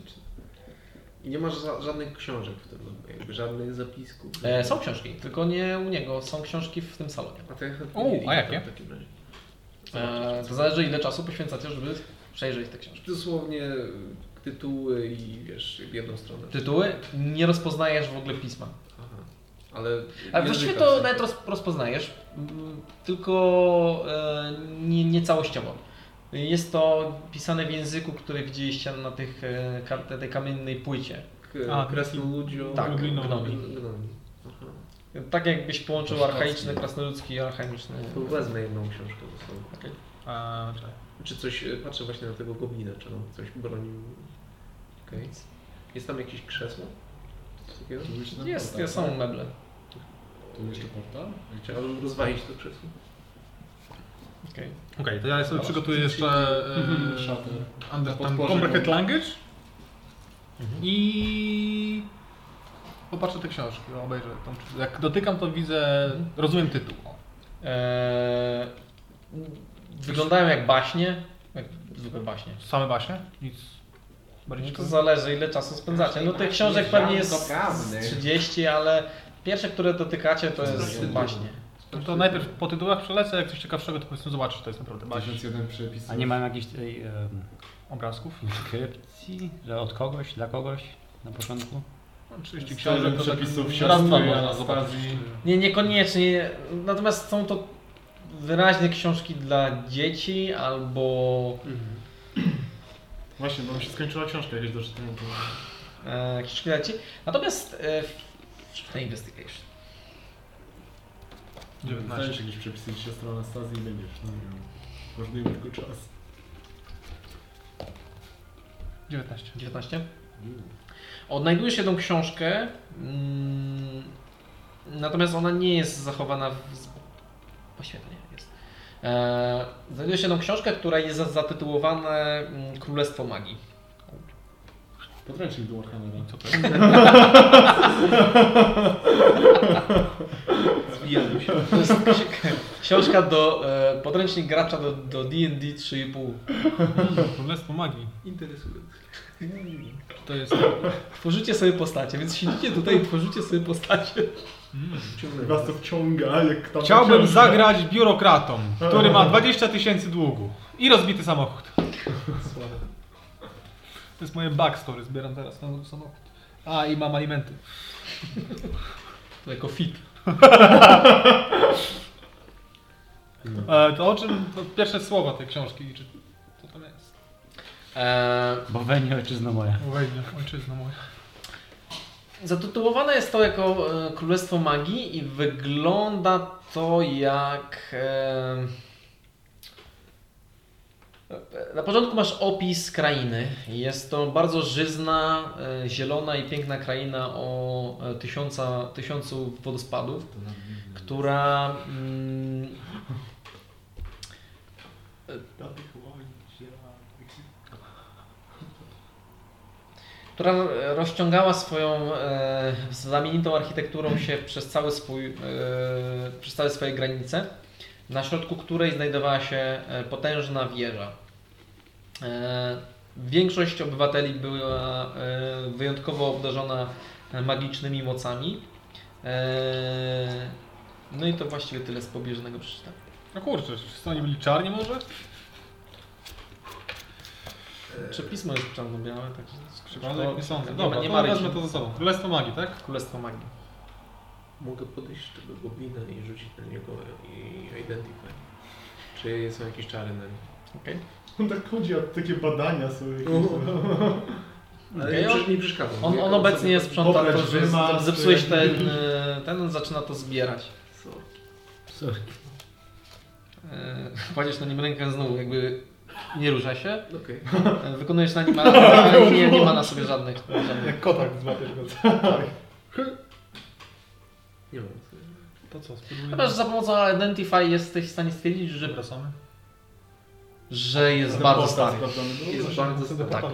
Speaker 10: I nie masz za, żadnych książek w tym domu, jakby żadnych zapisków.
Speaker 1: E, są książki, tylko nie u niego, są książki w tym salonie.
Speaker 10: A to ja chętnie
Speaker 6: U,
Speaker 10: je widzę
Speaker 6: a jakie?
Speaker 10: W takim razie.
Speaker 1: E, to zależy ile czasu poświęcacie, żeby przejrzeć te książki.
Speaker 10: Dosłownie y, tytuły i wiesz, w jedną stronę.
Speaker 1: Tytuły nie rozpoznajesz w ogóle pisma.
Speaker 10: Aha. Ale,
Speaker 1: Ale właściwie
Speaker 10: języka
Speaker 1: to
Speaker 10: w sensie.
Speaker 1: nawet roz, rozpoznajesz, mm, tylko e, nie, nie całościowo. Jest to pisane w języku, który widzieliście na tych, e, kar- tej kamiennej płycie.
Speaker 10: K-
Speaker 6: A,
Speaker 10: Krasnoludzio.
Speaker 1: Tak,
Speaker 6: Lublinowi.
Speaker 1: gnomi.
Speaker 10: Gnomi. Aha.
Speaker 1: Tak jakbyś połączył archaiczny, krasnoludzki i alchemiczny.
Speaker 10: To wezmę jedną książkę ze sobą.
Speaker 1: Okej.
Speaker 6: A, czekaj.
Speaker 10: Czy coś, y, patrzę właśnie na tego goblina, czy on coś bronił. Okej. Jest tam jakieś krzesło? Coś takiego?
Speaker 5: Tu jeszcze ten
Speaker 1: Jest,
Speaker 5: portal,
Speaker 1: jest, są
Speaker 5: tak?
Speaker 1: meble.
Speaker 5: Tu jeszcze portal?
Speaker 10: Chciałbym rozwalić to krzesło.
Speaker 1: Okej.
Speaker 6: Okej, to ja sobie
Speaker 5: Dobra.
Speaker 6: przygotuję jeszcze
Speaker 5: Mhm. Szaty.
Speaker 6: e, under, tam,
Speaker 5: Podporze
Speaker 6: Complicated
Speaker 5: go.
Speaker 6: Language
Speaker 1: Mhm.
Speaker 6: i popatrzę te książki, obejrzę. Tam, czy- jak dotykam, to widzę,
Speaker 1: Mhm.
Speaker 6: rozumiem tytuł. O.
Speaker 1: Eee, Wyglądają jak baśnie, jak zwykłe baśnie.
Speaker 6: Same właśnie? Nic. Bardziej
Speaker 1: No to
Speaker 6: ciekawe?
Speaker 1: zależy ile czasu spędzacie. No tych książek pewnie jest
Speaker 2: żadnoprawnych.
Speaker 1: 30, ale pierwsze, które dotykacie to jest baśnie.
Speaker 6: No to najpierw po tytułach przelecę, jak coś ciekawszego, to powiedzmy zobaczysz, to jest naprawdę baśń
Speaker 5: 1001 przepis.
Speaker 3: A nie mam jakiejś tej em,
Speaker 6: obrazków.
Speaker 3: inskrypcji, że od kogoś, dla kogoś na początku?
Speaker 6: Mam 30
Speaker 5: No, Książek
Speaker 6: książek, to tak
Speaker 5: przepisów
Speaker 6: raz, dwa
Speaker 5: siostry
Speaker 6: można zobaczyć.
Speaker 5: Anastazji.
Speaker 1: Nie, niekoniecznie. Natomiast są to wyraźnie książki dla dzieci albo
Speaker 5: Właśnie, bo mi się skończyła książka jakieś do czytania. to-
Speaker 1: e, krzyżówki leci. Natomiast e, w- w investigation.
Speaker 5: 19. Znajdziesz jakieś przepisy dzisiaj strony Anastazji i będziesz. No, nie wiem. Kosztuje mi tylko czas.
Speaker 6: 19.
Speaker 1: 19. Odnajdujesz jedną książkę, mm, natomiast ona nie jest zachowana w... z- Właściwie to nie jest. E, znajdujesz jedną książkę, która jest za- zatytułowana mm, Królestwo Magii.
Speaker 5: Podręcznik do Warhammera.
Speaker 6: Co to
Speaker 10: Zwijamy się.
Speaker 1: To jest ksi- książka do... E, podręcznik gracza do, do D&D 3,5.
Speaker 6: jest? Królestwo magii.
Speaker 10: Interesuje.
Speaker 6: Czy to jest...
Speaker 1: Tworzycie sobie postacie, więc siedzicie tutaj i tworzycie sobie postacie.
Speaker 5: Was to wciąga, jak
Speaker 6: No,
Speaker 5: tam
Speaker 6: Chciałbym
Speaker 5: książka.
Speaker 6: zagrać biurokratą, który ma 20 tysięcy długu i rozbity samochód. To jest moje backstory, zbieram teraz na nowy samochód. A, i mam alimenty.
Speaker 1: To jako fit.
Speaker 6: E, to o czym, to pierwsze słowa tej książki, czy co tam jest?
Speaker 1: E,
Speaker 3: Bo we mnie ojczyzno moja.
Speaker 6: Wejdzie, ojczyzna moja.
Speaker 1: Zatytułowane jest to jako e, Królestwo Magii i wygląda to jak. E, na początku masz opis krainy. Jest to bardzo żyzna, e, zielona i piękna kraina o e, tysiąca, tysiącu wodospadów, która. Mm, która e, rozciągała swoją e, znamienitą architekturą się przez, cały swój, e, przez całe swoje granice, na środku której znajdowała się e, potężna wieża. E, większość obywateli była e, wyjątkowo obdarzona e, magicznymi mocami. E, no i to właściwie tyle z pobieżnego przeczytania.
Speaker 6: No kurczę, czy wszyscy oni byli czarni może?
Speaker 1: Czy pismo jest czarno-białe? Także
Speaker 6: Skrzypane jak nie sądzę.
Speaker 1: Nie
Speaker 6: No, Dobra,
Speaker 1: ma- nie
Speaker 6: to
Speaker 1: ma
Speaker 6: wezmę
Speaker 1: rycin.
Speaker 6: to ze sobą. Królestwo magii, tak?
Speaker 1: Królestwo Magii.
Speaker 10: Mogę podejść do tego goblina i rzucić na niego i identify. Czy są jakieś czary na nim?
Speaker 1: Okej.
Speaker 5: On tak chodzi, a takie badania są jakieś. no.
Speaker 6: no,
Speaker 10: Ale
Speaker 1: Okej,
Speaker 10: nie,
Speaker 1: on-
Speaker 10: przesz- nie przeszkadza.
Speaker 1: On,
Speaker 10: Jak
Speaker 1: on obecnie
Speaker 10: sobie-
Speaker 1: sprząta
Speaker 5: Dobra,
Speaker 1: to, że
Speaker 5: czy ma-
Speaker 1: z- zepsułeś ten, e, ten, on zaczyna to zbierać.
Speaker 10: Co?
Speaker 1: E, Kładziesz na nim rękę znowu, jakby nie rusza się.
Speaker 10: Okej.
Speaker 1: E, Wykonujesz na nim ale nie, nie ma na sobie żadnych.
Speaker 6: tak,
Speaker 1: żadnych.
Speaker 5: Kotak złapiesz go.
Speaker 10: Nie mam co.
Speaker 6: To co, spróbujemy?
Speaker 1: Chyba, że za pomocą Identify jesteś w stanie stwierdzić, że,
Speaker 6: Wracamy?
Speaker 1: że jest bardzo stary.
Speaker 5: no,
Speaker 10: Jest bardzo stary.
Speaker 1: Tak.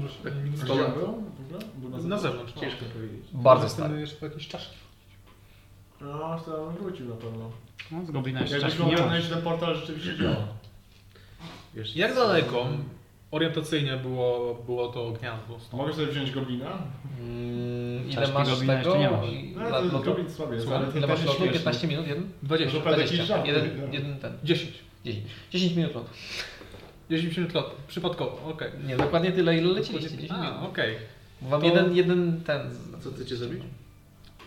Speaker 6: Proszę,
Speaker 10: Tak.
Speaker 6: nie-
Speaker 10: Stola.
Speaker 5: był? W ogóle? Był
Speaker 6: Na zewnątrz. no.
Speaker 10: Ciężko powiedzieć.
Speaker 1: Bardzo
Speaker 6: Jestem
Speaker 1: stary.
Speaker 6: jeszcze jakieś czaszki.
Speaker 5: No, aż to on wrócił na pewno.
Speaker 3: No, z goblina jeszcze
Speaker 5: Jakbyś
Speaker 3: czaszki nie
Speaker 5: mógł
Speaker 3: ma.
Speaker 5: znaleźć ten portal, rzeczywiście działa.
Speaker 10: Wiesz,
Speaker 6: Jak daleko orientacyjnie było, było to gniazdo?
Speaker 5: A Mogę sobie wziąć goblina?
Speaker 1: Mm, ile
Speaker 3: Czaszki
Speaker 1: masz
Speaker 3: goblina
Speaker 1: tego?
Speaker 3: jeszcze nie masz.
Speaker 1: I-
Speaker 5: No,
Speaker 1: dla-
Speaker 5: to
Speaker 1: dla-
Speaker 5: goblin słaby jest,
Speaker 1: Słucham,
Speaker 5: ale ten
Speaker 1: Ile
Speaker 5: też
Speaker 1: masz lotu?
Speaker 5: śmieszny.
Speaker 1: 15 minut? Jeden?
Speaker 6: 20.
Speaker 5: Zupę jakiś
Speaker 1: 20.
Speaker 5: żart,
Speaker 1: Jeden,
Speaker 5: nie?
Speaker 1: jeden ten.
Speaker 6: 10.
Speaker 1: 10, 10 minut lotu.
Speaker 6: 10 minut lotu. Przypadkowo, okej.
Speaker 1: Nie, dokładnie tyle, ile lecieliście. 10 minut.
Speaker 6: A, okej.
Speaker 1: Wam
Speaker 6: To-
Speaker 1: jeden, jeden ten. z-
Speaker 10: Co chcecie zrobić?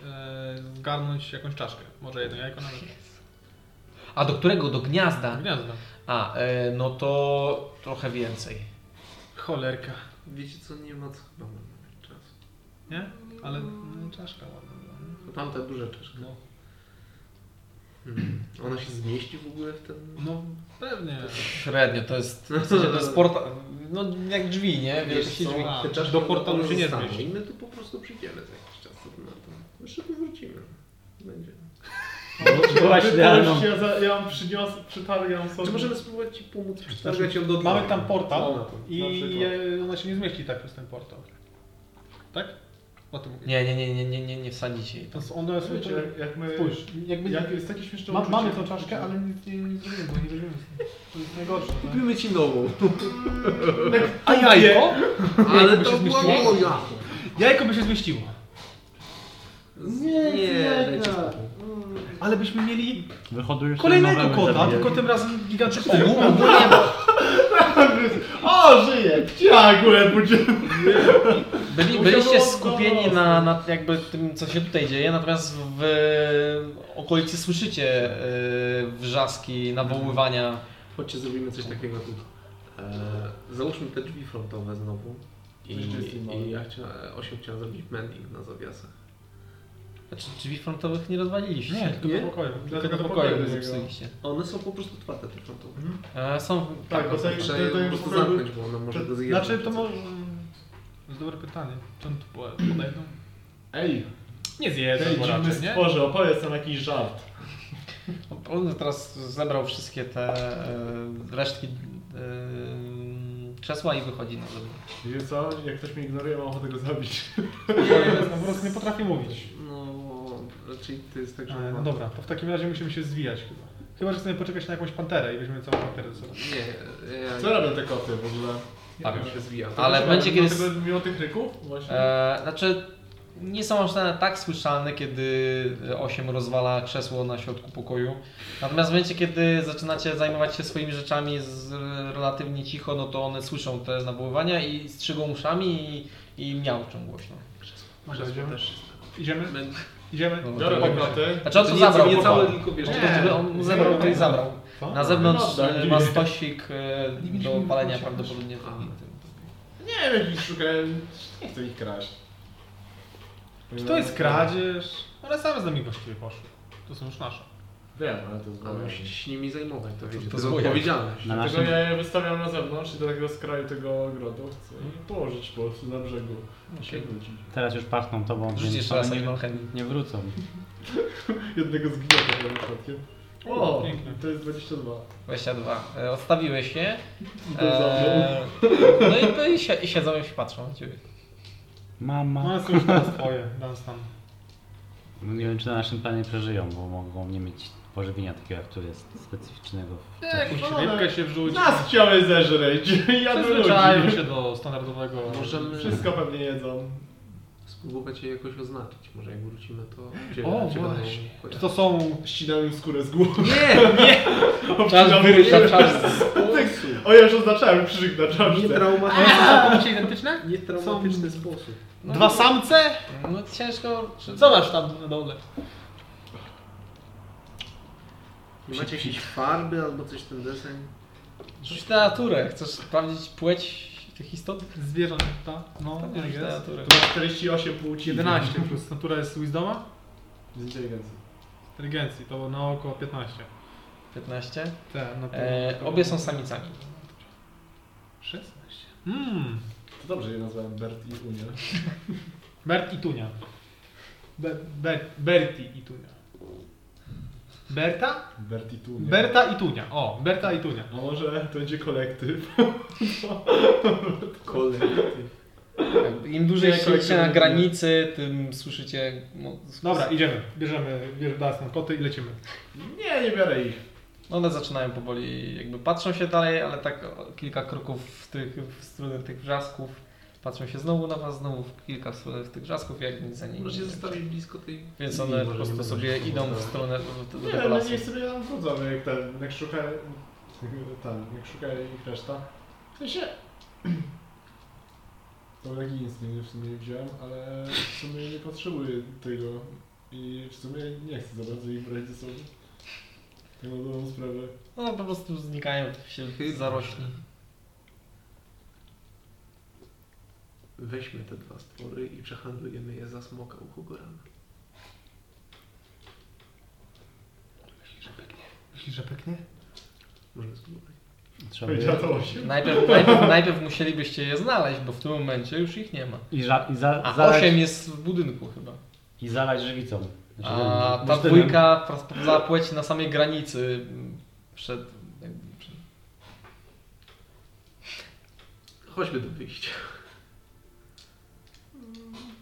Speaker 6: E, Zgarnąć jakąś czaszkę. Może jedno jajko nawet.
Speaker 1: A do którego? Do gniazda.
Speaker 6: Gniazdo.
Speaker 1: A, e, no to trochę więcej.
Speaker 6: Cholerka.
Speaker 10: Wiecie co, nie ma co chyba mamy czasu.
Speaker 6: Nie? Ale no, czaszka ładna. była, nie?
Speaker 10: No Tamta duża czaszka.
Speaker 6: No.
Speaker 10: Hmm. Ona się zmieści w ogóle w ten...
Speaker 6: No pewnie.
Speaker 1: Średnio, to jest. W sensie to jest porta, no jak drzwi, nie? Wiesz, jakieś drzwi.
Speaker 6: a,
Speaker 10: te czaszki
Speaker 6: do portalu się nie
Speaker 10: zostaną
Speaker 6: zmieści.
Speaker 10: I my tu po prostu przyjdziemy za jakiś czas na to. Jeszcze tu wrócimy. Będzie.
Speaker 3: Byłaś idealną.
Speaker 5: Ja, za, ja ją przyniosę, przetargam sobie.
Speaker 10: Czy możemy spróbować Ci pomóc przetargać ją do
Speaker 6: Mamy tam portal
Speaker 10: Na to.
Speaker 6: i
Speaker 5: Na przykład.
Speaker 6: e, ona się nie zmieści tak przez ten portal. Tak? O tym mówię.
Speaker 1: Nie, nie, nie, nie, nie, nie, nie wsadzicie jej.
Speaker 6: To są- one są...
Speaker 5: Wiecie, jak, jak my...
Speaker 6: Spójrz, jakby...
Speaker 5: Jak jest takie śmieszne
Speaker 6: Ma,
Speaker 5: uczucie-
Speaker 6: mamy tą czaszkę, ale nic nie, nie zrobimy, bo nie weźmiemy. To jest najgorsze. tak?
Speaker 10: Kupimy Ci nową.
Speaker 6: A jajko?
Speaker 10: Ale
Speaker 6: by się
Speaker 10: to była
Speaker 6: zmieściło?
Speaker 10: moja.
Speaker 6: Jajko by się zmieściło.
Speaker 5: Nie,
Speaker 10: Nie,
Speaker 5: nie,
Speaker 10: dajcie spokój.
Speaker 6: Ale byśmy mieli
Speaker 3: Wyhodujesz
Speaker 6: kolejnego
Speaker 3: nowe
Speaker 6: kota,
Speaker 3: zabijaki.
Speaker 6: tylko tym razem gigantyczny.
Speaker 5: O, żyje! Ciągle budzie.
Speaker 1: Byli, byliście skupieni na, na jakby tym, co się tutaj dzieje, natomiast w okolicy słyszycie y, wrzaski, nawoływania.
Speaker 10: Chodźcie, zrobimy coś takiego tu. E, załóżmy te drzwi frontowe znowu I, i ja chciałem, osiem chciałem zrobić mending na zawiasach.
Speaker 1: Znaczy drzwi frontowych nie rozwaliliście.
Speaker 6: Nie, tylko do pokoju.
Speaker 1: tylko do
Speaker 2: pokoju
Speaker 1: pokoju
Speaker 2: do niego.
Speaker 1: zepsuliście.
Speaker 10: One są po prostu otwarte te frontowe.
Speaker 1: E, Są
Speaker 2: Tak, bo to-
Speaker 10: Trzeba je
Speaker 2: to- to
Speaker 10: po
Speaker 2: już
Speaker 10: prostu
Speaker 2: w ogóle był-
Speaker 10: zamknąć, bo ona może go zjeść.
Speaker 6: Znaczy to może... To jest dobre pytanie. Czy on tu po- podejdą?
Speaker 5: Ej,
Speaker 6: Nie zjedzą, bo
Speaker 5: dziwny
Speaker 6: raczej, nie?
Speaker 5: stworze, opowiedz nam jakiś żart.
Speaker 1: On teraz zebrał wszystkie te e, resztki e, krzesła i wychodzi na zewnątrz.
Speaker 5: Wiecie co, jak ktoś mnie ignoruje, mam ochotę go zabić.
Speaker 6: Nie, po prostu nie potrafię mówić.
Speaker 10: No, raczej to jest tak, że...
Speaker 6: E, No
Speaker 10: ona-
Speaker 6: dobra, to w takim razie musimy się zwijać chyba. Chyba, że chcemy poczekać na jakąś panterę i weźmiemy całą panterę ze sobą.
Speaker 10: Nie, ja,
Speaker 5: Co robią te koty w ogóle?
Speaker 10: ja bym się zwijał.
Speaker 1: Ale będzie kiedy...
Speaker 5: Mimo, tego, mimo tych ryków? Właśnie.
Speaker 1: E, znaczy, nie są one tak słyszalne, kiedy 8 rozwala krzesło na środku pokoju. Natomiast w momencie, kiedy zaczynacie zajmować się swoimi rzeczami z, relatywnie cicho, no to one słyszą te nawoływania i strzygą uszami i, i miauczą głośno.
Speaker 6: Może
Speaker 10: Krzesło
Speaker 6: idziemy?
Speaker 10: też jest.
Speaker 6: Idziemy?
Speaker 10: Men-
Speaker 6: Idziemy?
Speaker 1: No,
Speaker 5: Biorę
Speaker 1: tak.
Speaker 5: te koty.
Speaker 1: Znaczy on
Speaker 10: To
Speaker 1: to
Speaker 10: nie-
Speaker 1: zabrał,
Speaker 10: nie
Speaker 1: po
Speaker 10: całe,
Speaker 1: prostu.
Speaker 10: tylko wiesz,
Speaker 1: Znaczy,
Speaker 10: nie.
Speaker 1: żeby on zebrał to i zabrał.
Speaker 6: Co?
Speaker 1: Na
Speaker 10: No,
Speaker 1: zewnątrz
Speaker 5: Dobra,
Speaker 1: e, ma stosik e, do palenia prawdopodobnie. w-
Speaker 10: Aha.
Speaker 5: Nie wiem, jakich szukałem. Nie chcę ich kraść.
Speaker 6: Czy to jest kradzież? One same z nami właściwie poszły. To są już nasze.
Speaker 5: Wiem, ale to jest
Speaker 10: Ale musisz
Speaker 5: zwoje.
Speaker 10: się nimi zajmować, to wiecie,
Speaker 1: to
Speaker 10: to jest
Speaker 1: zwoje.
Speaker 10: odpowiedzialność.
Speaker 3: Na
Speaker 5: Dlatego
Speaker 3: naszym...
Speaker 5: ja je wystawiam na zewnątrz i do takiego skraju tego ogrodu chcę i położyć po prostu na brzegu. I się wrócić.
Speaker 3: Teraz już pachną tobą,
Speaker 1: Rzuć
Speaker 3: więc
Speaker 1: jeszcze
Speaker 3: one
Speaker 1: raz
Speaker 3: nie,
Speaker 1: animal handling.
Speaker 3: nie wrócą.
Speaker 5: Jednego zgniota tym przypadkiem. O,
Speaker 6: Pięknie.
Speaker 5: to jest 22.
Speaker 1: 22. E, Odstawiłeś je.
Speaker 5: To
Speaker 1: E, no i, no i, si i siedzą i się patrzą na ciebie.
Speaker 3: Mama.
Speaker 6: One są No, już teraz twoje, nas tam.
Speaker 3: No, Nie wiem, czy na naszym planie przeżyją, bo mogą nie mieć pożywienia takiego, jak tu jest, specyficznego.
Speaker 6: Jakąś rybkę się wrzuć.
Speaker 5: Nas chciały zeżreć, jadą
Speaker 6: Przyzwyczają
Speaker 5: ludzi.
Speaker 6: się do standardowego...
Speaker 10: Możemy
Speaker 5: Wszystko pewnie jedzą.
Speaker 10: spróbować je jakoś oznaczyć. Może jak wrócimy, to cię,
Speaker 6: O,
Speaker 10: cię będą
Speaker 6: właśnie. Czy
Speaker 10: kojarzyć.
Speaker 6: to są...
Speaker 5: Ścinam im skórę z głowy.
Speaker 1: Nie! Czas wyrycia, czas.
Speaker 5: O, ja już oznaczałem krzyżyk na czaszce.
Speaker 6: Są identyczne?
Speaker 10: Nie traumatyczny sposób.
Speaker 1: No,
Speaker 6: Dwa samce?
Speaker 1: No ciężko. Czy...
Speaker 6: Zobacz tam na dole.
Speaker 10: Nie macie jakieś farby albo coś w ten deseń?
Speaker 1: Rzuć na naturę. Chcesz sprawdzić płeć tych istot?
Speaker 6: Zwierząt, ta? No,
Speaker 1: Tak,
Speaker 6: nie
Speaker 1: rzuć na
Speaker 6: jest.
Speaker 1: naturę.
Speaker 5: To ma 48 płci.
Speaker 6: 11 plus natura jest z Wisdoma?
Speaker 5: Z inteligencji.
Speaker 6: Inteligencji, to na około 15.
Speaker 1: 15.
Speaker 6: Te, no,
Speaker 1: E, obie są samicami.
Speaker 6: 16. Mmm,
Speaker 5: To dobrze je nazwałem Bert i Unia.
Speaker 6: Bert i Tunia. Be, Be, Berti i Tunia. Berta?
Speaker 5: Bert i Tunia.
Speaker 6: Berta i Tunia. O, Berta i Tunia.
Speaker 5: A może to będzie kolektyw?
Speaker 10: Kolektyw.
Speaker 1: Im dłużej
Speaker 5: Nie,
Speaker 1: siedzicie na
Speaker 5: kolektywnie.
Speaker 1: granicy, tym słyszycie. mo-
Speaker 6: Dobra, idziemy. Bierzemy, bierzemy nas na koty i lecimy.
Speaker 5: Nie, nie biorę ich.
Speaker 1: No One zaczynają powoli, jakby patrzą się dalej, ale tak o kilka kroków w, tych, w stronę tych wrzasków. Patrzą się znowu na was, znowu w kilka w stronę tych wrzasków, jak nic za nimi.
Speaker 10: Może
Speaker 1: nie
Speaker 10: się
Speaker 1: wiem.
Speaker 10: zostawić blisko tej...
Speaker 1: Więc one po
Speaker 10: Może nie
Speaker 1: prostu
Speaker 10: będzie
Speaker 1: sobie
Speaker 10: się
Speaker 1: idą w
Speaker 10: powodować.
Speaker 1: stronę do, do
Speaker 5: Nie,
Speaker 1: tego
Speaker 5: ale
Speaker 1: lasu.
Speaker 5: niech sobie tam wchodzą, no jak ten, jak szukają... Ten, jak szukają ich reszta. W sensie... To taki instynkt w sumie wziąłem, ale w sumie nie potrzebuję tego. I w sumie nie chcę za bardzo ich brać ze sobą. Tak na dobrą sprawę.
Speaker 1: No po prostu znikają się w zarośli.
Speaker 10: Weźmy te dwa stwory i przehandlujemy je za smoka u Hugorana.
Speaker 6: Myślisz, że pyknie?
Speaker 10: Możemy spróbować.
Speaker 3: Trzeba by...
Speaker 5: Powiedziała to 8.
Speaker 1: Najpierw, najpierw, najpierw musielibyście je znaleźć, bo w tym momencie już ich nie ma.
Speaker 3: I, ża- i, za-
Speaker 1: A
Speaker 3: zalać,
Speaker 1: osiem jest w budynku chyba.
Speaker 3: I zalać żywicą. Znaczy,
Speaker 10: no,
Speaker 1: A ta
Speaker 3: bursztynem.
Speaker 1: dwójka sprawdzała płeć na samej granicy m, przed... jakby przed
Speaker 10: Chodźmy do wyjścia.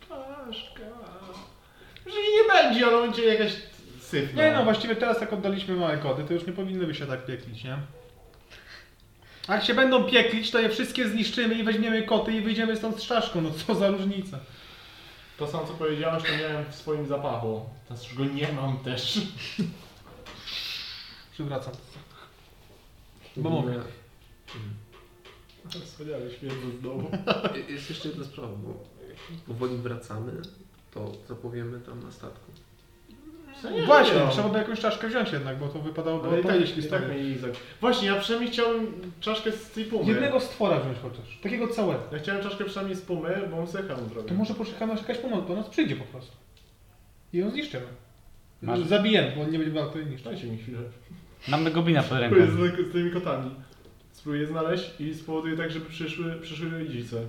Speaker 5: Paszka... Że jej nie będzie, ale będzie jakaś syfna.
Speaker 6: Nie no, właściwie teraz jak oddaliśmy małe koty, to już nie powinny by się tak pieklić, nie? A Jak się będą pieklić, to je wszystkie zniszczymy i weźmiemy koty i wyjdziemy stąd z czaszką. No co za różnica.
Speaker 5: To samo co powiedziałeś, to miałem w swoim zapachu. Teraz już go nie mam też.
Speaker 6: Przywracam. Bo mogę.
Speaker 5: Wspaniale, śmierdzę znowu.
Speaker 10: Je- Jest jeszcze jedna sprawa, bo jak powoli wracamy, to co powiemy tam na statku.
Speaker 5: No nie,
Speaker 6: Właśnie,
Speaker 5: nie, no.
Speaker 6: trzeba by jakąś czaszkę wziąć jednak, bo to wypadałoby
Speaker 5: Ale i tak,
Speaker 6: odpowiedzieć
Speaker 5: i tak
Speaker 6: historię.
Speaker 5: mnie Izak. Właśnie, ja przynajmniej chciałem czaszkę z tej pumy.
Speaker 6: Jednego stwora wziąć chociaż, takiego całego.
Speaker 5: Ja chciałem czaszkę przynajmniej z pumy, bo on sychał
Speaker 6: To
Speaker 5: drogę.
Speaker 6: może poszukamy jakaś pomoc, do nas przyjdzie po prostu. I ją zniszczymy.
Speaker 3: Masz-
Speaker 6: Zabijemy, bo on nie będzie warto jej niszczyć.
Speaker 5: Dajcie mi chwilę.
Speaker 3: Mamy goblina pod ręką.
Speaker 5: Spróbuję z, z tymi kotami. Spróbuję znaleźć i spowoduję tak, żeby przyszły, przyszły rodzice.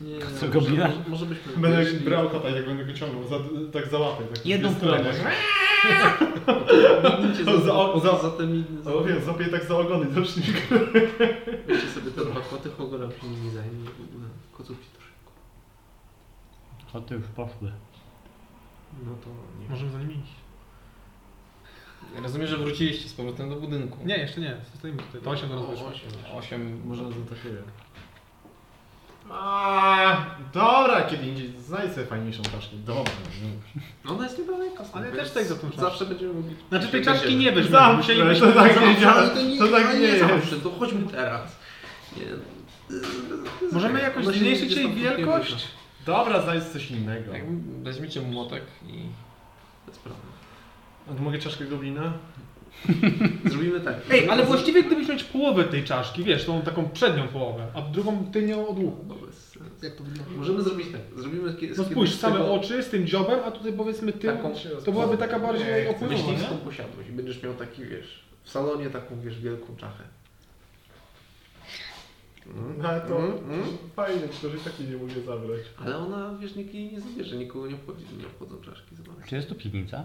Speaker 10: Nie, nie,
Speaker 3: Co,
Speaker 10: może-
Speaker 3: goblina?
Speaker 10: Może, może byśmy...
Speaker 5: Będę
Speaker 10: wyszli.
Speaker 5: brał kota, jak będę go ciągnął, za, tak załapię. Tak
Speaker 30: Jedną
Speaker 5: w stronę.
Speaker 10: Biegnijcie za,
Speaker 5: Za o-
Speaker 10: za,
Speaker 5: za-
Speaker 10: za, za tymi... Za,
Speaker 5: O wiem, złapię tak za ogony, zacznij
Speaker 10: Wiecie sobie te dwa koty, Hogora się nimi zajmie w ogóle. Koców ci troszkę.
Speaker 3: Koty już poszły.
Speaker 10: No to nie.
Speaker 6: Możemy za nimi iść.
Speaker 1: Rozumiem, że wróciliście z powrotem do budynku.
Speaker 6: Nie, jeszcze nie, zostajemy tutaj. To 8 razy
Speaker 10: O,
Speaker 6: wyszło.
Speaker 10: osiem.
Speaker 1: 8.
Speaker 10: Może zaatakuję.
Speaker 5: A, dobra, kiedy indziej znajdź sobie fajniejszą czaszkę. Dobra.
Speaker 10: No ona jest niedaleko.
Speaker 6: Ale
Speaker 10: więc
Speaker 6: też tak za tą czaszkę.
Speaker 10: Zawsze będziemy mogli...
Speaker 6: Znaczy tej
Speaker 10: Będzie-
Speaker 6: czaszki nie weźmiemy,
Speaker 5: Zawsze, to
Speaker 6: musielibyśmy...
Speaker 5: tak nie
Speaker 10: Ale
Speaker 5: działa.
Speaker 10: to nie,
Speaker 5: To tak
Speaker 10: ale
Speaker 5: nie
Speaker 10: nie tak.
Speaker 5: jest.
Speaker 10: zawsze, to chodźmy teraz. Nie.
Speaker 6: Możemy jakoś
Speaker 10: Ona się
Speaker 6: zmniejszyć
Speaker 10: nigdzie
Speaker 6: jej
Speaker 10: stąd nie
Speaker 6: wielkość?
Speaker 10: wyrzuca.
Speaker 5: Dobra, znajdź coś innego.
Speaker 1: Jak weźmiecie młotek i
Speaker 10: To jest prawda.
Speaker 5: Mogę czaszkę goblina?
Speaker 10: Zrobimy tak.
Speaker 6: Ej, ale właściwie gdybyś mieć połowę tej czaszki, wiesz, tą taką przednią połowę, a drugą tylnią od łuku.
Speaker 10: No bez sensu. Możemy zrobić tak. Zrobimy kie-
Speaker 6: No
Speaker 10: kiedyś
Speaker 6: spójrz, same
Speaker 10: tego
Speaker 6: oczy z tym dziobem, a tutaj powiedzmy tył,
Speaker 10: Taką-
Speaker 6: to byłaby taka bardziej opływowa, no, nie?
Speaker 10: Myśliwską posiadłość. Będziesz miał taki, wiesz, w salonie taką, wiesz, wielką czachę. Mm.
Speaker 5: No ale to
Speaker 10: Mm, mm.
Speaker 5: fajne, tylko że takiej nie mogę zabrać.
Speaker 10: Ale ona, wiesz, nikt jej nie zabierze, nikogo nie obchodzi, nie obchodzą czaszki zobacz.
Speaker 3: Czy jest tu piwnica?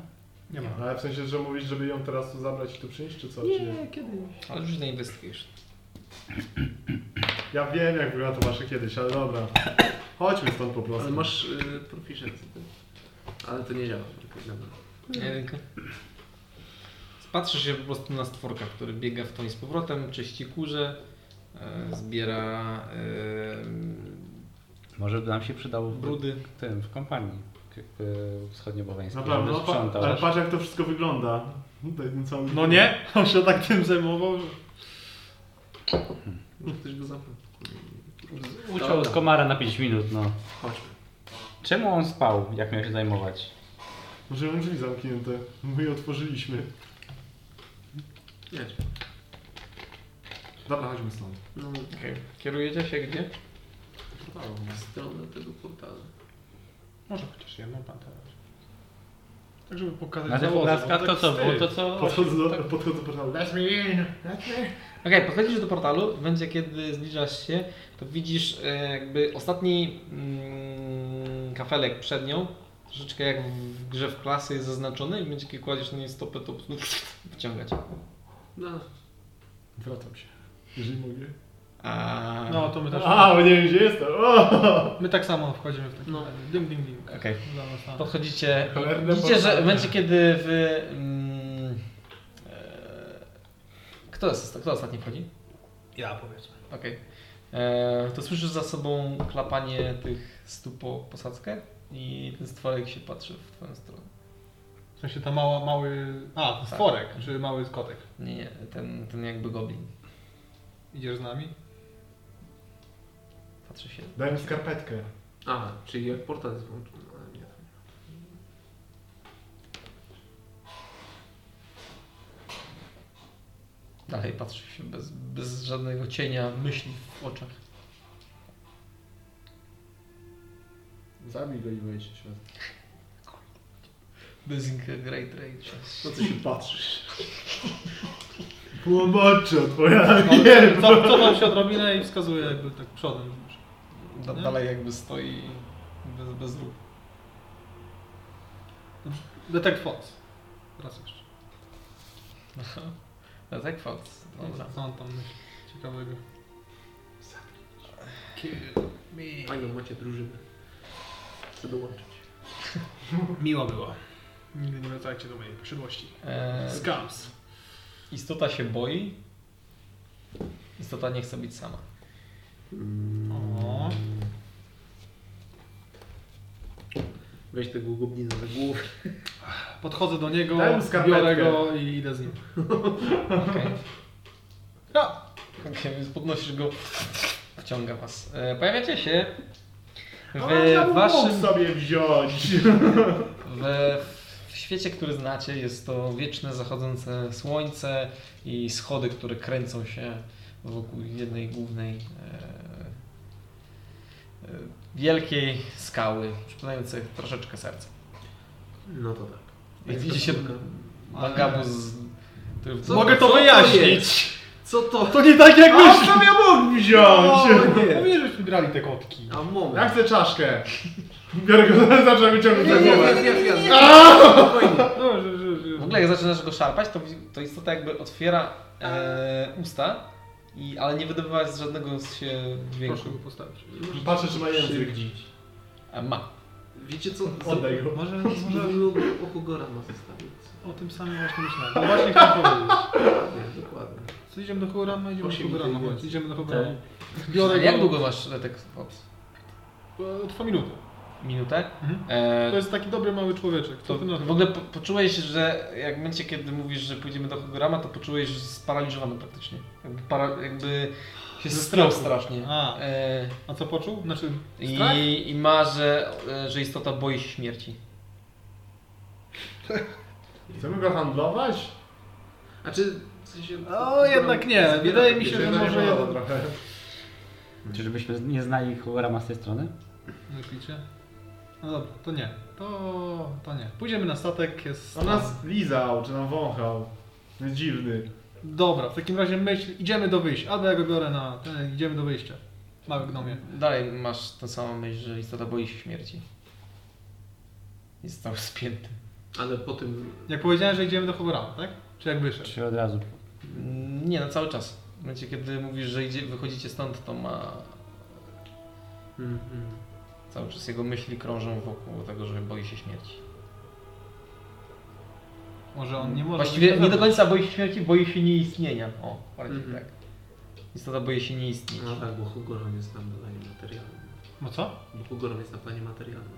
Speaker 6: Nie ma.
Speaker 5: No, Ale w sensie, że mówisz, żeby ją teraz tu zabrać i tu przynieść, czy co? Czy
Speaker 10: Nie,
Speaker 5: nie?
Speaker 10: kiedyś.
Speaker 1: ale już na investigation.
Speaker 5: Ja wiem, jak wygląda to wasze kiedyś, ale dobra. Chodźmy stąd po prostu.
Speaker 10: Ale masz y, proficiency. tak? Ale to nie działa. tylko dla mnie.
Speaker 1: Jedynka. Spatrzysz się po prostu na stworka, który biega w tą i z powrotem, czyści kurze, e, zbiera e,
Speaker 3: Może by nam się przydało w,
Speaker 1: brudy.
Speaker 3: w tym, w kompanii k- y, wschodnioboweńskiej.
Speaker 5: Na pewno,
Speaker 3: żeby
Speaker 5: no, pa,
Speaker 3: sprzątał.
Speaker 5: ale patrz jak to wszystko wygląda. Tutaj ten cały...
Speaker 6: No nie, on się tak tym zajmował, że...
Speaker 10: Może ktoś go zabrał.
Speaker 3: Uciął z komara na 5 minut, no.
Speaker 10: Chodźmy.
Speaker 3: Czemu on spał, jak miał się zajmować?
Speaker 5: Może ją drzwi zamknięte. My je otworzyliśmy.
Speaker 10: Jedź.
Speaker 5: Dobra, chodźmy stąd.
Speaker 10: No,
Speaker 1: Okay. Kierujecie się gdzie?
Speaker 10: w stronę tego portalu.
Speaker 6: Może No chociaż jedną panterę. Tak, żeby pokazać
Speaker 3: Na tych
Speaker 6: załodze,
Speaker 3: obrazkach
Speaker 6: bo
Speaker 3: to
Speaker 6: tak
Speaker 3: co było?
Speaker 6: wstyd.
Speaker 3: To co?
Speaker 5: Podchodzę do, podchodzę do portalu. Let me in! Let me
Speaker 1: Okej, podchodzisz do portalu, w momencie kiedy zbliżasz się, to widzisz e, jakby ostatni mm, kafelek przed nią, troszeczkę jak w grze w klasy jest zaznaczony i w momencie kiedy kładziesz na niej stopę, to po prostu wyciągać.
Speaker 10: No,
Speaker 5: Wracam się. Jeżeli mogę.
Speaker 1: A...
Speaker 6: No, to my też.
Speaker 5: A, bo nie wiem gdzie jestem. O!
Speaker 6: My tak samo wchodzimy w taki.
Speaker 10: No.
Speaker 6: No. Ding, ding, ding.
Speaker 1: Okej.
Speaker 6: Dla nas tam.
Speaker 1: Podchodzicie.
Speaker 5: Cholerne
Speaker 1: Widzicie, że
Speaker 5: portale.
Speaker 1: w momencie, kiedy wy. Mm, e, kto, jest, kto ostatni wchodzi?
Speaker 6: Ja powiedzmy.
Speaker 1: Okej. E, To słyszysz za sobą klapanie tych stóp po posadzkę i ten stworek się patrzy w twoją stronę.
Speaker 6: W sensie ta mała, mały. A,
Speaker 1: Tak.
Speaker 6: stworek, czy mały kotek.
Speaker 1: Nie, nie, ten, ten jakby goblin.
Speaker 6: Idziesz z nami?
Speaker 1: Patrzy się.
Speaker 5: Daj mi skarpetkę.
Speaker 10: Aha, czyli jak portal jest włączony, no, ale nie.
Speaker 1: Dalej patrzy się bez, bez żadnego cienia myśli w oczach.
Speaker 5: Zabij go i wejdź w świat.
Speaker 1: Disintegrate rage.
Speaker 10: No co się patrzysz?
Speaker 5: Tłumaczę twoja...
Speaker 6: No, nie, co, co nam się odrobinę i wskazuje jakby tak przodem.
Speaker 1: Da,
Speaker 6: Nie?
Speaker 1: dalej jakby stoi bez, bez ruchu.
Speaker 6: Detect Fox. Raz jeszcze.
Speaker 1: No tak, fakt. Dobra.
Speaker 6: Co on tam myśli? Ciekawego.
Speaker 10: Fajną macie drużynę. Chcę dołączyć.
Speaker 6: Miło było. Nigdy nie wracajcie do mojej posiadłości.
Speaker 1: E,
Speaker 6: Scams.
Speaker 1: Istota się boi. Istota nie chce być sama.
Speaker 6: O.
Speaker 10: Weź tego goblina za głowę.
Speaker 6: Podchodzę do niego,
Speaker 5: Daj mu skarpetkę.
Speaker 6: biorę go i idę z nim.
Speaker 1: Okej,
Speaker 6: Ja.
Speaker 1: Okej, więc podnosisz go, wciąga was. E, Pojawiacie się w
Speaker 5: A, ja bym mógł
Speaker 1: waszym...
Speaker 5: sobie wziąć.
Speaker 1: W, w w świecie, który znacie, jest to wieczne zachodzące słońce i schody, które kręcą się wokół jednej głównej e, e, wielkiej skały, przypominającej troszeczkę serce.
Speaker 10: No to tak.
Speaker 1: Jak widzicie Mangabus, z- który w
Speaker 10: Mogę
Speaker 6: No
Speaker 10: to wyjaśnić. Co to?
Speaker 6: To nie tak jak
Speaker 10: A co ja mógł wziąć?
Speaker 6: No nie, No, żeśmy grali te kotki.
Speaker 10: A moment.
Speaker 5: Ja chcę czaszkę. Biorę go, zacząłem wyciągnąć za głowę.
Speaker 6: No, że, że, że.
Speaker 1: W ogóle jak zaczynasz go szarpać, to, to istota jakby otwiera e, usta, i, ale nie wydobywa z żadnego z się dźwięku.
Speaker 27: Proszę go postawić.
Speaker 5: Patrzę, czy ma język.
Speaker 1: E, ma.
Speaker 10: Wiecie co?
Speaker 5: Oddaj go.
Speaker 6: Może,
Speaker 10: Może
Speaker 6: może
Speaker 10: o Hugora ma zostawić.
Speaker 6: o tym samym właśnie myślałem. No właśnie chciałem powiedzieć.
Speaker 10: Nie, dokładnie.
Speaker 6: Co, idziemy do Hogorama? Idziemy do
Speaker 10: Osiem
Speaker 6: Hogorama,
Speaker 10: mniej
Speaker 6: chodź.
Speaker 10: więcej.
Speaker 6: Idziemy do
Speaker 3: Te-
Speaker 6: Hogorama.
Speaker 1: Ale
Speaker 6: Biorę go...
Speaker 1: jak długo masz tak od
Speaker 6: E, Trwa minutę.
Speaker 1: minutę?
Speaker 6: Mhm.
Speaker 1: E,
Speaker 6: To jest taki dobry mały człowieczek. Co
Speaker 1: to
Speaker 6: ty na to?
Speaker 1: w ogóle po, poczułeś, że jak w momencie, kiedy mówisz, że pójdziemy do Hogorama, to poczułeś że sparaliżowany praktycznie. Jakby, para, jakby się zestrał strasznie.
Speaker 6: A.
Speaker 1: E,
Speaker 6: A co poczuł? Znaczy, strach?
Speaker 1: i, I ma, że, e, że istota boi się śmierci.
Speaker 5: Chcemy go handlować?
Speaker 10: A czy Znaczy, w sensie...
Speaker 6: O, jednak nie. Wydaje mi się, że
Speaker 5: Jednak
Speaker 6: może
Speaker 5: nie wolno
Speaker 6: jeden...
Speaker 5: trochę.
Speaker 3: Czy żebyśmy nie znali Hogorama z tej strony?
Speaker 6: Myślicie? No dobra, to nie. To, to nie. Pójdziemy na statek, jest...
Speaker 5: On nas lizał, czy nam wąchał. Jest dziwny.
Speaker 6: Dobra, w takim razie myśl, idziemy do wyjścia. Albo ja go biorę na... Ten, idziemy do wyjścia. Mały gnomie.
Speaker 1: Dalej masz tę samą myśl, że istota boi się śmierci. Jest cały spięty.
Speaker 10: Ale po tym...
Speaker 6: Jak powiedziałem, że idziemy do Hogorama, tak? Czy jak wyszedł?
Speaker 3: Czy od razu?
Speaker 1: Mm, Nie, no cały czas. W momencie, kiedy mówisz, że idzie, wychodzicie stąd, to ma...
Speaker 10: Mm, mm.
Speaker 1: Cały czas jego myśli krążą wokół tego, że boi się śmierci.
Speaker 6: Może on nie może...
Speaker 1: Właściwie
Speaker 6: być
Speaker 1: nie
Speaker 6: na
Speaker 1: do
Speaker 6: zewnątrz.
Speaker 1: końca boi się śmierci, boi się nieistnienia. O, bardziej
Speaker 10: Mhm.
Speaker 1: tak. Istota boi się nie istnieć.
Speaker 10: No tak, bo Hugorom jest na planie materialnym.
Speaker 6: No co?
Speaker 10: Bo Hugorom jest na planie materialnym.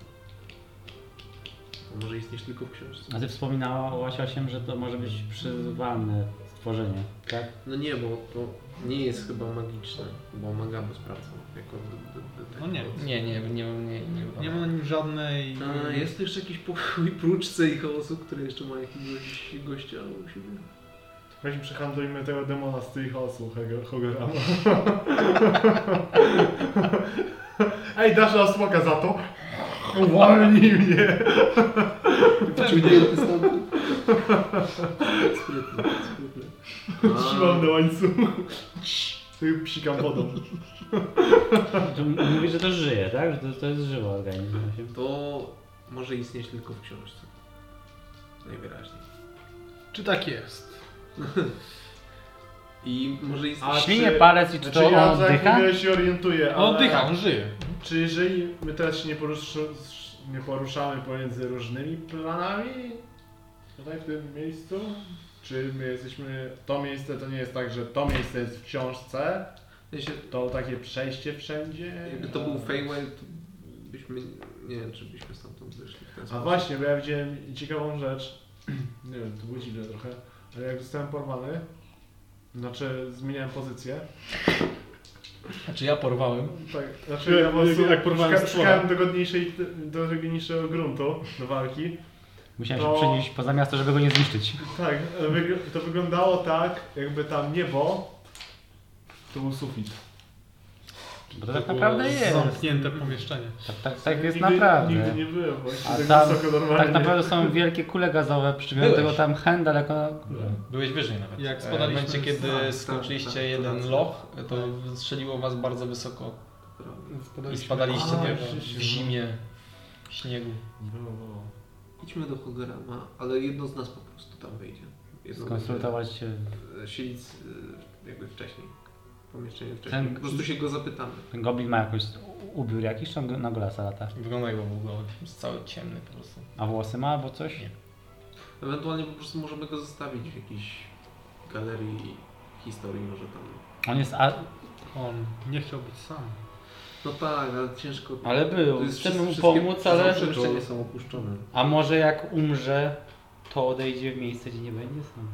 Speaker 10: To może istnieć tylko w książce.
Speaker 3: A ty wspominałaś Osiem, że to może być przyzwane stworzenie, tak?
Speaker 10: No nie, bo to nie jest chyba magiczne, bo Magabus pracował jako... d- d- d- tak.
Speaker 6: No nie.
Speaker 1: Nie, nie, nie, nie, nie, nie,
Speaker 6: Nie ma na nim żadnej...
Speaker 10: A, jest tu jeszcze jakiś pokój pruczce i chaosu, który jeszcze ma jakiegoś gościa u siebie?
Speaker 5: Weźmy przehandlujmy tego demona z tych osób, Hego- Hogorama. Ej, dasz nam smoka za to? Uwolnij mnie!
Speaker 10: Wyciągnięty stamtąd. Sprytny, sprytny.
Speaker 5: Trzymam na łańcuchu. Psikam wodą.
Speaker 3: Tu Mówisz, że to żyje, tak? Że to, to jest żywy organizm. Osiem.
Speaker 10: To może istnieć tylko w książce. Najwyraźniej.
Speaker 6: Czy tak jest?
Speaker 10: I może istnieć...
Speaker 5: A
Speaker 3: Świnie
Speaker 5: czy-
Speaker 3: palec i czy
Speaker 5: Znaczy
Speaker 3: to
Speaker 5: ja
Speaker 3: on
Speaker 5: za
Speaker 3: dycha?
Speaker 5: chwilę się orientuję, ale
Speaker 6: On dycha, on żyje.
Speaker 5: czy jeżeli my teraz się nie, porusz, nie poruszamy pomiędzy różnymi planami tutaj w tym miejscu? Czy my jesteśmy, to miejsce to nie jest tak, że to miejsce jest w książce,
Speaker 10: W sensie,
Speaker 5: to takie przejście wszędzie?
Speaker 10: jakby to był Feywild, to byśmy... Nie wiem, czy byśmy stamtąd wyszli w ten
Speaker 5: A
Speaker 10: sposób.
Speaker 5: właśnie, bo ja widziałem ciekawą rzecz. Nie wiem, to było dziwne trochę, ale jak zostałem porwany, znaczy zmieniałem pozycję.
Speaker 1: Znaczy ja porwałem.
Speaker 5: Tak, znaczy ja po
Speaker 6: Jak-
Speaker 5: prostu
Speaker 6: jak porwałem
Speaker 5: szuka-
Speaker 6: stwora.
Speaker 5: szukałem dogodniejszej, dogodniejszego gruntu do walki.
Speaker 3: Musiałem
Speaker 5: To-
Speaker 3: się przenieść poza miasto, żeby go nie zniszczyć.
Speaker 5: Tak, wyg- to wyglądało tak, jakby tam niebo to był sufit.
Speaker 3: Bo to tak naprawdę jest.
Speaker 6: Zamknięte pomieszczenie.
Speaker 3: Tak, tak, tak jest
Speaker 5: nigdy,
Speaker 3: naprawdę.
Speaker 5: Nigdy nie byłem właśnie
Speaker 3: A
Speaker 5: tak
Speaker 3: tam
Speaker 5: wysoko normalnie.
Speaker 3: tak naprawdę są wielkie kule gazowe, przybiorą
Speaker 1: Byłeś.
Speaker 3: tego tam hen daleko.
Speaker 1: Byłeś wyżej nawet.
Speaker 6: Jak
Speaker 1: E,
Speaker 6: spadaliśmy
Speaker 1: W momencie,
Speaker 6: z-
Speaker 1: kiedy
Speaker 10: tak, tak,
Speaker 1: skończyliście
Speaker 10: tak,
Speaker 1: jeden
Speaker 10: tak.
Speaker 1: loch, to strzeliło was bardzo wysoko i spadaliście
Speaker 5: A,
Speaker 1: nie,
Speaker 5: rzeczywiście,
Speaker 1: w
Speaker 5: no.
Speaker 1: zimie, w śniegu.
Speaker 5: Było, było.
Speaker 10: Idźmy do Hogorama, ale jedno z nas po prostu tam wyjdzie. Jedno
Speaker 3: Skonsultować się.
Speaker 10: będzie, e, Siedzieć e, jakby wcześniej. Pomieszczenie wcześniej.
Speaker 3: Ten-
Speaker 10: Po prostu się go zapytamy.
Speaker 3: Ten goblin ma jakoś ubiór jakiś, czy on go- na golasa lata?
Speaker 1: Wygląda jakby był goły, jest cały ciemny po prostu.
Speaker 3: A włosy ma albo coś?
Speaker 1: Nie.
Speaker 10: Ewentualnie po prostu możemy go zostawić w jakiejś galerii historii może tam.
Speaker 3: On jest. A,
Speaker 6: On nie chciał być sam.
Speaker 10: No tak, ale ciężko.
Speaker 3: ale
Speaker 10: To
Speaker 3: był.
Speaker 10: jest
Speaker 3: Chcemy mu
Speaker 10: wszystkie-
Speaker 3: pomóc,
Speaker 10: wszystkie
Speaker 3: ale.
Speaker 10: Pomieszczenia są opuszczone.
Speaker 3: A może jak umrze, to odejdzie w miejsce, gdzie nie będzie sam.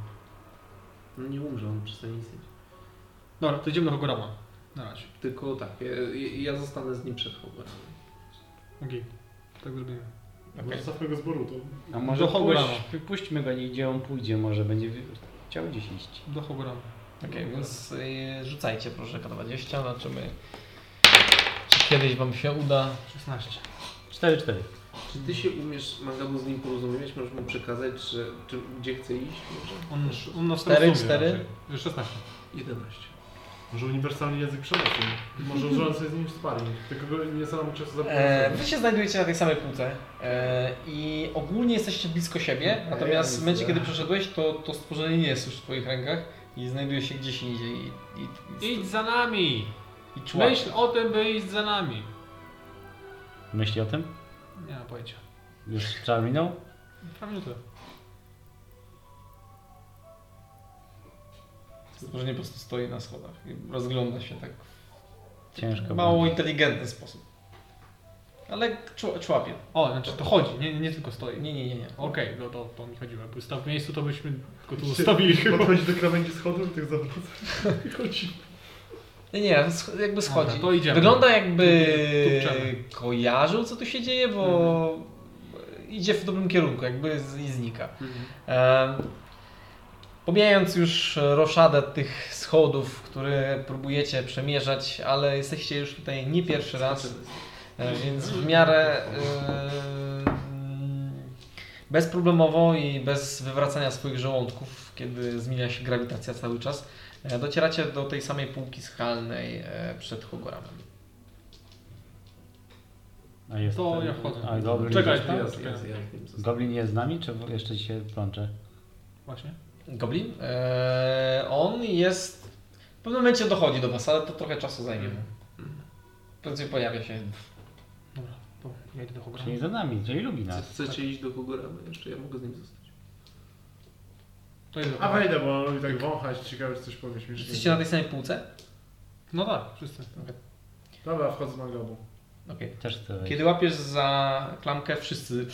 Speaker 10: No nie umrze, on przestanie istnieć.
Speaker 6: Dobra, to idziemy do Hogorama. Na razie.
Speaker 10: Tylko tak, ja, ja- ja zostanę z nim przed Hogwartem.
Speaker 6: Okej. Tak zrobimy.
Speaker 1: Okej.
Speaker 5: Zostawmy go z Boruto.
Speaker 3: A może
Speaker 6: Do Hogurama.
Speaker 3: puść, puśćmy go, niech gdzie on pójdzie, może będzie wy- chciał gdzieś iść.
Speaker 6: Do Hogurama.
Speaker 1: Okej, więc y, rzucajcie proszę K20, zobaczymy czy kiedyś wam się uda.
Speaker 6: 16.
Speaker 3: 4-4.
Speaker 10: Czy ty się umiesz, Magabu, z nim porozumiewać? Możesz mu przekazać, że, czy, gdzie chce iść? Może?
Speaker 6: On, on nas
Speaker 1: Cztery,
Speaker 6: rozumie
Speaker 1: cztery?
Speaker 6: raczej. 16.
Speaker 10: 11.
Speaker 5: Może uniwersalny język przemocy. Może użyłem sobie z nim sparring. Tylko go nie samemu czasu
Speaker 1: E,
Speaker 5: zabijać.
Speaker 1: wy się znajdujecie na tej samej półce e, i ogólnie jesteście blisko siebie, natomiast w momencie kiedy przeszedłeś, to, to stworzenie nie jest już w twoich rękach i znajduje się gdzieś indziej i, i, i,
Speaker 27: Idź za nami!
Speaker 1: i czła.
Speaker 27: Myśl o tym, by iść za nami.
Speaker 3: Myśli o tym?
Speaker 6: Nie mam pojęcia.
Speaker 3: Już czar minął?
Speaker 6: Dwa minuty.
Speaker 1: Stworzenie po prostu stoi na schodach i rozgląda się tak
Speaker 3: Ciężko.
Speaker 1: w mało
Speaker 3: będzie.
Speaker 1: inteligentny sposób. Ale czł- człapie.
Speaker 6: O, znaczy to chodzi, nie, nie tylko stoi.
Speaker 1: Nie, nie, nie, nie.
Speaker 6: Okej, no to, to mi chodziło. Jakby stał w miejscu, to byśmy tylko tu ustawili chyba.
Speaker 5: Podchodzi do krawędzi schodu i tych zawraca. I Chodzi.
Speaker 1: Nie, nie, sch- jakby schodzi.
Speaker 6: Dobra, to idziemy.
Speaker 1: Wygląda jakby
Speaker 6: Tupczemy.
Speaker 1: kojarzył, co tu się dzieje, bo idzie w dobrym kierunku, jakby z, i znika. Em, pomijając już roszadę tych schodów, które próbujecie przemierzać, ale jesteście już tutaj nie pierwszy raz, e, więc w miarę em, bezproblemowo i bez wywracania swoich żołądków, kiedy zmienia się grawitacja cały czas, E, Docieracie do tej samej półki schalnej e, przed Hogoramem.
Speaker 3: A jest
Speaker 6: To
Speaker 3: ten-
Speaker 6: ja wchodzę.
Speaker 3: A goblin,
Speaker 6: Czekaj, tak?
Speaker 3: jest,
Speaker 6: tam?
Speaker 10: Jest, jest, tak? ja z nim zostaję.
Speaker 3: goblin jest z nami, czy jeszcze się plącze?
Speaker 6: Właśnie.
Speaker 1: Goblin? E, on jest. W pewnym momencie dochodzi do was, ale to trochę czasu zajmie mu. Prędzej pojawia się.
Speaker 6: Dobra, to ja idę do Hogurama.
Speaker 3: Czyli za nami, czyli lubi
Speaker 10: Chce-
Speaker 3: nas.
Speaker 10: Chcecie iść do Hogoramy? Jeszcze ja mogę z nim zostać.
Speaker 6: To idę do
Speaker 5: A
Speaker 6: Hogurama.
Speaker 5: wejdę, bo on lubi tak wąchać. Ciekawe, czy coś powie
Speaker 1: Jesteście
Speaker 5: śmiesznego.
Speaker 1: na tej samej półce?
Speaker 6: No tak, wszyscy.
Speaker 5: Dobra, wchodzę z Magabu.
Speaker 1: Okej.
Speaker 3: Też chcę wejść.
Speaker 1: Kiedy łapiesz za klamkę, wszyscy.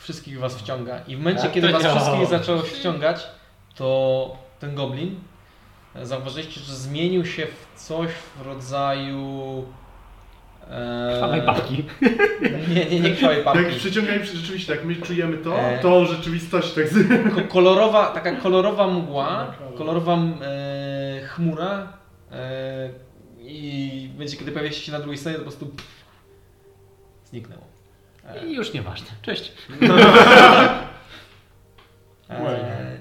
Speaker 1: Wszystkich was wciąga. I w momencie,
Speaker 3: Tak
Speaker 1: kiedy
Speaker 3: to
Speaker 1: was
Speaker 3: działa.
Speaker 1: wszystkich zaczęło ściągać, to ten goblin e, zauważyliście, że zmienił się w coś w rodzaju. e,
Speaker 3: Dawaj babki.
Speaker 1: Nie, nie, nie krwawej
Speaker 5: Jak
Speaker 1: papki.
Speaker 5: przyciągają rzeczywiście, jak my czujemy to,
Speaker 1: E.
Speaker 5: to rzeczywistość tak z...
Speaker 1: Ko- kolorowa, taka kolorowa mgła, kolorowa m, e, chmura e, i będzie kiedy pojawi się na drugiej stronie, to po prostu pff, zniknęło. E,
Speaker 3: I już nieważne. Cześć.
Speaker 1: e,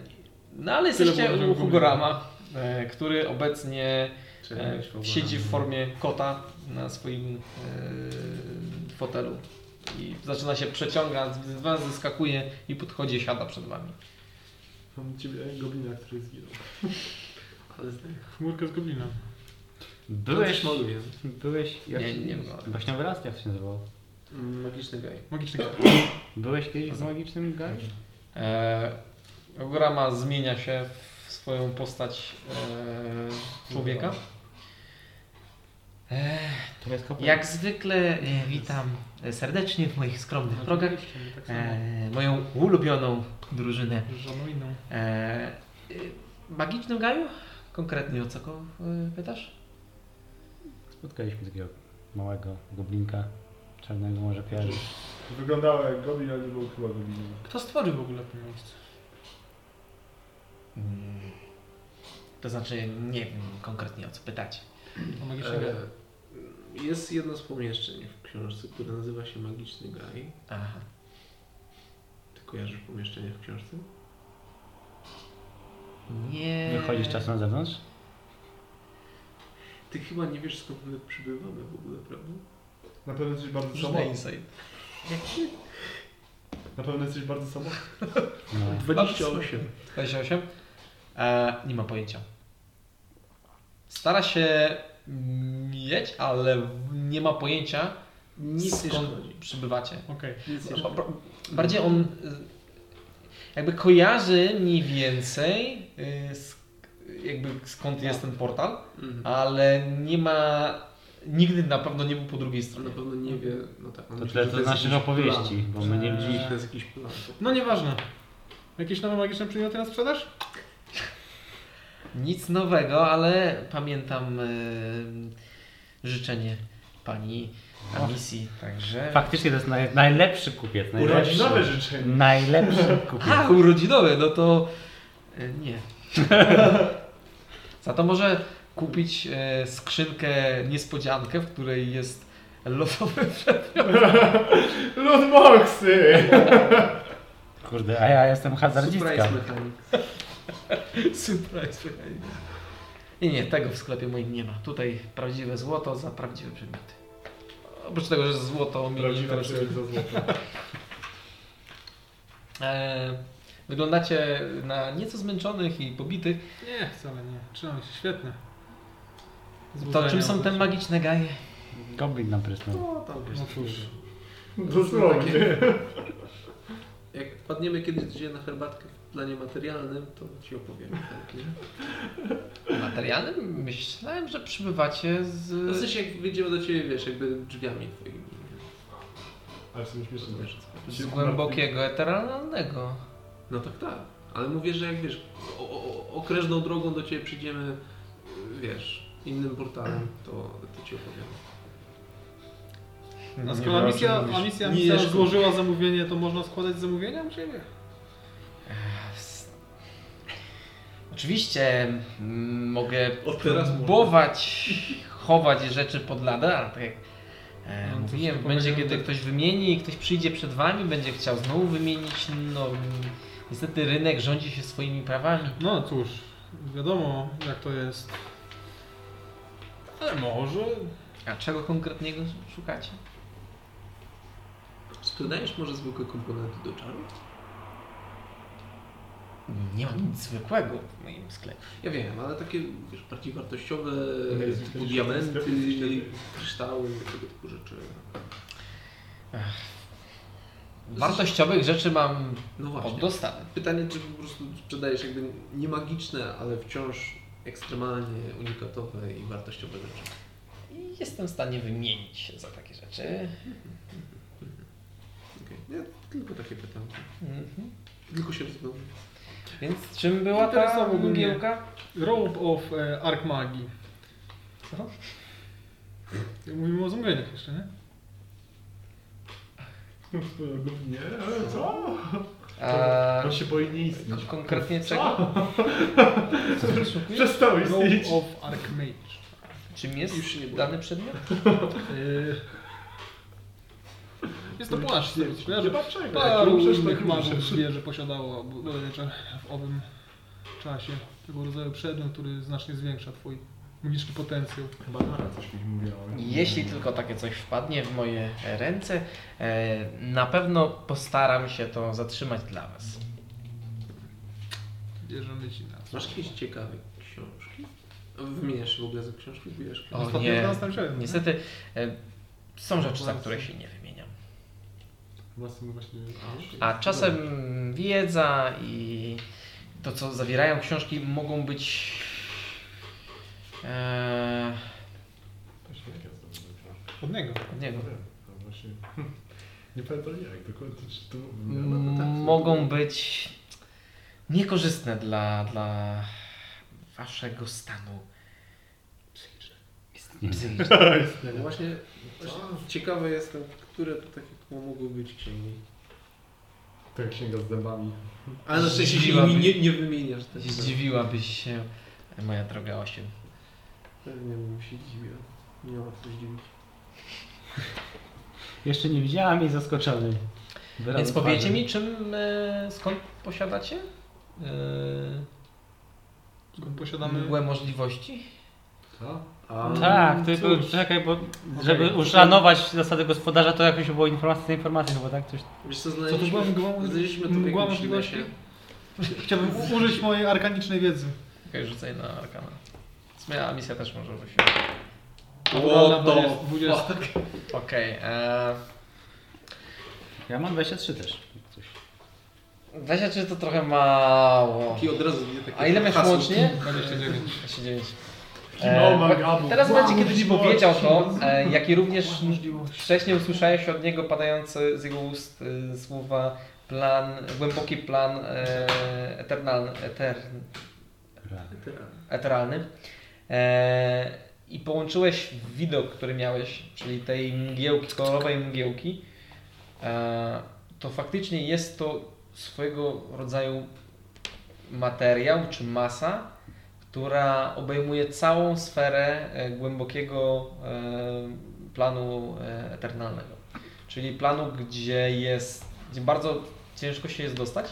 Speaker 1: no ale
Speaker 6: Tyle
Speaker 1: jesteście
Speaker 6: było, że
Speaker 1: u
Speaker 6: było.
Speaker 1: Hugorama, e, który obecnie
Speaker 10: Czy
Speaker 1: e,
Speaker 10: jakoś Hogoramy?
Speaker 1: siedzi w formie kota na swoim e, fotelu i zaczyna się przeciągać, z was zeskakuje i podchodzi i siada przed wami.
Speaker 5: Mam ciebie goblina, który zginął.
Speaker 10: Ale zdaję.
Speaker 6: Chmurkę z goblinem.
Speaker 3: Byłeś.
Speaker 10: mogę.
Speaker 3: Byłeś. Jak
Speaker 1: Nie,
Speaker 3: się-
Speaker 1: nie wygląda. tak.
Speaker 3: Właśnie wyraz jak się nazywał.
Speaker 10: Magiczny gaj.
Speaker 6: Magiczny gaz.
Speaker 3: Byłeś kiedyś w magicznym gaju?
Speaker 1: E, Ograma zmienia się w swoją postać e, człowieka. E,
Speaker 3: To jest kopalnia.
Speaker 28: Jak zwykle e, witam e, serdecznie w moich skromnych progach
Speaker 6: tak
Speaker 31: Eee.
Speaker 28: e, moją ulubioną drużynę.
Speaker 6: Żadną inną.
Speaker 28: E, e, magicznym gaju? Konkretnie o co go e, pytasz?
Speaker 3: Spotkaliśmy takiego małego goblinka. Czarnego może piarzy.
Speaker 5: Wyglądało jak goblin, ale nie był chyba goblinem.
Speaker 6: Kto stworzył w ogóle to miejsce?
Speaker 28: Mm, To znaczy nie wiem konkretnie o co pytać.
Speaker 6: O magiczny gaz.
Speaker 10: E, Jest jedno z pomieszczeń w książce, które nazywa się Magiczny Gaj.
Speaker 28: Aha.
Speaker 10: Ty kojarzysz pomieszczenie w książce?
Speaker 6: Eee.
Speaker 28: Nie.
Speaker 3: Wychodzisz czasem na zewnątrz?
Speaker 10: Ty chyba nie wiesz skąd my przybywamy w ogóle, prawda?
Speaker 5: Na pewno jesteś bardzo
Speaker 1: Różne
Speaker 5: samotny.
Speaker 1: insight.
Speaker 5: Na pewno jesteś bardzo samotny.
Speaker 3: No.
Speaker 10: 28.
Speaker 1: 28. E, nie ma pojęcia. Stara się mieć, ale nie ma pojęcia
Speaker 10: Nic nie
Speaker 1: skąd
Speaker 10: szkodzi.
Speaker 1: przybywacie.
Speaker 6: Okej.
Speaker 10: Nic nie
Speaker 1: Ba-
Speaker 10: szkodzi.
Speaker 1: ba- Bardziej on y, jakby kojarzy mniej więcej y, sk- jakby skąd jest ten portal.
Speaker 10: Mhm.
Speaker 1: ale nie ma. Nigdy na pewno nie był po drugiej
Speaker 10: On
Speaker 1: stronie.
Speaker 10: na pewno nie wie, no tak. on
Speaker 3: To
Speaker 10: myśli,
Speaker 3: tyle
Speaker 10: że
Speaker 3: to z
Speaker 10: jest
Speaker 3: naszych
Speaker 10: jakiś
Speaker 3: opowieści, bo my nie
Speaker 6: Eee.
Speaker 10: plan. Myśli, że
Speaker 3: widzieliśmy.
Speaker 10: To jest jakiś plan.
Speaker 6: No nieważne. Jakieś nowe magiczne przedmioty na sprzedaż?
Speaker 28: Nic
Speaker 1: y,
Speaker 28: nowego, ale pamiętam e, życzenie pani
Speaker 1: na misji, także...
Speaker 3: Faktycznie to jest naj, najlepszy kupiec. Najlepszy,
Speaker 5: Urodzinowe życzenie.
Speaker 3: najlepszy kupiec.
Speaker 31: A, urodzinowe, no to e, nie. Za to może kupić e, skrzynkę niespodziankę, w której jest losowy
Speaker 5: Lootboxy!
Speaker 3: Kurde, a ja jestem hazardzistka.
Speaker 31: surprise. Nie, nie, tego w sklepie moim nie ma. Tutaj prawdziwe złoto za prawdziwe przedmioty. Oprócz tego, że złoto mnie nie
Speaker 5: Prawdziwe
Speaker 31: interesuje.
Speaker 5: przyjaźń za złoto.
Speaker 31: E, wyglądacie na nieco zmęczonych i pobitych.
Speaker 6: Nie, wcale nie. Trzymam się, świetnie.
Speaker 31: To czym
Speaker 6: Złudzenia
Speaker 31: są te
Speaker 6: obecnie.
Speaker 31: magiczne gaje?
Speaker 3: Goblin nam prysnął.
Speaker 5: No tam
Speaker 6: No cóż.
Speaker 5: Dosłownie.
Speaker 10: Jak wpadniemy kiedyś gdzie na herbatkę w planie materialnym, to ci opowiem. tak, chętnie.
Speaker 31: Materialnym? Myślałem, że przybywacie z...
Speaker 10: No w sensie jak wyjdziemy do ciebie, wiesz, jakby drzwiami twoimi. znaczy,
Speaker 5: Ale w sumie śmieszne.
Speaker 31: Z głębokiego eteralnego.
Speaker 10: No tak, tak. Ale mówię, że jak wiesz, o, o, okrężną drogą do ciebie przyjdziemy, wiesz, innym portalem, to, to ci opowiem.
Speaker 6: A skoro misja, a misja, misja złożyła zamówienie, to można składać zamówienia u Ciebie?
Speaker 1: Oczywiście mm, mogę
Speaker 10: Od teraz
Speaker 1: próbować chować rzeczy pod lada, tak jak e,
Speaker 6: No, to
Speaker 1: mówiłem,
Speaker 6: się
Speaker 1: będzie
Speaker 6: powinno
Speaker 1: kiedy
Speaker 6: tak.
Speaker 1: ktoś wymieni, ktoś przyjdzie przed wami, będzie chciał znowu wymienić, no niestety rynek rządzi się swoimi prawami.
Speaker 6: No cóż, wiadomo jak to jest. Ale może.
Speaker 1: A czego konkretnego szukacie?
Speaker 10: Sprzedajesz może zwykłe komponenty do czaru?
Speaker 1: Nie mam nic zwykłego w moim sklepie.
Speaker 10: Ja wiem, ale takie wiesz, bardziej wartościowe,
Speaker 5: Nie, jest
Speaker 10: typu
Speaker 5: jakiś
Speaker 10: diamenty,
Speaker 5: sklep, jakiś taki-
Speaker 10: kryształy, tego typu rzeczy.
Speaker 1: Wartościowych rzeczy mam
Speaker 10: No
Speaker 1: pod
Speaker 10: właśnie.
Speaker 1: dostawę.
Speaker 10: Pytanie, czy po prostu sprzedajesz jakby nie magiczne, ale wciąż ekstremalnie unikatowe i wartościowe rzeczy.
Speaker 1: I jestem w stanie wymienić się za takie rzeczy.
Speaker 10: Okej. Ja tylko takie pytanie.
Speaker 1: Mhm.
Speaker 10: Tylko się rozglądam.
Speaker 1: Więc czym była ta
Speaker 6: Interesował ogólnie.
Speaker 1: mgiełka?
Speaker 6: Robe of e, Ark Magii.
Speaker 1: Aha.
Speaker 6: Mówimy o zamówieniach jeszcze, nie?
Speaker 5: Nie, ale co?
Speaker 1: A
Speaker 5: On się boi nie istnieć.
Speaker 1: konkretnie czego?
Speaker 5: Przestał
Speaker 6: Robe
Speaker 5: istnieć.
Speaker 6: of Ark Mage.
Speaker 1: Czym jest
Speaker 10: Już nie było.
Speaker 1: dany przedmiot?
Speaker 6: Y, Jest to płaszcz, z tego co
Speaker 5: Nie
Speaker 6: kojarzę.
Speaker 5: patrzaj,
Speaker 6: Paru
Speaker 5: kruszysz,
Speaker 6: innych
Speaker 5: tak
Speaker 6: magów
Speaker 5: kruszysz.
Speaker 6: wie, że posiadało bodajże w owym czasie tego rodzaju przedmiot, który znacznie zwiększa twój magiczny potencjał.
Speaker 5: Chyba Nara coś mi mówiła. ale-
Speaker 1: Jeśli tylko takie coś wpadnie w moje ręce, e, na pewno postaram się to zatrzymać dla Was.
Speaker 10: Mhm.
Speaker 6: Bierzemy ci na
Speaker 10: Masz jakieś ciekawe książki? Wymieniasz się w ogóle za książki, zbijasz
Speaker 1: O,
Speaker 6: Ostatnio
Speaker 1: nie.
Speaker 6: dla nas tam wziąłem, nie?
Speaker 1: Niestety e, są rzeczy, za które się nie wymieniam.
Speaker 5: Chyba z tym właśnie...
Speaker 1: A
Speaker 10: Mhm.
Speaker 1: czasem wiedza i to, co zawierają książki, mogą być. E,
Speaker 5: Właśnie
Speaker 1: tak
Speaker 5: jak ja zdobyłem książkę.
Speaker 6: Od niego.
Speaker 1: od niego.
Speaker 5: No właśnie... hm, Nie pamiętam jak dokładnie, czy to...
Speaker 1: Mm,
Speaker 10: tak
Speaker 1: mogą być niekorzystne dla, dla waszego stanu psychicznego.
Speaker 10: No właśnie, właśnie ciekawy jestem, które to takie to mogły być księgi.
Speaker 5: To jak księga z zębami.
Speaker 10: Ale na szczęście się
Speaker 1: Zdziwiłaby.
Speaker 10: nimi nie, nie wymieniasz też.
Speaker 1: Zdziwiłabyś się, moja droga osiem.
Speaker 10: Pewnie bym się dziwił. Nie ma co zdziwić.
Speaker 3: Jeszcze nie widziałem i zaskoczony. Wyraz
Speaker 1: Więc
Speaker 3: twarzy.
Speaker 1: powiedzcie mi, czym, e, skąd posiadacie e,
Speaker 6: Skąd posiadamy...
Speaker 1: mgłę możliwości?
Speaker 5: Co?
Speaker 10: A
Speaker 3: Tak, tylko
Speaker 6: cóż.
Speaker 3: czekaj, bo żeby uszanować zasady gospodarza, to jakoś było informacja z informacji, chyba tak? Coś...
Speaker 10: wiesz co,
Speaker 6: Co to
Speaker 10: znaleźliśmy,
Speaker 6: była mgła,
Speaker 10: znaleźliśmy to w
Speaker 6: mgła
Speaker 10: jakimś
Speaker 6: możliwości?
Speaker 10: lesie.
Speaker 6: Chciałbym u- użyć mojej arkanicznej wiedzy.
Speaker 1: Okej, rzucaj na arkana. Zmiana misja też może być.
Speaker 6: Naturalna
Speaker 10: What
Speaker 6: dwudziest-
Speaker 10: the
Speaker 6: dwudziest-
Speaker 1: Okej, e,
Speaker 3: Ja mam 23 też. Coś.
Speaker 1: 23 to trochę mało.
Speaker 10: I od razu nie takie
Speaker 1: A ile masz
Speaker 10: hasło.
Speaker 1: łącznie?
Speaker 6: 29.
Speaker 1: 29.
Speaker 5: No,
Speaker 1: E,
Speaker 5: magabu.
Speaker 1: Teraz
Speaker 5: Wow,
Speaker 1: będzie kiedyś
Speaker 5: możliwości.
Speaker 1: powiedział to, e, jak i również wcześniej usłyszałeś od niego padające z jego ust e, słowa plan, głęboki plan e, eternal, etern,
Speaker 3: Dobra.
Speaker 10: Teraz.
Speaker 1: eteralny. E, i połączyłeś widok, który miałeś, czyli tej mgiełki, kolorowej mgiełki, e, to faktycznie jest to swojego rodzaju materiał czy masa, która obejmuje całą sferę e, głębokiego e, planu e, eternalnego. Czyli planu, gdzie jest, gdzie bardzo ciężko się jest dostać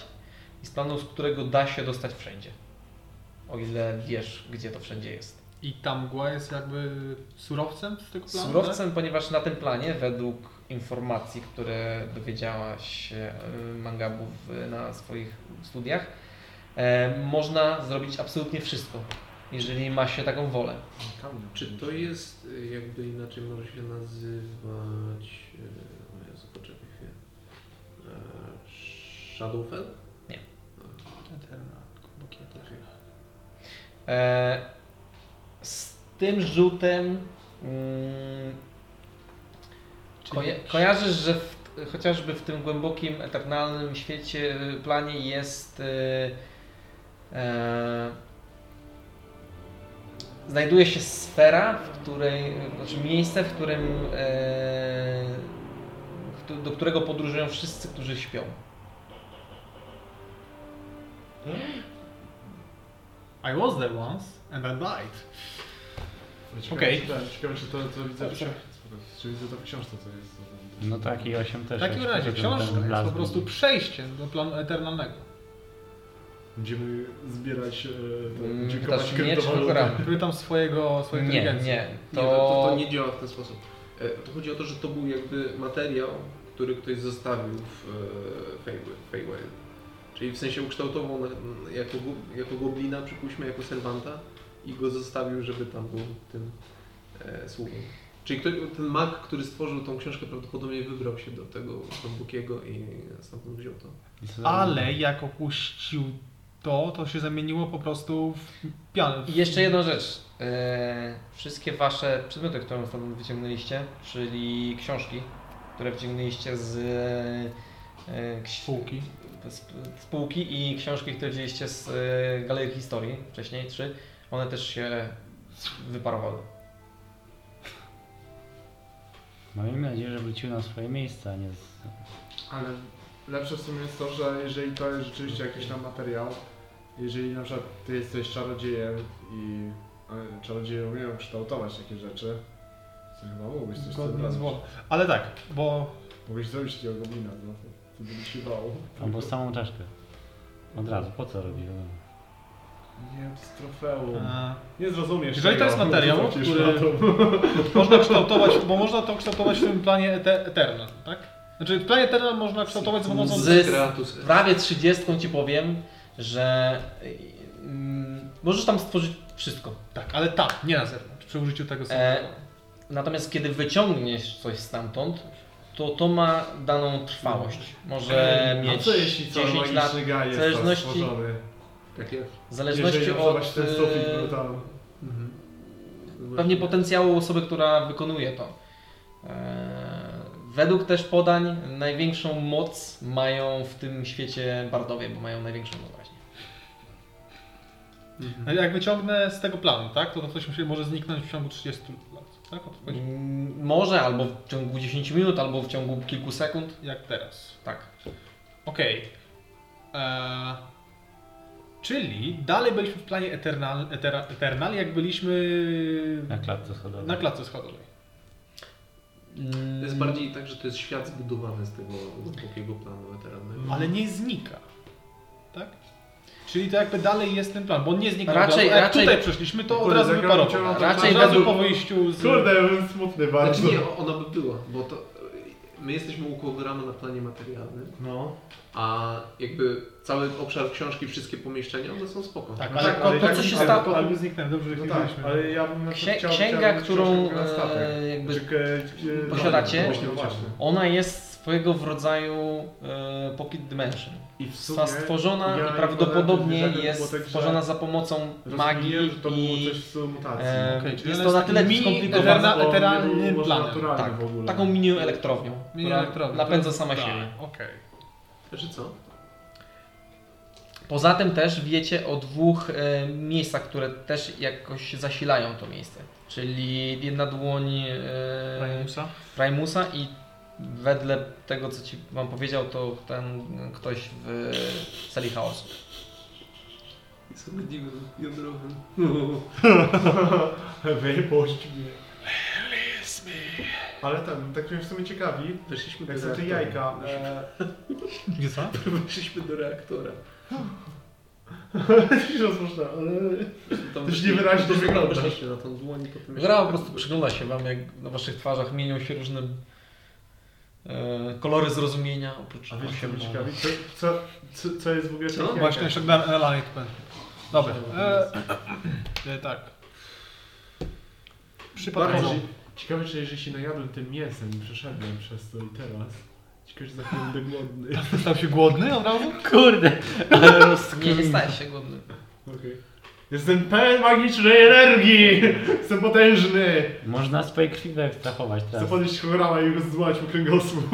Speaker 1: i z planu, z którego da się dostać wszędzie. O ile wiesz, gdzie to wszędzie jest.
Speaker 6: I ta mgła jest jakby surowcem z tego planu? tak?
Speaker 1: Surowcem, ponieważ na tym planie, według informacji, które dowiedziałaś się y, Mangabu w- na swoich studiach, e, można zrobić absolutnie wszystko, jeżeli ma się taką wolę.
Speaker 10: Czy to jest, y, jakby inaczej może się nazywać... y, O Jezu, poczekaj chwilę. E, Shadowfell?
Speaker 1: E, z tym rzutem mm, koja- kojarzysz, że w, chociażby w tym głębokim, eternalnym świecie, y, planie jest. Y, e, znajduje się sfera, w której, znaczy miejsce, w którym. E, w któ- do którego podróżują wszyscy, którzy śpią.
Speaker 6: I was there once and I died.
Speaker 5: Okej. Ciekawe, czy to, to widzę w książce. Czy widzę to w książce, co jest. co tam-
Speaker 3: No taki 8
Speaker 6: W
Speaker 3: też.
Speaker 6: takim
Speaker 3: jest
Speaker 6: razie
Speaker 3: potem ten
Speaker 6: książka jest po
Speaker 3: blask.
Speaker 6: prostu przejściem do planu eternalnego.
Speaker 5: Będziemy zbierać, e,
Speaker 1: Mm,
Speaker 5: te- dziękować
Speaker 1: pytasz mnie, czy
Speaker 5: kryptowalutę.
Speaker 1: Korana?
Speaker 6: Pytam swojego, swojej
Speaker 1: Nie,
Speaker 6: inteligencji.
Speaker 1: nie.
Speaker 10: Nie, no,
Speaker 1: To,
Speaker 10: to, to, to nie działa w ten sposób. E, To chodzi o to, że to był jakby materiał, który ktoś zostawił w e, Feywi- Feywild. Czyli w sensie ukształtował na, n- jako, gu- jako goblina, przypuśćmy, jako serwanta i go zostawił, żeby tam był tym e, sługą. Czyli kto, ten mag, który stworzył tą książkę, prawdopodobnie wybrał się do tego Bambukiego i stamtąd wziął to.
Speaker 3: I co za-
Speaker 6: Ale jak opuścił to, to się zamieniło po prostu w pianę.
Speaker 1: I jeszcze jedna rzecz. E, Wszystkie wasze przedmioty, które ostatnio wyciągnęliście, czyli książki, które wyciągnęliście z e, ksi-
Speaker 6: Spółki.
Speaker 1: z, z półki i książki, które wzięliście z e, galerii historii wcześniej, trzy, one też się wyparowały.
Speaker 3: No miejmy nadzieję, że wrócił na swoje miejsce, a nie z...
Speaker 5: Ale lepsze w sumie jest to, że jeżeli to jest rzeczywiście jakiś tam materiał, jeżeli na przykład ty jesteś czarodziejem i e, czarodzieje umieją kształtować takie rzeczy, to chyba mógłbyś coś
Speaker 6: Zgodnie z
Speaker 5: zrobić.
Speaker 6: wolą. Ale tak, bo
Speaker 5: Mógłbyś zrobić takiego goblina, no. To by ci się dało.
Speaker 3: albo samą czaszkę. Od razu, po co robiłem?
Speaker 5: Nie, to jest trofeum.
Speaker 6: e,
Speaker 5: Nie zrozumiesz
Speaker 6: Jeżeli to
Speaker 5: tego.
Speaker 6: jest materiał,
Speaker 5: Wrzucą ci
Speaker 6: który-
Speaker 5: szmatą.
Speaker 6: można kształtować, bo można to kształtować w tym planie ete- Eternal, tak? Znaczy planie Eternal można kształtować za pomocą...
Speaker 1: Z-
Speaker 10: Kreatus.
Speaker 1: Prawie trzydziestką ci powiem, że y, mm, możesz tam stworzyć wszystko.
Speaker 6: Tak, ale tak, nie na zewnątrz, przy użyciu tego
Speaker 1: E,
Speaker 6: samego.
Speaker 1: Natomiast kiedy wyciągniesz coś stamtąd, to to ma daną trwałość. Może mieć
Speaker 5: Mhm. A co no jeśli cały
Speaker 1: 10 lat.
Speaker 5: magiczny gaj jest
Speaker 1: zależności-
Speaker 5: zależności... stworzony?
Speaker 10: Tak jak
Speaker 1: W zależności
Speaker 5: Jeżeli
Speaker 1: od
Speaker 5: od... ten sufit
Speaker 1: e,
Speaker 5: brutalny.
Speaker 10: Mhm.
Speaker 1: pewnie potencjału osoby, która wykonuje to. E, Według też podań największą moc mają w tym świecie bardowie, bo mają największą moc właśnie.
Speaker 6: No i Jak wyciągnę z tego planu, tak? To, to coś mi się może zniknąć w ciągu 30 lat, tak? O to chodzi.
Speaker 1: Mm, Może albo w ciągu 10 minut, albo w ciągu kilku sekund.
Speaker 6: Jak teraz.
Speaker 1: Tak.
Speaker 6: Okej. Eee, Czyli dalej byliśmy w planie Eternal, etera, eternal jak byliśmy
Speaker 3: Na klatce schodowej.
Speaker 6: na klatce schodowej.
Speaker 1: Mm,
Speaker 10: To jest bardziej tak, że to jest świat zbudowany z tego głębokiego planu eteralnego.
Speaker 6: Ale nie znika. Tak? Czyli to jakby dalej jest ten plan, bo on nie znika. od
Speaker 1: Raczej-
Speaker 6: razu. jak
Speaker 1: raczej-
Speaker 6: tutaj przeszliśmy, to od
Speaker 5: Kurde,
Speaker 6: razu
Speaker 5: zagrałem
Speaker 6: wyparował.
Speaker 5: ciągle-
Speaker 1: Raczej
Speaker 6: od razu
Speaker 1: według-
Speaker 6: po wyjściu z...
Speaker 5: Kurde, ja byłem smutny bardzo.
Speaker 10: Znaczy nie, ona by była, bo to my jesteśmy ukłogoramy na planie materialnym,
Speaker 5: No.
Speaker 10: a jakby cały obszar książki, wszystkie pomieszczenia, one są spoko.
Speaker 6: Tak,
Speaker 5: No
Speaker 6: ale
Speaker 5: tak,
Speaker 6: to,
Speaker 5: ale
Speaker 6: to,
Speaker 5: jak
Speaker 6: co się
Speaker 5: się-
Speaker 6: stało...
Speaker 5: ale-
Speaker 6: Albo zniknęłem, dobrze, że
Speaker 5: No
Speaker 6: nie
Speaker 5: tak,
Speaker 6: byliśmy.
Speaker 5: ale ja bym na
Speaker 1: Księ-
Speaker 5: przykład chciał-
Speaker 1: księga,
Speaker 5: chciałem mieć
Speaker 1: którą,
Speaker 5: książkę na statek.
Speaker 1: e, jakby
Speaker 5: Znaczy, k- k-
Speaker 1: posiadacie?
Speaker 5: no, Właśnie, właśnie.
Speaker 1: Ona jest swojego rodzaju e, pocket dimension.
Speaker 5: I w
Speaker 1: Została stworzona i prawdopodobnie jest stworzona za pomocą magii
Speaker 5: tak, że to
Speaker 1: i
Speaker 5: było coś w stylu mutacji.
Speaker 1: e,
Speaker 6: Okej, czyli
Speaker 1: jest
Speaker 6: ona
Speaker 1: to na
Speaker 6: jest
Speaker 1: tyle
Speaker 6: mini
Speaker 1: skomplikowana,
Speaker 6: eterna- eteralnym planem.
Speaker 5: Tak,
Speaker 1: tak,
Speaker 5: w ogóle.
Speaker 1: taką mini elektrownią,
Speaker 6: Mini
Speaker 1: która
Speaker 6: elektrownia,
Speaker 1: napędza
Speaker 6: to-
Speaker 1: sama
Speaker 6: tak,
Speaker 1: siebie.
Speaker 6: Okej.
Speaker 10: Znaczy co?
Speaker 1: Poza tym też wiecie o dwóch e, miejscach, które też jakoś zasilają to miejsce. Czyli jedna dłoń e,
Speaker 6: Primusa.
Speaker 1: Primusa i wedle tego, co ci wam powiedział, to ten ktoś w sali chaosu.
Speaker 10: Jest ogniwym jądrowym.
Speaker 5: Wypuść mnie. Ale ten, tak mnie w sumie ciekawi,
Speaker 10: Weszliśmy do
Speaker 5: jak są te
Speaker 10: reaktora.
Speaker 5: jajka. E,
Speaker 6: Gdzie co?
Speaker 10: Weszliśmy do reaktora.
Speaker 5: się rozpuszcza.
Speaker 10: Tam
Speaker 5: Też niewyraźnie
Speaker 10: weszliśmy-
Speaker 5: wygląda.
Speaker 10: Weszliśmy na tą dłoń i potem...
Speaker 4: Gra po prostu przygląda się wam, jak na waszych twarzach mienią się różne e, kolory zrozumienia, oprócz
Speaker 5: A wiecie, co mnie
Speaker 4: osiem-
Speaker 5: ciekawi? Co, co, co, co jest w ogóle w tych
Speaker 10: Co?
Speaker 6: Właśnie
Speaker 5: jajkach?
Speaker 6: jeszcze dałem Elalanie tupę. tak. Dobra. E, e, tak. Przypadkowo.
Speaker 5: Bardziej, ciekawe, czy jeżeli się najadłem tym mięsem i przeszedłem przez to i teraz, ciekawe, czy za chwilę będę głodny.
Speaker 6: Stał się głodny od razu?
Speaker 3: Kurde, ale rozkmin.
Speaker 1: Nie stałeś się głodny.
Speaker 5: Okej. Jestem pełen magicznej energii! Jestem potężny!
Speaker 3: Można swojej krwi wyekstrahować
Speaker 5: Chcę
Speaker 10: Tak.
Speaker 3: teraz.
Speaker 5: podnieść chrama i rozdzłać mu kręgosłup.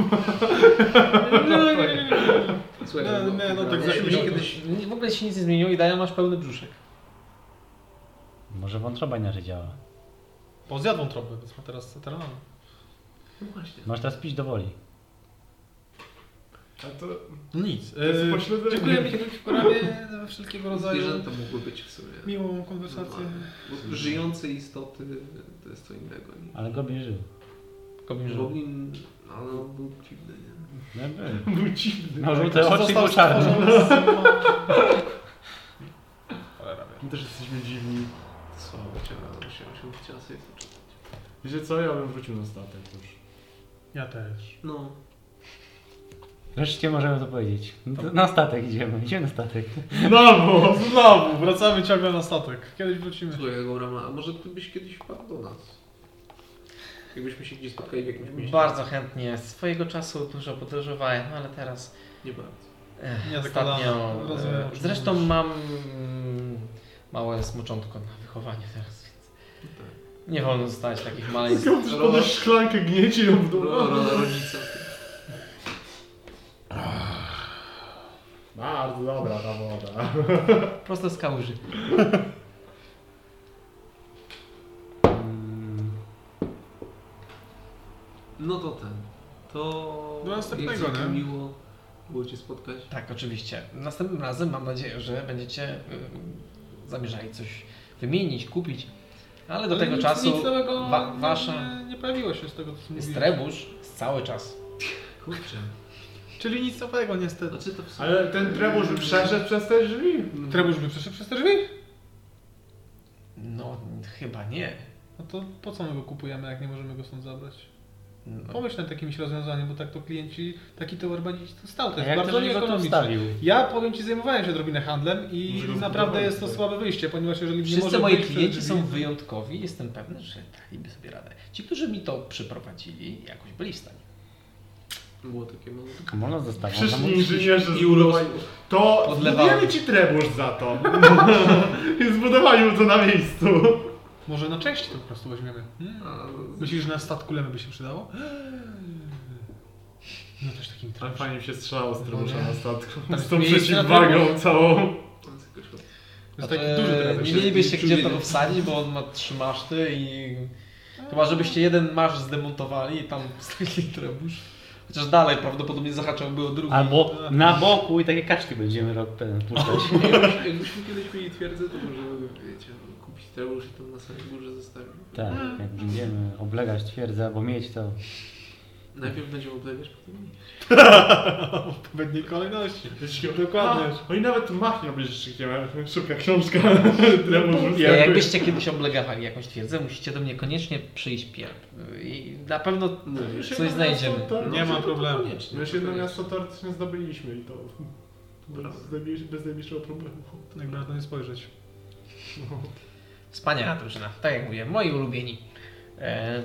Speaker 10: Słuchaj,
Speaker 6: Nie, nie, no tak
Speaker 10: gramy.
Speaker 6: za
Speaker 10: Ej,
Speaker 6: chwilę.
Speaker 10: mi kiedyś-
Speaker 1: W ogóle się nic nie zmieniło i dają masz pełny brzuszek.
Speaker 3: Może wątroba inaczej działa.
Speaker 6: Bo zjadł trąbę, więc ma teraz terenami.
Speaker 10: No właśnie.
Speaker 3: Masz teraz pić do woli.
Speaker 5: A to...
Speaker 6: No Nic.
Speaker 5: To
Speaker 10: E,
Speaker 5: jest pośledzenie.
Speaker 6: Dziękujemy Ci w poramie za wszelkiego rodzaju
Speaker 10: Zwierzęta mogły być w sumie.
Speaker 6: miłą konwersację.
Speaker 10: Bo żyjące istoty to jest co innego. nie?
Speaker 3: Ale goblin żył.
Speaker 10: Goblin, ale on był dziwny, nie?
Speaker 3: No, był.
Speaker 5: Był dziwny.
Speaker 10: No,
Speaker 3: Miał żółte oczy i
Speaker 6: Został
Speaker 3: był czarny.
Speaker 6: stworzony z-
Speaker 5: My też jesteśmy dziwni.
Speaker 10: Słabo chciałem się, się chciała sobie poczytać.
Speaker 5: Wiecie co? Ja bym wrócił na statek już.
Speaker 6: Ja też.
Speaker 10: No,
Speaker 3: Wreszcie możemy to powiedzieć. No to Na statek idziemy, idziemy na statek.
Speaker 6: Znowu, znowu, wracamy ciągle na statek. Kiedyś wrócimy.
Speaker 10: słuchaj Gorama, a może ty byś kiedyś wpadł do nas? Jakbyśmy się gdzieś spotkali w jakimś mieście.
Speaker 1: Bardzo chętnie. Swojego czasu dużo podróżowałem, no ale teraz
Speaker 10: Nie bardzo.
Speaker 1: ech,
Speaker 6: Nie
Speaker 1: ostatnio...
Speaker 6: zakładamy. Rozumiem,
Speaker 1: e,
Speaker 6: o czym
Speaker 1: Zresztą
Speaker 6: mówisz.
Speaker 1: mam mm, małe smoczątko na wychowanie teraz, więc nie wolno zostawiać takich maleństw.
Speaker 10: No
Speaker 5: Skąd też podnieść szklankę, gniecie ją w dół?
Speaker 10: Ro, rola rodzica.
Speaker 5: Bardzo dobra ta woda.
Speaker 1: Prosto z kałuży.
Speaker 3: Mm,
Speaker 10: No to ten. To...
Speaker 6: Do następnego,
Speaker 10: jest
Speaker 6: nie?
Speaker 10: miło było cię spotkać.
Speaker 1: Tak, oczywiście. Następnym razem mam nadzieję, że będziecie y, zamierzali coś wymienić, kupić, ale do
Speaker 6: Ale
Speaker 1: tego
Speaker 6: nic-
Speaker 1: czasu
Speaker 6: nic nowego
Speaker 1: wa-
Speaker 6: nie-
Speaker 1: wasza
Speaker 6: Nie, nie pojawiło się z tego, co mówiłeś.
Speaker 1: strebusz cały czas.
Speaker 10: Kurczę.
Speaker 6: Czyli nic nowego niestety.
Speaker 10: Znaczy to w sumie...
Speaker 5: Ale ten trebusz by przeszedł przez te drzwi?
Speaker 6: Trebusz by przeszedł przez te drzwi?
Speaker 1: No, chyba nie.
Speaker 6: No to po co my go kupujemy, jak nie możemy go stąd zabrać?
Speaker 1: No,
Speaker 6: Pomyśl nad jakimś rozwiązaniem, bo tak to klienci, taki towar będzie ci tu stał. To
Speaker 3: A
Speaker 6: jest
Speaker 3: jak
Speaker 6: bardzo
Speaker 3: ktoś go tu
Speaker 6: nieekonomiczne.
Speaker 3: wstawił?
Speaker 6: Ja powiem Ci, zajmowałem się drobinę handlem i
Speaker 5: Może go
Speaker 6: naprawdę
Speaker 5: zbudowali,
Speaker 6: jest to
Speaker 5: tak.
Speaker 6: słabe wyjście, ponieważ jeżeli nie
Speaker 1: wszyscy
Speaker 6: może
Speaker 1: moi
Speaker 6: wyjść przez
Speaker 1: klienci
Speaker 6: drzwi-
Speaker 1: są wyjątkowi. Jestem pewny, że daliby sobie radę. Ci, którzy mi to przyprowadzili, jakoś byli w stanie.
Speaker 10: Było takie mało.
Speaker 3: Można zostawić.
Speaker 5: Przyszli inżynierzy
Speaker 10: I urosł.
Speaker 5: To
Speaker 1: Podlewało.
Speaker 5: zbudujemy ci trebusz za to. I zbudowali mu to na miejscu.
Speaker 6: Może na części to po prostu weźmiemy. Hmm?
Speaker 10: A,
Speaker 6: Myślisz, że na statku lemy by się przydało? No też takim
Speaker 5: Tam
Speaker 6: trafem.
Speaker 5: Tak fajnie się strzelało z
Speaker 6: trebusza
Speaker 5: trybusza
Speaker 6: na
Speaker 5: na statku.
Speaker 6: Tak,
Speaker 5: Z tą
Speaker 6: miejsce na
Speaker 5: przeciwwagą całą.
Speaker 10: on z jakoś
Speaker 6: To jest
Speaker 1: Znaczy,
Speaker 6: taki duży trafem.
Speaker 1: Nie mielibyście
Speaker 10: Czyli
Speaker 1: gdzie
Speaker 10: czujnie.
Speaker 1: tego wsadzić, bo on ma trzy maszty i...
Speaker 6: Tak.
Speaker 1: Chyba żebyście jeden masz zdemontowali i tam wstawili trebusz. Chociaż dalej prawdopodobnie zahaczałby o drugi.
Speaker 3: Albo na boku i takie kaczki będziemy rok ten puszczać.
Speaker 10: Jakbyś- Jakbyśmy kiedyś mieli twierdzę, to możemy, wiecie, kupić trebusz i tam na samej górze zostawić.
Speaker 3: Tak, jak będziemy oblegać twierdzę albo mieć to.
Speaker 10: Najpierw będziemy oblegać, potem nie.
Speaker 6: W pewnej kolejności.
Speaker 5: Dokładnie. Oni nawet mach nie obejrzysz Szybka książka. Trebusz
Speaker 1: Ja, jakbyście kiedyś oblegawali jakąś twierdzę, musicie do mnie koniecznie przyjść pierw. I na pewno
Speaker 10: No, już
Speaker 1: coś znajdziemy.
Speaker 6: Nie ma problemu.
Speaker 5: My już No jedno miasto teoretycznie zdobyliśmy i to bez, najmniejsz- bez najmniejszego problemu.
Speaker 6: Jakby na to tak nie spojrzeć.
Speaker 1: Wspaniała drużyna. Tak jak mówię, moi ulubieni. E,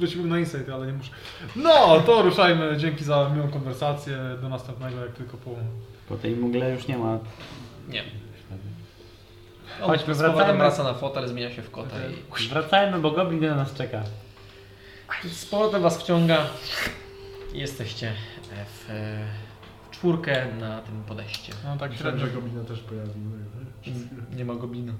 Speaker 6: Rzuciłbym na insight, ale nie muszę. No, to ruszajmy. Dzięki za miłą konwersację. Do następnego, jak tylko po...
Speaker 3: Po tej mgle już nie ma.
Speaker 1: nie. On
Speaker 3: Chodźmy,
Speaker 1: z powrotem
Speaker 3: wracajmy.
Speaker 1: wraca na fotel, zmienia się w kota i...
Speaker 3: Wracajmy, bo goblin na nas czeka.
Speaker 1: Z powrotem was wciąga. Jesteście w, e, w czwórkę na tym podejście.
Speaker 6: No tak
Speaker 5: Myślałem,
Speaker 6: średnio.
Speaker 5: że Gobina też no pojawił.
Speaker 1: Nie ma gobina.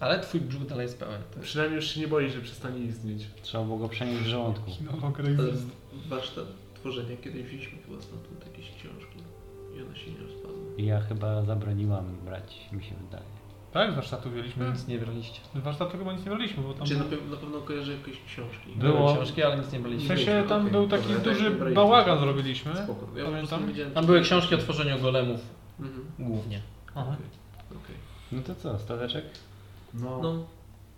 Speaker 1: Ale twój brzuch dalej jest pełen.
Speaker 5: Przynajmniej już się nie boi, że przestanie istnieć.
Speaker 3: Trzeba było go przenieść w żołądku.
Speaker 6: No,
Speaker 10: Ale
Speaker 6: Graves.
Speaker 10: warsztat tworzenia kiedyś wzięliśmy chyba stamtąd jakieś książki i one się nie rozpadły.
Speaker 3: Ja chyba zabroniłam brać, mi się wydaje.
Speaker 6: Tak, z warsztatu wzięliśmy.
Speaker 1: Nic nie braliście.
Speaker 6: Z warsztatu chyba nic nie braliśmy, bo tam...
Speaker 10: Czy na, pew- na pewno kojarzę jakieś książki?
Speaker 3: Było.
Speaker 1: Były książki, ale nic nie
Speaker 6: W
Speaker 1: braliście.
Speaker 6: sensie tam
Speaker 10: Okej,
Speaker 6: był
Speaker 10: dobra,
Speaker 6: taki
Speaker 10: tak,
Speaker 6: duży
Speaker 10: dobra,
Speaker 6: bałagan zrobiliśmy.
Speaker 10: Spoko. Ja po prostu
Speaker 6: Pamiętam.
Speaker 10: nie wiedziałem,
Speaker 1: Tam
Speaker 10: czy-
Speaker 1: były książki o tworzeniu golemów
Speaker 10: Mhm.
Speaker 1: głównie.
Speaker 6: Aha.
Speaker 10: okej.
Speaker 3: No to co, stateczek?
Speaker 5: No.
Speaker 10: No,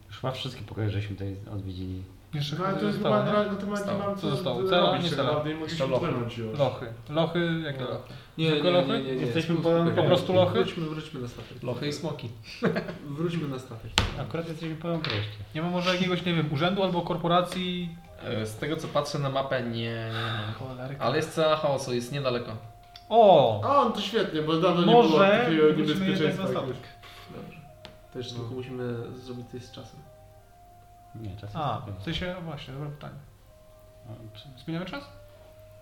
Speaker 3: Już chyba wszystkie pokoje żeśmy tutaj odwiedzili.
Speaker 6: Jeszcze
Speaker 5: No ale
Speaker 6: chyba
Speaker 5: to jest
Speaker 6: zostało,
Speaker 5: chyba
Speaker 6: nie?
Speaker 5: na, na temat
Speaker 1: Zostało.
Speaker 5: nie mam
Speaker 6: Co zostało?
Speaker 5: robić
Speaker 6: Cela? Nie
Speaker 5: tak
Speaker 6: cela.
Speaker 5: naprawdę i mogę się
Speaker 1: Cela.
Speaker 5: upłynąć już.
Speaker 6: Lochy. Lochy, jakie
Speaker 5: No.
Speaker 6: lochy?
Speaker 10: nie,
Speaker 6: Tylko
Speaker 10: nie, nie,
Speaker 6: lochy?
Speaker 10: nie, nie.
Speaker 3: Jesteśmy
Speaker 10: spoko,
Speaker 3: po- po
Speaker 10: spoko.
Speaker 6: prostu lochy?
Speaker 10: Wróćmy, wróćmy na statek.
Speaker 1: Lochy i smoki.
Speaker 10: Wróćmy na statek.
Speaker 3: Akurat jesteśmy pełen proście.
Speaker 6: Nie ma może jakiegoś, nie wiem, urzędu albo korporacji?
Speaker 1: E, Z tego co patrzę na mapę, nie.
Speaker 6: Cholery.
Speaker 1: Ale jest cała chaosu, jest niedaleko.
Speaker 6: O!
Speaker 5: A on to świetnie, bo
Speaker 6: No,
Speaker 5: dawno nie było
Speaker 6: Może
Speaker 5: takiego
Speaker 6: wróćmy jednak na
Speaker 5: niebezpieczeństwa.
Speaker 6: statek.
Speaker 10: Dobrze. To jeszcze tylko musimy zrobić to z czasem.
Speaker 3: Nie, czasem
Speaker 6: A,
Speaker 3: spokojnie.
Speaker 6: w sensie, właśnie, dobre pytanie.
Speaker 3: A, przy-
Speaker 6: Zmieniamy czas?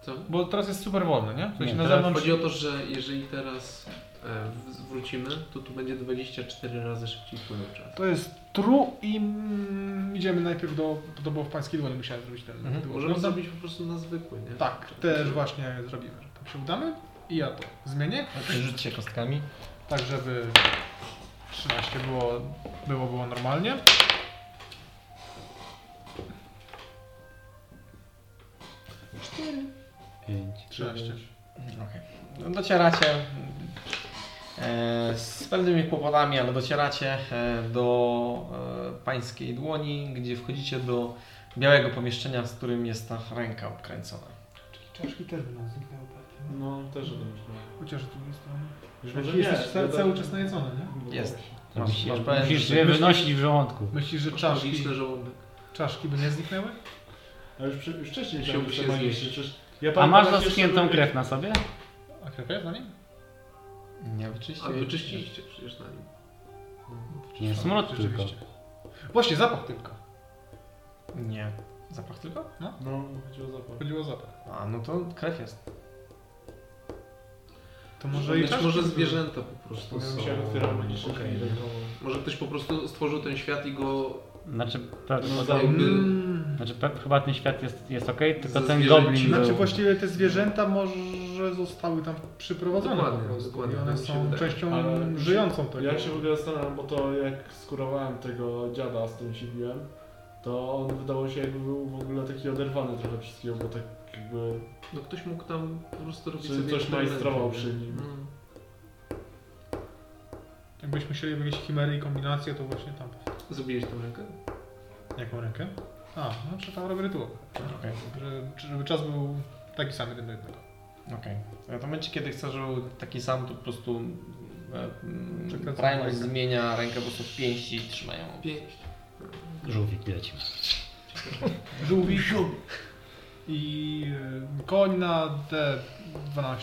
Speaker 10: Co?
Speaker 6: Bo teraz jest super wolny, nie? W sensie
Speaker 3: Nie,
Speaker 6: na
Speaker 3: teraz
Speaker 6: zewnątrz...
Speaker 10: Chodzi o to, że jeżeli teraz e, w- wrócimy, to tu będzie 24 razy szybciej płynął czas.
Speaker 6: To jest tru i mm, idziemy najpierw do... bo To było w pańskiej dłoni, musiałem zrobić ten...
Speaker 1: Mhm.
Speaker 6: tego
Speaker 10: Możemy
Speaker 6: urząd.
Speaker 10: zrobić po prostu na zwykły, nie?
Speaker 6: Tak, też właśnie zrobimy, że tam się udamy i ja to zmienię,
Speaker 1: Rzuć się kostkami.
Speaker 6: tak żeby 13 było, było, było normalnie.
Speaker 3: Pięć.
Speaker 6: 13.
Speaker 1: Okej. No, Docieracie e, z pewnymi kłopotami, ale docieracie e, do e, pańskiej dłoni, gdzie wchodzicie do białego pomieszczenia, z którym jest ta ręka obkręcona.
Speaker 6: Czaszki też będą zniknęły pewnie.
Speaker 5: No, też o tym myślałem.
Speaker 6: Chociaż z drugiej strony.
Speaker 5: Już
Speaker 6: Może
Speaker 5: może
Speaker 6: jest
Speaker 5: nie,
Speaker 6: ca-
Speaker 5: bo-
Speaker 6: cały czas najedzone, nie?
Speaker 5: bo-
Speaker 1: Jest.
Speaker 3: To
Speaker 1: Masz-
Speaker 3: Masz,
Speaker 1: masz pewien-
Speaker 3: musisz je wynosić w żołądku.
Speaker 6: Myślisz, że czaszki,
Speaker 10: Magiczny żołądek.
Speaker 6: czaszki by nie zniknęły?
Speaker 5: A już, przy, już wcześniej
Speaker 10: Musiałby
Speaker 5: myślałem, że
Speaker 10: się
Speaker 5: to ma
Speaker 10: zjeść.
Speaker 5: jeszcze- przecież ja
Speaker 3: A
Speaker 5: pamiętam,
Speaker 3: masz
Speaker 5: jak jeszcze
Speaker 3: zaschniętą
Speaker 5: były-
Speaker 3: krew na sobie?
Speaker 6: A krew jest na nim?
Speaker 1: Nie wyczyście.
Speaker 10: Ale wyczyściliście przecież na nim.
Speaker 3: Nie, smród tylko.
Speaker 6: Rzeczywiście. Właśnie, zapach tylko.
Speaker 1: Nie. Zapach tylko?
Speaker 5: No, chodzi o zapach.
Speaker 6: Chodziło o zapach.
Speaker 1: A, no to krew jest.
Speaker 6: To może i
Speaker 10: Być
Speaker 6: czaszki
Speaker 10: Znaczy, może
Speaker 6: były.
Speaker 10: zwierzęta po prostu są...
Speaker 5: Powiem się, otwieram magiczny
Speaker 10: okej. Może ktoś po prostu stworzył ten świat i go...
Speaker 3: Znaczy,
Speaker 10: No,
Speaker 3: prawdopodobnie.
Speaker 10: jakby...
Speaker 6: Mm.
Speaker 3: Znaczy, pe- chyba ten świat jest, jest okej, tylko
Speaker 10: Ze
Speaker 3: ten
Speaker 10: zwierzęcin-
Speaker 3: goblin był.
Speaker 6: Znaczy właściwie te zwierzęta może zostały tam przyprowadzone
Speaker 10: Dokładnie,
Speaker 6: po prostu.
Speaker 10: dokładnie,
Speaker 6: I one
Speaker 10: tak mi się
Speaker 6: są
Speaker 10: wydaje.
Speaker 6: częścią
Speaker 5: Ale-
Speaker 6: żyjącą tego.
Speaker 5: Ja się w ogóle zastanawiam, bo to jak skurowałem tego dziada, z którym się biłem, to on wydało się jakby był w ogóle taki oderwany trochę wszystkiego, bo tak jakby...
Speaker 10: No ktoś mógł tam po prostu robić
Speaker 5: Czy
Speaker 10: sobie...
Speaker 5: coś
Speaker 10: eksperymenty,
Speaker 5: majstrował
Speaker 10: nie?
Speaker 5: przy nim.
Speaker 10: Mm.
Speaker 6: Jakbyśmy chcieli jakieś chimery i kombinacje, to właśnie tam.
Speaker 10: Zrobiłeś tą rękę?
Speaker 6: Jaką rękę? A, no czy tam robię rytuał.
Speaker 1: Okej.
Speaker 6: Że- czy- Żeby czas był taki sam jeden do jednego.
Speaker 1: Okej. Okay. W momencie, kiedy chcesz, żeby był taki sam, to po prostu e, mm,
Speaker 6: Przekręcam
Speaker 1: Primus
Speaker 6: rękę.
Speaker 1: zmienia rękę po prostu w pięści i trzymają.
Speaker 10: Pięć.
Speaker 3: Żółwik leci.
Speaker 6: Żółwi. I y, koń na D12.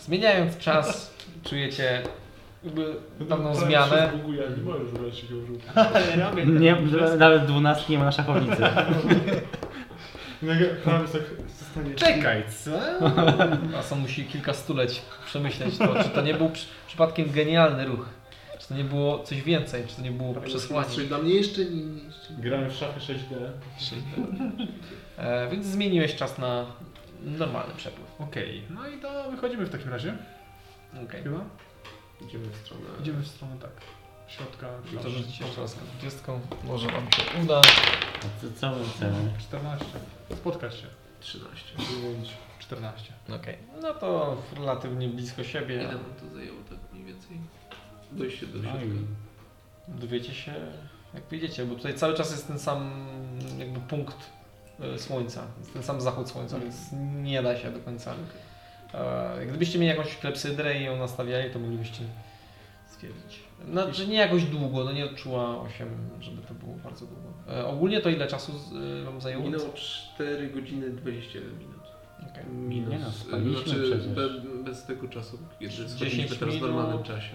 Speaker 1: Zmieniając czas, czujecie jakby pewną
Speaker 5: Prawie
Speaker 1: zmianę.
Speaker 5: się zbuguje, nie możesz ubrać się go
Speaker 3: Nie, nawet dwunastki nie ma na szachownicy.
Speaker 5: Tam jest tak zostanie...
Speaker 1: Czekaj, co? Asa musi kilka stuleć przemyśleć to, czy to nie był przy, przypadkiem genialny ruch. Czy to nie było coś więcej, czy to nie było
Speaker 10: Tak,
Speaker 1: przesłanie.
Speaker 10: Czyli dla mnie jeszcze nie... nie- Jeszcze nie.
Speaker 5: Grałem w szachy 6D.
Speaker 1: E, więc zmieniłeś czas na normalny przepływ.
Speaker 6: Okej, no i to wychodzimy w takim razie.
Speaker 1: Okej.
Speaker 6: Chyba?
Speaker 10: Idziemy w stronę...
Speaker 6: Idziemy w stronę tak. Środka.
Speaker 1: To rzucić jeszcze raz dwudziestką. Może wam się uda.
Speaker 3: Co, co my chcemy?
Speaker 6: 14. Spotkać się.
Speaker 10: 13.
Speaker 6: 14.
Speaker 1: Okej. No to relatywnie blisko siebie.
Speaker 10: Ile nam to zajęło tak mniej więcej? Dojście do środka.
Speaker 3: No i
Speaker 1: Dowiecie się jak wyjdziecie, bo tutaj cały czas jest ten sam jakby punkt e, słońca. Jest ten sam zachód słońca, więc nie da się do końca. E, jak Gdybyście mieli jakąś klepsydrę i ją nastawiali, to moglibyście stwierdzić. Znaczy nie jakoś długo, no nie odczuła 8, żeby to było bardzo długo. E, ogólnie to ile czasu z, e, wam zajęło?
Speaker 10: Minęło 4 godziny 21 minut.
Speaker 1: Okej.
Speaker 10: Minus.
Speaker 3: Nie no, spaliśmy
Speaker 10: znaczy,
Speaker 3: przecież.
Speaker 10: be, bez tego czasu, kiedy
Speaker 1: 10
Speaker 10: schodziliśmy teraz w
Speaker 1: minut.
Speaker 10: normalnym czasie.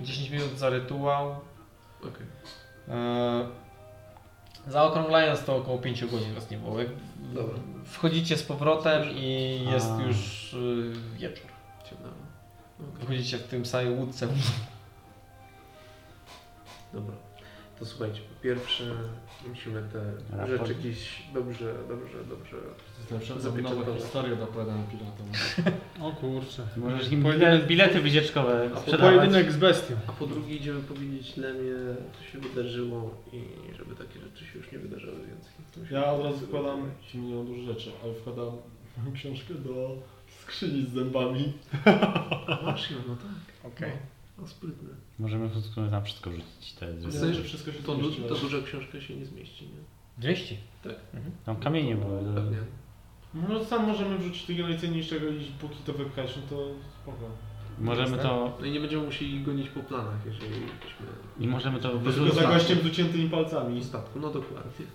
Speaker 1: 10 minut za rytuał.
Speaker 10: Okej.
Speaker 1: E, Zaokrąglając to około 5 godzin was nie było. Jak
Speaker 10: Dobra.
Speaker 1: Wchodzicie z powrotem i jest
Speaker 3: A.
Speaker 1: już y, wieczór.
Speaker 10: Ciemno. No
Speaker 1: Wchodzicie w tym samej łódce.
Speaker 10: Dobra. To słuchajcie, po pierwsze musimy te
Speaker 3: Raport.
Speaker 10: rzeczy gdzieś dobrze, dobrze, dobrze.
Speaker 5: To jest lepsza
Speaker 10: Zapieczę
Speaker 5: nowa
Speaker 10: to.
Speaker 5: historia do opowiadania no. piratom.
Speaker 6: O kurczę.
Speaker 3: Możesz im bile,
Speaker 6: Pojedynek-
Speaker 3: bilety wycieczkowe
Speaker 10: A
Speaker 3: sprzedawać.
Speaker 6: Pojedynek z bestią.
Speaker 10: A po drugie idziemy powiedzieć Lemie, co się wydarzyło i żeby takie rzeczy się już nie wydarzały więcej. To musimy
Speaker 5: Ja od
Speaker 10: sobie
Speaker 5: razu wkładam,
Speaker 10: wyobrazić.
Speaker 5: milion dużo rzeczy, ale wkładam moją książkę do skrzyni z zębami.
Speaker 10: A masz ją, no tak.
Speaker 1: Okej.
Speaker 10: No sprytne.
Speaker 3: Możemy po prostu tam wszystko rzucić. Te
Speaker 10: W
Speaker 3: zwierzę.
Speaker 10: sensie,
Speaker 5: że wszystko się
Speaker 10: To, du-
Speaker 5: zmieściło.
Speaker 10: to duża książka się nie zmieści, nie?
Speaker 1: 200.
Speaker 3: Tam kamienie były.
Speaker 10: Pewnie.
Speaker 5: No sam możemy wrzucić tego najcenniejszego i póki to wypchać, no to spoko.
Speaker 3: Możemy to,
Speaker 10: No i nie będziemy musieli gonić po planach, jeżeli byśmy
Speaker 3: i możemy to
Speaker 5: Tylko za
Speaker 3: wyrzucać.
Speaker 5: gościem z uciętymi palcami.
Speaker 10: w statku. No dokładnie.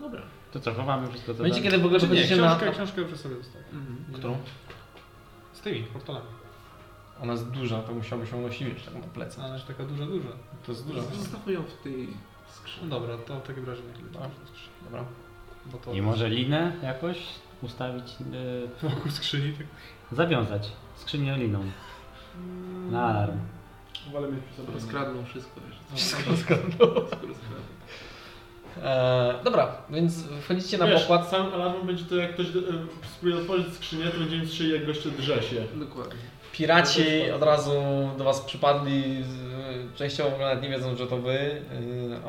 Speaker 10: Dobra.
Speaker 3: To co, chowamy wszystko to
Speaker 1: Będzie
Speaker 3: tam.
Speaker 1: kiedy w ogóle
Speaker 6: Czy Znaczy nie,
Speaker 1: wychodzicie na...
Speaker 6: książkę, książkę już sobie zostawię.
Speaker 10: Mhm.
Speaker 1: Którą?
Speaker 6: Z tymi portalami.
Speaker 1: Ona jest duża, to musiałbyś ją nosić wiesz, tak na plecach.
Speaker 6: Ale że taka duża, duża.
Speaker 1: To jest duża.
Speaker 10: Zostawmy ją w tej
Speaker 6: No
Speaker 10: skrzyni.
Speaker 6: dobra, to w takim razie nie
Speaker 1: Tak. Dobra.
Speaker 6: Bo to
Speaker 3: I może linę jakoś ustawić, y,
Speaker 6: wokół skrzyni. Tak.
Speaker 3: zawiązać skrzynię liną. Na alarm.
Speaker 5: Ale mieć przy sobie.
Speaker 10: Rozkradną wszystko, wiesz. co?
Speaker 1: Wszystko zgadza.
Speaker 10: Wszystko rozkradną.
Speaker 1: E, dobra, więc wchodzicie na
Speaker 5: Wiesz,
Speaker 1: pokład.
Speaker 5: Sam alarm będzie to jak ktoś e, spróbuje otworzyć skrzynię, to będziemy strzeli jak goście drze się.
Speaker 10: Dokładnie.
Speaker 1: Piraci od razu do was przypadli, z- e, częściowo w ogóle nawet nie wiedzą, że to wy, y,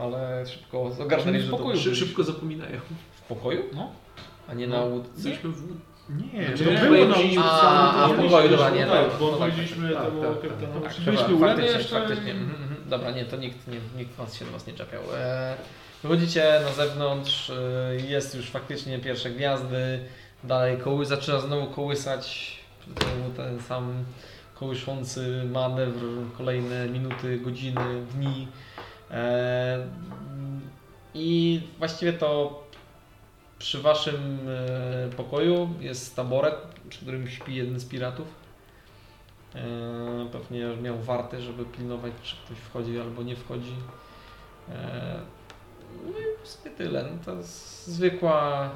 Speaker 1: ale szybko ogarnęli, że
Speaker 6: W
Speaker 1: to
Speaker 6: pokoju.
Speaker 10: Szy- szybko zapominają.
Speaker 1: W pokoju?
Speaker 6: No.
Speaker 1: A nie na łódce?
Speaker 10: Byliśmy w łódce.
Speaker 6: Nie,
Speaker 5: Znaczy,
Speaker 6: nie.
Speaker 5: to
Speaker 10: było
Speaker 5: na
Speaker 1: A, a w pokoju, dobra, nie,
Speaker 5: Tak,
Speaker 1: tak,
Speaker 5: bo
Speaker 1: no tak,
Speaker 5: powiedzieliśmy
Speaker 10: tak,
Speaker 5: temu
Speaker 10: tak, tak,
Speaker 5: kapitanowi.
Speaker 1: Tak,
Speaker 6: Byliśmy
Speaker 1: chyba,
Speaker 6: u Leny
Speaker 1: faktycznie,
Speaker 6: jeszcze
Speaker 1: faktycznie.
Speaker 6: i-
Speaker 1: Mhm, mhm. Dobra, nie, to nikt, nie, nikt was się do was nie czepiał. E, wychodzicie na zewnątrz, e, jest już faktycznie pierwsze gwiazdy, dalej koły, zaczyna znowu kołysać znowu ten sam kołyszący manewr, kolejne minuty, godziny, dni. E, I właściwie to przy waszym e, pokoju jest taboret, przy którym śpi jeden z piratów. E, Pewnie miał warty, żeby pilnować, czy ktoś wchodzi albo nie wchodzi. E, No i w sumie tyle. No to jest zwykła,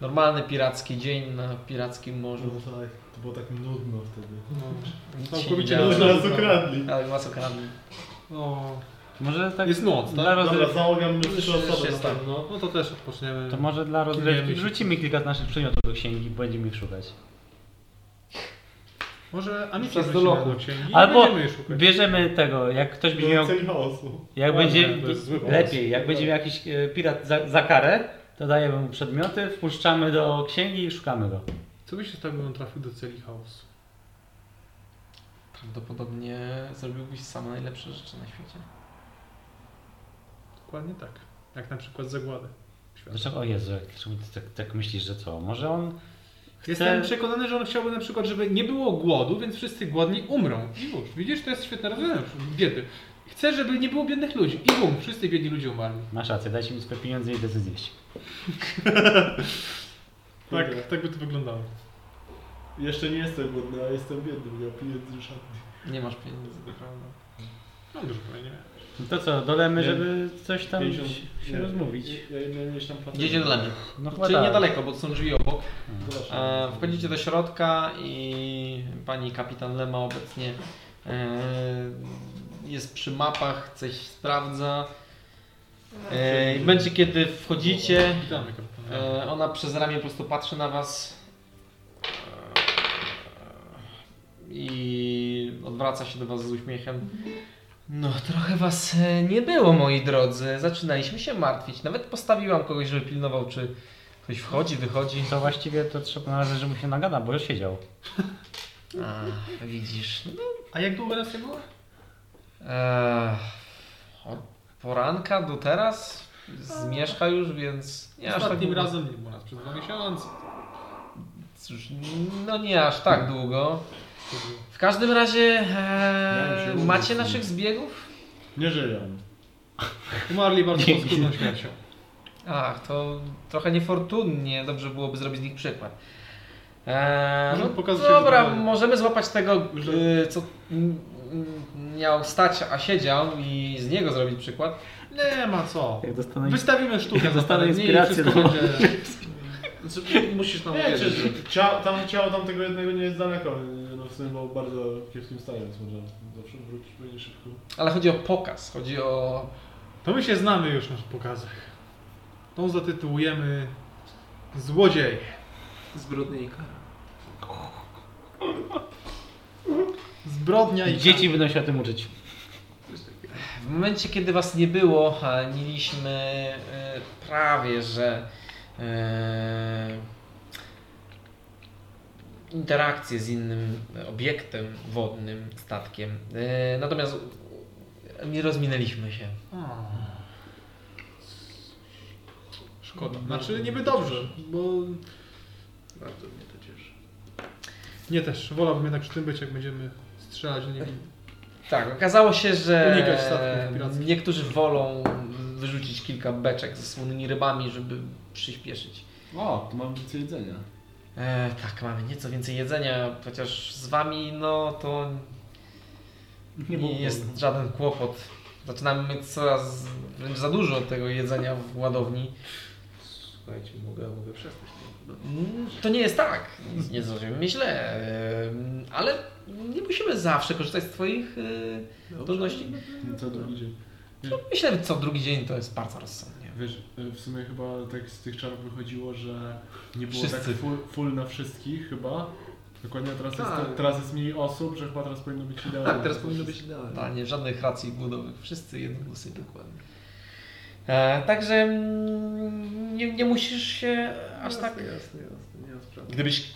Speaker 1: normalny piracki dzień na pirackim morzu.
Speaker 5: No tak, to było tak nudno wtedy.
Speaker 6: No.
Speaker 1: Nic się
Speaker 6: Całkowicie
Speaker 1: nie
Speaker 5: To
Speaker 1: działo.
Speaker 5: już
Speaker 6: nudno.
Speaker 5: nas ukradli.
Speaker 1: Ale was okradli.
Speaker 6: O,
Speaker 3: Może tak
Speaker 6: No. Jest noc,
Speaker 3: dla
Speaker 6: tak?
Speaker 5: Dobra,
Speaker 3: rozrywki.
Speaker 5: załoga mnie
Speaker 1: Już
Speaker 5: trzy osoby.
Speaker 1: jest
Speaker 5: na
Speaker 1: tam.
Speaker 5: pewno.
Speaker 6: No, no to też odpoczniemy.
Speaker 3: To może dla
Speaker 6: Nie
Speaker 3: rozrywki
Speaker 6: wiem.
Speaker 3: wrzucimy kilka z naszych przedmiotów do księgi, będziemy ich szukać.
Speaker 6: Może
Speaker 1: Czas
Speaker 6: Amicia
Speaker 1: do
Speaker 6: do
Speaker 1: lochu.
Speaker 6: lochu. do księgi
Speaker 3: Albo
Speaker 6: Albo... będziemy jej szukać.
Speaker 3: Bierzemy tego, jak ktoś będzie miał,
Speaker 5: Do celi chaosu.
Speaker 3: jak
Speaker 6: Ładnie,
Speaker 3: będzie,
Speaker 6: to jest zły pomysł.
Speaker 3: lepiej, jak będzie miał jakiś e, pirat za, za karę, to dajemy mu przedmioty, wpuszczamy do księgi i szukamy go.
Speaker 6: Co by się stało, gdybym trafił do celi chaosu?
Speaker 1: Prawdopodobnie zrobiłbyś same najlepsze rzeczy na świecie.
Speaker 6: Dokładnie tak. Jak na przykład zagładę. świata.
Speaker 3: Dlaczego, o Jezu, jak- dlaczego ty tak, tak myślisz, że co? Może on chce...
Speaker 6: Jestem przekonany, że on chciałby na przykład, żeby nie było głodu, więc wszyscy głodni umrą. I już. Widzisz, to jest świetne rozwiązanie biedy. Chcę, żeby nie było biednych ludzi. I bum, wszyscy biedni ludzie umarli.
Speaker 3: Masz rację, dajcie mi swoje pieniądze i decyzję.
Speaker 5: Kurde.
Speaker 6: Tak, tak by to wyglądało.
Speaker 5: Jeszcze nie jestem głodny, a jestem biedny, ja piję z ryszami.
Speaker 1: Nie masz pieniędzy, prawda?
Speaker 6: No dużo pewnie. nie.
Speaker 3: No to co, dolemy,
Speaker 5: Nie.
Speaker 3: żeby coś tam
Speaker 5: 50,
Speaker 3: się
Speaker 5: nie.
Speaker 3: rozmówić.
Speaker 5: Ja jedno gdzieś tam patrzę.
Speaker 1: Idziecie do Lemy.
Speaker 3: No
Speaker 1: Czyli
Speaker 3: tak.
Speaker 1: niedaleko, bo to są drzwi obok.
Speaker 5: Zobaczmy.
Speaker 1: E, Wchodzicie do środka i pani kapitan Lema obecnie e, jest przy mapach, coś sprawdza. E, I w momencie, kiedy wchodzicie,
Speaker 6: Witamy, kapitanie.
Speaker 1: e, ona przez ramię po prostu patrzy na was e, i odwraca się do was z uśmiechem.
Speaker 28: No, trochę was e, nie było, moi drodzy. Zaczynaliśmy się martwić. Nawet postawiłam kogoś, żeby pilnował, czy ktoś wchodzi, wychodzi.
Speaker 3: To właściwie to trzeba należy, że mu się nagada, bo już siedział.
Speaker 28: A, widzisz.
Speaker 6: A jak długo nas nie było?
Speaker 28: Eee, od poranka do teraz zmieszka już, więc nie aż tak
Speaker 6: Ostatnim
Speaker 28: długo.
Speaker 6: razem nie było nas przez dwa miesiące.
Speaker 28: Cóż, no nie aż tak długo. W każdym razie
Speaker 5: Miałem się
Speaker 28: eee,
Speaker 5: umówić.
Speaker 28: macie naszych zbiegów?
Speaker 5: Nie żyją.
Speaker 6: Umarli bardzo poskudną śmiercią.
Speaker 28: Ach, to trochę niefortunnie. Dobrze byłoby zrobić z nich przykład. Eee,
Speaker 6: Możemy
Speaker 28: no,
Speaker 6: pokazać, jak
Speaker 28: dobra,
Speaker 6: wyglądają.
Speaker 28: możemy złapać tego, e, co mm, mm, miał stać, a siedział i
Speaker 1: z niego zrobić przykład.
Speaker 6: Nie ma co.
Speaker 3: Jak dostanę,
Speaker 6: Wystawimy sztukę
Speaker 3: jak
Speaker 6: za
Speaker 3: dostanę
Speaker 6: parę dni i
Speaker 3: inspirację,
Speaker 6: wszystko
Speaker 3: to...
Speaker 6: będzie...
Speaker 10: Znaczy, musisz nam
Speaker 5: Nie,
Speaker 10: uwierzyć.
Speaker 5: czy ciało, tam, ciało tamtego jednego nie jest daleko, no w sumie było w bardzo kiepskim stanie, więc może zawsze wrócić będzie szybko.
Speaker 1: Ale chodzi o pokaz, chodzi o...
Speaker 6: To my się znamy już na pokazach. Tą zatytułujemy Złodziej.
Speaker 10: Zbrodnie i kara.
Speaker 6: Zbrodnia i...
Speaker 3: Dzieci będą się o tym uczyć.
Speaker 1: W momencie, kiedy was nie było, e, mieliśmy e, prawie, że e, interakcję z innym obiektem wodnym, statkiem. E, Natomiast u- nie rozminęliśmy się.
Speaker 6: Szkoda. Znaczy niby dobrze, bo...
Speaker 10: Bardzo mnie to cieszy.
Speaker 6: Nie też, wolałbym jednak przy tym być, jak będziemy strzelać do niewinnych.
Speaker 1: Tak, okazało się, że
Speaker 6: Unikać statków pirackich.
Speaker 1: niektórzy wolą wyrzucić kilka beczek ze słonymi rybami, żeby przyspieszyć.
Speaker 5: O, tu mam więcej jedzenia.
Speaker 1: E, tak, mamy nieco więcej jedzenia, chociaż z wami, no to nie, jest żaden kłopot. Zaczynamy mieć coraz wręcz za dużo tego jedzenia w ładowni.
Speaker 10: Słuchajcie, mogę, mogę przestać. No,
Speaker 1: Mm, To nie jest tak, nie- nie zrozumiemy źle, e, ale nie musimy zawsze korzystać z Twoich e,
Speaker 10: No
Speaker 1: trudności.
Speaker 5: Co drugi dzień.
Speaker 1: No, Myślę, że co drugi dzień to jest bardzo rozsądnie.
Speaker 5: Wiesz, y, w sumie chyba tak z tych czarów wychodziło, że nie było
Speaker 1: Wszyscy.
Speaker 5: tak full, full na wszystkich chyba. Dokładnie, a teraz,
Speaker 10: Tak.
Speaker 5: jest, teraz jest mniej osób, że chyba teraz powinno być idealnie.
Speaker 10: tak, teraz powinno być idealnie.
Speaker 1: Totalnie, żadnych racji głodowych, wszyscy jednogłosy dokładnie. E, także mm, nie, nie musisz się aż tak
Speaker 10: Jasne, jasne, nie ma sprawy.
Speaker 1: Gdybyś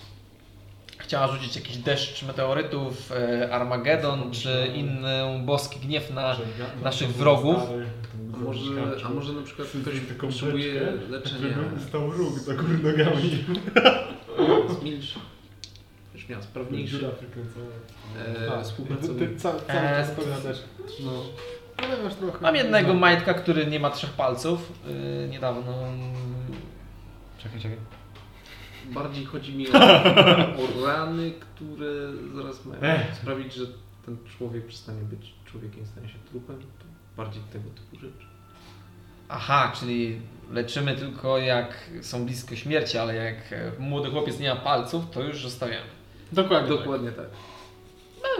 Speaker 1: chciała rzucić jakiś deszcz meteorytów, e, Armagedon czy inny boski gniew na... naszych wrogów.
Speaker 10: A może, a może na przykład
Speaker 5: Wszyscy
Speaker 10: ktoś
Speaker 5: taką
Speaker 10: potrzebuje
Speaker 5: beczkę,
Speaker 10: leczenia?
Speaker 5: Stał róg do góry nogami.
Speaker 10: Zmilcz. Już miał
Speaker 5: Dziura
Speaker 10: sprawniejszy.
Speaker 5: przykręcona.
Speaker 10: E, współpracownik.
Speaker 2: Tak. Ty ca cały
Speaker 1: Eee,
Speaker 2: czas pewnie też.
Speaker 5: E, No.
Speaker 2: Ale masz trochę.
Speaker 1: Mam
Speaker 6: No.
Speaker 1: jednego majtka, który nie ma trzech palców. e, niedawno...
Speaker 3: Czekaj, czekaj.
Speaker 10: Bardziej chodzi mi o, o rany, które zaraz mają sprawić, że ten człowiek przestanie być człowiekiem, stanie się trupem. To bardziej tego typu rzeczy.
Speaker 1: Aha, czyli leczymy tylko jak są blisko śmierci, ale jak e, młody chłopiec nie ma palców, to już zostawiamy.
Speaker 6: Dokładnie.
Speaker 10: Dokładnie tak.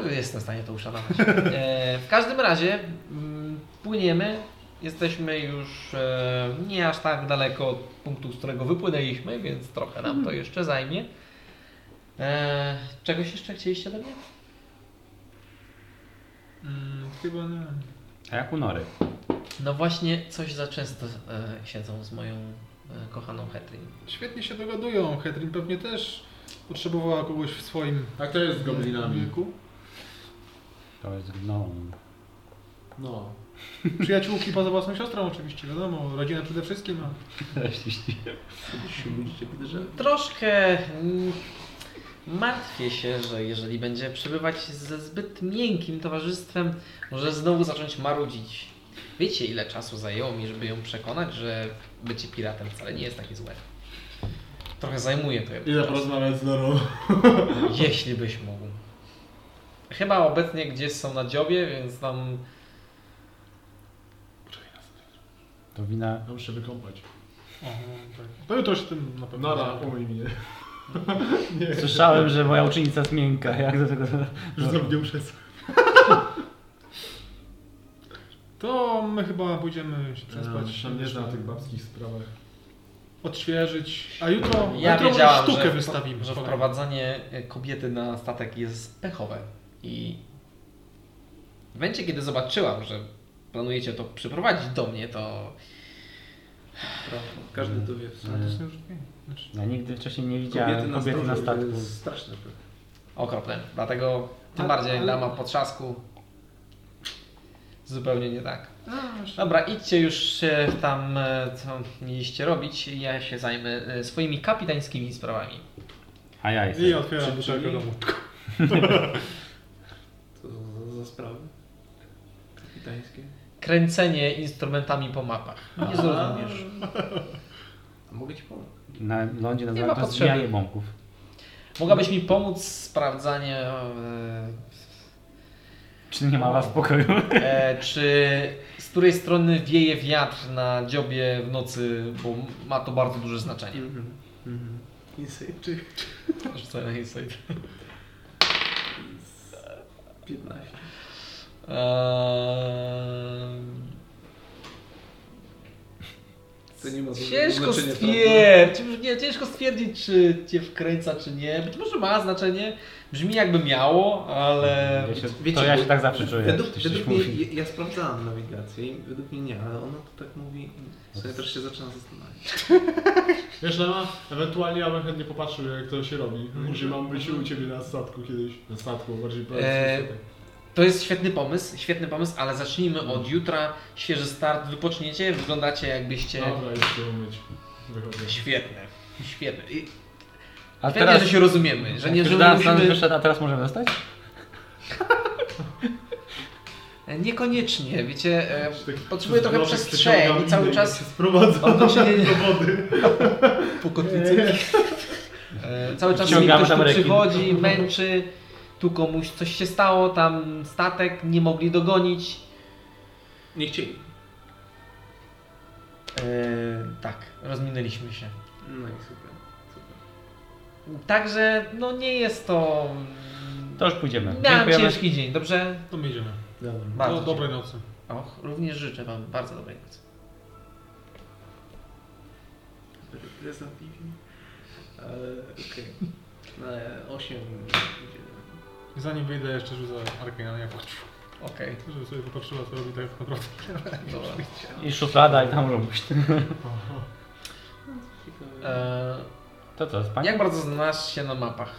Speaker 1: No, jestem w stanie to uszanować. E, w każdym razie mm, płyniemy. Jesteśmy już e, nie aż tak daleko od punktu, z którego wypłynęliśmy, więc trochę nam to jeszcze zajmie. E, czegoś jeszcze chcieliście do mnie?
Speaker 6: Mm, chyba nie.
Speaker 3: A jak u Nory?
Speaker 1: No właśnie, coś za często e, siedzą z moją e, kochaną Hetrin.
Speaker 6: Świetnie się dogadują. Hetrin pewnie też potrzebowała kogoś w swoim
Speaker 5: A kto Tak jest z goblinami?
Speaker 6: wieku.
Speaker 3: To jest gnom.
Speaker 5: No.
Speaker 6: Przyjaciółki poza własną siostrą oczywiście, wiadomo. Rodzina przede wszystkim. A...
Speaker 10: Siłujcie drzew.
Speaker 1: Troszkę mm, martwię się, że jeżeli będzie przebywać ze zbyt miękkim towarzystwem, może znowu zacząć marudzić. Wiecie, ile czasu zajęło mi, żeby ją przekonać, że bycie piratem wcale nie jest takie złe. Trochę zajmuje to
Speaker 5: Idę
Speaker 1: jednak czasu,
Speaker 5: porozmawiać z Norą.
Speaker 1: jeśli byś mógł. Chyba obecnie gdzieś są na dziobie, więc tam
Speaker 3: To wina...
Speaker 5: Ja muszę wykąpać.
Speaker 6: O, tak. To jutro się tym na pewno.
Speaker 5: Nora, umyj mnie.
Speaker 3: Słyszałem, że moja uczennica jest miękka. Jak do tego...
Speaker 5: Rzucam w nią przez...
Speaker 6: To my chyba pójdziemy się przespać.
Speaker 5: Przespać. Nie zna tych babskich sprawach.
Speaker 6: odświeżyć. A jutro,
Speaker 1: Ja
Speaker 6: jutro
Speaker 1: wiedziałam,
Speaker 6: sztukę
Speaker 1: że,
Speaker 6: wystawimy.
Speaker 1: że
Speaker 6: kolejną.
Speaker 1: wprowadzanie e, kobiety na statek jest pechowe i w momencie, kiedy zobaczyłam, że planujecie to przyprowadzić do mnie, to
Speaker 10: Każdy to wie w sumie.
Speaker 6: Faktycznie już nie. Znaczy,
Speaker 3: Ja nigdy wcześniej nie widziałem kobiety na
Speaker 10: stole, to
Speaker 3: statku.
Speaker 10: jest straszne.
Speaker 1: okropne. Dlatego tym bardziej dama po trzasku zupełnie nie tak. Dobra, idźcie już się tam, e, co mieliście robić. Ja się zajmę e, swoimi kapitańskimi sprawami.
Speaker 3: A ja
Speaker 6: I
Speaker 3: jestem.
Speaker 6: otwieram butelkę no. domu.
Speaker 10: To za, za sprawy. Kapitańskie.
Speaker 1: Kręcenie instrumentami po mapach. Nie zrozumiesz.
Speaker 10: A mogę ci pomóc?
Speaker 3: Na lądzie nazywam
Speaker 1: ma
Speaker 3: to
Speaker 1: potrzeby.
Speaker 3: zbijanie bombków.
Speaker 1: Mogłabyś mi pomóc w sprawdzaniu e,
Speaker 3: Czy nie ma was w pokoju?
Speaker 1: E, czy z której strony wieje wiatr na dziobie w nocy, bo ma to bardzo duże znaczenie.
Speaker 10: Mhm. Mhm. Insight check.
Speaker 1: Rzucaj na insight.
Speaker 10: 15.
Speaker 1: E, Eee,
Speaker 10: No, To nie ma
Speaker 1: ciężko
Speaker 10: znaczenia,
Speaker 1: stwierdzić, nie, ciężko stwierdzić, czy cię wkręca, czy nie. Być może ma znaczenie. Brzmi jakby miało, ale.
Speaker 3: Ja się,
Speaker 10: Wiecie,
Speaker 3: to ja
Speaker 10: bo-
Speaker 3: się tak zawsze czuję.
Speaker 10: Według,
Speaker 3: jak ktoś coś
Speaker 10: według mnie,
Speaker 3: mówi.
Speaker 10: ja, ja sprawdzałem nawigację i według mnie nie, ale ona to tak mówi. W
Speaker 3: No
Speaker 10: sumie też się zaczyna zastanawiać.
Speaker 5: Wiesz, Lema, ewentualnie ja bym chętnie popatrzył, jak to się robi. Może mam być u ciebie na statku kiedyś. Mhm. E, Na statku, bardziej prawie
Speaker 1: Eee,
Speaker 5: na statek.
Speaker 1: To jest świetny pomysł, świetny pomysł, ale zacznijmy od jutra. Świeży start, wypoczniecie, wyglądacie jakbyście.
Speaker 5: Dobra, już się umyć. Wychodzę.
Speaker 1: Świetne, świetne. I
Speaker 3: A
Speaker 1: świetnie,
Speaker 3: teraz,
Speaker 1: że się rozumiemy, że nie, że
Speaker 3: już
Speaker 1: my
Speaker 3: Dan Stan
Speaker 1: musimy...
Speaker 3: wyszedł, a teraz możemy zostać?
Speaker 1: Niekoniecznie, wiecie, e,
Speaker 5: Jakiś taki
Speaker 1: potrzebuję trochę
Speaker 5: zlotek
Speaker 1: przestrzeni,
Speaker 5: przeciągam
Speaker 1: cały
Speaker 5: inny
Speaker 1: czas
Speaker 5: i się Sprowadza
Speaker 1: on to się nie...
Speaker 5: do wody.
Speaker 1: po kotwicy. E, Cały czas mi
Speaker 3: Wciągamy
Speaker 1: ktoś tu
Speaker 3: tam rekin.
Speaker 1: przychodzi, męczy, tu komuś coś się stało, tam statek, nie mogli dogonić.
Speaker 10: Nie chcieli.
Speaker 1: E, tak, rozminęliśmy się.
Speaker 10: No i super.
Speaker 1: Także, no nie jest to...
Speaker 3: To już pójdziemy.
Speaker 1: Miałem
Speaker 3: Dziękujemy.
Speaker 1: ciężki dzień, dobrze?
Speaker 6: To my idziemy.
Speaker 10: Dobra.
Speaker 1: Bardzo
Speaker 6: Do
Speaker 1: dobry.
Speaker 6: dobrej nocy.
Speaker 1: Och, również życzę Wam bardzo dobrej nocy.
Speaker 10: Jest na piwie. Ale okej. Na 8.
Speaker 6: I zanim wyjdę, jeszcze rzucę Arkana, jak
Speaker 1: Okej,
Speaker 6: żeby sobie popatrzyła, co robi tak naprawdę.
Speaker 1: Tak, dobra.
Speaker 3: I szuflada i tam robisz.
Speaker 1: E,
Speaker 3: To co, z
Speaker 1: jak bardzo znasz się na mapach?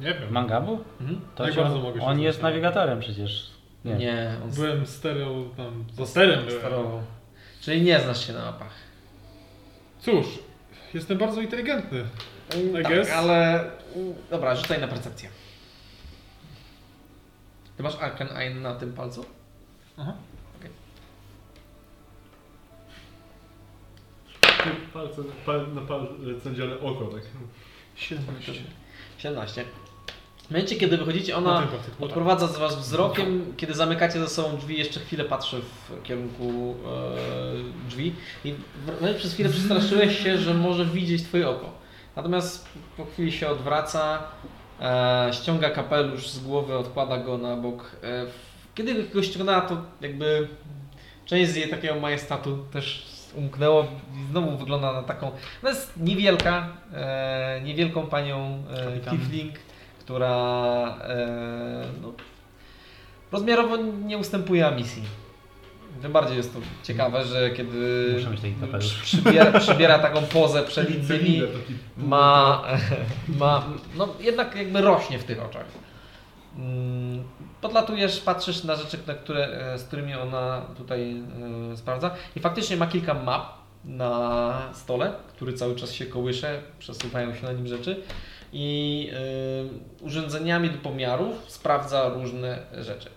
Speaker 6: Nie wiem.
Speaker 3: Mangabu?
Speaker 1: Mhm.
Speaker 3: To
Speaker 6: Jak
Speaker 3: się,
Speaker 6: bardzo mogę się
Speaker 3: on jest
Speaker 6: zastanowić.
Speaker 3: nawigatorem przecież. Nie.
Speaker 1: nie on
Speaker 6: Byłem stereo tam, za sterem byłem.
Speaker 1: Starował. Czyli nie znasz się na mapach.
Speaker 6: Cóż, jestem bardzo inteligentny. I
Speaker 1: tak,
Speaker 6: guess.
Speaker 1: ale... Dobra, rzucaj na percepcję. Ty masz Arcane Eye na tym palcu?
Speaker 6: Aha.
Speaker 5: Palce na, pal, na palce dziale oko, tak.
Speaker 6: 17.
Speaker 1: 17. W momencie, kiedy wychodzicie,
Speaker 6: Na
Speaker 1: ona
Speaker 6: tym palcu. O, tak.
Speaker 1: odprowadza z was wzrokiem. Kiedy zamykacie za sobą drzwi, jeszcze chwilę patrzy w kierunku e, drzwi. I wręcz przez chwilę przestraszyłeś się, że może widzieć twoje oko. Natomiast po chwili się odwraca, e, ściąga kapelusz z głowy, odkłada go na bok. E, w- kiedy go ściągnęła, to jakby część z jej takiego majestatu też umknęło i znowu wygląda na taką... Ona jest niewielka, e, niewielką panią e,
Speaker 6: Kapitan.
Speaker 1: Tiefling, która e, no, rozmiarowo nie ustępuje misji. Tym bardziej jest to ciekawe, że kiedy
Speaker 3: Muszę mieć taki kapelusz.
Speaker 1: przybiera, przybiera taką pozę przed innymi,
Speaker 5: Cylinder taki.
Speaker 1: ma, ma, no jednak jakby rośnie w tych oczach. Mm, Podlatujesz, patrzysz na rzeczy, na które, e, z którymi ona tutaj e, sprawdza i faktycznie ma kilka map na stole, który cały czas się kołysze, przesuwają się na nim rzeczy i e, urządzeniami do pomiarów sprawdza różne rzeczy.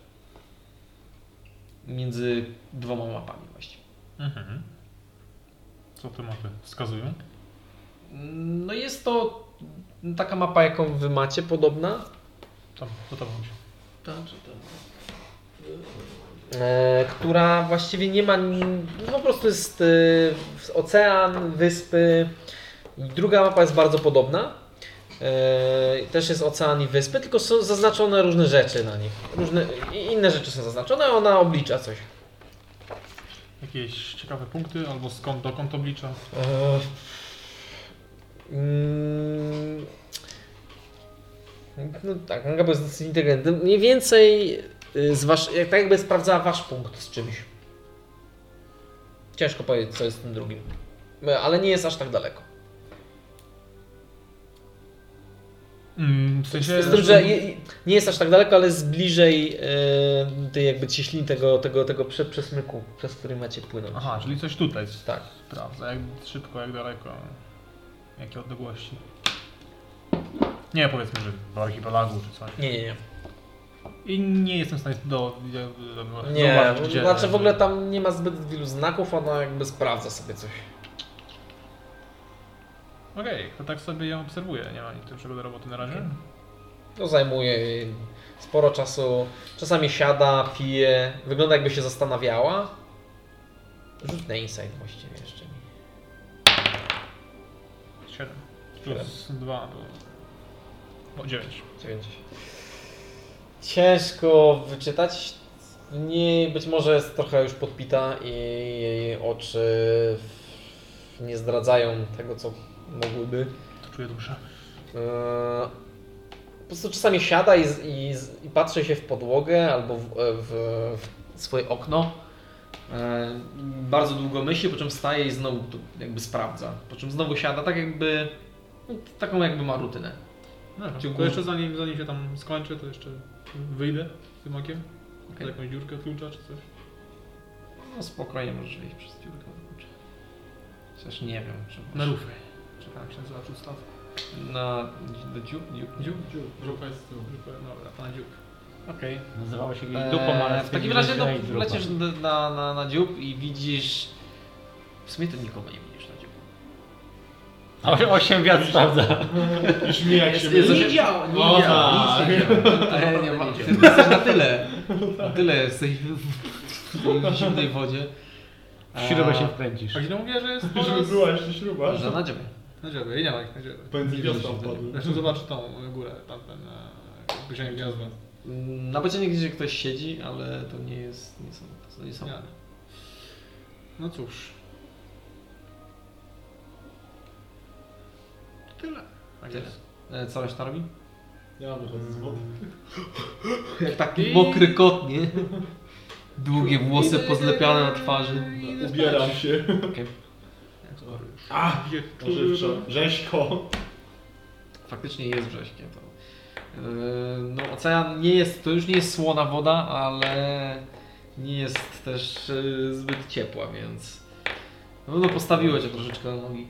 Speaker 1: Między dwoma mapami właściwie.
Speaker 6: Mhm. Co te mapy wskazują?
Speaker 1: No jest to taka mapa, jaką wy macie, podobna.
Speaker 6: Tam, to tam się.
Speaker 10: Tam czy tam?
Speaker 1: e, która właściwie nie ma, ni- no po prostu jest e, w- ocean, wyspy. Druga mapa jest bardzo podobna. E, Też jest ocean i wyspy, tylko są zaznaczone różne rzeczy na nich. Różne, i- inne rzeczy są zaznaczone, a ona oblicza coś.
Speaker 6: Jakieś ciekawe punkty, albo skąd, dokąd oblicza?
Speaker 1: Eee, mm, No tak, Angabo jest dosyć inteligentny. Mniej więcej y, z wasz, jak, tak jakby sprawdzała wasz punkt z czymś. Ciężko powiedzieć, co jest tym drugim. E, Ale nie jest aż tak daleko.
Speaker 6: Mm, w sensie...
Speaker 1: Z tym, że je- nie jest aż tak daleko, ale jest bliżej e, tej jakby cieślin tego, tego, tego prze- przesmyku, przez który macie płynąć.
Speaker 6: Aha, czyli coś tutaj
Speaker 1: Tak.
Speaker 6: sprawdza, jak szybko, jak daleko, jakie odległości. Nie, powiedzmy, że w archipelagu czy coś.
Speaker 1: Nie, nie, nie.
Speaker 6: I nie jestem w stanie do, do, do,
Speaker 1: Nie,
Speaker 6: zobaczyć, gdzie...
Speaker 1: znaczy w ogóle tam nie ma zbyt wielu znaków, ona jakby sprawdza sobie coś.
Speaker 6: Okej, to tak sobie ją obserwuję, nie ma nic lepszego do roboty na razie.
Speaker 4: To No, zajmuje jej sporo czasu. Czasami siada, pije, wygląda jakby się zastanawiała. Rzut na insight właściwie jeszcze.
Speaker 6: 7. Plus 2. No 9.
Speaker 4: 9. Ciężko wyczytać. Nie, być może jest trochę już podpita i jej oczy w- nie zdradzają tego, co mogłyby.
Speaker 6: To czuję dobrze.
Speaker 4: Eee, Po prostu czasami siada i, z- i, z- i patrzy się w podłogę albo w, e, w, w swoje okno. Eee, Bardzo długo myśli, po czym staje i znowu to jakby sprawdza. Po czym znowu siada, tak jakby. no, Taką jakby ma rutynę.
Speaker 6: No Dobra,
Speaker 4: Dziękuję.
Speaker 6: to jeszcze zanim, zanim się tam skończy, to jeszcze wyjdę z tym okiem.
Speaker 4: Okej.
Speaker 6: Okay. Jakąś dziurkę od klucza czy coś.
Speaker 1: No spokojnie możesz wyjść przez dziurkę. Chociaż nie wiem, czy...
Speaker 6: Na rufę. Czy tak się nazywa przedstaw?
Speaker 1: Na... do dziur? dziur?
Speaker 6: Dziób? Dziób. Grupa jest z tyłu. Grupa, dobra, pana dziób.
Speaker 1: Okej.
Speaker 3: Nazywała się jej dupą, ale
Speaker 1: Eee, W takim razie no, lecisz na, na, na, na dziób i widzisz... W sumie to nikogo nie widzisz na dziób.
Speaker 3: 8 wiatr sprawdza.
Speaker 5: Śmijak się.
Speaker 1: Jest-
Speaker 5: będzie.
Speaker 1: jest-
Speaker 28: Widział!
Speaker 5: O, tak.
Speaker 1: Ale E, nie ma. Ty jesteś na tyle. Na tyle jesteś w, w, w zimnej wodzie. E,
Speaker 3: W
Speaker 1: Eee,
Speaker 3: śrubę się wkręcisz.
Speaker 6: A gdzie mówię, że jest
Speaker 5: Żeby
Speaker 6: oraz-
Speaker 5: była jeszcze śruba.
Speaker 1: Że na dziobie.
Speaker 6: Na dziobie, i nie ma ich na dziobie.
Speaker 5: Pędzli wiosną
Speaker 1: Żeby się
Speaker 5: wpadły.
Speaker 6: Zresztą zobacz tą górę, tamten... e, Gdzie nie gwiazda.
Speaker 1: Mm, Na bocianie gdzieś ktoś siedzi, ale to nie jest. Nie są. To nie są.
Speaker 6: Nie. No cóż. Tak
Speaker 1: Tyle. E, Co reszta robi?
Speaker 5: Ja wychodzę z wody.
Speaker 1: Jak taki mokry kot, nie? Długie włosy pozlepiane na twarzy.
Speaker 5: No. Ubieram się.
Speaker 1: Okej.
Speaker 5: A! Ożywczo. Rzeźko.
Speaker 1: Faktycznie jest wrześkiem. To. E, No, ocean nie jest. To już nie jest słona woda, ale nie jest też e, zbyt ciepła, więc. No, no postawiło cię troszeczkę na nogi.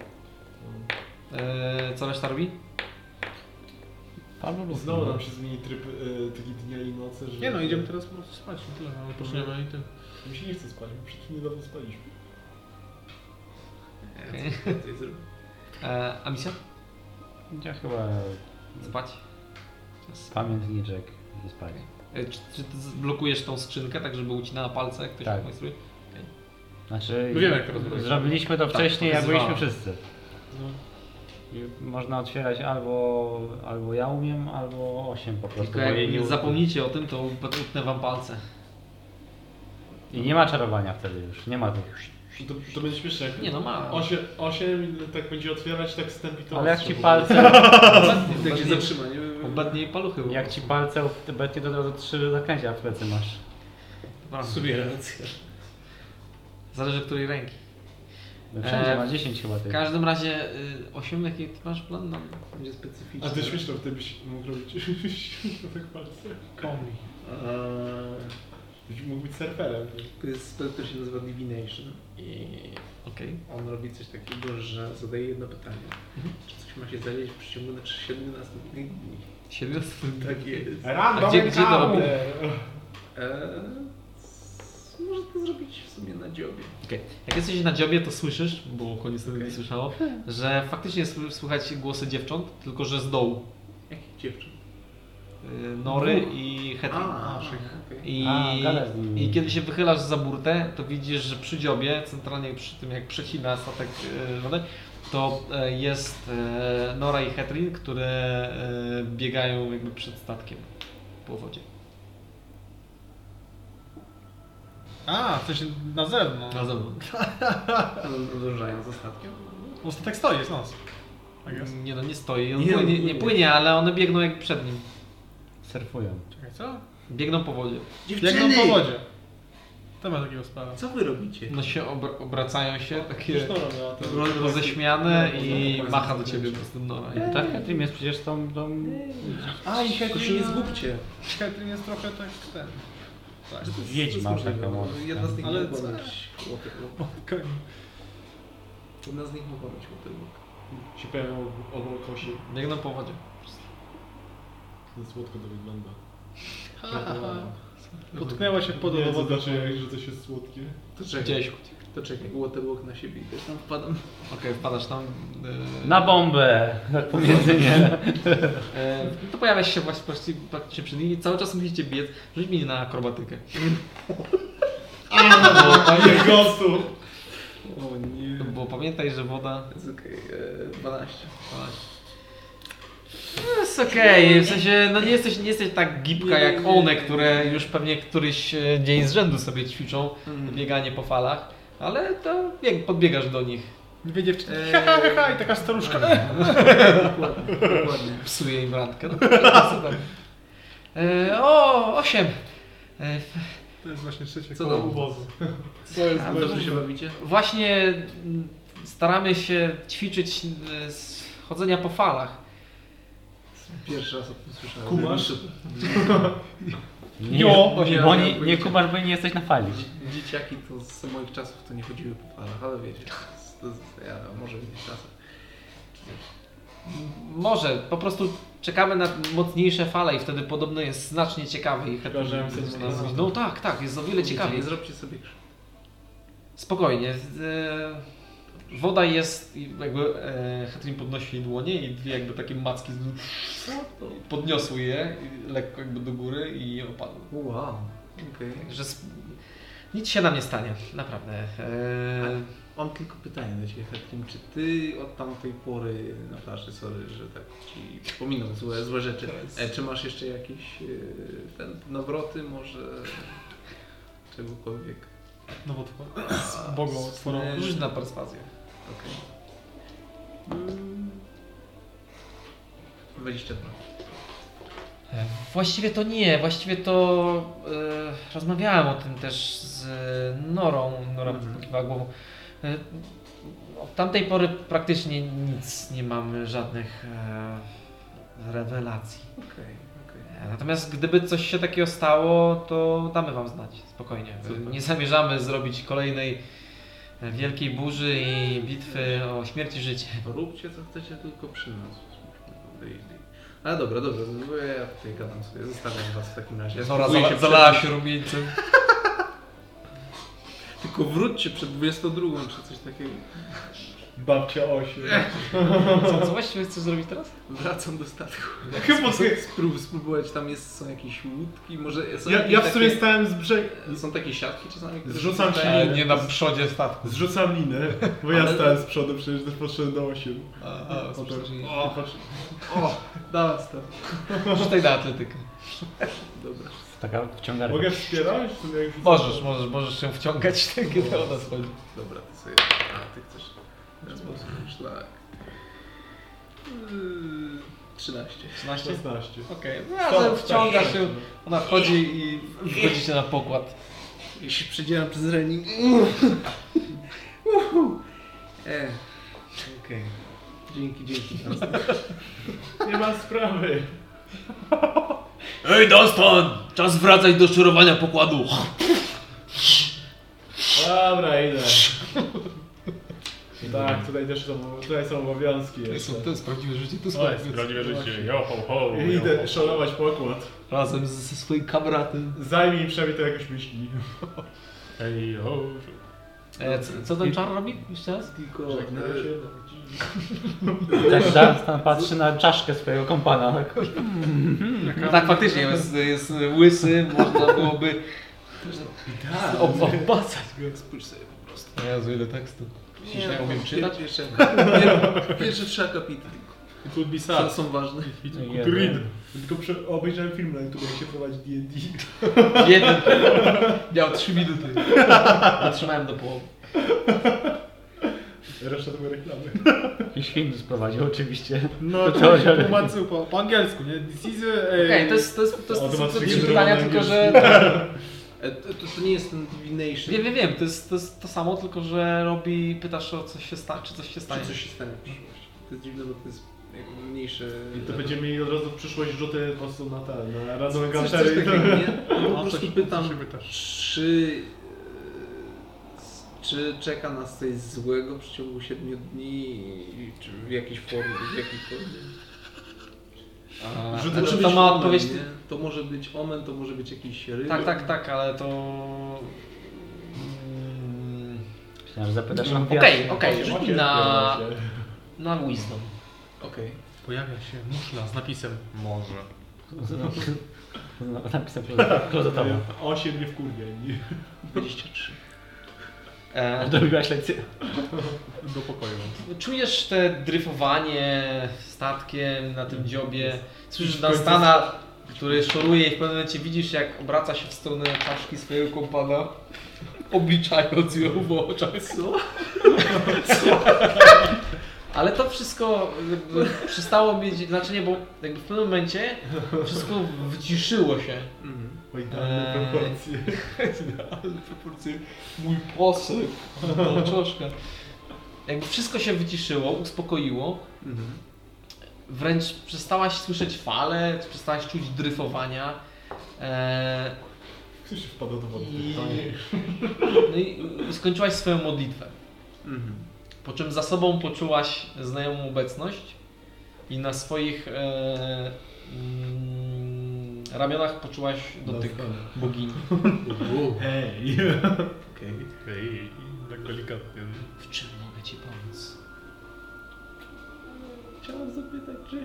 Speaker 1: E, Co reszta robi?
Speaker 3: Paweł lub
Speaker 5: No, Znowu nam się zmieni tryb y, tych dnia i nocy, że...
Speaker 6: Nie no, idziemy teraz po prostu spać, no tyle, no,
Speaker 1: Mhm.
Speaker 6: odpoczniemy i tyle.
Speaker 5: Mi się nie chce spać, bo przed chwilą niedawno spaliśmy.
Speaker 1: E, A misja?
Speaker 3: Ja chyba
Speaker 1: Spać.
Speaker 3: pamiętniczek i spać.
Speaker 1: E, Czy, czy ty blokujesz tą skrzynkę, tak żeby ucinała palce, jak ktoś
Speaker 3: Tak.
Speaker 1: tak. majstruje?
Speaker 3: Znaczy,
Speaker 6: No wiemy, jak to rozmawiać.
Speaker 3: zrobiliśmy to
Speaker 1: Tak,
Speaker 3: wcześniej, jak
Speaker 1: pokazywała.
Speaker 3: byliśmy wszyscy. I można otwierać albo, albo ja umiem, albo 8 po prostu.
Speaker 1: Tylko
Speaker 3: bo jej
Speaker 1: jak
Speaker 3: nie
Speaker 1: nie
Speaker 3: u-
Speaker 1: zapomnicie o tym, to utnę wam palce.
Speaker 3: I nie ma czarowania wtedy już, nie ma tych.
Speaker 5: To, to będzie śmieszne jak...
Speaker 1: Nie no, ma.
Speaker 5: Osiem, osiem i tak będzie otwierać, tak wstępi to
Speaker 3: Ale jak ci
Speaker 5: ostrze
Speaker 3: palce,
Speaker 10: Tak się
Speaker 1: Obetnie-
Speaker 10: zatrzyma, nie?
Speaker 1: Obetnie paluchy. bo-
Speaker 3: jak ci palce w Tybecie, to od razu trzy zakręcia w plecy masz.
Speaker 1: Dobra.
Speaker 10: Sobie racja.
Speaker 1: Zależy której ręki.
Speaker 3: No Wszędzie
Speaker 1: Eee,
Speaker 3: ma 10 chyba
Speaker 1: W
Speaker 3: tych.
Speaker 1: każdym razie, y, 8 jaki ty masz plan? No,
Speaker 10: Będzie
Speaker 5: było.
Speaker 10: specyficzny.
Speaker 5: A ty śmieszne wtedy byś mógł robić tak palce.
Speaker 6: Kombi.
Speaker 5: Byś mógł być surferem.
Speaker 10: E, To jest spell, który się nazywa Divination.
Speaker 1: i... Okej.
Speaker 10: On robi coś takiego, że zadaje jedno pytanie. Czy coś ma się zadzieć w przeciągu na 7 następnych dni?
Speaker 1: 17
Speaker 10: Tak jest.
Speaker 5: Random
Speaker 1: gdzie- gdzie to
Speaker 5: encounter!
Speaker 10: Eee, s- może to zrobić w sumie na dziobie.
Speaker 1: Okej. Jak jesteś na dziobie, to słyszysz, bo koniec tego nie słyszało, że faktycznie sły- słychać głosy dziewcząt, tylko że z dołu.
Speaker 10: Jakich dziewcząt?
Speaker 1: Y, Nory i Hetty.
Speaker 10: No. okej.
Speaker 1: I,
Speaker 3: A, gada z nimi.
Speaker 1: I kiedy się wychylasz za burtę, to widzisz, że przy dziobie, centralnie przy tym jak przecina statek e, wodę, to e, jest e, Nora i Hetrin, które e, biegają jakby przed statkiem po wodzie.
Speaker 6: A, w sensie na zewnątrz.
Speaker 1: Na zewnątrz.
Speaker 10: Podążają za statkiem.
Speaker 6: No statek stoi, jest nos. Tak jest.
Speaker 1: Nie no, nie stoi, on
Speaker 10: Nie,
Speaker 1: płynie,
Speaker 10: płynie.
Speaker 1: nie płynie, ale one biegną jak przed nim.
Speaker 3: Surfują.
Speaker 6: Czekaj, co?
Speaker 1: Biegną po wodzie.
Speaker 6: Jak na powodzie. To ma takiego sprawa.
Speaker 10: Co wy robicie?
Speaker 1: No się obr- obracają się, takie
Speaker 5: Zresztą robię, a to- No,
Speaker 1: roz- roześmiane i macha do ciebie po prostu Nora. I-
Speaker 3: Tak, Katrim jest przecież tą... tą...
Speaker 10: A, i Tylko się nie zgubcie.
Speaker 6: Katrin jest trochę tak ten.
Speaker 3: Wiedźma
Speaker 10: To jest
Speaker 3: taką
Speaker 10: możliwe.
Speaker 3: mocno.
Speaker 10: Jedna z nich
Speaker 6: Ale
Speaker 10: ale
Speaker 6: co?
Speaker 10: mogła mieć łopyłok. Jedna z nich mogła mieć łopyłok.
Speaker 5: Się pojawią obok osi.
Speaker 1: Biegną po wodzie.
Speaker 5: No słodko to wygląda.
Speaker 6: Potknęła się pod
Speaker 5: Nie, znaczy,
Speaker 6: wodą.
Speaker 1: znaczy-
Speaker 5: zobaczyłem, że coś jest słodkie.
Speaker 10: To czekaj,
Speaker 1: Gdzieś.
Speaker 10: to czekaj, waterwalk na siebie i też tam wpadam.
Speaker 1: Okej, wpadasz tam. e,
Speaker 3: Na bombę! Tak pomiędzy nie.
Speaker 1: E, to pojawia się właśnie praktycznie- praktycznie przy nimi. Cały czas musicie biec. Rzuć mi na akrobatykę.
Speaker 5: Panie gostu!
Speaker 10: O nie.
Speaker 1: no Bo pamiętaj, że woda...
Speaker 10: Jest okej, e, 12.
Speaker 1: No jest okej, w sensie no nie jesteś, nie jesteś tak gibka jak one, które już pewnie któryś e, dzień z rzędu sobie ćwiczą bieganie po falach, ale to bieg, podbiegasz do nich,
Speaker 6: Dwie dziewczyny. Ha, ha, ha, ha, i taka staruszka.
Speaker 10: Dokładnie, dokładnie.
Speaker 1: psuje im randkę. No, super. E, o, osiem. E,
Speaker 6: To jest właśnie trzecie
Speaker 1: Co
Speaker 6: koło
Speaker 1: tam?
Speaker 6: ubozu.
Speaker 5: Co jest
Speaker 1: A,
Speaker 10: Dobrze się bawicie?
Speaker 1: Właśnie mm, staramy się ćwiczyć e, z chodzenia po falach.
Speaker 10: Pierwszy raz o tym słyszałem.
Speaker 5: Kumasz?
Speaker 3: Nie,
Speaker 6: Jo,
Speaker 3: bo
Speaker 10: nie,
Speaker 3: nie,
Speaker 10: nie,
Speaker 3: nie kumasz, bo nie jesteś na fali.
Speaker 10: Dzie- Dzieciaki to z moich czasów to nie chodziły po falach, ale wiecie, to, to, ja może w innych czasach.
Speaker 1: Może, po prostu czekamy na mocniejsze fale i wtedy podobno jest znacznie ciekawy i chętnie.
Speaker 5: Wyobrażam sobie, że
Speaker 1: No, No tak, tak, jest o wiele
Speaker 10: Dzieci,
Speaker 1: ciekawiej.
Speaker 10: Nie zróbcie sobie krzywdy.
Speaker 1: Spokojnie. e, Woda jest jakby e, Hetrin podnosi jej dłonie i dwie jakby takie macki z- podniosły je i lekko jakby do góry i opadły.
Speaker 10: Wow, okej.
Speaker 1: Także sp- nic się nam nie stanie, naprawdę. E,
Speaker 10: Mam tylko pytanie do Ciebie, Hetrim. Czy Ty od tamtej pory na plaży, sorry, że tak Ci przypominam złe, złe rzeczy, e, czy masz jeszcze jakieś e, ten, nawroty może czegokolwiek?
Speaker 6: Nowotwór. Z Bogą otworą.
Speaker 10: Sny.
Speaker 1: Rzuć na perswazję.
Speaker 10: Okej. 22.
Speaker 1: E, Właściwie to nie, właściwie to e, rozmawiałem o tym też z Norą, Nora
Speaker 10: Mhm.
Speaker 1: pokiwała głową. E, od tamtej pory praktycznie nic, nie mamy żadnych e, rewelacji.
Speaker 10: Okej, okej.
Speaker 1: E, Natomiast gdyby coś się takiego stało, to damy Wam znać, spokojnie. E,
Speaker 10: Super.
Speaker 1: Nie zamierzamy zrobić kolejnej e, wielkiej burzy i bitwy o śmierć i życie.
Speaker 10: Róbcie co chcecie, tylko przy nas. Ale dobra, dobra, no bo ja tutaj gadam sobie, zostawiam was w takim razie. Ja
Speaker 1: Nora
Speaker 10: spróbuję
Speaker 1: zala,
Speaker 10: się
Speaker 1: zalała
Speaker 10: przed-
Speaker 1: się rumieńcem.
Speaker 10: Tylko wróćcie przed 22 czy coś takiego.
Speaker 5: Babcia 8.
Speaker 1: Co, co właściwie chcesz zrobić teraz?
Speaker 10: Wracam do statku.
Speaker 5: Chyba ty.
Speaker 10: Sprób, spróbować, tam jest, są jakieś łódki, może są
Speaker 5: Ja,
Speaker 10: jakieś
Speaker 5: ja w sumie
Speaker 10: takie,
Speaker 5: stałem z brzegu.
Speaker 10: Są takie siatki czasami, które...
Speaker 5: Zrzucam się
Speaker 1: E,
Speaker 5: linę.
Speaker 1: nie na przodzie statku.
Speaker 5: Zrzucam linę, bo ja
Speaker 10: Ale-
Speaker 5: stałem z przodu, przecież też poszedłem do 8.
Speaker 1: O,
Speaker 5: O, patrz-
Speaker 10: O, dałem statek.
Speaker 1: Rzucaj na atletykę.
Speaker 10: Dobra.
Speaker 3: Taka wciągarka.
Speaker 5: Mogę wspierać? Jak rzucam?
Speaker 1: Możesz, możesz, możesz się wciągać, kiedy ona schodzi.
Speaker 10: Dobra, ty sobie... A, ty chcesz... Teraz posłuchaj, szlak. Yy, 13.
Speaker 1: 13?
Speaker 5: 16.
Speaker 1: Okej, razem wciąga się, ona wchodzi i wchodzicie na pokład.
Speaker 10: I się przedzieram przez rening. E,
Speaker 1: Okej.
Speaker 10: dzięki, dzięki.
Speaker 5: Nie ma sprawy.
Speaker 28: Ej, Dunstan! Czas wracać do szurowania pokładu.
Speaker 5: Dobra, idę. Tak, tutaj też są, tutaj są obowiązki jeszcze.
Speaker 1: To jest prawdziwe życie, to jest
Speaker 5: O, jest
Speaker 1: prawdziwe
Speaker 5: życie.
Speaker 27: Yo, ho, ho,
Speaker 5: I Idę szanować pokład.
Speaker 1: Razem z- ze swoim kamratem.
Speaker 5: Zajmij przynajmniej to jakoś myśli.
Speaker 27: Hej, ho.
Speaker 1: E, co, co ten czar robi? Jeszcze raz?
Speaker 10: Tylko
Speaker 5: Żegnam
Speaker 10: e,
Speaker 5: się.
Speaker 3: Tak Dunstan patrzy na czaszkę swojego kompana. Tak.
Speaker 1: No tak, faktycznie, jest, jest łysy, można byłoby ob- obmacać go.
Speaker 10: spójrz sobie po prostu.
Speaker 1: Jezu, ile tekstu.
Speaker 10: Nie,
Speaker 1: nie umiem
Speaker 10: pier-
Speaker 1: czytać?
Speaker 10: Pierwsze, pier- pierwsze trzy akapity tylko.
Speaker 5: It would be
Speaker 10: Co
Speaker 5: sad.
Speaker 10: są ważne.
Speaker 5: To read. Tylko prze- obejrzałem film na YouTube, jak się prowadzi D&D.
Speaker 1: Jeden. Miał 3 minuty. Zatrzymałem do połowy.
Speaker 5: Reszta to były reklamy.
Speaker 3: Jakiś Hindus prowadził oczywiście.
Speaker 6: No
Speaker 3: To
Speaker 6: to
Speaker 3: teoria.
Speaker 6: tłumaczył po, po angielsku, nie? This is e, a...
Speaker 1: Okej, to jest, to jest, to
Speaker 5: O,
Speaker 1: jest,
Speaker 5: to
Speaker 1: to
Speaker 5: ma
Speaker 1: jest,
Speaker 5: trzy
Speaker 1: trzy
Speaker 5: generalne
Speaker 1: pytania, tylko że...
Speaker 5: angielskie.
Speaker 10: E, to, to, to nie jest ten divination.
Speaker 1: Wiem, wiem, wiem, to jest, to jest to samo, tylko że robi, pytasz o coś się stanie, czy coś się stanie.
Speaker 10: Czy coś się stanie w przyszłości. To jest dziwne, bo to jest jakby mniejsze...
Speaker 5: I to będziemy mieli od razu w przyszłość rzuty po prostu na te, na randomowe
Speaker 10: Coś, coś
Speaker 5: gaszery.
Speaker 10: takiego, nie? Po
Speaker 6: A,
Speaker 10: prostu
Speaker 6: coś-
Speaker 10: pytam,
Speaker 6: coś się pytasz.
Speaker 10: czy... e, Czy czeka nas coś złego w ciągu 7 dni? i Czy w jakiejś formie? W jakiej formie? Rzucę Znaczy, to, to ma odpowiedź. nie? To może być omen, to może być jakiś ryb.
Speaker 1: Tak, tak, tak, ale to... Mm,
Speaker 3: Myślałem, że zapytasz o
Speaker 1: Okej, okej, rzuć mi na, na no. wisdom.
Speaker 10: Okej.
Speaker 6: Pojawia się muszla z napisem może.
Speaker 3: No, Napisem klozetowym.
Speaker 5: 8 nie wkurwia. i-
Speaker 10: 23.
Speaker 1: E,
Speaker 3: Zrobiłaś lekcję.
Speaker 5: Do pokoju.
Speaker 1: Czujesz te dryfowanie statkiem na tym dziobie. Słyszysz
Speaker 5: W końcu-
Speaker 1: Dunstana, który szoruje i w pewnym momencie widzisz, jak obraca się w stronę czaszki swojego kompana, obliczając ją w oczach. Co? Ale to wszystko jakby przestało mieć znaczenie, bo jakby w pewnym momencie wszystko wyciszyło się.
Speaker 10: Mhm.
Speaker 5: O idealne
Speaker 1: Eee.
Speaker 5: proporcje.
Speaker 1: Ale proporcje, mój posyp, no, troszkę. Jakby wszystko się wyciszyło, uspokoiło,
Speaker 10: Mhm.
Speaker 1: wręcz przestałaś słyszeć fale, przestałaś czuć dryfowania. Eee,
Speaker 5: Ktoś się wpadł do wody.
Speaker 1: i,
Speaker 5: To nie.
Speaker 1: no i, i skończyłaś swoją modlitwę.
Speaker 10: Mhm.
Speaker 1: Po czym za sobą poczułaś znajomą obecność i na swoich e, mm, ramionach poczułaś dotyk bogini.
Speaker 5: Ej.
Speaker 10: Okej.
Speaker 5: Ej, tak delikatnie.
Speaker 1: W czym mogę ci pomóc?
Speaker 10: Chciałem zapytać, czy...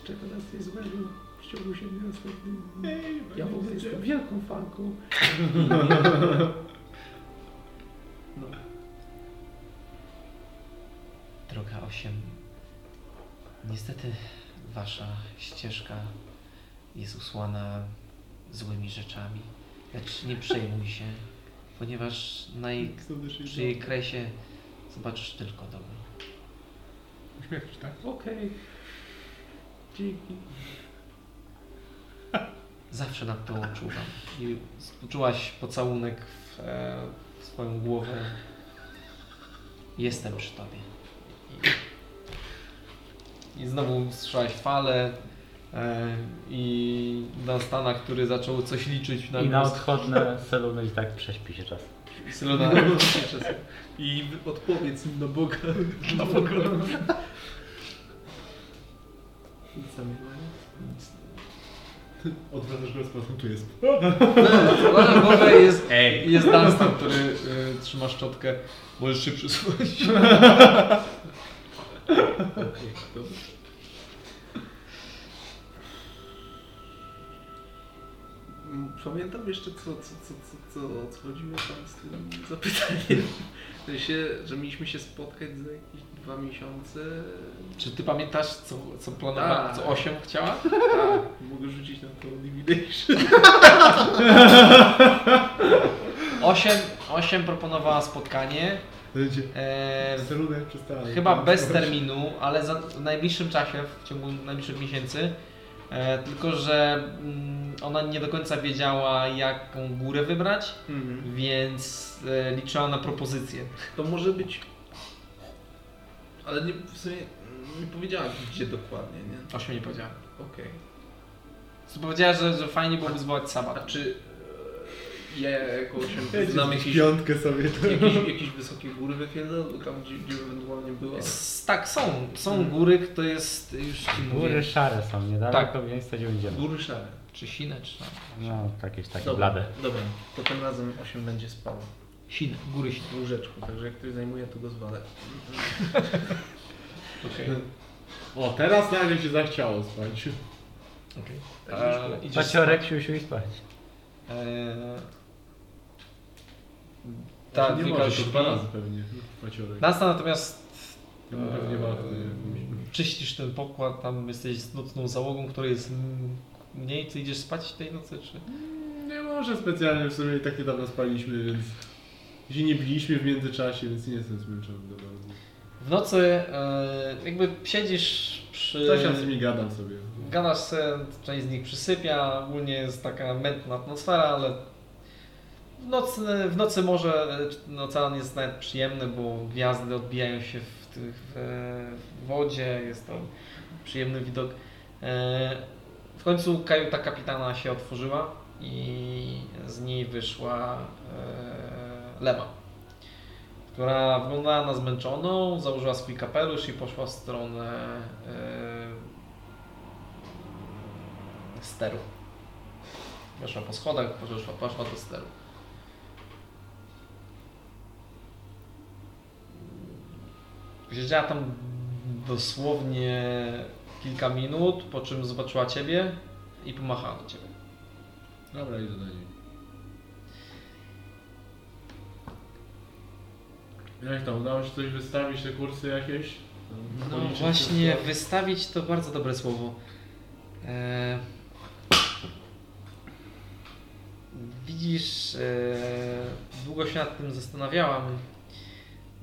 Speaker 10: Z czego nas jest zbawił w ciągu 7 następnych dni? Ja w ogóle jestem wielką fanką.
Speaker 1: Droga 8. Niestety wasza ścieżka jest usłana złymi rzeczami. Lecz nie przejmuj się, ponieważ na jej, przy jej kresie zobaczysz tylko dobro.
Speaker 6: Uśmiechasz, tak?
Speaker 10: Okej. Dzięki.
Speaker 1: Zawsze nad to czuwam. I poczułaś pocałunek w, e, w swoją głowę. Jestem przy tobie. I, i znowu słyszałaś fale e, i Dunstana, który zaczął coś liczyć na
Speaker 3: I na
Speaker 1: głos.
Speaker 3: odchodne seluny i tak prześpi się czas.
Speaker 1: Sylona.
Speaker 10: I odpowiedz im na Boga.
Speaker 1: Na Boga.
Speaker 10: Nic tam nie ma.
Speaker 5: Odwracasz go z powrotem, tu jest.
Speaker 1: No, Na głowę jest,
Speaker 3: Ej!
Speaker 1: jest Dunstan, który e, trzyma szczotkę. Możesz się przesunąć.
Speaker 10: Okej, dobra. Mm, Pamiętam jeszcze, co, co, co, co, co odchodziło tam z tym zapytaniem. W sensie, że mieliśmy się spotkać za jakieś dwa miesiące.
Speaker 1: Czy ty pamiętasz, co, co planowała,
Speaker 10: Tak.
Speaker 1: co 8 chciała?
Speaker 10: Tak, mogę rzucić na to Divination.
Speaker 1: 8, 8 proponowała spotkanie.
Speaker 5: Będzie.
Speaker 1: E,
Speaker 5: Cerunek przestała.
Speaker 1: chyba bez terminu, ale za, w najbliższym czasie, w ciągu najbliższych miesięcy. E, tylko, że mm, ona nie do końca wiedziała, jaką górę wybrać,
Speaker 5: Mhm.
Speaker 1: więc e, liczyła na propozycję.
Speaker 10: To może być... Ale nie, w sumie nie powiedziała gdzie dokładnie, nie?
Speaker 1: Ośmiu nie powiedziała.
Speaker 10: Okej.
Speaker 1: Co Powiedziała, że, że fajnie byłoby zwołać
Speaker 10: A
Speaker 1: sabat.
Speaker 5: Znaczy,
Speaker 10: czy e, ja jako osiem znam
Speaker 5: Znam jakieś...
Speaker 10: jakiś
Speaker 5: Piątkę sobie to.
Speaker 10: Jakieś, jakieś wysokie góry wypierdol, tam gdzie, gdzie ewentualnie była.
Speaker 1: S- Tak, są.
Speaker 5: Mhm.
Speaker 1: Są góry, to jest już ci mówię.
Speaker 3: Góry szare są, niedaleko
Speaker 1: Tak.
Speaker 3: miejsca gdzie będziemy.
Speaker 10: Góry szare.
Speaker 1: Czy Sinę, czy tam?
Speaker 3: No, jakieś takie
Speaker 10: Dobra,
Speaker 3: blade.
Speaker 10: Dobra, to tym razem 8 będzie spało.
Speaker 1: Sinę, góry Sinę.
Speaker 10: W łóżeczku, także jak ktoś zajmuje, to go zwalę.
Speaker 5: O, teraz nagle się zachciało spać. Tak,
Speaker 1: E, idziesz
Speaker 3: Paciorek, siu, siu i spać.
Speaker 1: Eee, tak,
Speaker 5: Znaczy, nie
Speaker 1: Wika
Speaker 5: może, to
Speaker 1: śpi.
Speaker 5: dwa razy pewnie. Paciorek.
Speaker 1: Nasta natomiast
Speaker 5: Ja bym No, pewnie
Speaker 1: Eee.
Speaker 5: warto, nie wiem.
Speaker 1: czyścisz ten pokład, tam jesteś z nocną załogą, której jest m- mniej. Ty idziesz spać tej nocy, czy?
Speaker 5: Nie może specjalnie, w sumie i tak niedawno spaliśmy, więc... Się nie biliśmy w międzyczasie, więc nie jestem zmęczony do bardzo.
Speaker 1: W nocy e, jakby siedzisz przy...
Speaker 5: Coś tam z nimi gadam sobie.
Speaker 1: Gadasz se, część z nich przysypia, ogólnie jest taka mętna atmosfera, ale w nocy, w nocy może e, ocean jest nawet przyjemny, bo gwiazdy odbijają się w, tych, w, e, w wodzie, jest to przyjemny widok. E, W końcu kajuta kapitana się otworzyła i z niej wyszła e, Lema, która wyglądała na zmęczoną, założyła swój kapelusz i poszła w stronę e, steru. Weszła po schodach, poszła, poszła do steru. Siedziała tam dosłownie kilka minut, po czym zobaczyła Ciebie i pomachała do Ciebie.
Speaker 5: Dobra, idę do niej.
Speaker 27: Jak tam, udało się coś wystawić, te kursy jakieś?
Speaker 1: No
Speaker 27: Policzyć
Speaker 1: właśnie,
Speaker 27: wszystko?
Speaker 1: wystawić to bardzo dobre słowo. E... Widzisz, e... długo się nad tym zastanawiałam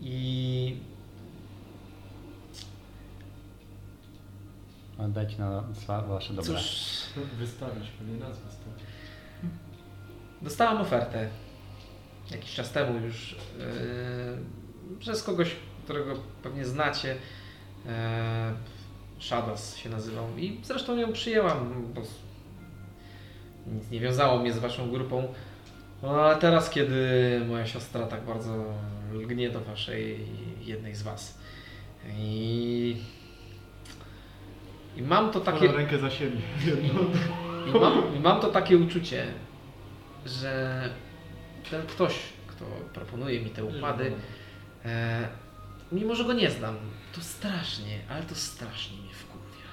Speaker 1: i
Speaker 3: Oddać No, na swa- wasze dobra.
Speaker 1: cóż,
Speaker 27: Wystawić, pewnie nas wystawić.
Speaker 1: dostałam ofertę jakiś czas temu już e... przez kogoś, którego pewnie znacie. E... Shadas się nazywam i zresztą ją przyjęłam, bo nic nie wiązało mnie z waszą grupą. No, ale teraz, kiedy moja siostra tak bardzo lgnie do waszej jednej z was i, i mam to takie...
Speaker 2: Takie... rękę za siebie.
Speaker 1: I mam, i mam to takie uczucie, że ten ktoś, kto proponuje mi te układy, e, mimo że go nie znam, to strasznie, ale to strasznie mnie wkurwia.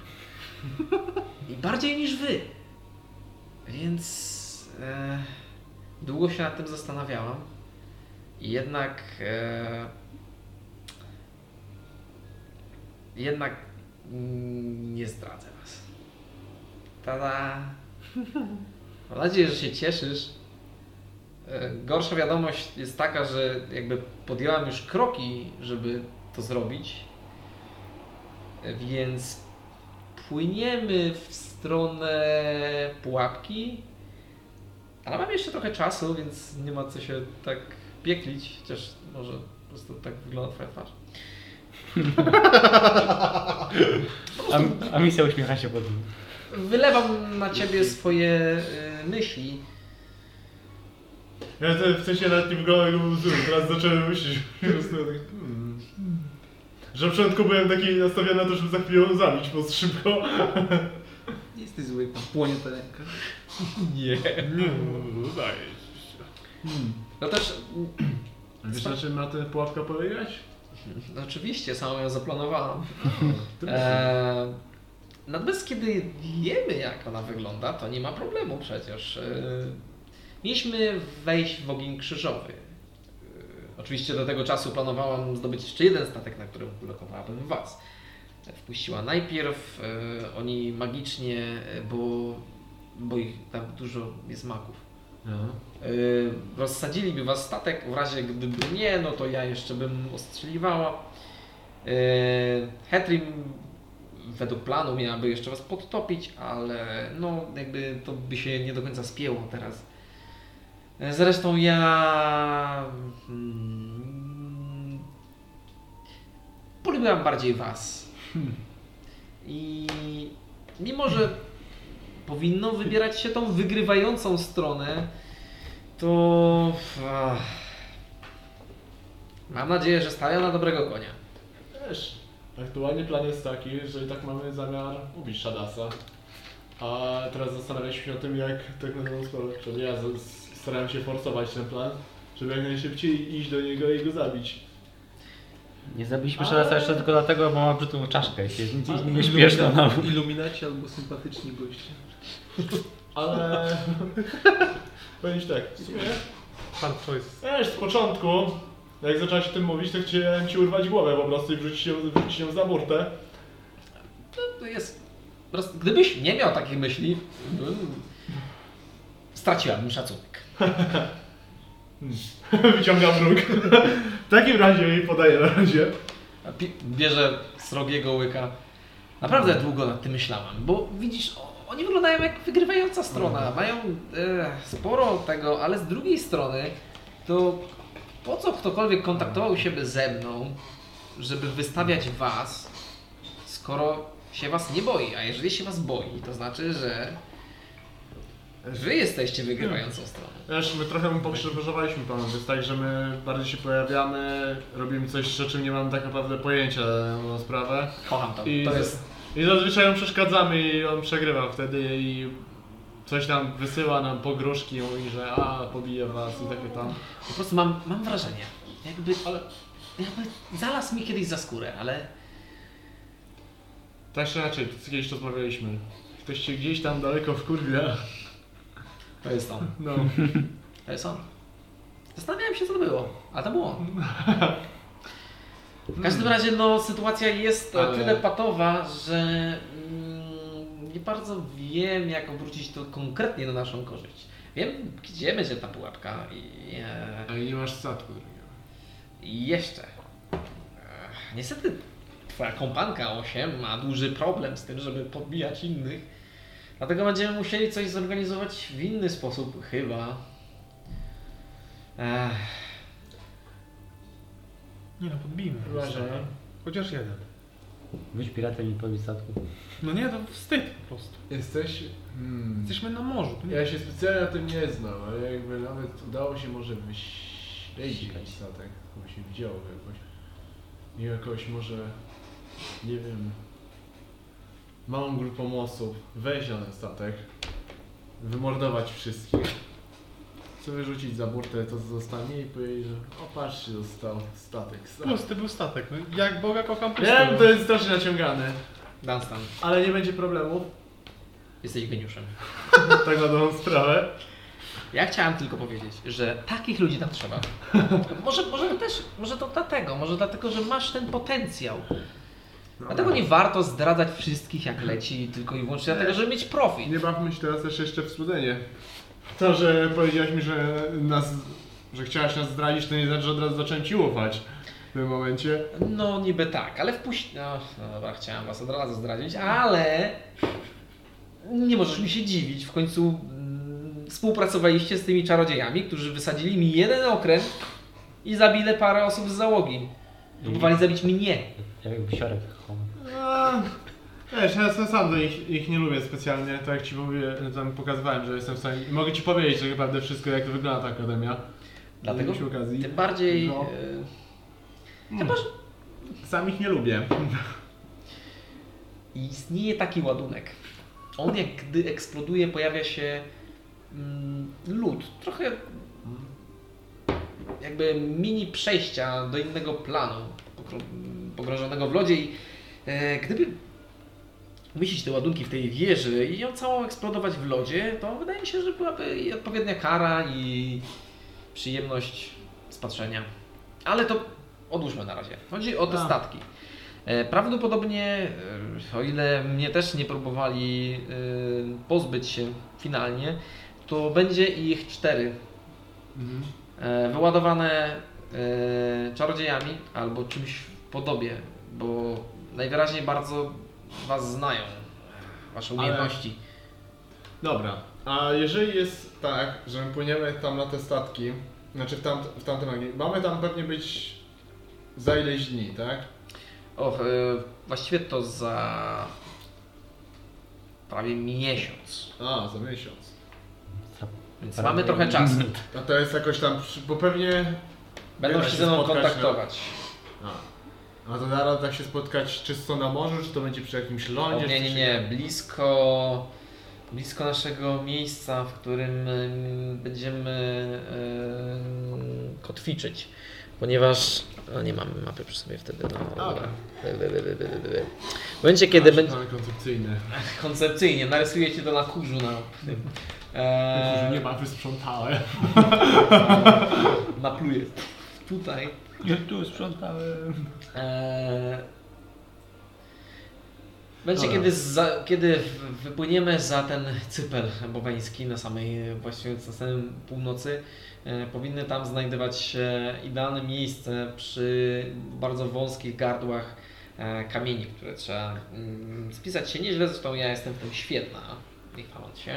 Speaker 1: I bardziej niż wy. Więc e, długo się nad tym zastanawiałam. I jednak. E, jednak mm, nie zdradzę was. Tada! Mam nadzieję, że się cieszysz. E, Gorsza wiadomość jest taka, że jakby podjęłam już kroki, żeby to zrobić. E, Więc płyniemy w stronę pułapki. Ale mam jeszcze trochę czasu, więc nie ma co się tak pieklić, chociaż może po prostu tak wygląda twoja twarz.
Speaker 3: A, a misja uśmiecha się pod nim.
Speaker 1: Wylewam na ciebie swoje y, myśli.
Speaker 5: Ja to w sensie nawet nie wyglądałem jakby był zły, teraz zacząłem myśleć. po prostu tak, hmm. Że na początku byłem taki nastawiony na to, żeby za chwilę ją zabić, bo szybko.
Speaker 10: Nie jesteś zły, tam płonie ta ręka.
Speaker 1: Nie.
Speaker 5: Nie, udaje
Speaker 1: No też
Speaker 5: Hmm. Wiesz na czym ma ten pułapka polegać?
Speaker 1: No Oczywiście, sama ją zaplanowałam.
Speaker 5: Ty
Speaker 2: Eee,
Speaker 1: E, natomiast kiedy wiemy, jak ona wygląda, to nie ma problemu przecież. E, mieliśmy wejść w ogień krzyżowy. E, oczywiście do tego czasu planowałam zdobyć jeszcze jeden statek, na którym blokowałabym was. Wpuściła najpierw, e, oni magicznie, e, bo, bo ich tam dużo jest magów. Yy, rozsadziliby was statek, w razie gdyby nie, no to ja jeszcze bym ostrzeliwała. Yy, Hetrim według planu miałaby jeszcze was podtopić, ale no jakby to by się nie do końca spięło teraz. Yy, Zresztą ja... Mm, polubiłam bardziej was. I mimo, że powinno wybierać się tą wygrywającą stronę, to. Ach, mam nadzieję, że stają na dobrego konia.
Speaker 27: Wiesz, aktualnie plan jest taki, że i tak mamy zamiar ubić Shadasa. A teraz zastanawialiśmy się o tym, jak tak na dobrą sprawę. Czyli ja z- z- starałem się forsować ten plan, żeby jak najszybciej iść do niego i go zabić.
Speaker 3: Nie zabiliśmy Shadasa jeszcze tylko dlatego, bo ma brzydką czaszkę i się nic z nim nie no. śmieszno nam.
Speaker 10: Iluminaci albo sympatyczni goście.
Speaker 27: Ale... Powiem ci tak, w sumie...
Speaker 6: Hard choice.
Speaker 27: Wiesz, z początku, jak zacząłeś o tym mówić, to chciałem ci urwać głowę po prostu i wrzucić ją, wrzucić ją za burtę.
Speaker 1: To, to jest. po prostu- Gdybyś nie miał takich myśli, bym- straciłabym szacunek.
Speaker 5: Wyciągam róg. W takim razie jej podaję na razie.
Speaker 1: A pi- Bierze srogiego łyka. Naprawdę długo nad tym myślałam, bo widzisz, o- oni wyglądają jak wygrywająca strona. Mają e, sporo tego, ale z drugiej strony to po co ktokolwiek kontaktował się ze mną, żeby wystawiać was, skoro się was nie boi? A jeżeli się was boi, to znaczy, że wy jesteście wygrywającą stroną.
Speaker 5: Wiesz, my trochę mu pokrzyżowaliśmy panu, jest tak, że my bardziej się pojawiamy, robimy coś, o czym nie mam tak naprawdę pojęcia na dobrą sprawę.
Speaker 1: Kocham to.
Speaker 5: I,
Speaker 1: To jest
Speaker 5: I zazwyczaj mu przeszkadzamy i on przegrywa wtedy i
Speaker 10: coś tam wysyła nam pogróżki i że a, pobiję was i takie tam.
Speaker 1: Po prostu mam, mam wrażenie, jakby,
Speaker 10: Ale-
Speaker 1: jakby zalazł mi kiedyś za skórę, ale
Speaker 10: Tak czy inaczej, to kiedyś rozmawialiśmy. Ktoś się gdzieś tam daleko wkurwia.
Speaker 32: To jest on.
Speaker 10: No,
Speaker 1: to jest on. Zastanawiałem się, co to było, a to było on. W każdym razie, no, sytuacja jest o
Speaker 10: Hmm. Ale-
Speaker 1: tyle patowa, że mm, nie bardzo wiem, jak obrócić to konkretnie na naszą korzyść. Wiem, gdzie będzie ta pułapka i... E,
Speaker 10: ale nie masz statku drugiego.
Speaker 1: I jeszcze. Ech, Niestety twoja kompanka 8 ma duży problem z tym, żeby podbijać innych. Dlatego będziemy musieli coś zorganizować w inny sposób, chyba. Ech,
Speaker 6: Nie no, podbijmy.
Speaker 10: Uważaj.
Speaker 6: Chociaż jeden.
Speaker 3: Być piratem i podbić statku.
Speaker 6: No nie, to wstyd po prostu.
Speaker 5: Jesteś... Hmm.
Speaker 6: Jesteśmy na morzu. to nie-
Speaker 5: Ja się specjalnie na tym nie znam, ale jakby nawet udało się może myśleć jakiś statek, bo się widziało jakoś. I jakoś może, nie wiem, małą grupą osób wejść na ten statek, wymordować wszystkich, co wyrzucić za burtę to co zostanie i powiedzieć, że o patrzcie, został statek sam.
Speaker 6: Pusty był statek. No, jak Boga kocham pusty.
Speaker 10: Wiem,
Speaker 6: no.
Speaker 10: to jest strasznie naciągane,
Speaker 1: Dunstan,
Speaker 10: ale nie będzie problemu.
Speaker 1: jesteś geniuszem.
Speaker 10: Tak na dobrą sprawę.
Speaker 1: Ja chciałem tylko powiedzieć, że takich ludzi tam trzeba. może, może to też, może to dlatego, może dlatego, że masz ten potencjał. Dlatego nie warto zdradzać wszystkich jak leci, tylko i wyłącznie dlatego, żeby mieć profit.
Speaker 5: Nie bawmy się teraz też jeszcze w słodzenie. To, że powiedziałaś mi, że nas, że chciałaś nas zdradzić, to nie znaczy, że od razu zacząłem ci ufać w tym momencie.
Speaker 1: No niby tak, ale wpuść... No, no dobra, chciałem was od razu zdradzić, ale... Nie możesz mi się dziwić, w końcu mm, współpracowaliście z tymi czarodziejami, którzy wysadzili mi jeden okręt i zabili parę osób z załogi. Próbowali zabić mnie.
Speaker 3: Jak wisiorek homo.
Speaker 5: A, No, Wiesz, ja sam- sam do ich, ich nie lubię specjalnie, tak jak ci mówię, tam pokazywałem, że jestem w stanie. i Mogę ci powiedzieć tak naprawdę wszystko, jak to wygląda ta akademia.
Speaker 1: Dlatego
Speaker 5: Przy okazji.
Speaker 1: tym bardziej...
Speaker 5: No.
Speaker 1: E, chyba, że
Speaker 5: Sam ich nie lubię.
Speaker 1: istnieje taki ładunek. On jak gdy eksploduje, pojawia się mm, lód. Trochę jakby mini przejścia do innego planu pokro- pogrążonego w lodzie i e, gdyby umieścić te ładunki w tej wieży i ją całą eksplodować w lodzie, to wydaje mi się, że byłaby i odpowiednia kara i przyjemność z patrzenia. Ale to odłóżmy na razie. Chodzi o te
Speaker 33: Tak.
Speaker 1: statki. E, Prawdopodobnie, e, o ile mnie też nie próbowali e, pozbyć się finalnie, to będzie ich cztery. E, Wyładowane e, czarodziejami albo czymś w podobie, bo najwyraźniej bardzo Was znają, Wasze umiejętności.
Speaker 5: Dobra, a jeżeli jest tak, że my płyniemy tam na te statki, znaczy w, tamt, w tamtym angielskim, mamy tam pewnie być za ileś dni, tak?
Speaker 1: Och, e, właściwie to za prawie miesiąc,
Speaker 5: A, za miesiąc.
Speaker 1: więc
Speaker 3: Prawie
Speaker 1: mamy trochę czasu.
Speaker 3: Mm.
Speaker 5: A to jest jakoś tam, przy- bo pewnie...
Speaker 1: Będą
Speaker 5: Wiele
Speaker 1: się
Speaker 5: się
Speaker 1: ze mną
Speaker 5: spotkać, no.
Speaker 1: kontaktować.
Speaker 5: A, a to zaraz tak się spotkać czysto na morzu, czy to będzie przy jakimś
Speaker 1: O,
Speaker 5: lądzie?
Speaker 1: nie,
Speaker 5: czy
Speaker 1: nie,
Speaker 5: się-
Speaker 1: nie, blisko, blisko naszego miejsca, w którym em, będziemy em, kotwiczyć, ponieważ no, nie mamy mapy przy sobie wtedy. No,
Speaker 5: Dobra.
Speaker 1: Wy, wy, wy, wy, wy, wy, wy. W momencie, kiedy
Speaker 5: Nasz
Speaker 1: będzie
Speaker 5: plan koncepcyjny.
Speaker 1: koncepcyjnie, narysujecie to na kurzu na,
Speaker 10: Eee.
Speaker 1: e,
Speaker 10: Nie ma, wysprzątałem.
Speaker 1: napluję tutaj.
Speaker 3: Ja tu sprzątałem.
Speaker 1: Eee, Będzie
Speaker 5: Dobra.
Speaker 1: kiedy, za, kiedy w- wypłyniemy za ten cypel bobański na samej właśnie na samym północy, e, powinny tam znajdować się idealne miejsce przy bardzo wąskich gardłach e, kamieni, które trzeba mm, spisać się nieźle, zresztą ja jestem w tym świetna, nie chwaląc się,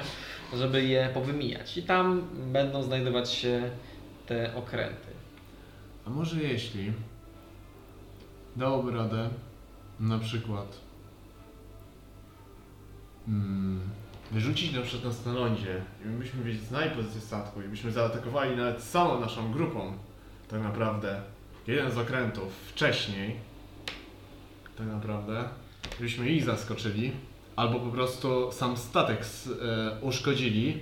Speaker 1: żeby je powymijać. I tam będą znajdować się te okręty.
Speaker 5: A może jeśli dałoby radę, na przykład mm, wyrzucić na przykład nas na lądzie i my byśmy wiedzieć, znali pozycję statku i byśmy zaatakowali nawet całą naszą grupą, tak naprawdę, jeden z okrętów wcześniej, tak naprawdę, gdybyśmy ich zaskoczyli, albo po prostu sam statek s- e, uszkodzili,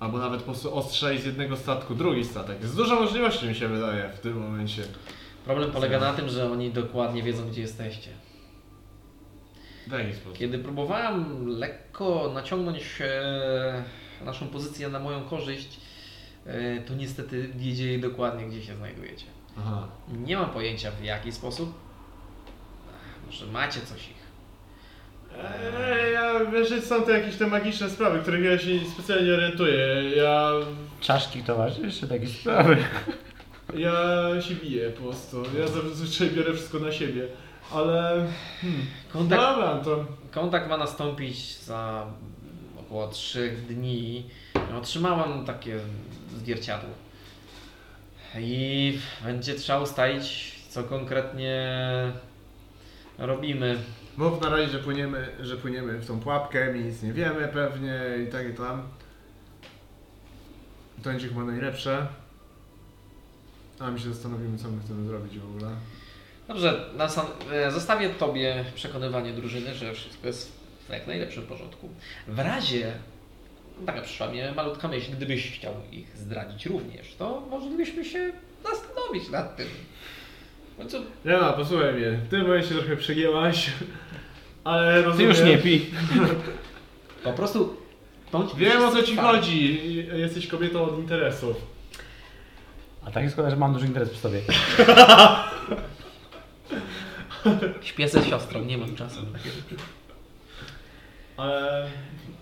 Speaker 5: albo nawet po prostu ostrzej z jednego statku drugi statek. Jest dużo możliwości mi się wydaje w tym momencie.
Speaker 1: Problem polega na tym, że oni dokładnie wiedzą, gdzie jesteście.
Speaker 5: W jaki sposób?
Speaker 1: Kiedy próbowałem lekko naciągnąć e, naszą pozycję na moją korzyść, e, to niestety wiedzieli dokładnie, gdzie się znajdujecie.
Speaker 5: Aha.
Speaker 1: Nie mam pojęcia w jaki sposób. Ach, Może macie coś ich.
Speaker 5: Eee, ja wiesz, że są to jakieś te magiczne sprawy, których ja się specjalnie nie orientuję. Ja,
Speaker 3: Czaszki towarzyszy, takie sprawy.
Speaker 5: ja się biję po prostu. Ja zazwyczaj biorę wszystko na siebie. Ale.
Speaker 1: Kontakt,
Speaker 5: Dobra, to.
Speaker 1: kontakt ma nastąpić za około 3 dni. Otrzymałem takie zwierciadło. I będzie trzeba ustalić, co konkretnie robimy.
Speaker 5: Mów na razie, że płyniemy, że płyniemy w tą pułapkę, my nic nie wiemy pewnie i tak i tam. To będzie chyba najlepsze. A my się zastanowimy, co my chcemy zrobić w ogóle.
Speaker 1: Dobrze, na sam, e, zostawię Tobie przekonywanie drużyny, że wszystko jest w jak najlepszym porządku. W razie, no taka przyszła mnie malutka myśl, gdybyś chciał ich zdradzić również, to moglibyśmy się zastanowić nad tym. W końcu
Speaker 5: Nie ma, posłuchaj mnie. Ty moje się trochę przegięłaś. Ale
Speaker 3: Ty
Speaker 5: rozumiem.
Speaker 3: już nie pij.
Speaker 1: po prostu bądź
Speaker 5: Wiem o co ci
Speaker 1: tak.
Speaker 5: chodzi. Jesteś kobietą od interesów.
Speaker 3: A tak jest szkoda, że mam duży interes przy sobie.
Speaker 1: Śpię ze siostrą, nie mam czasu. na takie rzeczy.
Speaker 5: Ale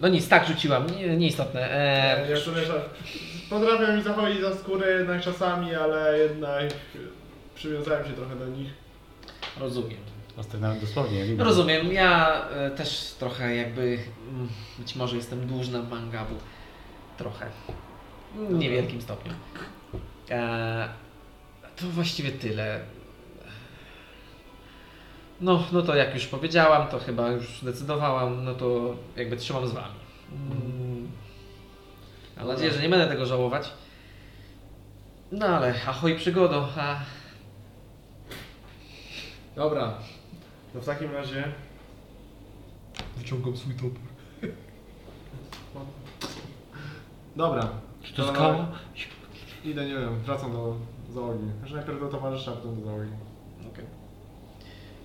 Speaker 1: No nic, tak rzuciłam, nie, nieistotne. E,
Speaker 5: ja to że potrafię mi zachodzić za skórę jednak czasami, ale jednak e, przywiązałem się trochę do nich.
Speaker 1: rozumiem.
Speaker 3: Ostatnio nawet dosłownie.
Speaker 1: No Rozumiem, ja e, też trochę jakby, mm, być może jestem dłużna mangabu. Trochę. W niewielkim stopniu. E, to właściwie tyle. No, no to jak już powiedziałam, to chyba już decydowałam, no to jakby trzymam z Wami. Mm. Mam nadzieję, że nie będę tego żałować. No ale, ahoj przygodo, a
Speaker 5: Dobra. No w takim razie
Speaker 6: Wyciągam swój top.
Speaker 5: Dobra.
Speaker 3: Czy to skala?
Speaker 5: Idę, nie wiem, wracam do załogi. Znaczy najpierw do towarzysza, a potem do załogi.
Speaker 1: Okej.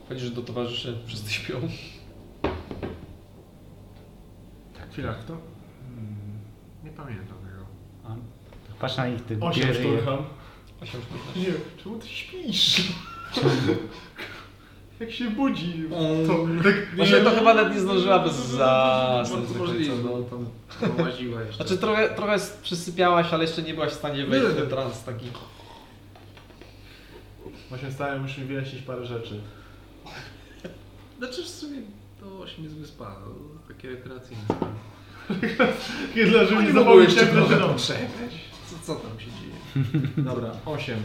Speaker 1: Chodzisz do towarzyszy, wszyscy śpią.
Speaker 5: Chwila, kto? Tak, Hmm, nie pamiętam tego.
Speaker 3: A, Patrz na nich, ty
Speaker 5: Osiem
Speaker 3: bierze je.
Speaker 5: szturcham.
Speaker 1: Osiem sztuk.
Speaker 5: Nie, czemu ty śpisz? Jak się budzi, to tak...
Speaker 1: Właśnie to chyba nawet nie zdążyłaby za...
Speaker 10: Bardzo możliwe, no tam połaziła jeszcze.
Speaker 1: Znaczy trochę, trochę przysypiałaś, ale jeszcze nie byłaś w stanie wejść w ten trans taki.
Speaker 5: Właśnie stałem, musimy wyjaśnić parę rzeczy.
Speaker 10: Znaczy w sumie to 8 jest wyspa, no, takie rekreacyjne.
Speaker 5: Kiedy żeby
Speaker 10: Nie
Speaker 5: nie
Speaker 10: mogło
Speaker 5: zapomnieć,
Speaker 10: jeszcze
Speaker 5: jak
Speaker 10: trochę
Speaker 5: leżą.
Speaker 10: potrzebać. Co, co tam się dzieje?
Speaker 5: Dobra, 8.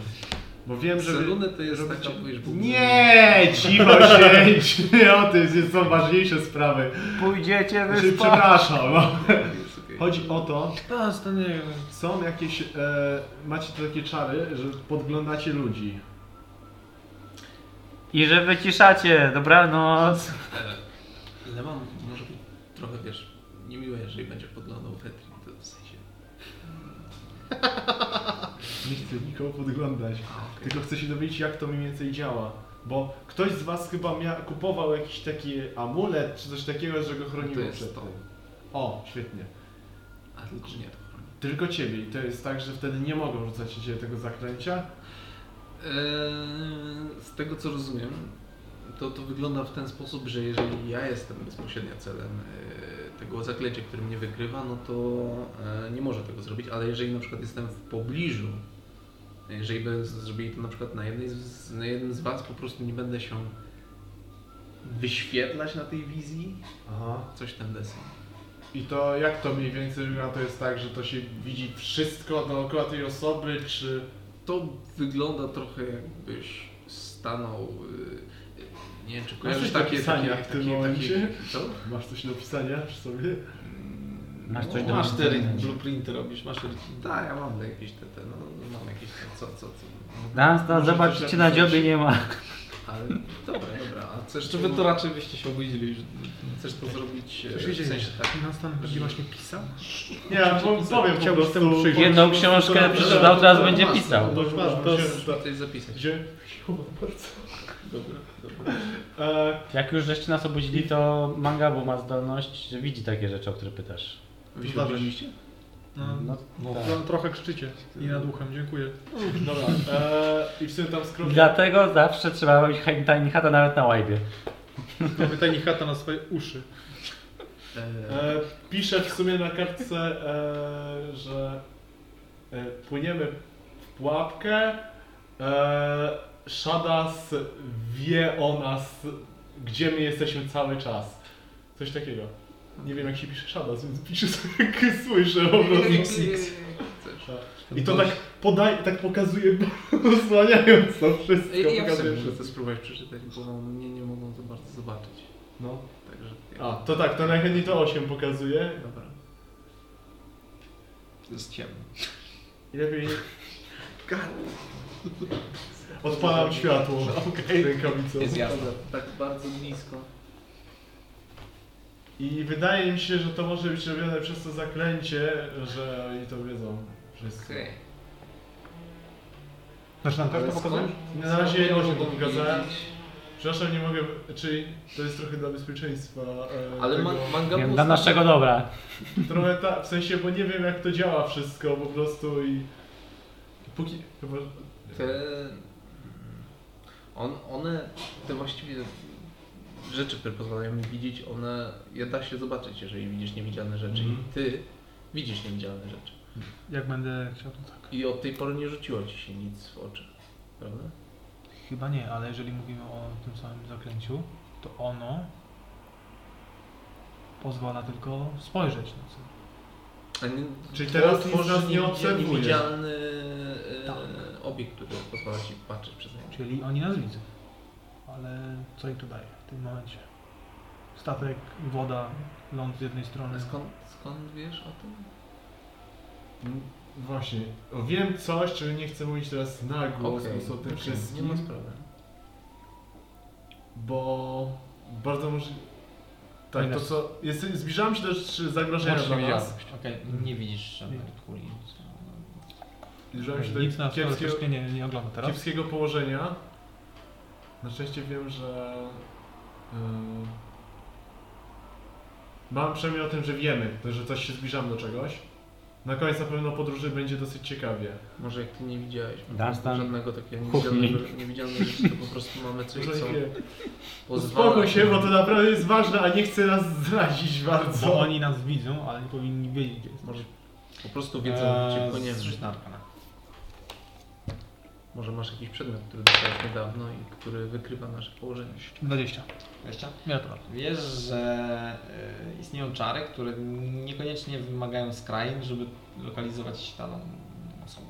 Speaker 5: Bo wiem, że... wy-
Speaker 10: Zeluny to jest tak,
Speaker 5: żeby
Speaker 10: taka,
Speaker 5: ci-
Speaker 10: wiesz, bo...
Speaker 5: Nie, cicho siedź! Nie o tym, jest- są ważniejsze sprawy.
Speaker 3: Pójdziecie
Speaker 5: Znaczy,
Speaker 3: wyspać.
Speaker 5: przepraszam. no.
Speaker 10: Jest okej.
Speaker 5: Chodzi o to, są jakieś, e, macie takie czary, że podglądacie ludzi.
Speaker 3: I że wyciszacie. Dobranoc.
Speaker 10: Ale E, mam, może być trochę, wiesz, niemiłe, jeżeli będzie podglądał Fetri, to w sensie...
Speaker 5: Nie chcę nikogo podglądać, tylko chcę się dowiedzieć jak to mniej więcej działa. Bo ktoś z was chyba mia- kupował jakiś taki amulet czy coś takiego, że go
Speaker 10: To
Speaker 5: chroniło
Speaker 10: jest
Speaker 5: przed
Speaker 10: to.
Speaker 5: tym. O, świetnie.
Speaker 10: A tylko że nie to chroni.
Speaker 5: Tylko ciebie i to jest tak, że wtedy nie mogą rzucać ciebie tego zaklęcia.
Speaker 10: Eee, Z tego co rozumiem, to to wygląda w ten sposób, że jeżeli ja jestem bezpośrednio celem eee, tego zaklęcia, które mnie wykrywa, no to eee, nie może tego zrobić, ale jeżeli na przykład jestem w pobliżu, jeżeli by z- zrobili to na przykład na, jednej z, na jednym z Was, po prostu nie będę się wyświetlać na tej wizji,
Speaker 5: Aha.
Speaker 10: coś ten desen.
Speaker 5: I to jak to mniej więcej wygląda? To jest tak, że to się widzi wszystko dookoła tej osoby, czy...
Speaker 10: To wygląda trochę jakbyś stanął, eee, nie wiem czy kojarzysz
Speaker 5: coś
Speaker 10: takie,
Speaker 5: do pisania
Speaker 10: takie,
Speaker 5: w tym
Speaker 10: takie, takie,
Speaker 5: momencie?
Speaker 10: co?
Speaker 5: Masz coś do pisania przy sobie?
Speaker 3: Masz coś do
Speaker 1: Masz te
Speaker 3: powiedzenia.
Speaker 1: blueprinty robisz, masz te
Speaker 10: Tak, ja mam jakieś te, te no, mam jakieś te, co, co, co.
Speaker 3: Nas, nas
Speaker 5: Może
Speaker 3: zobaczycie na
Speaker 5: coś
Speaker 3: dziobie nie ma.
Speaker 10: Ale dobra, dobra, a Chcesz
Speaker 1: Czy wy to raczej byście się obudzili już.
Speaker 10: Chcesz to zrobić e,
Speaker 6: Wiecie,
Speaker 10: w sensie tak.
Speaker 6: Nas tam będzie właśnie pisał?
Speaker 5: Nie, bo powiem po
Speaker 6: Chciałbym z tym
Speaker 5: prostu.
Speaker 6: przyjrzeć.
Speaker 3: Jedną książkę przeczytał, teraz będzie pisał.
Speaker 5: Dość ważne.
Speaker 10: To
Speaker 5: To
Speaker 10: jest
Speaker 5: jest-
Speaker 10: tutaj zapisać.
Speaker 5: Gdzie?
Speaker 10: Dobra, dobra.
Speaker 5: E,
Speaker 3: Jak już żeście nas obudzili, to Mangabu ma zdolność, że widzi takie rzeczy, o które pytasz.
Speaker 10: Wy się
Speaker 5: Zdarza się.
Speaker 10: obudziliście?
Speaker 6: No,
Speaker 3: No, tak.
Speaker 6: no, trochę krzyczycie i nad uchem, dziękuję.
Speaker 5: dobra. E, I w sumie tam skrót.
Speaker 3: Dlatego zawsze trzeba robić tajni chata nawet na łajbie.
Speaker 6: Mamy tajni chata na swoje uszy.
Speaker 10: E,
Speaker 5: E, pisze w sumie na kartce, e, że e, płyniemy w pułapkę. E, Shadas wie o nas, gdzie my jesteśmy cały czas. Coś takiego. Nie wiem jak się pisze Shadas, więc piszę sobie jak słyszę po prostu. I to tak, podaj, tak pokazuje, osłaniając to wszystko.
Speaker 10: Ja, ja
Speaker 5: pokazuje
Speaker 10: sobie muszę
Speaker 5: wszystko.
Speaker 10: to spróbować przeczytać, bo mnie nie mogą za bardzo zobaczyć.
Speaker 5: No.
Speaker 10: Także.
Speaker 5: A, to tak, to najchętniej to 8 pokazuje.
Speaker 10: Dobra.
Speaker 1: Jest ciemno.
Speaker 5: I lepiej... Odpalam światło. Okej. Rękawicą.
Speaker 1: Jest jasno.
Speaker 10: Tak bardzo blisko.
Speaker 5: I wydaje mi się, że to może być robione przez to zaklęcie, że oni to wiedzą. Wszyscy.
Speaker 10: Okej.
Speaker 6: Znaczy nam też to pokazujesz?
Speaker 5: Nie, Na razie
Speaker 10: Skąd
Speaker 5: osiem
Speaker 10: mogą
Speaker 5: pokazałem.
Speaker 10: wiedzieć?
Speaker 5: Przepraszam, nie mogę... Czyli to jest trochę dla bezpieczeństwa. e,
Speaker 10: Ale
Speaker 5: tego.
Speaker 10: ma, manga
Speaker 3: Wiem,
Speaker 10: był
Speaker 3: Dla
Speaker 10: ostatnio-
Speaker 3: naszego dobra.
Speaker 5: Trochę ta, w sensie, bo nie wiem jak to działa wszystko po prostu i... Póki... Chyba...
Speaker 10: Te... mm, On, one, te właściwie rzeczy, które pozwalają mi widzieć, one je da się zobaczyć, jeżeli widzisz niewidzialne rzeczy.
Speaker 5: Mhm.
Speaker 10: I ty widzisz niewidzialne rzeczy.
Speaker 6: Jak będę chciał, to tak.
Speaker 10: I od tej pory nie rzuciło ci się nic w oczy. Prawda?
Speaker 6: Chyba nie, ale jeżeli mówimy o tym samym zaklęciu, to ono pozwala tylko spojrzeć na co.
Speaker 10: A nie,
Speaker 5: Czyli teraz
Speaker 10: to
Speaker 5: można
Speaker 10: jest
Speaker 5: nie obserwuje.
Speaker 10: Niewidzialny e,
Speaker 6: Tak.
Speaker 10: obiekt, który pozwala ci patrzeć przez niego.
Speaker 6: Czyli oni nas widzą. Ale co im to daje w tym momencie? Statek, woda, ląd z jednej strony.
Speaker 10: Ale skąd, skąd wiesz o tym?
Speaker 5: No Właśnie. Wiem coś, czego nie chcę mówić teraz na głos
Speaker 10: Okej,
Speaker 5: o tym
Speaker 10: okej, Nie
Speaker 5: wszystkim.
Speaker 10: ma sprawy.
Speaker 5: Bo bardzo może. Tak,
Speaker 6: Ile?
Speaker 5: to co. Jest, zbliżałem się do sz- zagrożenia
Speaker 1: Możesz
Speaker 5: dla nas.
Speaker 1: widzieć. Okej, nie widzisz żadnych kuli.
Speaker 5: Zbliżałem się do
Speaker 6: Nic nas
Speaker 5: kiepskiego,
Speaker 6: teoretycznie nie, nie ogląda teraz.
Speaker 5: kiepskiego położenia. Na szczęście wiem, że. Yy, mam przynajmniej o tym, że wiemy, to, że coś się zbliżamy do czegoś. Na koniec na pewno podróży będzie dosyć ciekawie.
Speaker 10: Może jak ty nie widziałeś
Speaker 3: Dunstan.
Speaker 10: żadnego takiego
Speaker 3: Kuchni.
Speaker 10: niewidzialnego, niewidzialnego rzeczy, to po prostu mamy coś,
Speaker 5: Może
Speaker 10: co
Speaker 5: nie.
Speaker 10: pozwala...
Speaker 5: Uspokój się, bo to naprawdę jest ważne, a nie chcę nas zdradzić
Speaker 6: Bo
Speaker 5: bardzo.
Speaker 6: oni nas widzą, ale nie powinni wiedzieć, gdzie jest.
Speaker 10: Może po prostu wiedzą, eee, cię nie
Speaker 1: Zrzuć na arkana.
Speaker 10: Może masz jakiś przedmiot, który dostałeś niedawno i który wykrywa nasze położenie.
Speaker 6: 20.
Speaker 1: Jeszcze?
Speaker 6: Nie, to prawda.
Speaker 1: Wiesz, że y, istnieją czary, które niekoniecznie wymagają skrain, żeby lokalizować daną osobę.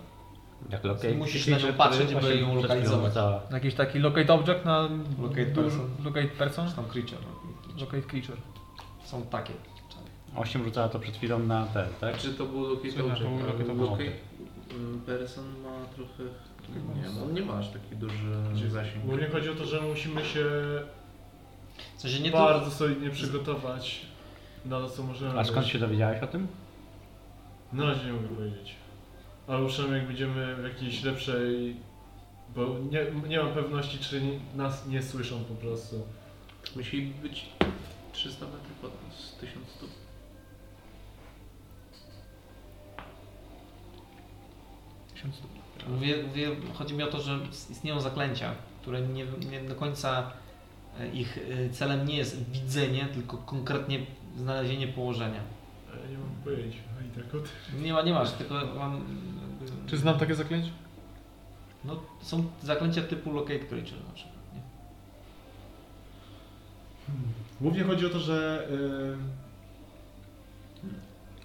Speaker 3: Jak lokej.
Speaker 1: Musisz na nią patrzeć,
Speaker 3: Właśnie
Speaker 1: żeby ją lokalizować.
Speaker 3: cała.
Speaker 6: Jakiś taki locate object na...
Speaker 1: Locate
Speaker 6: duż-
Speaker 1: person.
Speaker 6: Locate person?
Speaker 1: Czy tam creature.
Speaker 6: Locate creature.
Speaker 1: Są takie czary.
Speaker 3: Osiem rzucała to przed chwilą na ten, tak?
Speaker 10: Czy to był Locate
Speaker 6: Słuchaj,
Speaker 10: Object?
Speaker 6: to był Locate
Speaker 10: ale
Speaker 3: Object.
Speaker 10: Locate, mm, Person ma trochę... Nie wiem, on nie ma aż taki duży
Speaker 5: Znaczy,
Speaker 10: zasięg.
Speaker 5: Głównie chodzi o to, że musimy się
Speaker 1: W sensie nie to...
Speaker 5: bardzo solidnie przygotować na to, co możemy
Speaker 3: A skąd
Speaker 5: robić.
Speaker 3: się dowiedziałeś o tym?
Speaker 5: Na razie nie mogę powiedzieć. Ale przynajmniej jak będziemy w jakiejś lepszej... Bo nie, nie mam pewności, czy ni- nas nie słyszą po prostu.
Speaker 10: Musi być 300 metrów od nas, 1000 stóp.
Speaker 1: Mówię, mówię, chodzi mi o to, że istnieją zaklęcia, które nie, nie do końca e, ich e, celem nie jest widzenie, tylko konkretnie znalezienie położenia.
Speaker 5: Ale E, nie mam pojęcia. A i tak o tym.
Speaker 1: Nie ma, nie masz, tylko mam...
Speaker 6: Czy znam takie zaklęcie?
Speaker 1: No, są zaklęcia typu locate creature na przykład. nie?
Speaker 5: Głównie chodzi o to, że... e,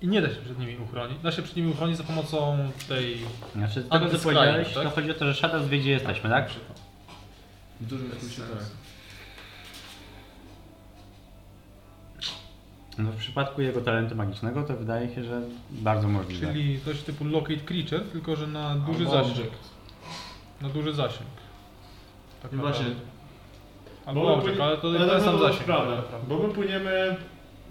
Speaker 6: I nie da się przed nimi uchronić. Da się przed nimi uchronić za pomocą tej...
Speaker 3: Znaczy, z tego co
Speaker 6: Antyskryjne,
Speaker 3: powiedziałeś,
Speaker 6: tak?
Speaker 3: to chodzi o to, że Shadows wie, gdzie jesteśmy, tak?
Speaker 5: Yy, w dużym
Speaker 10: Bez
Speaker 5: skrócie tak.
Speaker 10: sensu.
Speaker 3: No, w przypadku jego talentu magicznego to wydaje się, że bardzo możliwe.
Speaker 6: Czyli coś typu locate creature, tylko że na duży
Speaker 5: Albo
Speaker 6: zasięg. Na duży zasięg. Tak
Speaker 5: I właśnie,
Speaker 6: naprawdę. Albo
Speaker 5: Bo my
Speaker 6: Łałczyk,
Speaker 5: później-
Speaker 6: ale to,
Speaker 5: ale
Speaker 6: to
Speaker 5: tak
Speaker 6: jest tam
Speaker 5: dobrą
Speaker 6: zasięg.
Speaker 5: sprawę, Bo my płyniemy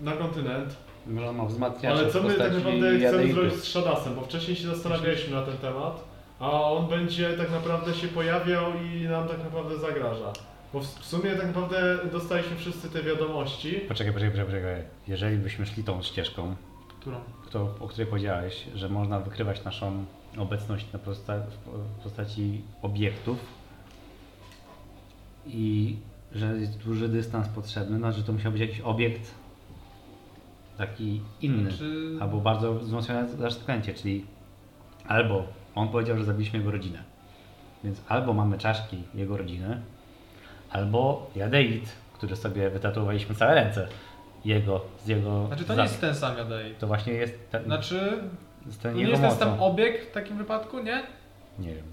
Speaker 5: na kontynent,
Speaker 3: Może on ma wzmacniacze
Speaker 5: ale
Speaker 3: w
Speaker 5: co my tak
Speaker 3: postaci
Speaker 5: naprawdę chcemy
Speaker 3: jadeidu.
Speaker 5: zrobić z Shadasem, bo wcześniej się zastanawialiśmy na ten temat, a on będzie tak naprawdę się pojawiał i nam tak naprawdę zagraża. Bo w w sumie tak naprawdę dostaliśmy wszyscy te wiadomości.
Speaker 3: Poczekaj, poczekaj, poczekaj, poczekaj. Jeżeli byśmy szli tą ścieżką,
Speaker 6: Którą?
Speaker 3: to, o której powiedziałeś, że można wykrywać naszą obecność na posta- w postaci obiektów i że jest duży dystans potrzebny, no, że to musiał być jakiś obiekt taki inny,
Speaker 6: Czy...
Speaker 3: albo bardzo wzmocnione zatknięcie, czyli albo on powiedział, że zabiliśmy jego rodzinę, więc albo mamy czaszki jego rodziny, albo jadeit, który sobie wytatuowaliśmy całe ręce jego, z jego
Speaker 6: Znaczy to nie
Speaker 3: zad-
Speaker 6: jest ten sam Jadej.
Speaker 3: to właśnie jest ten,
Speaker 6: Znaczy,
Speaker 3: z
Speaker 6: to
Speaker 3: ten
Speaker 6: nie
Speaker 3: jego
Speaker 6: jest ten sam
Speaker 3: mocą.
Speaker 6: obieg w takim wypadku, nie?
Speaker 3: Nie wiem.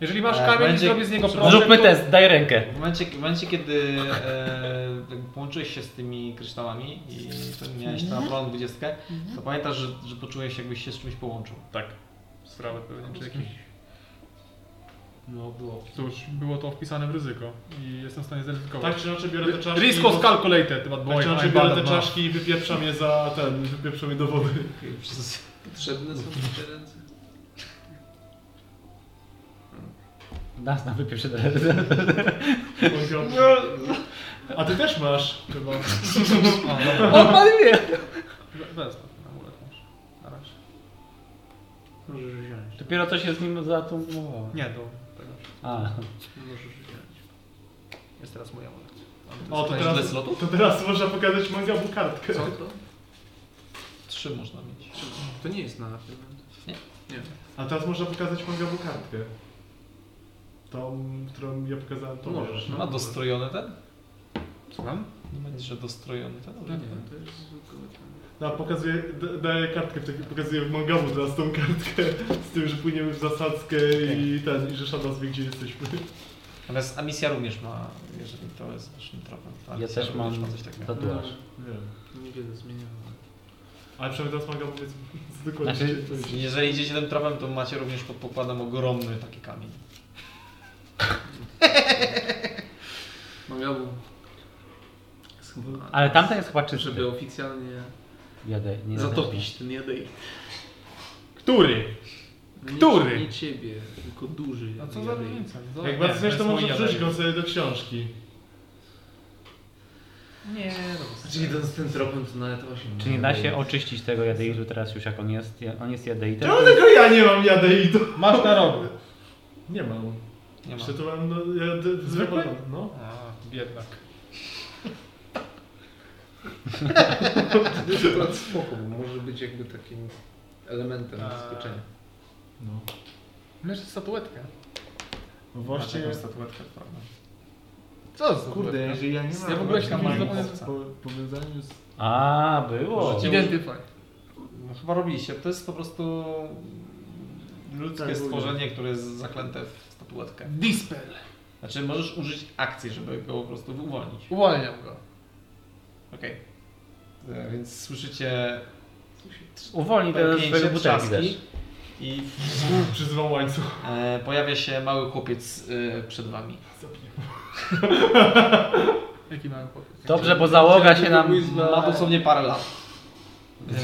Speaker 6: Jeżeli masz
Speaker 28: E,
Speaker 6: kamień
Speaker 28: będzie-
Speaker 6: i zrobię z niego
Speaker 28: Proszę,
Speaker 6: proszek,
Speaker 3: Zróbmy
Speaker 6: to...
Speaker 3: test, daj rękę.
Speaker 28: W momencie, w momencie kiedy e, połączyłeś się z tymi kryształami i miałeś tam plan 20, to pamiętasz, że, że poczułeś jakbyś się z czymś połączył.
Speaker 6: Tak. Sprawy pewnie, czy jakiś...
Speaker 10: No było.
Speaker 6: Cóż, było to wpisane w ryzyko i jestem w stanie zaryzykować.
Speaker 5: Tak czy inaczej biorę te czaszki.
Speaker 6: Risk was
Speaker 5: bo-
Speaker 6: calculated, but boy,
Speaker 5: Tak czy inaczej
Speaker 6: I'm
Speaker 5: biorę
Speaker 6: bad
Speaker 5: te
Speaker 6: at math.
Speaker 5: czaszki i wypieprzam je za ten, wypieprzam je do wody.
Speaker 10: Potrzebne są te ręce.
Speaker 3: Nas na wypieprze
Speaker 10: No.
Speaker 5: A ty też masz chyba.
Speaker 6: We- Wezmę ten amulet może. Na razie.
Speaker 10: Możesz wziąć.
Speaker 3: Dopiero co się z nim zatumowało.
Speaker 6: Nie, do tego.
Speaker 3: A,
Speaker 10: Możesz wziąć.
Speaker 6: Jest teraz mój amulet.
Speaker 5: O, to
Speaker 1: Bez
Speaker 5: teraz,
Speaker 1: slotu?
Speaker 5: to teraz można pokazać mangabu kartkę.
Speaker 10: Co to?
Speaker 1: Trzy można mieć.
Speaker 10: To nie jest na pewno.
Speaker 5: A teraz można pokazać mangabu kartkę. Tą, którą ja pokazałem, to
Speaker 10: Możesz, no.
Speaker 1: Ma dostrojony ten?
Speaker 6: Słucham?
Speaker 1: Nie będzie, że dostrojony ten?
Speaker 10: No nie, to jest zwykłe.
Speaker 5: No, a pokazuję, d- daję kartkę, w taki- pokazuję w mangabu teraz tą kartkę z tym, że płyniemy w zasadzkę i ten, i że Shadow wie gdzie jesteśmy.
Speaker 1: Natomiast Amisja również ma, jeżeli to jest waszym tropem. to
Speaker 3: ja
Speaker 1: Amisja
Speaker 3: też
Speaker 1: również ma
Speaker 3: mam
Speaker 1: coś takiego.
Speaker 3: tatuaż.
Speaker 5: Nie wiem.
Speaker 10: Niewiele zmieniało.
Speaker 5: Ale przynajmniej teraz mangabu jest zwykłe.
Speaker 3: Znaczy,
Speaker 1: Jeżeli idziecie tym tropem, to macie również pod pokładem ogromny taki kamień.
Speaker 10: Magabu. Jest chyba-
Speaker 3: ale tamten jest chyba czysty.
Speaker 10: Żeby oficjalnie
Speaker 3: Jadę, nie
Speaker 10: zatopić ten jadej.
Speaker 6: Który?
Speaker 10: No nie-
Speaker 6: Który?
Speaker 10: Nie ciebie, tylko duży.
Speaker 6: A co za
Speaker 10: jadej.
Speaker 6: różnica? No,
Speaker 5: Jak
Speaker 6: nie,
Speaker 5: bardzo chcesz,
Speaker 6: jest
Speaker 5: to
Speaker 6: mój
Speaker 5: może
Speaker 6: jadek.
Speaker 5: wrzuć go sobie do książki.
Speaker 6: Nie,
Speaker 10: Znaczy idąc tym tropem to nawet 8.
Speaker 3: Czy nie da się oczyścić tego jadeidu teraz już jak on jest? ja- On jest jadeitem.
Speaker 5: Czemu tego No, ja nie mam jadeidu?
Speaker 6: no. Masz na rogu.
Speaker 5: Nie mam.
Speaker 1: Nie ma.
Speaker 5: Jeszcze tu mam, no, ja, d-
Speaker 6: Zwykły?
Speaker 5: No.
Speaker 6: A, biedak.
Speaker 10: Znaczy, To jest akurat spoko, bo może być jakby takim elementem
Speaker 6: A.
Speaker 10: zaskoczenia.
Speaker 5: No.
Speaker 6: Myślę, statuetkę.
Speaker 5: Właśnie.
Speaker 1: Taką statuetkę, prawda?
Speaker 6: Co za statuetka?
Speaker 5: jeżeli ja nie
Speaker 6: Ja w ogóle się
Speaker 1: Taka
Speaker 6: nie
Speaker 1: mała
Speaker 6: zapomniałem-
Speaker 1: kopca.
Speaker 5: Po powiązaniu z...
Speaker 3: A, było.
Speaker 6: Identyfy.
Speaker 1: No, chyba robiliście. To jest po prostu ludzkie
Speaker 5: Tak,
Speaker 1: stworzenie, które jest zaklęte w statuetkę.
Speaker 6: Dispel.
Speaker 1: Znaczy możesz użyć akcji, żeby go po prostu uwolnić.
Speaker 6: Uwalniam go.
Speaker 1: Okej. E, Więc słyszycie
Speaker 3: Uwolni ten
Speaker 1: pęknięcie,
Speaker 3: swojego butelki też.
Speaker 1: trzaski i
Speaker 5: Przyzwał łańcuch.
Speaker 1: e, pojawia się mały chłopiec e, przed wami.
Speaker 6: Jaki mały chłopiec.
Speaker 3: Dobrze, bo załoga się nam...
Speaker 1: Ma dosłownie parę lat.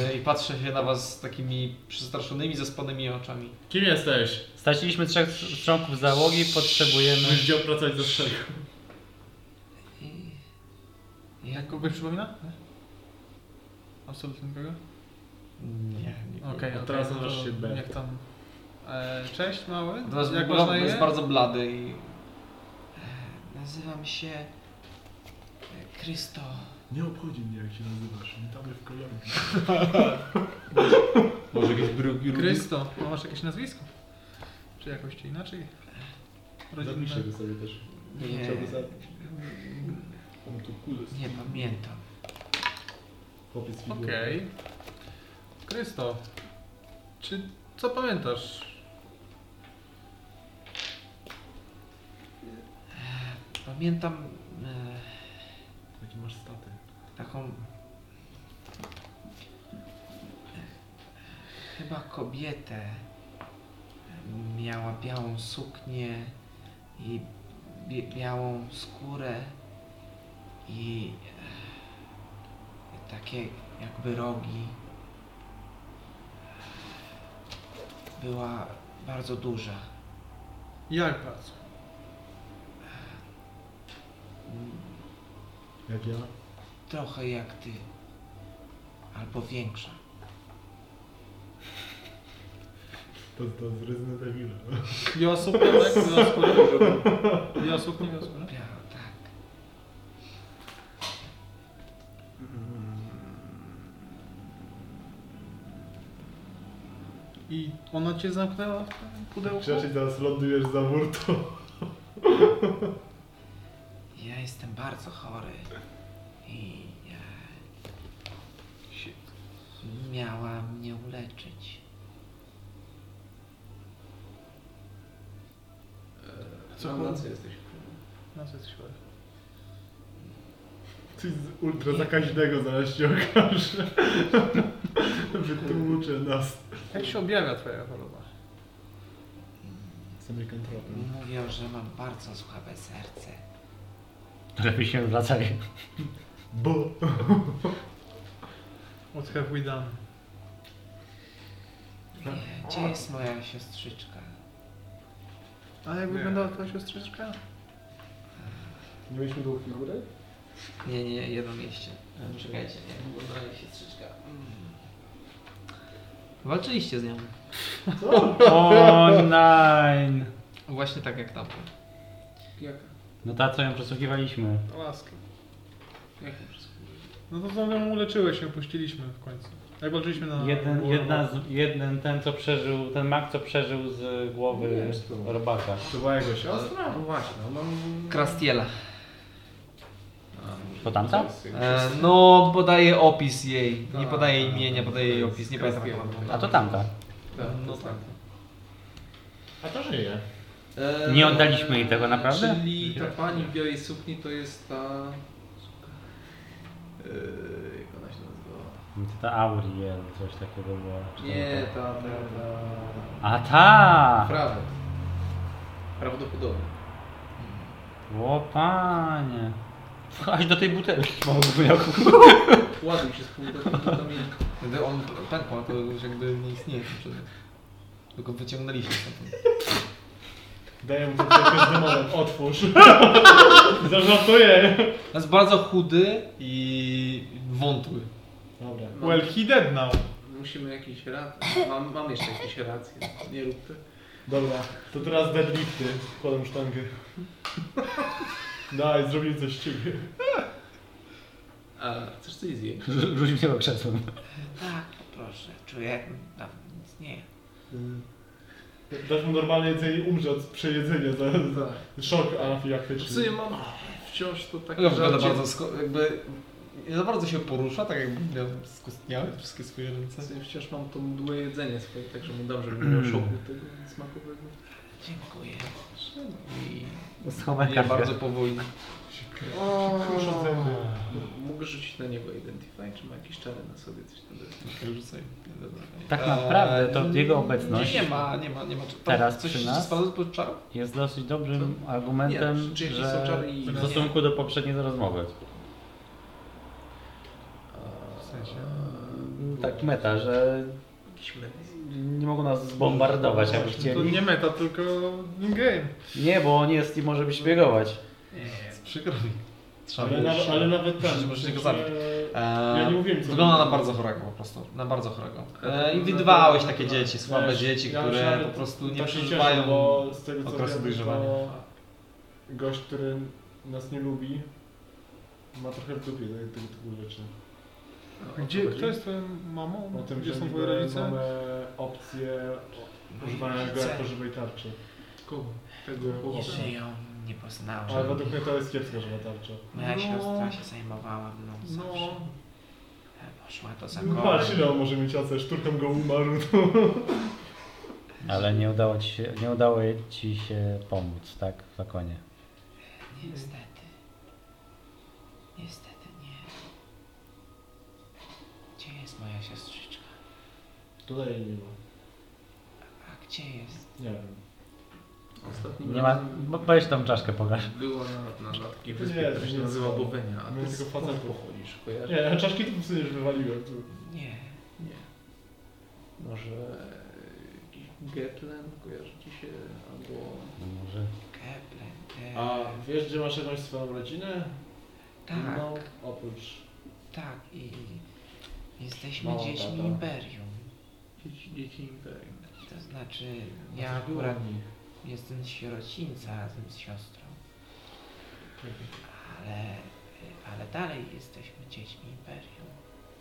Speaker 1: E, I patrzy się na was takimi przestraszonymi, zaspanymi oczami.
Speaker 5: Kim jesteś?
Speaker 3: Straciliśmy trzech członków załogi, potrzebujemy...
Speaker 5: Musisz dział pracować do trzech.
Speaker 1: Jak
Speaker 6: Kogoś przypomina? Nie? Absolutnie nikogo?
Speaker 1: Nie, nie.
Speaker 6: Okej,
Speaker 5: A
Speaker 6: okej,
Speaker 5: teraz
Speaker 6: no to
Speaker 5: nazywasz się B.
Speaker 6: Jak tam? E, cześć, mały.
Speaker 1: Natomiast
Speaker 6: Jak
Speaker 1: Jak
Speaker 6: masz na
Speaker 1: jest
Speaker 6: imię?
Speaker 1: no, bardzo blady i... e, Nazywam się... e, Krysto.
Speaker 5: Nie obchodzi mnie jak się nazywasz, nie tam w kolorze.
Speaker 1: Może jakiś drugi
Speaker 6: Krysto. A masz jakieś nazwisko? Czy jakoś czy inaczej? Rodzinne.
Speaker 5: Zapiszę go sobie też.
Speaker 1: Nie.
Speaker 5: Chciałby za... On tu kulus.
Speaker 1: Nie pamiętam.
Speaker 5: Chłopiec figurny.
Speaker 6: Okej. Krysto. Czy... Co pamiętasz?
Speaker 1: Pamiętam
Speaker 5: Jaki masz staty?
Speaker 1: e, taką... Chyba kobietę. Miała białą suknię i bie- białą skórę i e, takie jakby rogi. Była bardzo duża.
Speaker 6: Jak bardzo?
Speaker 5: Jak ja?
Speaker 1: Trochę jak ty. Albo większa.
Speaker 5: To, to z Resident Evil.
Speaker 6: Biała suknia, tak? Biała skóra? Biała suknia, biała skóra?
Speaker 1: Biała, tak.
Speaker 6: I ona cię zamknęła w tym pudełku?
Speaker 5: Czy raczej teraz lądujesz za mur, to...
Speaker 1: Ja jestem bardzo chory. I e, miała mnie uleczyć.
Speaker 10: Co na co jesteś?
Speaker 6: Na co jesteś chory?
Speaker 5: Coś z ultra zakaźnego zaraz się okaże. Wytłucze nas.
Speaker 6: Jak się objawia twoja choroba?
Speaker 5: Z Amerykantrofem.
Speaker 1: Mówią, że mam bardzo słabe serce.
Speaker 3: Lepiej się wracaj.
Speaker 5: Bo...
Speaker 6: What have we done?
Speaker 1: Nie, Gdzie jest moja siostrzyczka?
Speaker 6: A jak wyglądała twoja siostrzyczka?
Speaker 5: Nie mieliśmy dwóch figurek?
Speaker 1: Nie, nie, jedno mieście. Czekajcie, Mm. jak wygląda jej siostrzyczka? Walczyliście z nią.
Speaker 3: O nine.
Speaker 1: Właśnie tak jak tam.
Speaker 10: Jaka?
Speaker 3: No ta, co ją przesłuchiwaliśmy.
Speaker 6: Łaska.
Speaker 10: Jaka przysługa?
Speaker 6: No to znowu uleczyłeś się, puściliśmy w końcu. Jak walczyliśmy na...
Speaker 3: Jeden,
Speaker 6: Ulo-
Speaker 3: jedna z, jeden ten, co przeżył, ten mak, co przeżył z głowy robaka.
Speaker 5: To była jego siostra?
Speaker 10: Ostra? No właśnie, no mam...
Speaker 1: Krastiela.
Speaker 3: To tamta?
Speaker 1: E, no, podaje opis jej. Nie
Speaker 10: Tak.
Speaker 1: podaje imienia, podaje jej opis. Nie pamiętam jak ona
Speaker 10: Krastiela.
Speaker 1: wygląda.
Speaker 3: A to tamta.
Speaker 10: Tak,
Speaker 1: No
Speaker 10: no tak.
Speaker 5: A to żyje.
Speaker 10: E,
Speaker 3: Nie oddaliśmy jej tego, naprawdę?
Speaker 10: Czyli ta pani w białej sukni to jest ta... E, jak ona się nazywała?
Speaker 3: Ta Auriel, coś takiego była. czy tam
Speaker 10: Nie,
Speaker 3: to-
Speaker 10: ta... ta, ta...
Speaker 3: A ta!
Speaker 10: Prawo. Prawdopodobnie.
Speaker 3: O panie. Aż do tej butelki małego
Speaker 10: Ładuj się z punktami.
Speaker 1: Gdy on pękł, to już jakby nie istnieje ten przedmiot. Tylko wyciągnęliśmy stamtąd.
Speaker 5: Daję mu butelkę z demonem. Otwórz. Zażartuję.
Speaker 1: Jest bardzo chudy i wątły.
Speaker 5: Dobra.
Speaker 6: Well, he dead now.
Speaker 10: Musimy jakieś racje. Mam, mam jeszcze jakieś racje. Nie rób tego.
Speaker 5: Dobra, to teraz deadlifty. Podam sztangę. Daj, zrobię coś z ciebie.
Speaker 10: A chcesz coś zjeść?
Speaker 3: Rzuć mi tego krzesłem.
Speaker 1: Tak, proszę. Czuję, jakbym tam nic nie. jadł.
Speaker 5: Dasz mu normalne jedzenie i umrze od przejedzenia. Za, za szok
Speaker 10: W
Speaker 5: anafilaktyczny.
Speaker 10: sumie mam wciąż to takie
Speaker 1: Ona wygląda
Speaker 10: żarcie.
Speaker 1: bardzo sko- jakby... Nie za bardzo się porusza, tak jakby miał skustniałe wszystkie swoje
Speaker 10: W
Speaker 1: ręce.
Speaker 10: sumie wciąż mam to mdłe jedzenie swoje, także mu dam, żeby
Speaker 3: Mm.
Speaker 10: nie miał szoku tego smakowego.
Speaker 1: Dziękuję. I
Speaker 3: Schowaj
Speaker 1: je bardzo powoli.
Speaker 5: Kruszą zęby.
Speaker 10: Mogę rzucić na niego Identify, czy ma jakieś czary na sobie, coś tam
Speaker 1: Rzucaj. Dobra.
Speaker 3: Tak naprawdę to
Speaker 1: Eee,
Speaker 3: jego obecność
Speaker 1: Nie, nie ma, nie ma, nie ma. Tam
Speaker 3: Teraz
Speaker 1: coś
Speaker 3: przy nas?
Speaker 1: spadło pod czarą?
Speaker 3: jest dosyć dobrym argumentem,
Speaker 10: Nie, czy jakieś są
Speaker 3: że
Speaker 10: czary i-
Speaker 3: w stosunku do poprzedniej rozmowy.
Speaker 10: W
Speaker 6: sensie?
Speaker 3: Tak meta, że
Speaker 10: Jakiś medys.
Speaker 3: nie mogą nas zbombardować, jakby
Speaker 6: no To
Speaker 3: chcieli.
Speaker 6: nie meta, tylko in-game.
Speaker 3: Nie, bo on jest i może wyśbiegować.
Speaker 1: Przykro mi. Trzeba
Speaker 5: Ale,
Speaker 1: było
Speaker 5: na, ale nawet ten.
Speaker 1: Przecież możecie go zabić.
Speaker 5: e,
Speaker 1: Eee,
Speaker 5: Ja nie mówiłem, co
Speaker 1: Wygląda na
Speaker 5: mówiłem.
Speaker 1: bardzo chorego po prostu, na bardzo chorego.
Speaker 10: Ale
Speaker 1: Eee, I
Speaker 10: to-
Speaker 1: widywałeś
Speaker 10: to-
Speaker 1: takie
Speaker 10: to-
Speaker 1: dzieci, słabe
Speaker 5: wiesz,
Speaker 1: dzieci,
Speaker 5: Tak. ja
Speaker 1: które
Speaker 5: myślałem,
Speaker 1: po prostu nie
Speaker 5: tak się
Speaker 1: przeżywają.
Speaker 5: cieszę, bo z tego co
Speaker 1: okresu
Speaker 5: wiem,
Speaker 1: dojrzewania.
Speaker 5: to gość, który nas nie lubi, ma trochę w dupie tego typu, typu rzeczy.
Speaker 6: Gdzie, kto jest twoją mamą?
Speaker 5: O tym,
Speaker 6: Gdzie
Speaker 5: że
Speaker 6: są twoje rodzice?
Speaker 5: mamy opcję
Speaker 1: No
Speaker 5: używania go jako żywej tarczy.
Speaker 10: Kogo?
Speaker 5: Tego
Speaker 1: Nie
Speaker 5: chłopca.
Speaker 1: żyją, nie
Speaker 5: Ale
Speaker 1: poznałem.
Speaker 5: według mnie to jest kiepska żywa tarcza.
Speaker 1: Moja
Speaker 6: No.
Speaker 1: siostra się zajmowała mną
Speaker 6: No.
Speaker 1: zawsze. Eee, Poszła
Speaker 5: No
Speaker 1: do
Speaker 5: Patrz
Speaker 1: zakopu.
Speaker 5: ile on może mieć AC, szturką go umarł.
Speaker 3: Ale nie udało ci się, nie udało ci się pomóc, tak? W zakonie.
Speaker 1: Niestety. Niestety nie. Gdzie jest moja siostrzyczka?
Speaker 5: no. Tutaj jej nie ma.
Speaker 1: A gdzie jest?
Speaker 5: Nie wiem.
Speaker 10: Ostatnim
Speaker 3: Nie ma,
Speaker 10: razem
Speaker 3: bo- weź tą czaszkę pokaż.
Speaker 10: była na, na, na takiej
Speaker 5: Nie,
Speaker 10: wyspie, która
Speaker 5: to
Speaker 10: się
Speaker 5: nie
Speaker 10: nazywa
Speaker 5: było.
Speaker 10: Bowenia. A
Speaker 5: My
Speaker 10: ty
Speaker 5: tylko
Speaker 10: tylko
Speaker 5: facet
Speaker 10: facet pochodzisz, kojarzysz?
Speaker 5: Nie, a czaszki to w sumie już wywaliłem. Tu.
Speaker 10: Nie, nie. Może e, jakiś Getlen kojarzy ci się, albo...
Speaker 3: Może.
Speaker 1: e,
Speaker 28: Kepler.
Speaker 5: A wiesz, gdzie masz jakąś swoją rodzinę?
Speaker 28: tak,
Speaker 5: No, oprócz...
Speaker 28: tak. I jesteśmy
Speaker 5: Mała
Speaker 28: dziećmi
Speaker 5: tata.
Speaker 28: imperium.
Speaker 10: Dzieci, dzieci Imperium.
Speaker 28: To znaczy, ja akurat jestem sierocińca razem z siostrą. Ale, ale dalej jesteśmy dziećmi imperium.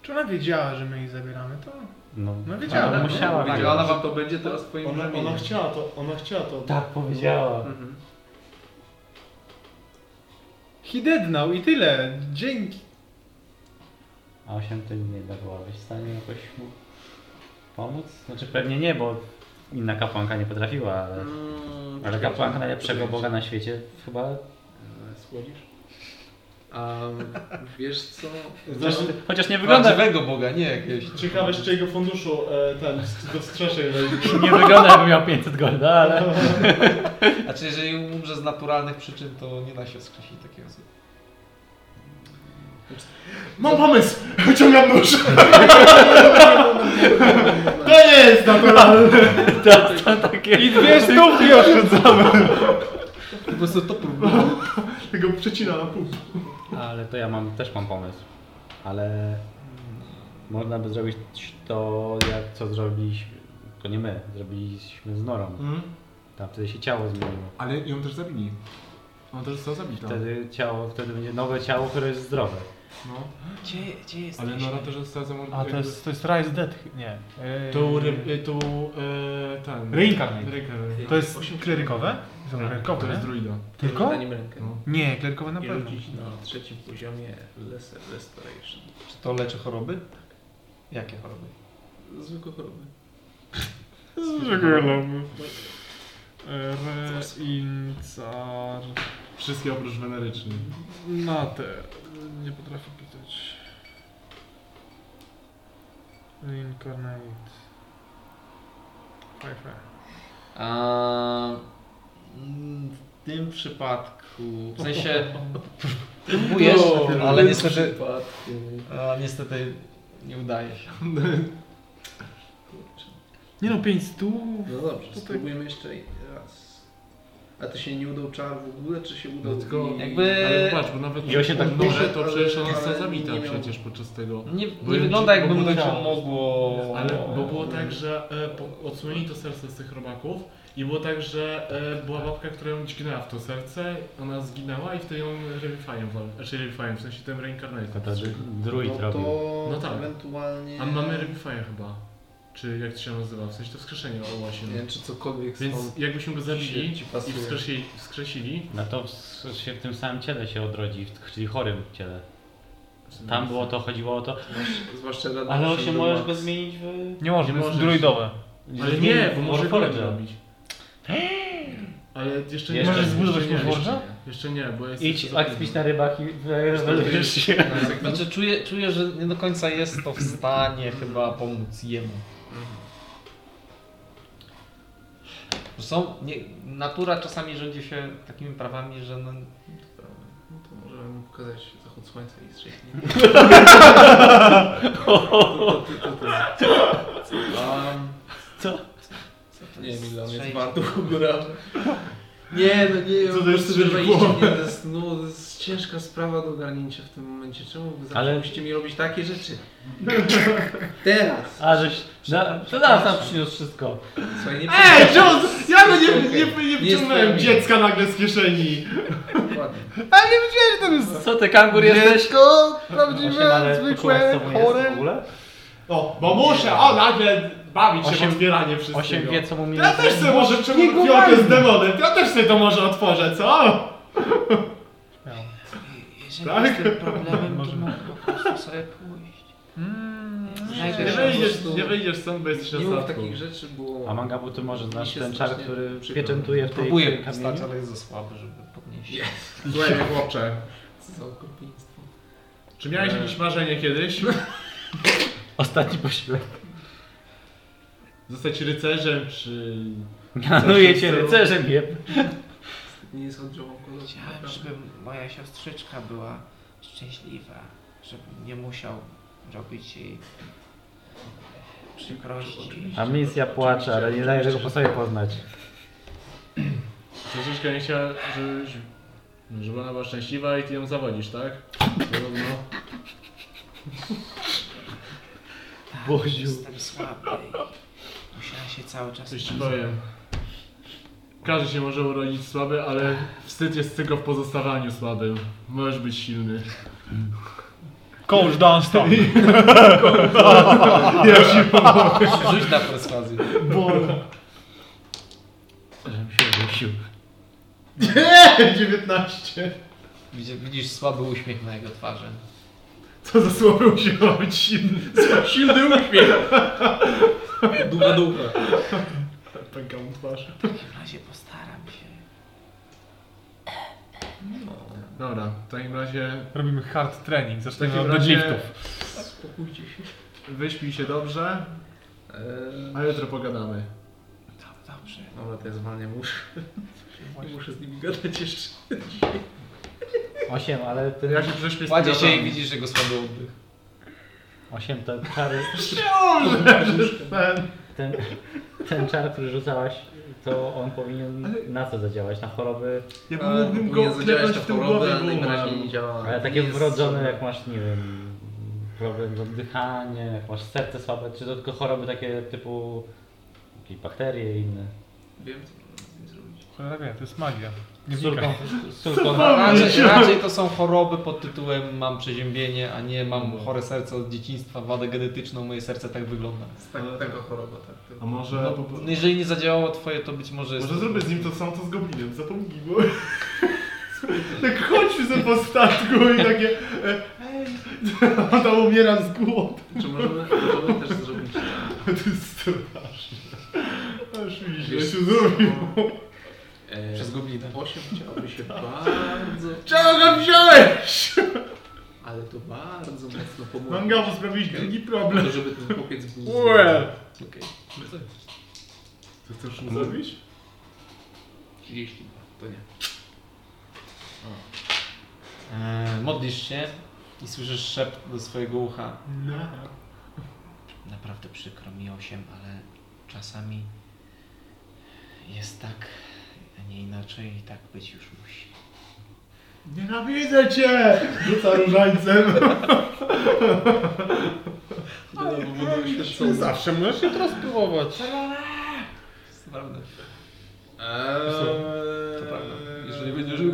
Speaker 6: Czy ona wiedziała, że my ich zabieramy? To
Speaker 3: No,
Speaker 6: No wiedziała,
Speaker 3: ale
Speaker 6: no,
Speaker 3: musiała
Speaker 1: Tak,
Speaker 3: wiedzieć.
Speaker 1: ona
Speaker 10: Ona
Speaker 1: wam-
Speaker 10: wam to będzie teraz twoim
Speaker 5: Ona, ona
Speaker 10: brzemieniem.
Speaker 5: chciała to, ona chciała to.
Speaker 3: Tak powiedziała.
Speaker 10: Mhm.
Speaker 6: he did now i tyle. Dzięki.
Speaker 3: A 8 to nie dawałabyś w stanie jakoś mu pomóc? Znaczy pewnie nie, bo inna kapłanka nie potrafiła, ale,
Speaker 10: Mm,
Speaker 3: ale
Speaker 10: czekaj,
Speaker 3: kapłanka
Speaker 10: czekaj,
Speaker 3: najlepszego
Speaker 10: czekaj.
Speaker 3: boga na świecie chyba...
Speaker 10: E, Schłodzisz? Mm, A wiesz co?
Speaker 5: Zresztą,
Speaker 3: Chociaż nie wygląda,
Speaker 1: Prawdziwego Boga, nie jakiegoś.
Speaker 5: ciekawe z czyjego funduszu e, ten, z- do strzeszej wejdzie.
Speaker 3: nie wygląda jakby miał 500 golda, ale...
Speaker 1: Znaczy, jeżeli umrze z naturalnych przyczyn, to nie da się skrzesić takiego zła.
Speaker 5: Mam pomysł! Wyciągam nóż! To nie jest naturalne!
Speaker 6: I dwie stówki oszczędzamy.
Speaker 1: Po prostu to próbuję.
Speaker 5: Tego przecina na pół.
Speaker 3: Ale to ja mam, też mam pomysł. Ale można by zrobić to, jak co zrobiliśmy, tylko nie my, zrobiliśmy z Norą.
Speaker 6: Mhm.
Speaker 3: Tam wtedy się ciało zmieniło.
Speaker 5: Ale ją też zabili. On też został
Speaker 6: No.
Speaker 5: zabity.
Speaker 3: Wtedy ciało, wtedy będzie nowe ciało, które jest zdrowe.
Speaker 5: No.
Speaker 28: Gdzie, gdzie jesteśmy?
Speaker 5: Ale no, Nora też została
Speaker 6: A
Speaker 5: zamordowana.
Speaker 6: to jest, to jest Rise Dead, nie. Yy,
Speaker 5: Tu, ry- y, tu e, ten...
Speaker 6: Reincarnate.
Speaker 5: Reincarnate.
Speaker 6: To jest klerykowe? Są klerykowe,
Speaker 5: To jest
Speaker 6: nie?
Speaker 5: druida.
Speaker 6: Tylko?
Speaker 10: Danim rękę.
Speaker 5: No.
Speaker 6: Nie, klerykowe na
Speaker 10: I
Speaker 6: pewno.
Speaker 10: rzucić na trzecim poziomie lesser Restoration.
Speaker 1: Czy to leczy choroby? Jakie choroby?
Speaker 10: Zwykłe choroby.
Speaker 6: Żegnamy. Reincar...
Speaker 5: Wszystkie oprócz wenerycznych.
Speaker 6: Na te... Nie potrafię pisać. Reincarnate... Fajfaj.
Speaker 1: A, mm, w tym przypadku, w sensie próbujesz, ale niestety, a, No, niestety nie udaje się.
Speaker 6: Nie no, pięć stów...
Speaker 10: No dobrze,
Speaker 6: Tutaj-
Speaker 10: spróbujemy jeszcze raz. A to się nie udał czar w ogóle, czy się
Speaker 3: No,
Speaker 10: udał?
Speaker 5: Tylko-
Speaker 10: i-
Speaker 1: Jakby-
Speaker 5: Ale patrz, bo nawet
Speaker 3: I on się tak
Speaker 5: tak noże,
Speaker 10: duży,
Speaker 5: to
Speaker 10: ale-
Speaker 5: przecież ona
Speaker 10: ale
Speaker 5: została
Speaker 10: nie
Speaker 5: zabita
Speaker 10: miał-
Speaker 5: przecież podczas tego.
Speaker 1: Nie,
Speaker 5: Bo
Speaker 1: nie
Speaker 5: ja-
Speaker 1: wygląda jakby
Speaker 5: bo
Speaker 1: mu to
Speaker 5: musiało.
Speaker 1: pomogło.
Speaker 5: Ale bo było tak, że e, po, odsłonili to serce z tych robaków i było tak, że e, była babka, która ją dźgnęła w to serce, ona zginęła i wtedy ją revifying, wal- znaczy revifying, w sensie tym
Speaker 3: Tylko
Speaker 5: reincarnatem.
Speaker 3: to że druid
Speaker 10: no
Speaker 3: robił.
Speaker 10: to
Speaker 5: No tak.
Speaker 10: ewentualnie...
Speaker 5: A mamy revifying chyba, czy jak to się nazywa, w sensie to wskrzeszenie o właśnie.
Speaker 10: Nie wiem, czy cokolwiek
Speaker 5: Więc
Speaker 10: stąd
Speaker 5: jakbyśmy go zabili
Speaker 10: ci
Speaker 5: i
Speaker 10: pasuje.
Speaker 5: wskrzesili, wskrzesili
Speaker 3: No to w- się w tym samym ciele się odrodzi, w- czyli chorym ciele. Tam było to, chodziło o to.
Speaker 10: Zwłaszcza rada
Speaker 3: Ale on
Speaker 10: się
Speaker 3: się
Speaker 10: do
Speaker 3: możesz
Speaker 1: Hmm.
Speaker 10: Max.
Speaker 3: go zmienić w...
Speaker 6: Nie można,
Speaker 5: Nie
Speaker 6: to jest
Speaker 5: możesz.
Speaker 6: druidowe.
Speaker 5: Ale nie, bo może
Speaker 3: Warforged.
Speaker 5: kolejny robić. Ale jeszcze nie.
Speaker 3: Eee! Jeszcze-
Speaker 5: Możesz zbudować
Speaker 6: jeszcze nie,
Speaker 5: Warforged?
Speaker 6: jeszcze
Speaker 5: Jeszcze nie, bo jest...
Speaker 3: Idź, akpić na rybach i rozwalisz się.
Speaker 5: no.
Speaker 1: Znaczy czuję, czuję, że nie do końca jest to w stanie chyba pomóc jemu. Są, nie, natura czasami rządzi się takimi prawami, że no,
Speaker 10: No to możemy mu pokazać zachód słońca i strzelić.
Speaker 28: Co to
Speaker 10: Nie wiem
Speaker 28: jest?
Speaker 10: ile on jest
Speaker 28: Trzej-
Speaker 10: wart u góra. Nie, no nie,
Speaker 5: Co
Speaker 10: no
Speaker 5: to
Speaker 10: po
Speaker 5: jest
Speaker 10: prostu, że
Speaker 5: za
Speaker 10: wejście,
Speaker 5: głowę?
Speaker 10: nie, to jest, no, to jest ciężka sprawa do ogarnięcia w tym momencie. Czemu wy zawsze
Speaker 3: Ale-
Speaker 10: musicie mi robić takie rzeczy? Teraz!
Speaker 3: A żeś... Na, to nas tam przyniósł wszystko.
Speaker 10: Słuchaj, nie
Speaker 5: Ej, Jones! Ja go nie, nie,
Speaker 10: Okej.
Speaker 5: nie, nie
Speaker 10: Nie
Speaker 5: wciągnąłem
Speaker 10: jest
Speaker 5: dziecka nagle z kieszeni!
Speaker 10: Dokładnie.
Speaker 3: Co ty, kangur jesteś?
Speaker 6: Tylko
Speaker 3: Osiem, ale poczułaś, co mu jest w ogóle?
Speaker 5: O, bo muszę! O, nagle bawić się
Speaker 3: Osiem-
Speaker 5: w odbieranie wszystkiego.
Speaker 3: Osiem wie, co mu minęło.
Speaker 5: Ja też sobie może czemu fiołkę z demonem, ja też sobie to może otworzę, co?
Speaker 28: Jeżeli
Speaker 5: Tak?
Speaker 28: jest tym problemem, to mogę po prostu sobie pójść. Znajdę
Speaker 5: Nie
Speaker 28: się
Speaker 5: wyjdziesz,
Speaker 28: po prostu-
Speaker 5: nie wyjdziesz stąd, bo jesteś na
Speaker 10: Nie mów
Speaker 5: statku.
Speaker 10: takich rzeczy, bo...
Speaker 3: A Mangabu, ty może znasz
Speaker 10: się
Speaker 3: ten czar,
Speaker 10: strasznie
Speaker 3: który
Speaker 10: przykro.
Speaker 3: pieczętuje w tej
Speaker 1: próbuje
Speaker 3: kamieniu?
Speaker 1: wstać, ale jest za słaby, żeby podnieść.
Speaker 10: Nie.
Speaker 5: Słuchaj, chłopcze.
Speaker 10: Co, okropieństwo.
Speaker 5: Czy miałeś jakieś marzenie kiedyś?
Speaker 3: Ostatni posiłek.
Speaker 5: Zostać rycerzem, czy...
Speaker 3: Mianuję cię rycerzem, jeb.
Speaker 10: Nie jest oddziałą kolorów.
Speaker 1: Chciałem, żeby moja siostrzyczka była szczęśliwa, żebym nie musiał robić jej przykrości.
Speaker 3: A misja płacze, ale nie daje tego po sobie poznać.
Speaker 5: Troszeczkę nie chciała, żebyś... Żeby ona była szczęśliwa i ty ją zawodzisz, tak? Zarówno.
Speaker 3: Boziu.
Speaker 1: Tak, Jestem słaby i musiała się cały czas...
Speaker 5: Coś ci powiem. Każdy się może urodzić słaby, ale wstyd jest tylko w pozostawaniu słabym. Możesz być silny.
Speaker 6: Coach Dunstan.
Speaker 1: Tak. Rzuć na perswazję.
Speaker 3: Żebym się dusił.
Speaker 5: 19.
Speaker 1: Widzisz, widzisz słaby uśmiech na jego twarzy.
Speaker 5: Co za słaby musi być silny. Silny uśmiech.
Speaker 10: Długa długa.
Speaker 5: Pęka mu twarz.
Speaker 1: W takim razie postaram się.
Speaker 5: Dobra, w takim razie
Speaker 6: Robimy hard training,
Speaker 5: w
Speaker 6: zaczniemy
Speaker 5: takim
Speaker 6: od liftów.
Speaker 5: razie
Speaker 10: Spokójcie się.
Speaker 5: wyśpij się dobrze, e,
Speaker 10: Eee,
Speaker 5: a jutro pogadamy.
Speaker 1: Do- Dobrze.
Speaker 10: dobra, to ja zwalniam muszę. Muszę z nimi gadać jeszcze.
Speaker 3: Osiem, ale ten...
Speaker 5: Ja się prześpię z
Speaker 1: Kładzie się i
Speaker 5: piratami.
Speaker 1: widzisz jego słaby oddech.
Speaker 3: Osiem to czary... Ten, ten czar, który rzucałaś, to on powinien na co zadziałać? Na choroby?
Speaker 6: Ja
Speaker 10: Ale
Speaker 6: mógłbym
Speaker 10: powinien
Speaker 6: go
Speaker 10: zadziałać
Speaker 6: klepnąć
Speaker 10: na
Speaker 6: w tył
Speaker 10: chorobę,
Speaker 6: głowy,
Speaker 10: ale
Speaker 6: bo
Speaker 10: najwyraźniej
Speaker 6: umarł.
Speaker 10: nie działa.
Speaker 3: Ale takie
Speaker 10: Nie jest
Speaker 3: wrodzone,
Speaker 10: żadne-
Speaker 3: jak masz, nie wiem, problem z oddychaniem, jak masz serce słabe, czy to tylko choroby takie typu jakieś bakterie i inne.
Speaker 10: Wiem, co mam z nim zrobić.
Speaker 6: Cholera wie, to jest magia. Nie
Speaker 3: Surką,
Speaker 6: znikaj.
Speaker 3: surką.
Speaker 1: No, Raczej, raczej to są choroby pod tytułem mam przeziębienie, a nie
Speaker 5: No.
Speaker 1: mam chore serce od dzieciństwa, wadę genetyczną, moje serce tak wygląda.
Speaker 10: Jest tak, taka choroba, tak. To...
Speaker 5: A może...
Speaker 1: No, no jeżeli nie zadziałało twoje, to być może... jest-
Speaker 5: Może zrobię z nim to samo co z goblinem, zapomnij go. tak chodźmy ze po statku i takie. e, Ej, ona umiera z głodu.
Speaker 10: Czy możemy, możemy też zrobić
Speaker 5: To jest straszne. Aż mi się
Speaker 10: Wiesz,
Speaker 5: zrobił.
Speaker 10: e,
Speaker 1: Przez goblinę.
Speaker 10: Osiem chciałoby się bardzo,
Speaker 5: Czego go wziąłeś?
Speaker 10: ale to bardzo mocno pomóc.
Speaker 5: Mangawu sprawiłeś drugi problem.
Speaker 10: To, żeby ten chłopiec był
Speaker 5: Ue.
Speaker 10: Okej.
Speaker 5: Co chcesz mu zrobić?
Speaker 10: 32. To nie.
Speaker 1: Eee, modlisz się i słyszysz szept do swojego ucha.
Speaker 5: No.
Speaker 1: Naprawdę przykro mi osiem, ale czasami jest tak, a nie inaczej i tak być już musi.
Speaker 5: Nienawidzę cię! Rzuca różańcem.
Speaker 6: Zawsze możesz się teraz próbować.
Speaker 1: To prawda.
Speaker 10: Eee,
Speaker 1: To prawda. Jeżeli będzie żył.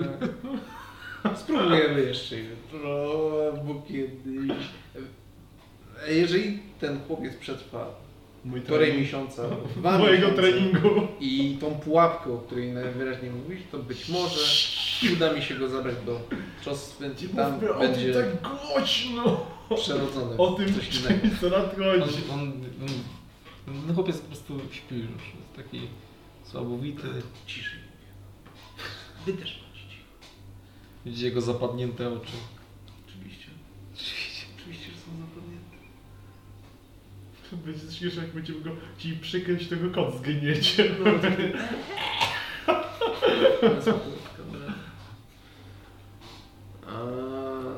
Speaker 10: Spróbujemy jeszcze jutro, albo kiedyś. E, Jeżeli ten chłopiec przetrwa
Speaker 5: Mój
Speaker 10: półtorej
Speaker 5: trening.
Speaker 10: miesiąca, dwa
Speaker 5: Mojego
Speaker 10: miesiące
Speaker 5: treningu.
Speaker 10: i tą pułapkę, o której najwyraźniej mówisz, to być może uda mi się go zabrać do czosnę i tam
Speaker 5: Mówmy o tym
Speaker 10: będzie
Speaker 5: tak głośno.
Speaker 10: przerodzony.
Speaker 5: O tym tak
Speaker 10: coś innego.
Speaker 5: co nadchodzi.
Speaker 1: On, on, on, no chłopiec po prostu śpi już, jest taki słabowity.
Speaker 10: Ciszej. Wy też macie.
Speaker 1: Widzicie jego zapadnięte oczy.
Speaker 10: Oczywiście. Oczywiście, że są zapadnięte.
Speaker 5: Będzie śmieszne, jak będziemy go ci przykręć tego kot zgniecie.
Speaker 10: Ale spokojnie, kamera. A,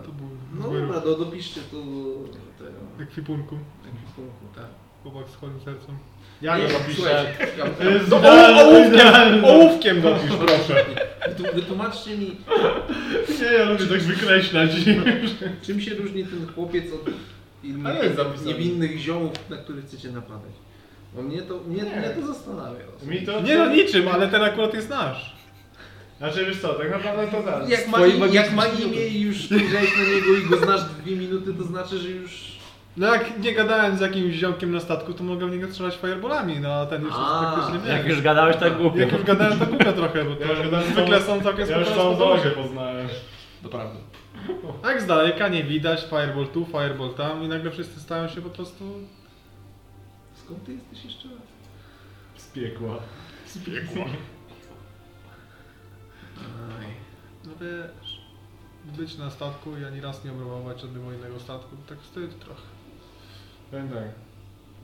Speaker 6: To był
Speaker 10: No
Speaker 6: zły
Speaker 10: dobra,
Speaker 6: ruch.
Speaker 10: do, dopiszcie to do tego.
Speaker 6: Jak w kwipunku.
Speaker 10: ekwipunku, tak.
Speaker 6: Chłopak z chorym sercem.
Speaker 5: Ja
Speaker 10: Nie,
Speaker 5: go napiszę.
Speaker 10: słuchajcie, ja-
Speaker 5: Z ołówkiem!
Speaker 6: Ołówkiem dopisz, proszę.
Speaker 10: wytu- Wytłumaczcie mi,
Speaker 5: Nie, ja lubię tak wykreślać.
Speaker 10: czym się różni ten chłopiec od innych
Speaker 5: Ale jest zapisane.
Speaker 10: niewinnych ziomów, na których chcecie napadać. Bo mnie to, mnie, mnie to zastanawia.
Speaker 5: Mi to...
Speaker 6: Nie no niczym, ale ten akurat jest nasz.
Speaker 5: Znaczy wiesz co, tak naprawdę to zaraz.
Speaker 10: Jak ma,
Speaker 1: Twoi
Speaker 10: jak ma imię i już spojrzałeś na niego i go znasz dwie minuty, to znaczy, że już...
Speaker 6: No jak nie gadałem z jakimś ziomkiem na statku, to mogę w niego strzelać fireballami, no a ten już jest
Speaker 10: A,
Speaker 6: praktycznie nie.
Speaker 3: Jak już gadałeś, tak głupio.
Speaker 6: Jak już gadałem, to głupio trochę, bo to
Speaker 5: Ja już gadałem z
Speaker 6: zwykle
Speaker 5: całą-
Speaker 6: są całkiem
Speaker 5: Ja już
Speaker 6: spokojne
Speaker 5: całą
Speaker 6: sposoby.
Speaker 5: drogę poznałem.
Speaker 1: Doprawdy.
Speaker 6: Tak z daleka nie widać, fireball tu, fireball tam i nagle wszyscy stają się po prostu...
Speaker 10: Skąd ty jesteś jeszcze raz?
Speaker 5: Z piekła. Z piekła.
Speaker 10: Aj.
Speaker 6: No wiesz... Być na statku i ani raz nie obrabować żadnego innego statku, tak wstyd trochę.
Speaker 5: Powiem tak.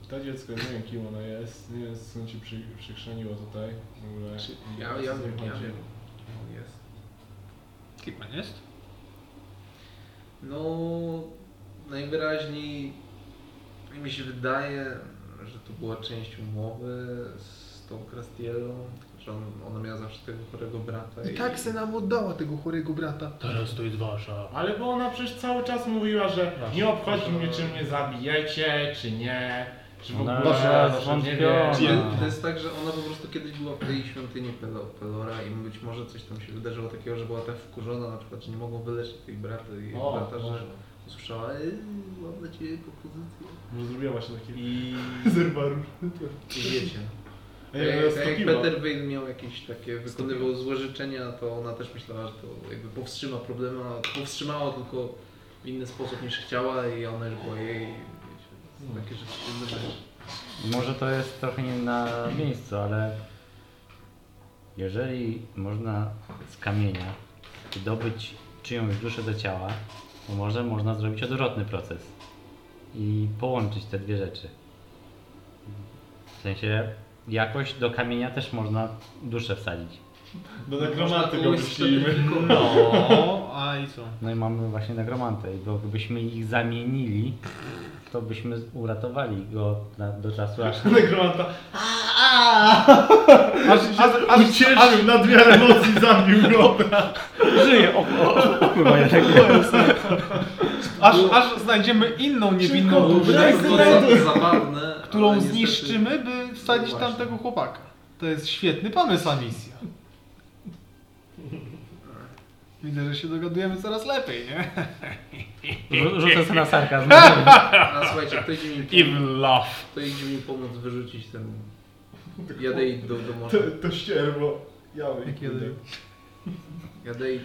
Speaker 5: To dziecko, nie wiem kim ono jest, nie wiem skąd się przy, przykrzeniło tutaj. W ogóle.
Speaker 10: Ja, ja, ja wiem, ja wiem. On jest.
Speaker 6: Kidman jest?
Speaker 10: No, najwyraźniej mi się wydaje, że to była część umowy z tą Krastielą, że on, ona miała zawsze tego chorego brata.
Speaker 2: I tak se nam oddała tego chorego brata.
Speaker 6: Teraz to jest wasza.
Speaker 5: Ale bo ona przecież cały czas mówiła, że nie obchodzi mnie, czy mnie zabijecie, czy nie. Czy
Speaker 6: No,
Speaker 5: w
Speaker 3: Ona
Speaker 5: ogóle,
Speaker 3: była
Speaker 5: że nie
Speaker 3: zwątpiona.
Speaker 5: wiem.
Speaker 10: Czyli
Speaker 3: Ona-
Speaker 10: to jest tak, że ona po prostu kiedyś była w tej świątyni Pelo- Pelora i być może coś tam się wydarzyło takiego, że była tak wkurzona na przykład, że nie mogą wyleczyć tej braty i
Speaker 5: O,
Speaker 10: brata,
Speaker 5: może.
Speaker 10: że usłyszała "Ej, mam dla ciebie propozycję.
Speaker 5: Może zrobiła właśnie taki
Speaker 10: I,
Speaker 5: zerwarusz.
Speaker 10: i wiecie.
Speaker 5: Ja
Speaker 10: Tak jak-
Speaker 5: ją
Speaker 10: tak jak
Speaker 5: stopiła.
Speaker 10: Peter Wayne miał jakieś takie, wykonywał złe życzenia, to ona też myślała, że to jakby powstrzyma problemy, a powstrzymała tylko w inny sposób niż chciała i ona już była jej, wiecie, takie rzeczy się zdarzają.
Speaker 3: Może to jest trochę nie na miejscu, ale jeżeli można z kamienia dobyć czyjąś duszę do ciała, to może można zrobić odwrotny proces i połączyć te dwie rzeczy. W sensie jakoś do kamienia też można duszę wsadzić.
Speaker 5: Do nekromanty go
Speaker 10: Można kogoś
Speaker 5: wyślijmy.
Speaker 6: No, a i co?
Speaker 3: No i mamy właśnie negromantę i bo gdybyśmy ich zamienili, to byśmy uratowali go na, do czasu aż
Speaker 5: Nekromanta.
Speaker 6: Aż, aż, aż,
Speaker 5: Ucieszył
Speaker 6: no.
Speaker 5: na dwie emocji, zabił go.
Speaker 3: żyje. O, o, o, o, chyba jednak nie.
Speaker 6: aż, aż znajdziemy inną niewinną duszę,
Speaker 10: To jest zabawne, ale
Speaker 6: którą
Speaker 10: niestety-
Speaker 6: zniszczymy,
Speaker 5: No
Speaker 6: by wsadzić
Speaker 10: Właśnie.
Speaker 6: tamtego chłopaka. To jest świetny pomysł, ta misja. Widzę, że się dogadujemy coraz lepiej, nie?
Speaker 3: Rzu- Rzucę sobie na sarkazm.
Speaker 10: A słuchajcie, ktoś mi pomóc,
Speaker 6: love.
Speaker 10: ktoś idzie mi pomóc wyrzucić ten... Jadeid do, do morza.
Speaker 5: To, to ścierwo. Ja wiem.
Speaker 6: Kiedy?
Speaker 10: Jadeid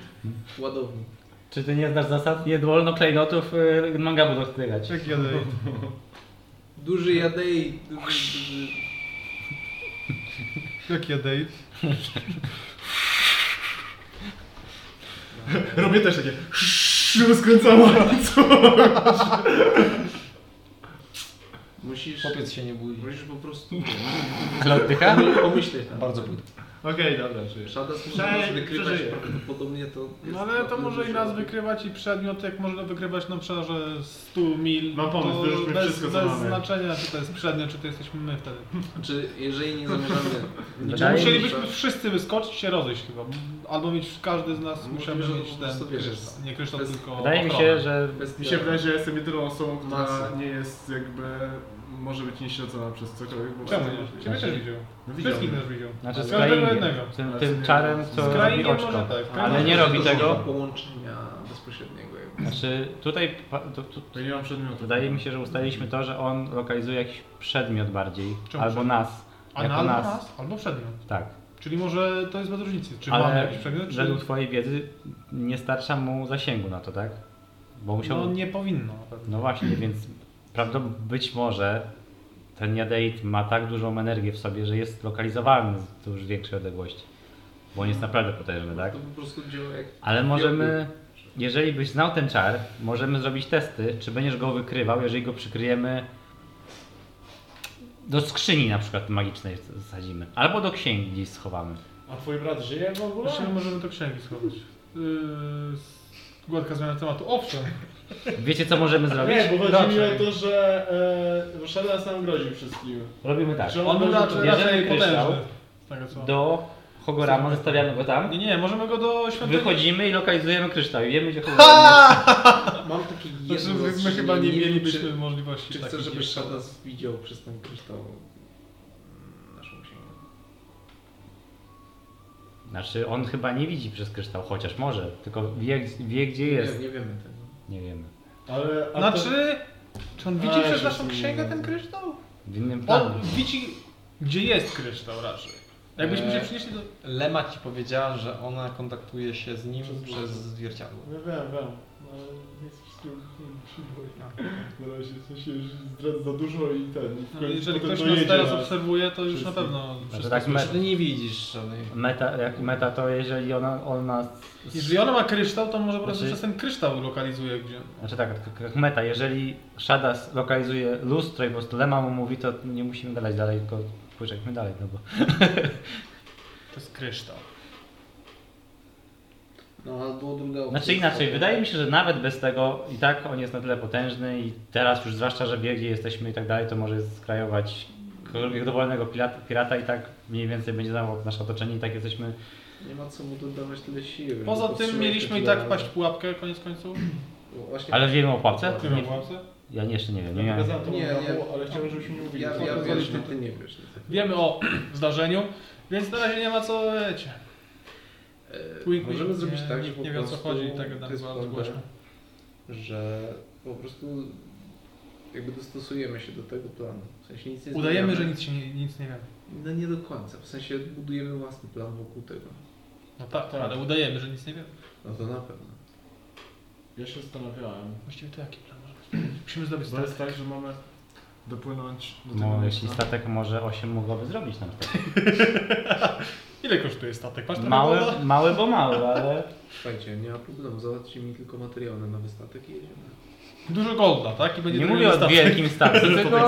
Speaker 10: w ładowni.
Speaker 3: Czy ty nie znasz zasad? Nie wolno klejnotów y, mangabu dotykać.
Speaker 6: Jak kiedy?
Speaker 10: Duży Jadeid, duży, duży...
Speaker 6: Jak kiedy?
Speaker 5: Robię też takie. Szybko skręcała.
Speaker 10: Musisz...
Speaker 1: Chłopiec się nie budzi.
Speaker 10: Musisz po prostu
Speaker 3: Ale oddycha?
Speaker 10: pomyśleć na
Speaker 1: Bardzo płytko.
Speaker 5: Okej, dobra, żyjesz.
Speaker 10: Szada z
Speaker 5: Przeżyję.
Speaker 10: wykrywać prawdopodobnie to jest
Speaker 6: No ale to
Speaker 10: naprawdę
Speaker 6: może i
Speaker 10: dużo.
Speaker 6: nas wykrywać i przedmiot, jak można wykrywać na obszarze 100 mil.
Speaker 5: Mam pomysł,
Speaker 6: to
Speaker 5: wyrzućmy
Speaker 6: bez,
Speaker 5: wszystko, co
Speaker 6: bez
Speaker 5: mamy.
Speaker 6: znaczenia, czy to jest przedmiot, czy to jesteśmy my wtedy.
Speaker 10: Czy Znaczy, jeżeli nie zamierzamy...
Speaker 3: Wydaje mi się-
Speaker 6: Musielibyśmy wszyscy wyskoczyć i się rozejść chyba. Albo mieć każdy z nas,
Speaker 10: Może
Speaker 6: musiałby
Speaker 10: że
Speaker 6: mieć
Speaker 10: po
Speaker 6: ten
Speaker 10: prostu wiesz,
Speaker 6: kryształ. Nie kryształ,
Speaker 10: bez-
Speaker 6: tylko
Speaker 3: Wydaje mi
Speaker 6: ochronę.
Speaker 3: się, że
Speaker 5: Mi się wydaje, że ja jestem jedyną osobą, która
Speaker 10: Masy.
Speaker 5: nie jest jakby. może być nieśledzona przez cokolwiek. bo-
Speaker 6: Czemu nie? Ciebie też widział.
Speaker 5: No widziałem.
Speaker 6: Wszystkich też widział.
Speaker 3: znaczy z
Speaker 6: Każdego
Speaker 3: kraingiem,
Speaker 6: jednego. Znaczy,
Speaker 3: tym, tym czarem, co
Speaker 6: Z
Speaker 3: robi
Speaker 6: kraingiem może
Speaker 3: oczko.
Speaker 6: tak.
Speaker 3: Ale nie robi
Speaker 10: Doszło do
Speaker 3: tego.
Speaker 10: połączenia bezpośredniego jakby.
Speaker 3: Znaczy tutaj pa- tu, tu,
Speaker 5: Ja nie mam przedmiotu.
Speaker 3: wydaje mi się, że ustaliliśmy to, że on lokalizuje jakiś przedmiot bardziej.
Speaker 6: Czemu
Speaker 3: albo
Speaker 6: przedmiot?
Speaker 3: nas.
Speaker 6: A
Speaker 3: Jako
Speaker 6: na albo
Speaker 3: nas.
Speaker 6: nas, albo przedmiot.
Speaker 3: Tak.
Speaker 6: Czyli może to jest bez różnicy. Czy mamy
Speaker 3: Ale
Speaker 6: jakiś przedmiot, czy...
Speaker 3: według twojej wiedzy nie starcza mu zasięgu na to, tak? Bo musiał.
Speaker 6: No nie powinno na pewno.
Speaker 3: No właśnie, więc prawdopodobnie być może ten jadeit ma tak dużą energię w sobie, że jest lokalizowalny z dużo większej odległości. Bo on jest naprawdę potężny, tak?
Speaker 10: To po prostu działa jak...
Speaker 3: Ale możemy, jeżeli byś znał ten czar, możemy zrobić testy, czy będziesz go wykrywał, jeżeli go przykryjemy do skrzyni na przykład magicznej zasadzimy. Albo do księgi gdzieś schowamy.
Speaker 5: A twój brat żyje w
Speaker 3: No.
Speaker 5: ogóle?
Speaker 6: Właściwie możemy to księgi schować. Yy, s- Gładka zmiana tematu. Owszem.
Speaker 3: Wiecie co możemy zrobić?
Speaker 5: Nie, bo chodzi mi
Speaker 6: Raczej.
Speaker 5: o to, że e, Shadas nam grozi wszystkim.
Speaker 3: Robimy tak.
Speaker 5: Że
Speaker 6: On był raczej,
Speaker 3: Jeżeli
Speaker 6: raczej
Speaker 3: kryształ,
Speaker 6: potężny. Z tego co.
Speaker 3: Do Hogorama zostawiamy go tam.
Speaker 6: Nie, nie, możemy go do świątyni.
Speaker 3: Wychodzimy i lokalizujemy kryształ i wiemy gdzie Hogoram
Speaker 10: Mam takie
Speaker 6: Znaczy,
Speaker 10: jedno
Speaker 6: my
Speaker 10: zastrzeżenie.
Speaker 6: chyba nie
Speaker 10: wiem,
Speaker 6: mielibyśmy
Speaker 10: Czy,
Speaker 6: możliwości
Speaker 10: czy
Speaker 6: takich
Speaker 10: chcesz, żeby
Speaker 6: jeszcze.
Speaker 10: Shadas widział przez ten kryształ mm, naszą księgę?
Speaker 3: Znaczy on chyba nie widzi przez kryształ, chociaż może, tylko wie, wie gdzie jest.
Speaker 10: Nie, nie wiemy tego.
Speaker 3: Nie wiemy.
Speaker 5: Ale. a to-
Speaker 6: Znaczy, czy on widzi
Speaker 5: A,
Speaker 6: przez
Speaker 5: że
Speaker 6: naszą
Speaker 5: się
Speaker 6: księgę
Speaker 5: nie-
Speaker 10: No.
Speaker 6: ten kryształ?
Speaker 3: W innym planie.
Speaker 6: On widzi, gdzie jest kryształ raczej. Jakbyśmy
Speaker 10: Eee,
Speaker 6: się przynieśli do...
Speaker 34: Lema ci powiedziała, że ona kontaktuje się z nim
Speaker 5: Przez
Speaker 34: przez,
Speaker 5: głowę.
Speaker 34: zwierciadło.
Speaker 5: No wiem, wiem. Ale nie chcę się nie się boję. Tak. Na razie w sensie już zdradzę za dużo i ten. i w końcu
Speaker 6: no, Jeżeli
Speaker 5: potem
Speaker 6: ktoś nas
Speaker 5: dojedzie
Speaker 6: teraz
Speaker 10: no,
Speaker 5: na-
Speaker 6: obserwuje, to już na
Speaker 5: wszystkich.
Speaker 6: pewno
Speaker 3: Znaczy,
Speaker 6: wszystko
Speaker 3: tak me,
Speaker 34: Ty nie widzisz żadnej.
Speaker 3: meta, jak meta to jeżeli ona, ona
Speaker 6: Jeżeli ona ma kryształ, to może po prostu
Speaker 3: Znaczy-
Speaker 6: przez ten kryształ lokalizuje gdzie.
Speaker 3: Znaczy tak, jak- jak meta, jeżeli Shadas lokalizuje lustro i po prostu Lema mu mówi, to nie musimy gadać dalej, tylko pójdźmy dalej, no bo...
Speaker 6: To jest kryształ.
Speaker 35: No albo druga
Speaker 3: Znaczy inaczej, wydaje mi się, że nawet bez tego i tak on jest na tyle potężny i teraz już zwłaszcza, że wie gdzie jesteśmy i tak dalej, to może skrajować kogokolwiek dowolnego pirata, pirata i tak mniej więcej będzie znał nasze otoczenie i tak jesteśmy...
Speaker 10: Nie ma co mu dodawać tyle siły.
Speaker 6: Poza
Speaker 10: Bo
Speaker 6: tym
Speaker 10: powstrzymać
Speaker 6: mieliśmy
Speaker 10: te
Speaker 6: i tak
Speaker 10: dwa-
Speaker 6: wpaść w pułapkę koniec końców.
Speaker 10: No Właśnie
Speaker 3: Ale wiemy o pułapce?
Speaker 6: Ty
Speaker 3: Nie,
Speaker 6: na pułapce?
Speaker 3: ja nie, jeszcze nie wiem, nie miałem.
Speaker 5: Pokazałem to
Speaker 10: Nie,
Speaker 5: nie,
Speaker 10: nie.
Speaker 5: ale chciałem, żebyśmy nie mówili.
Speaker 10: ja, ja
Speaker 5: Pokazali
Speaker 10: wiesz, no
Speaker 5: tylko-
Speaker 10: ty nie wiesz.
Speaker 6: Wiemy o zdarzeniu, więc na razie nie ma co wiecie.
Speaker 10: E,
Speaker 6: Wink,
Speaker 10: możemy
Speaker 6: wink.
Speaker 10: zrobić
Speaker 6: Nie,
Speaker 10: tak, że
Speaker 6: nikt
Speaker 10: po
Speaker 6: nie wie o co
Speaker 10: prostu
Speaker 6: chodzi i tak
Speaker 10: to
Speaker 6: dalej,
Speaker 10: jest
Speaker 6: bardzo
Speaker 10: prawda,
Speaker 6: głośno.
Speaker 10: że po prostu jakby dostosujemy się do tego planu. W sensie nic nie
Speaker 6: Udajemy,
Speaker 10: zmieniamy.
Speaker 6: że nic się nie, nic nie wiemy.
Speaker 10: No nie do końca, w sensie budujemy własny plan wokół tego.
Speaker 6: No tak, ale udajemy, że nic nie wiemy.
Speaker 10: No to na pewno.
Speaker 5: Ja się zastanawiałem.
Speaker 6: Właściwie to jaki plan może być? Musimy zdobyć
Speaker 5: Bo jest
Speaker 6: statek.
Speaker 5: tak, że mamy dopłynąć do tego
Speaker 3: No, jeśli
Speaker 5: miejsca.
Speaker 3: statek może 8 mogłoby zrobić nam statek.
Speaker 6: Ile kosztuje statek? Patrz,
Speaker 3: Mały, mały bo mały, ale...
Speaker 10: Słuchajcie, nie ma problemu, załatwcie mi tylko materiały na nowy statek i jedziemy.
Speaker 6: Dużo golda, tak? I będzie
Speaker 3: Nie
Speaker 6: drugi
Speaker 3: mówię o
Speaker 6: statek.
Speaker 3: wielkim statku, tylko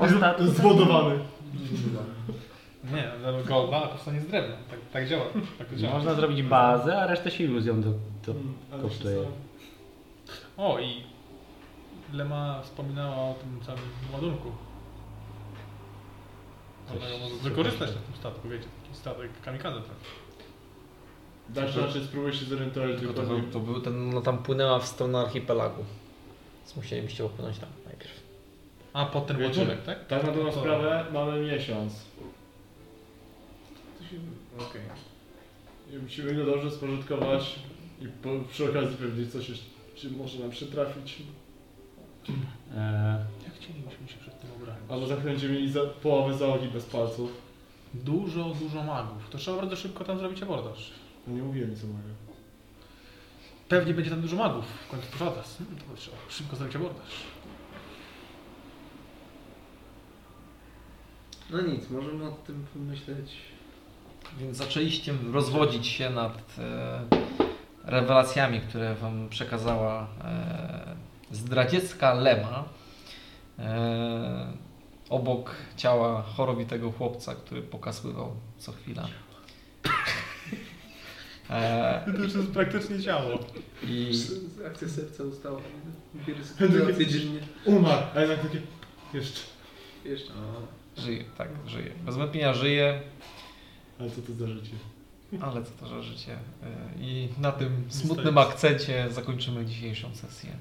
Speaker 3: o statku.
Speaker 5: Zbudowany.
Speaker 10: Mm,
Speaker 6: Nie, no, golda, a powstanie z drewna. Tak, tak działa. Tak to działa.
Speaker 3: Można zrobić bazę, a resztę się iluzją do, do
Speaker 5: Mm, ale
Speaker 3: kosztuje.
Speaker 5: się
Speaker 6: O i Lema wspominała o tym całym ładunku. Można go może wykorzystać na tym statku, wiecie, taki statek kamikadze tak.
Speaker 5: sam- Dasz raczej spróbuj się zorientować
Speaker 35: To,
Speaker 5: dokładnie.
Speaker 35: był, to był ten, no tam płynęła w stronę archipelagu. Więc musielibyście popłynąć tam najpierw.
Speaker 6: A, pod ten
Speaker 5: Wiecie,
Speaker 6: ładunek, tak?
Speaker 5: Tak na dobrą
Speaker 6: To-
Speaker 5: sprawę mamy miesiąc.
Speaker 10: To się... Okej.
Speaker 5: I musimy go dobrze spożytkować i po, przy okazji pewnie coś jeszcze, czy może nam przytrafić.
Speaker 3: E,
Speaker 6: Jak chcielibyśmy się przed tym
Speaker 5: Albo
Speaker 6: obronić?
Speaker 5: za chwilę będziemy mieli za, połowę załogi bez palców.
Speaker 6: Dużo, dużo magów. To trzeba bardzo szybko tam zrobić abordaż.
Speaker 5: No nie mówiłem co mogę.
Speaker 6: Pewnie będzie tam dużo magów, w końcu to żaden. Hmm, to trzeba szybko zrobić abordaż.
Speaker 10: No nic, możemy o tym pomyśleć.
Speaker 1: Więc zaczęliście rozwodzić się nad e, rewelacjami, które wam przekazała e, zdradziecka Lema. E, obok ciała chorowitego chłopca, który pokasływał co chwila. E,
Speaker 6: To już jest praktycznie ciało.
Speaker 1: I
Speaker 10: Akcja serca ustała. Biorę dziennie.
Speaker 5: Umarł, a jednak takie... Jeszcze.
Speaker 10: Jeszcze. O.
Speaker 1: żyje, tak, żyje. Bez wątpienia żyje,
Speaker 5: Ale co to za życie?
Speaker 1: ale co to za życie. E, I na tym smutnym akcencie zakończymy dzisiejszą sesję.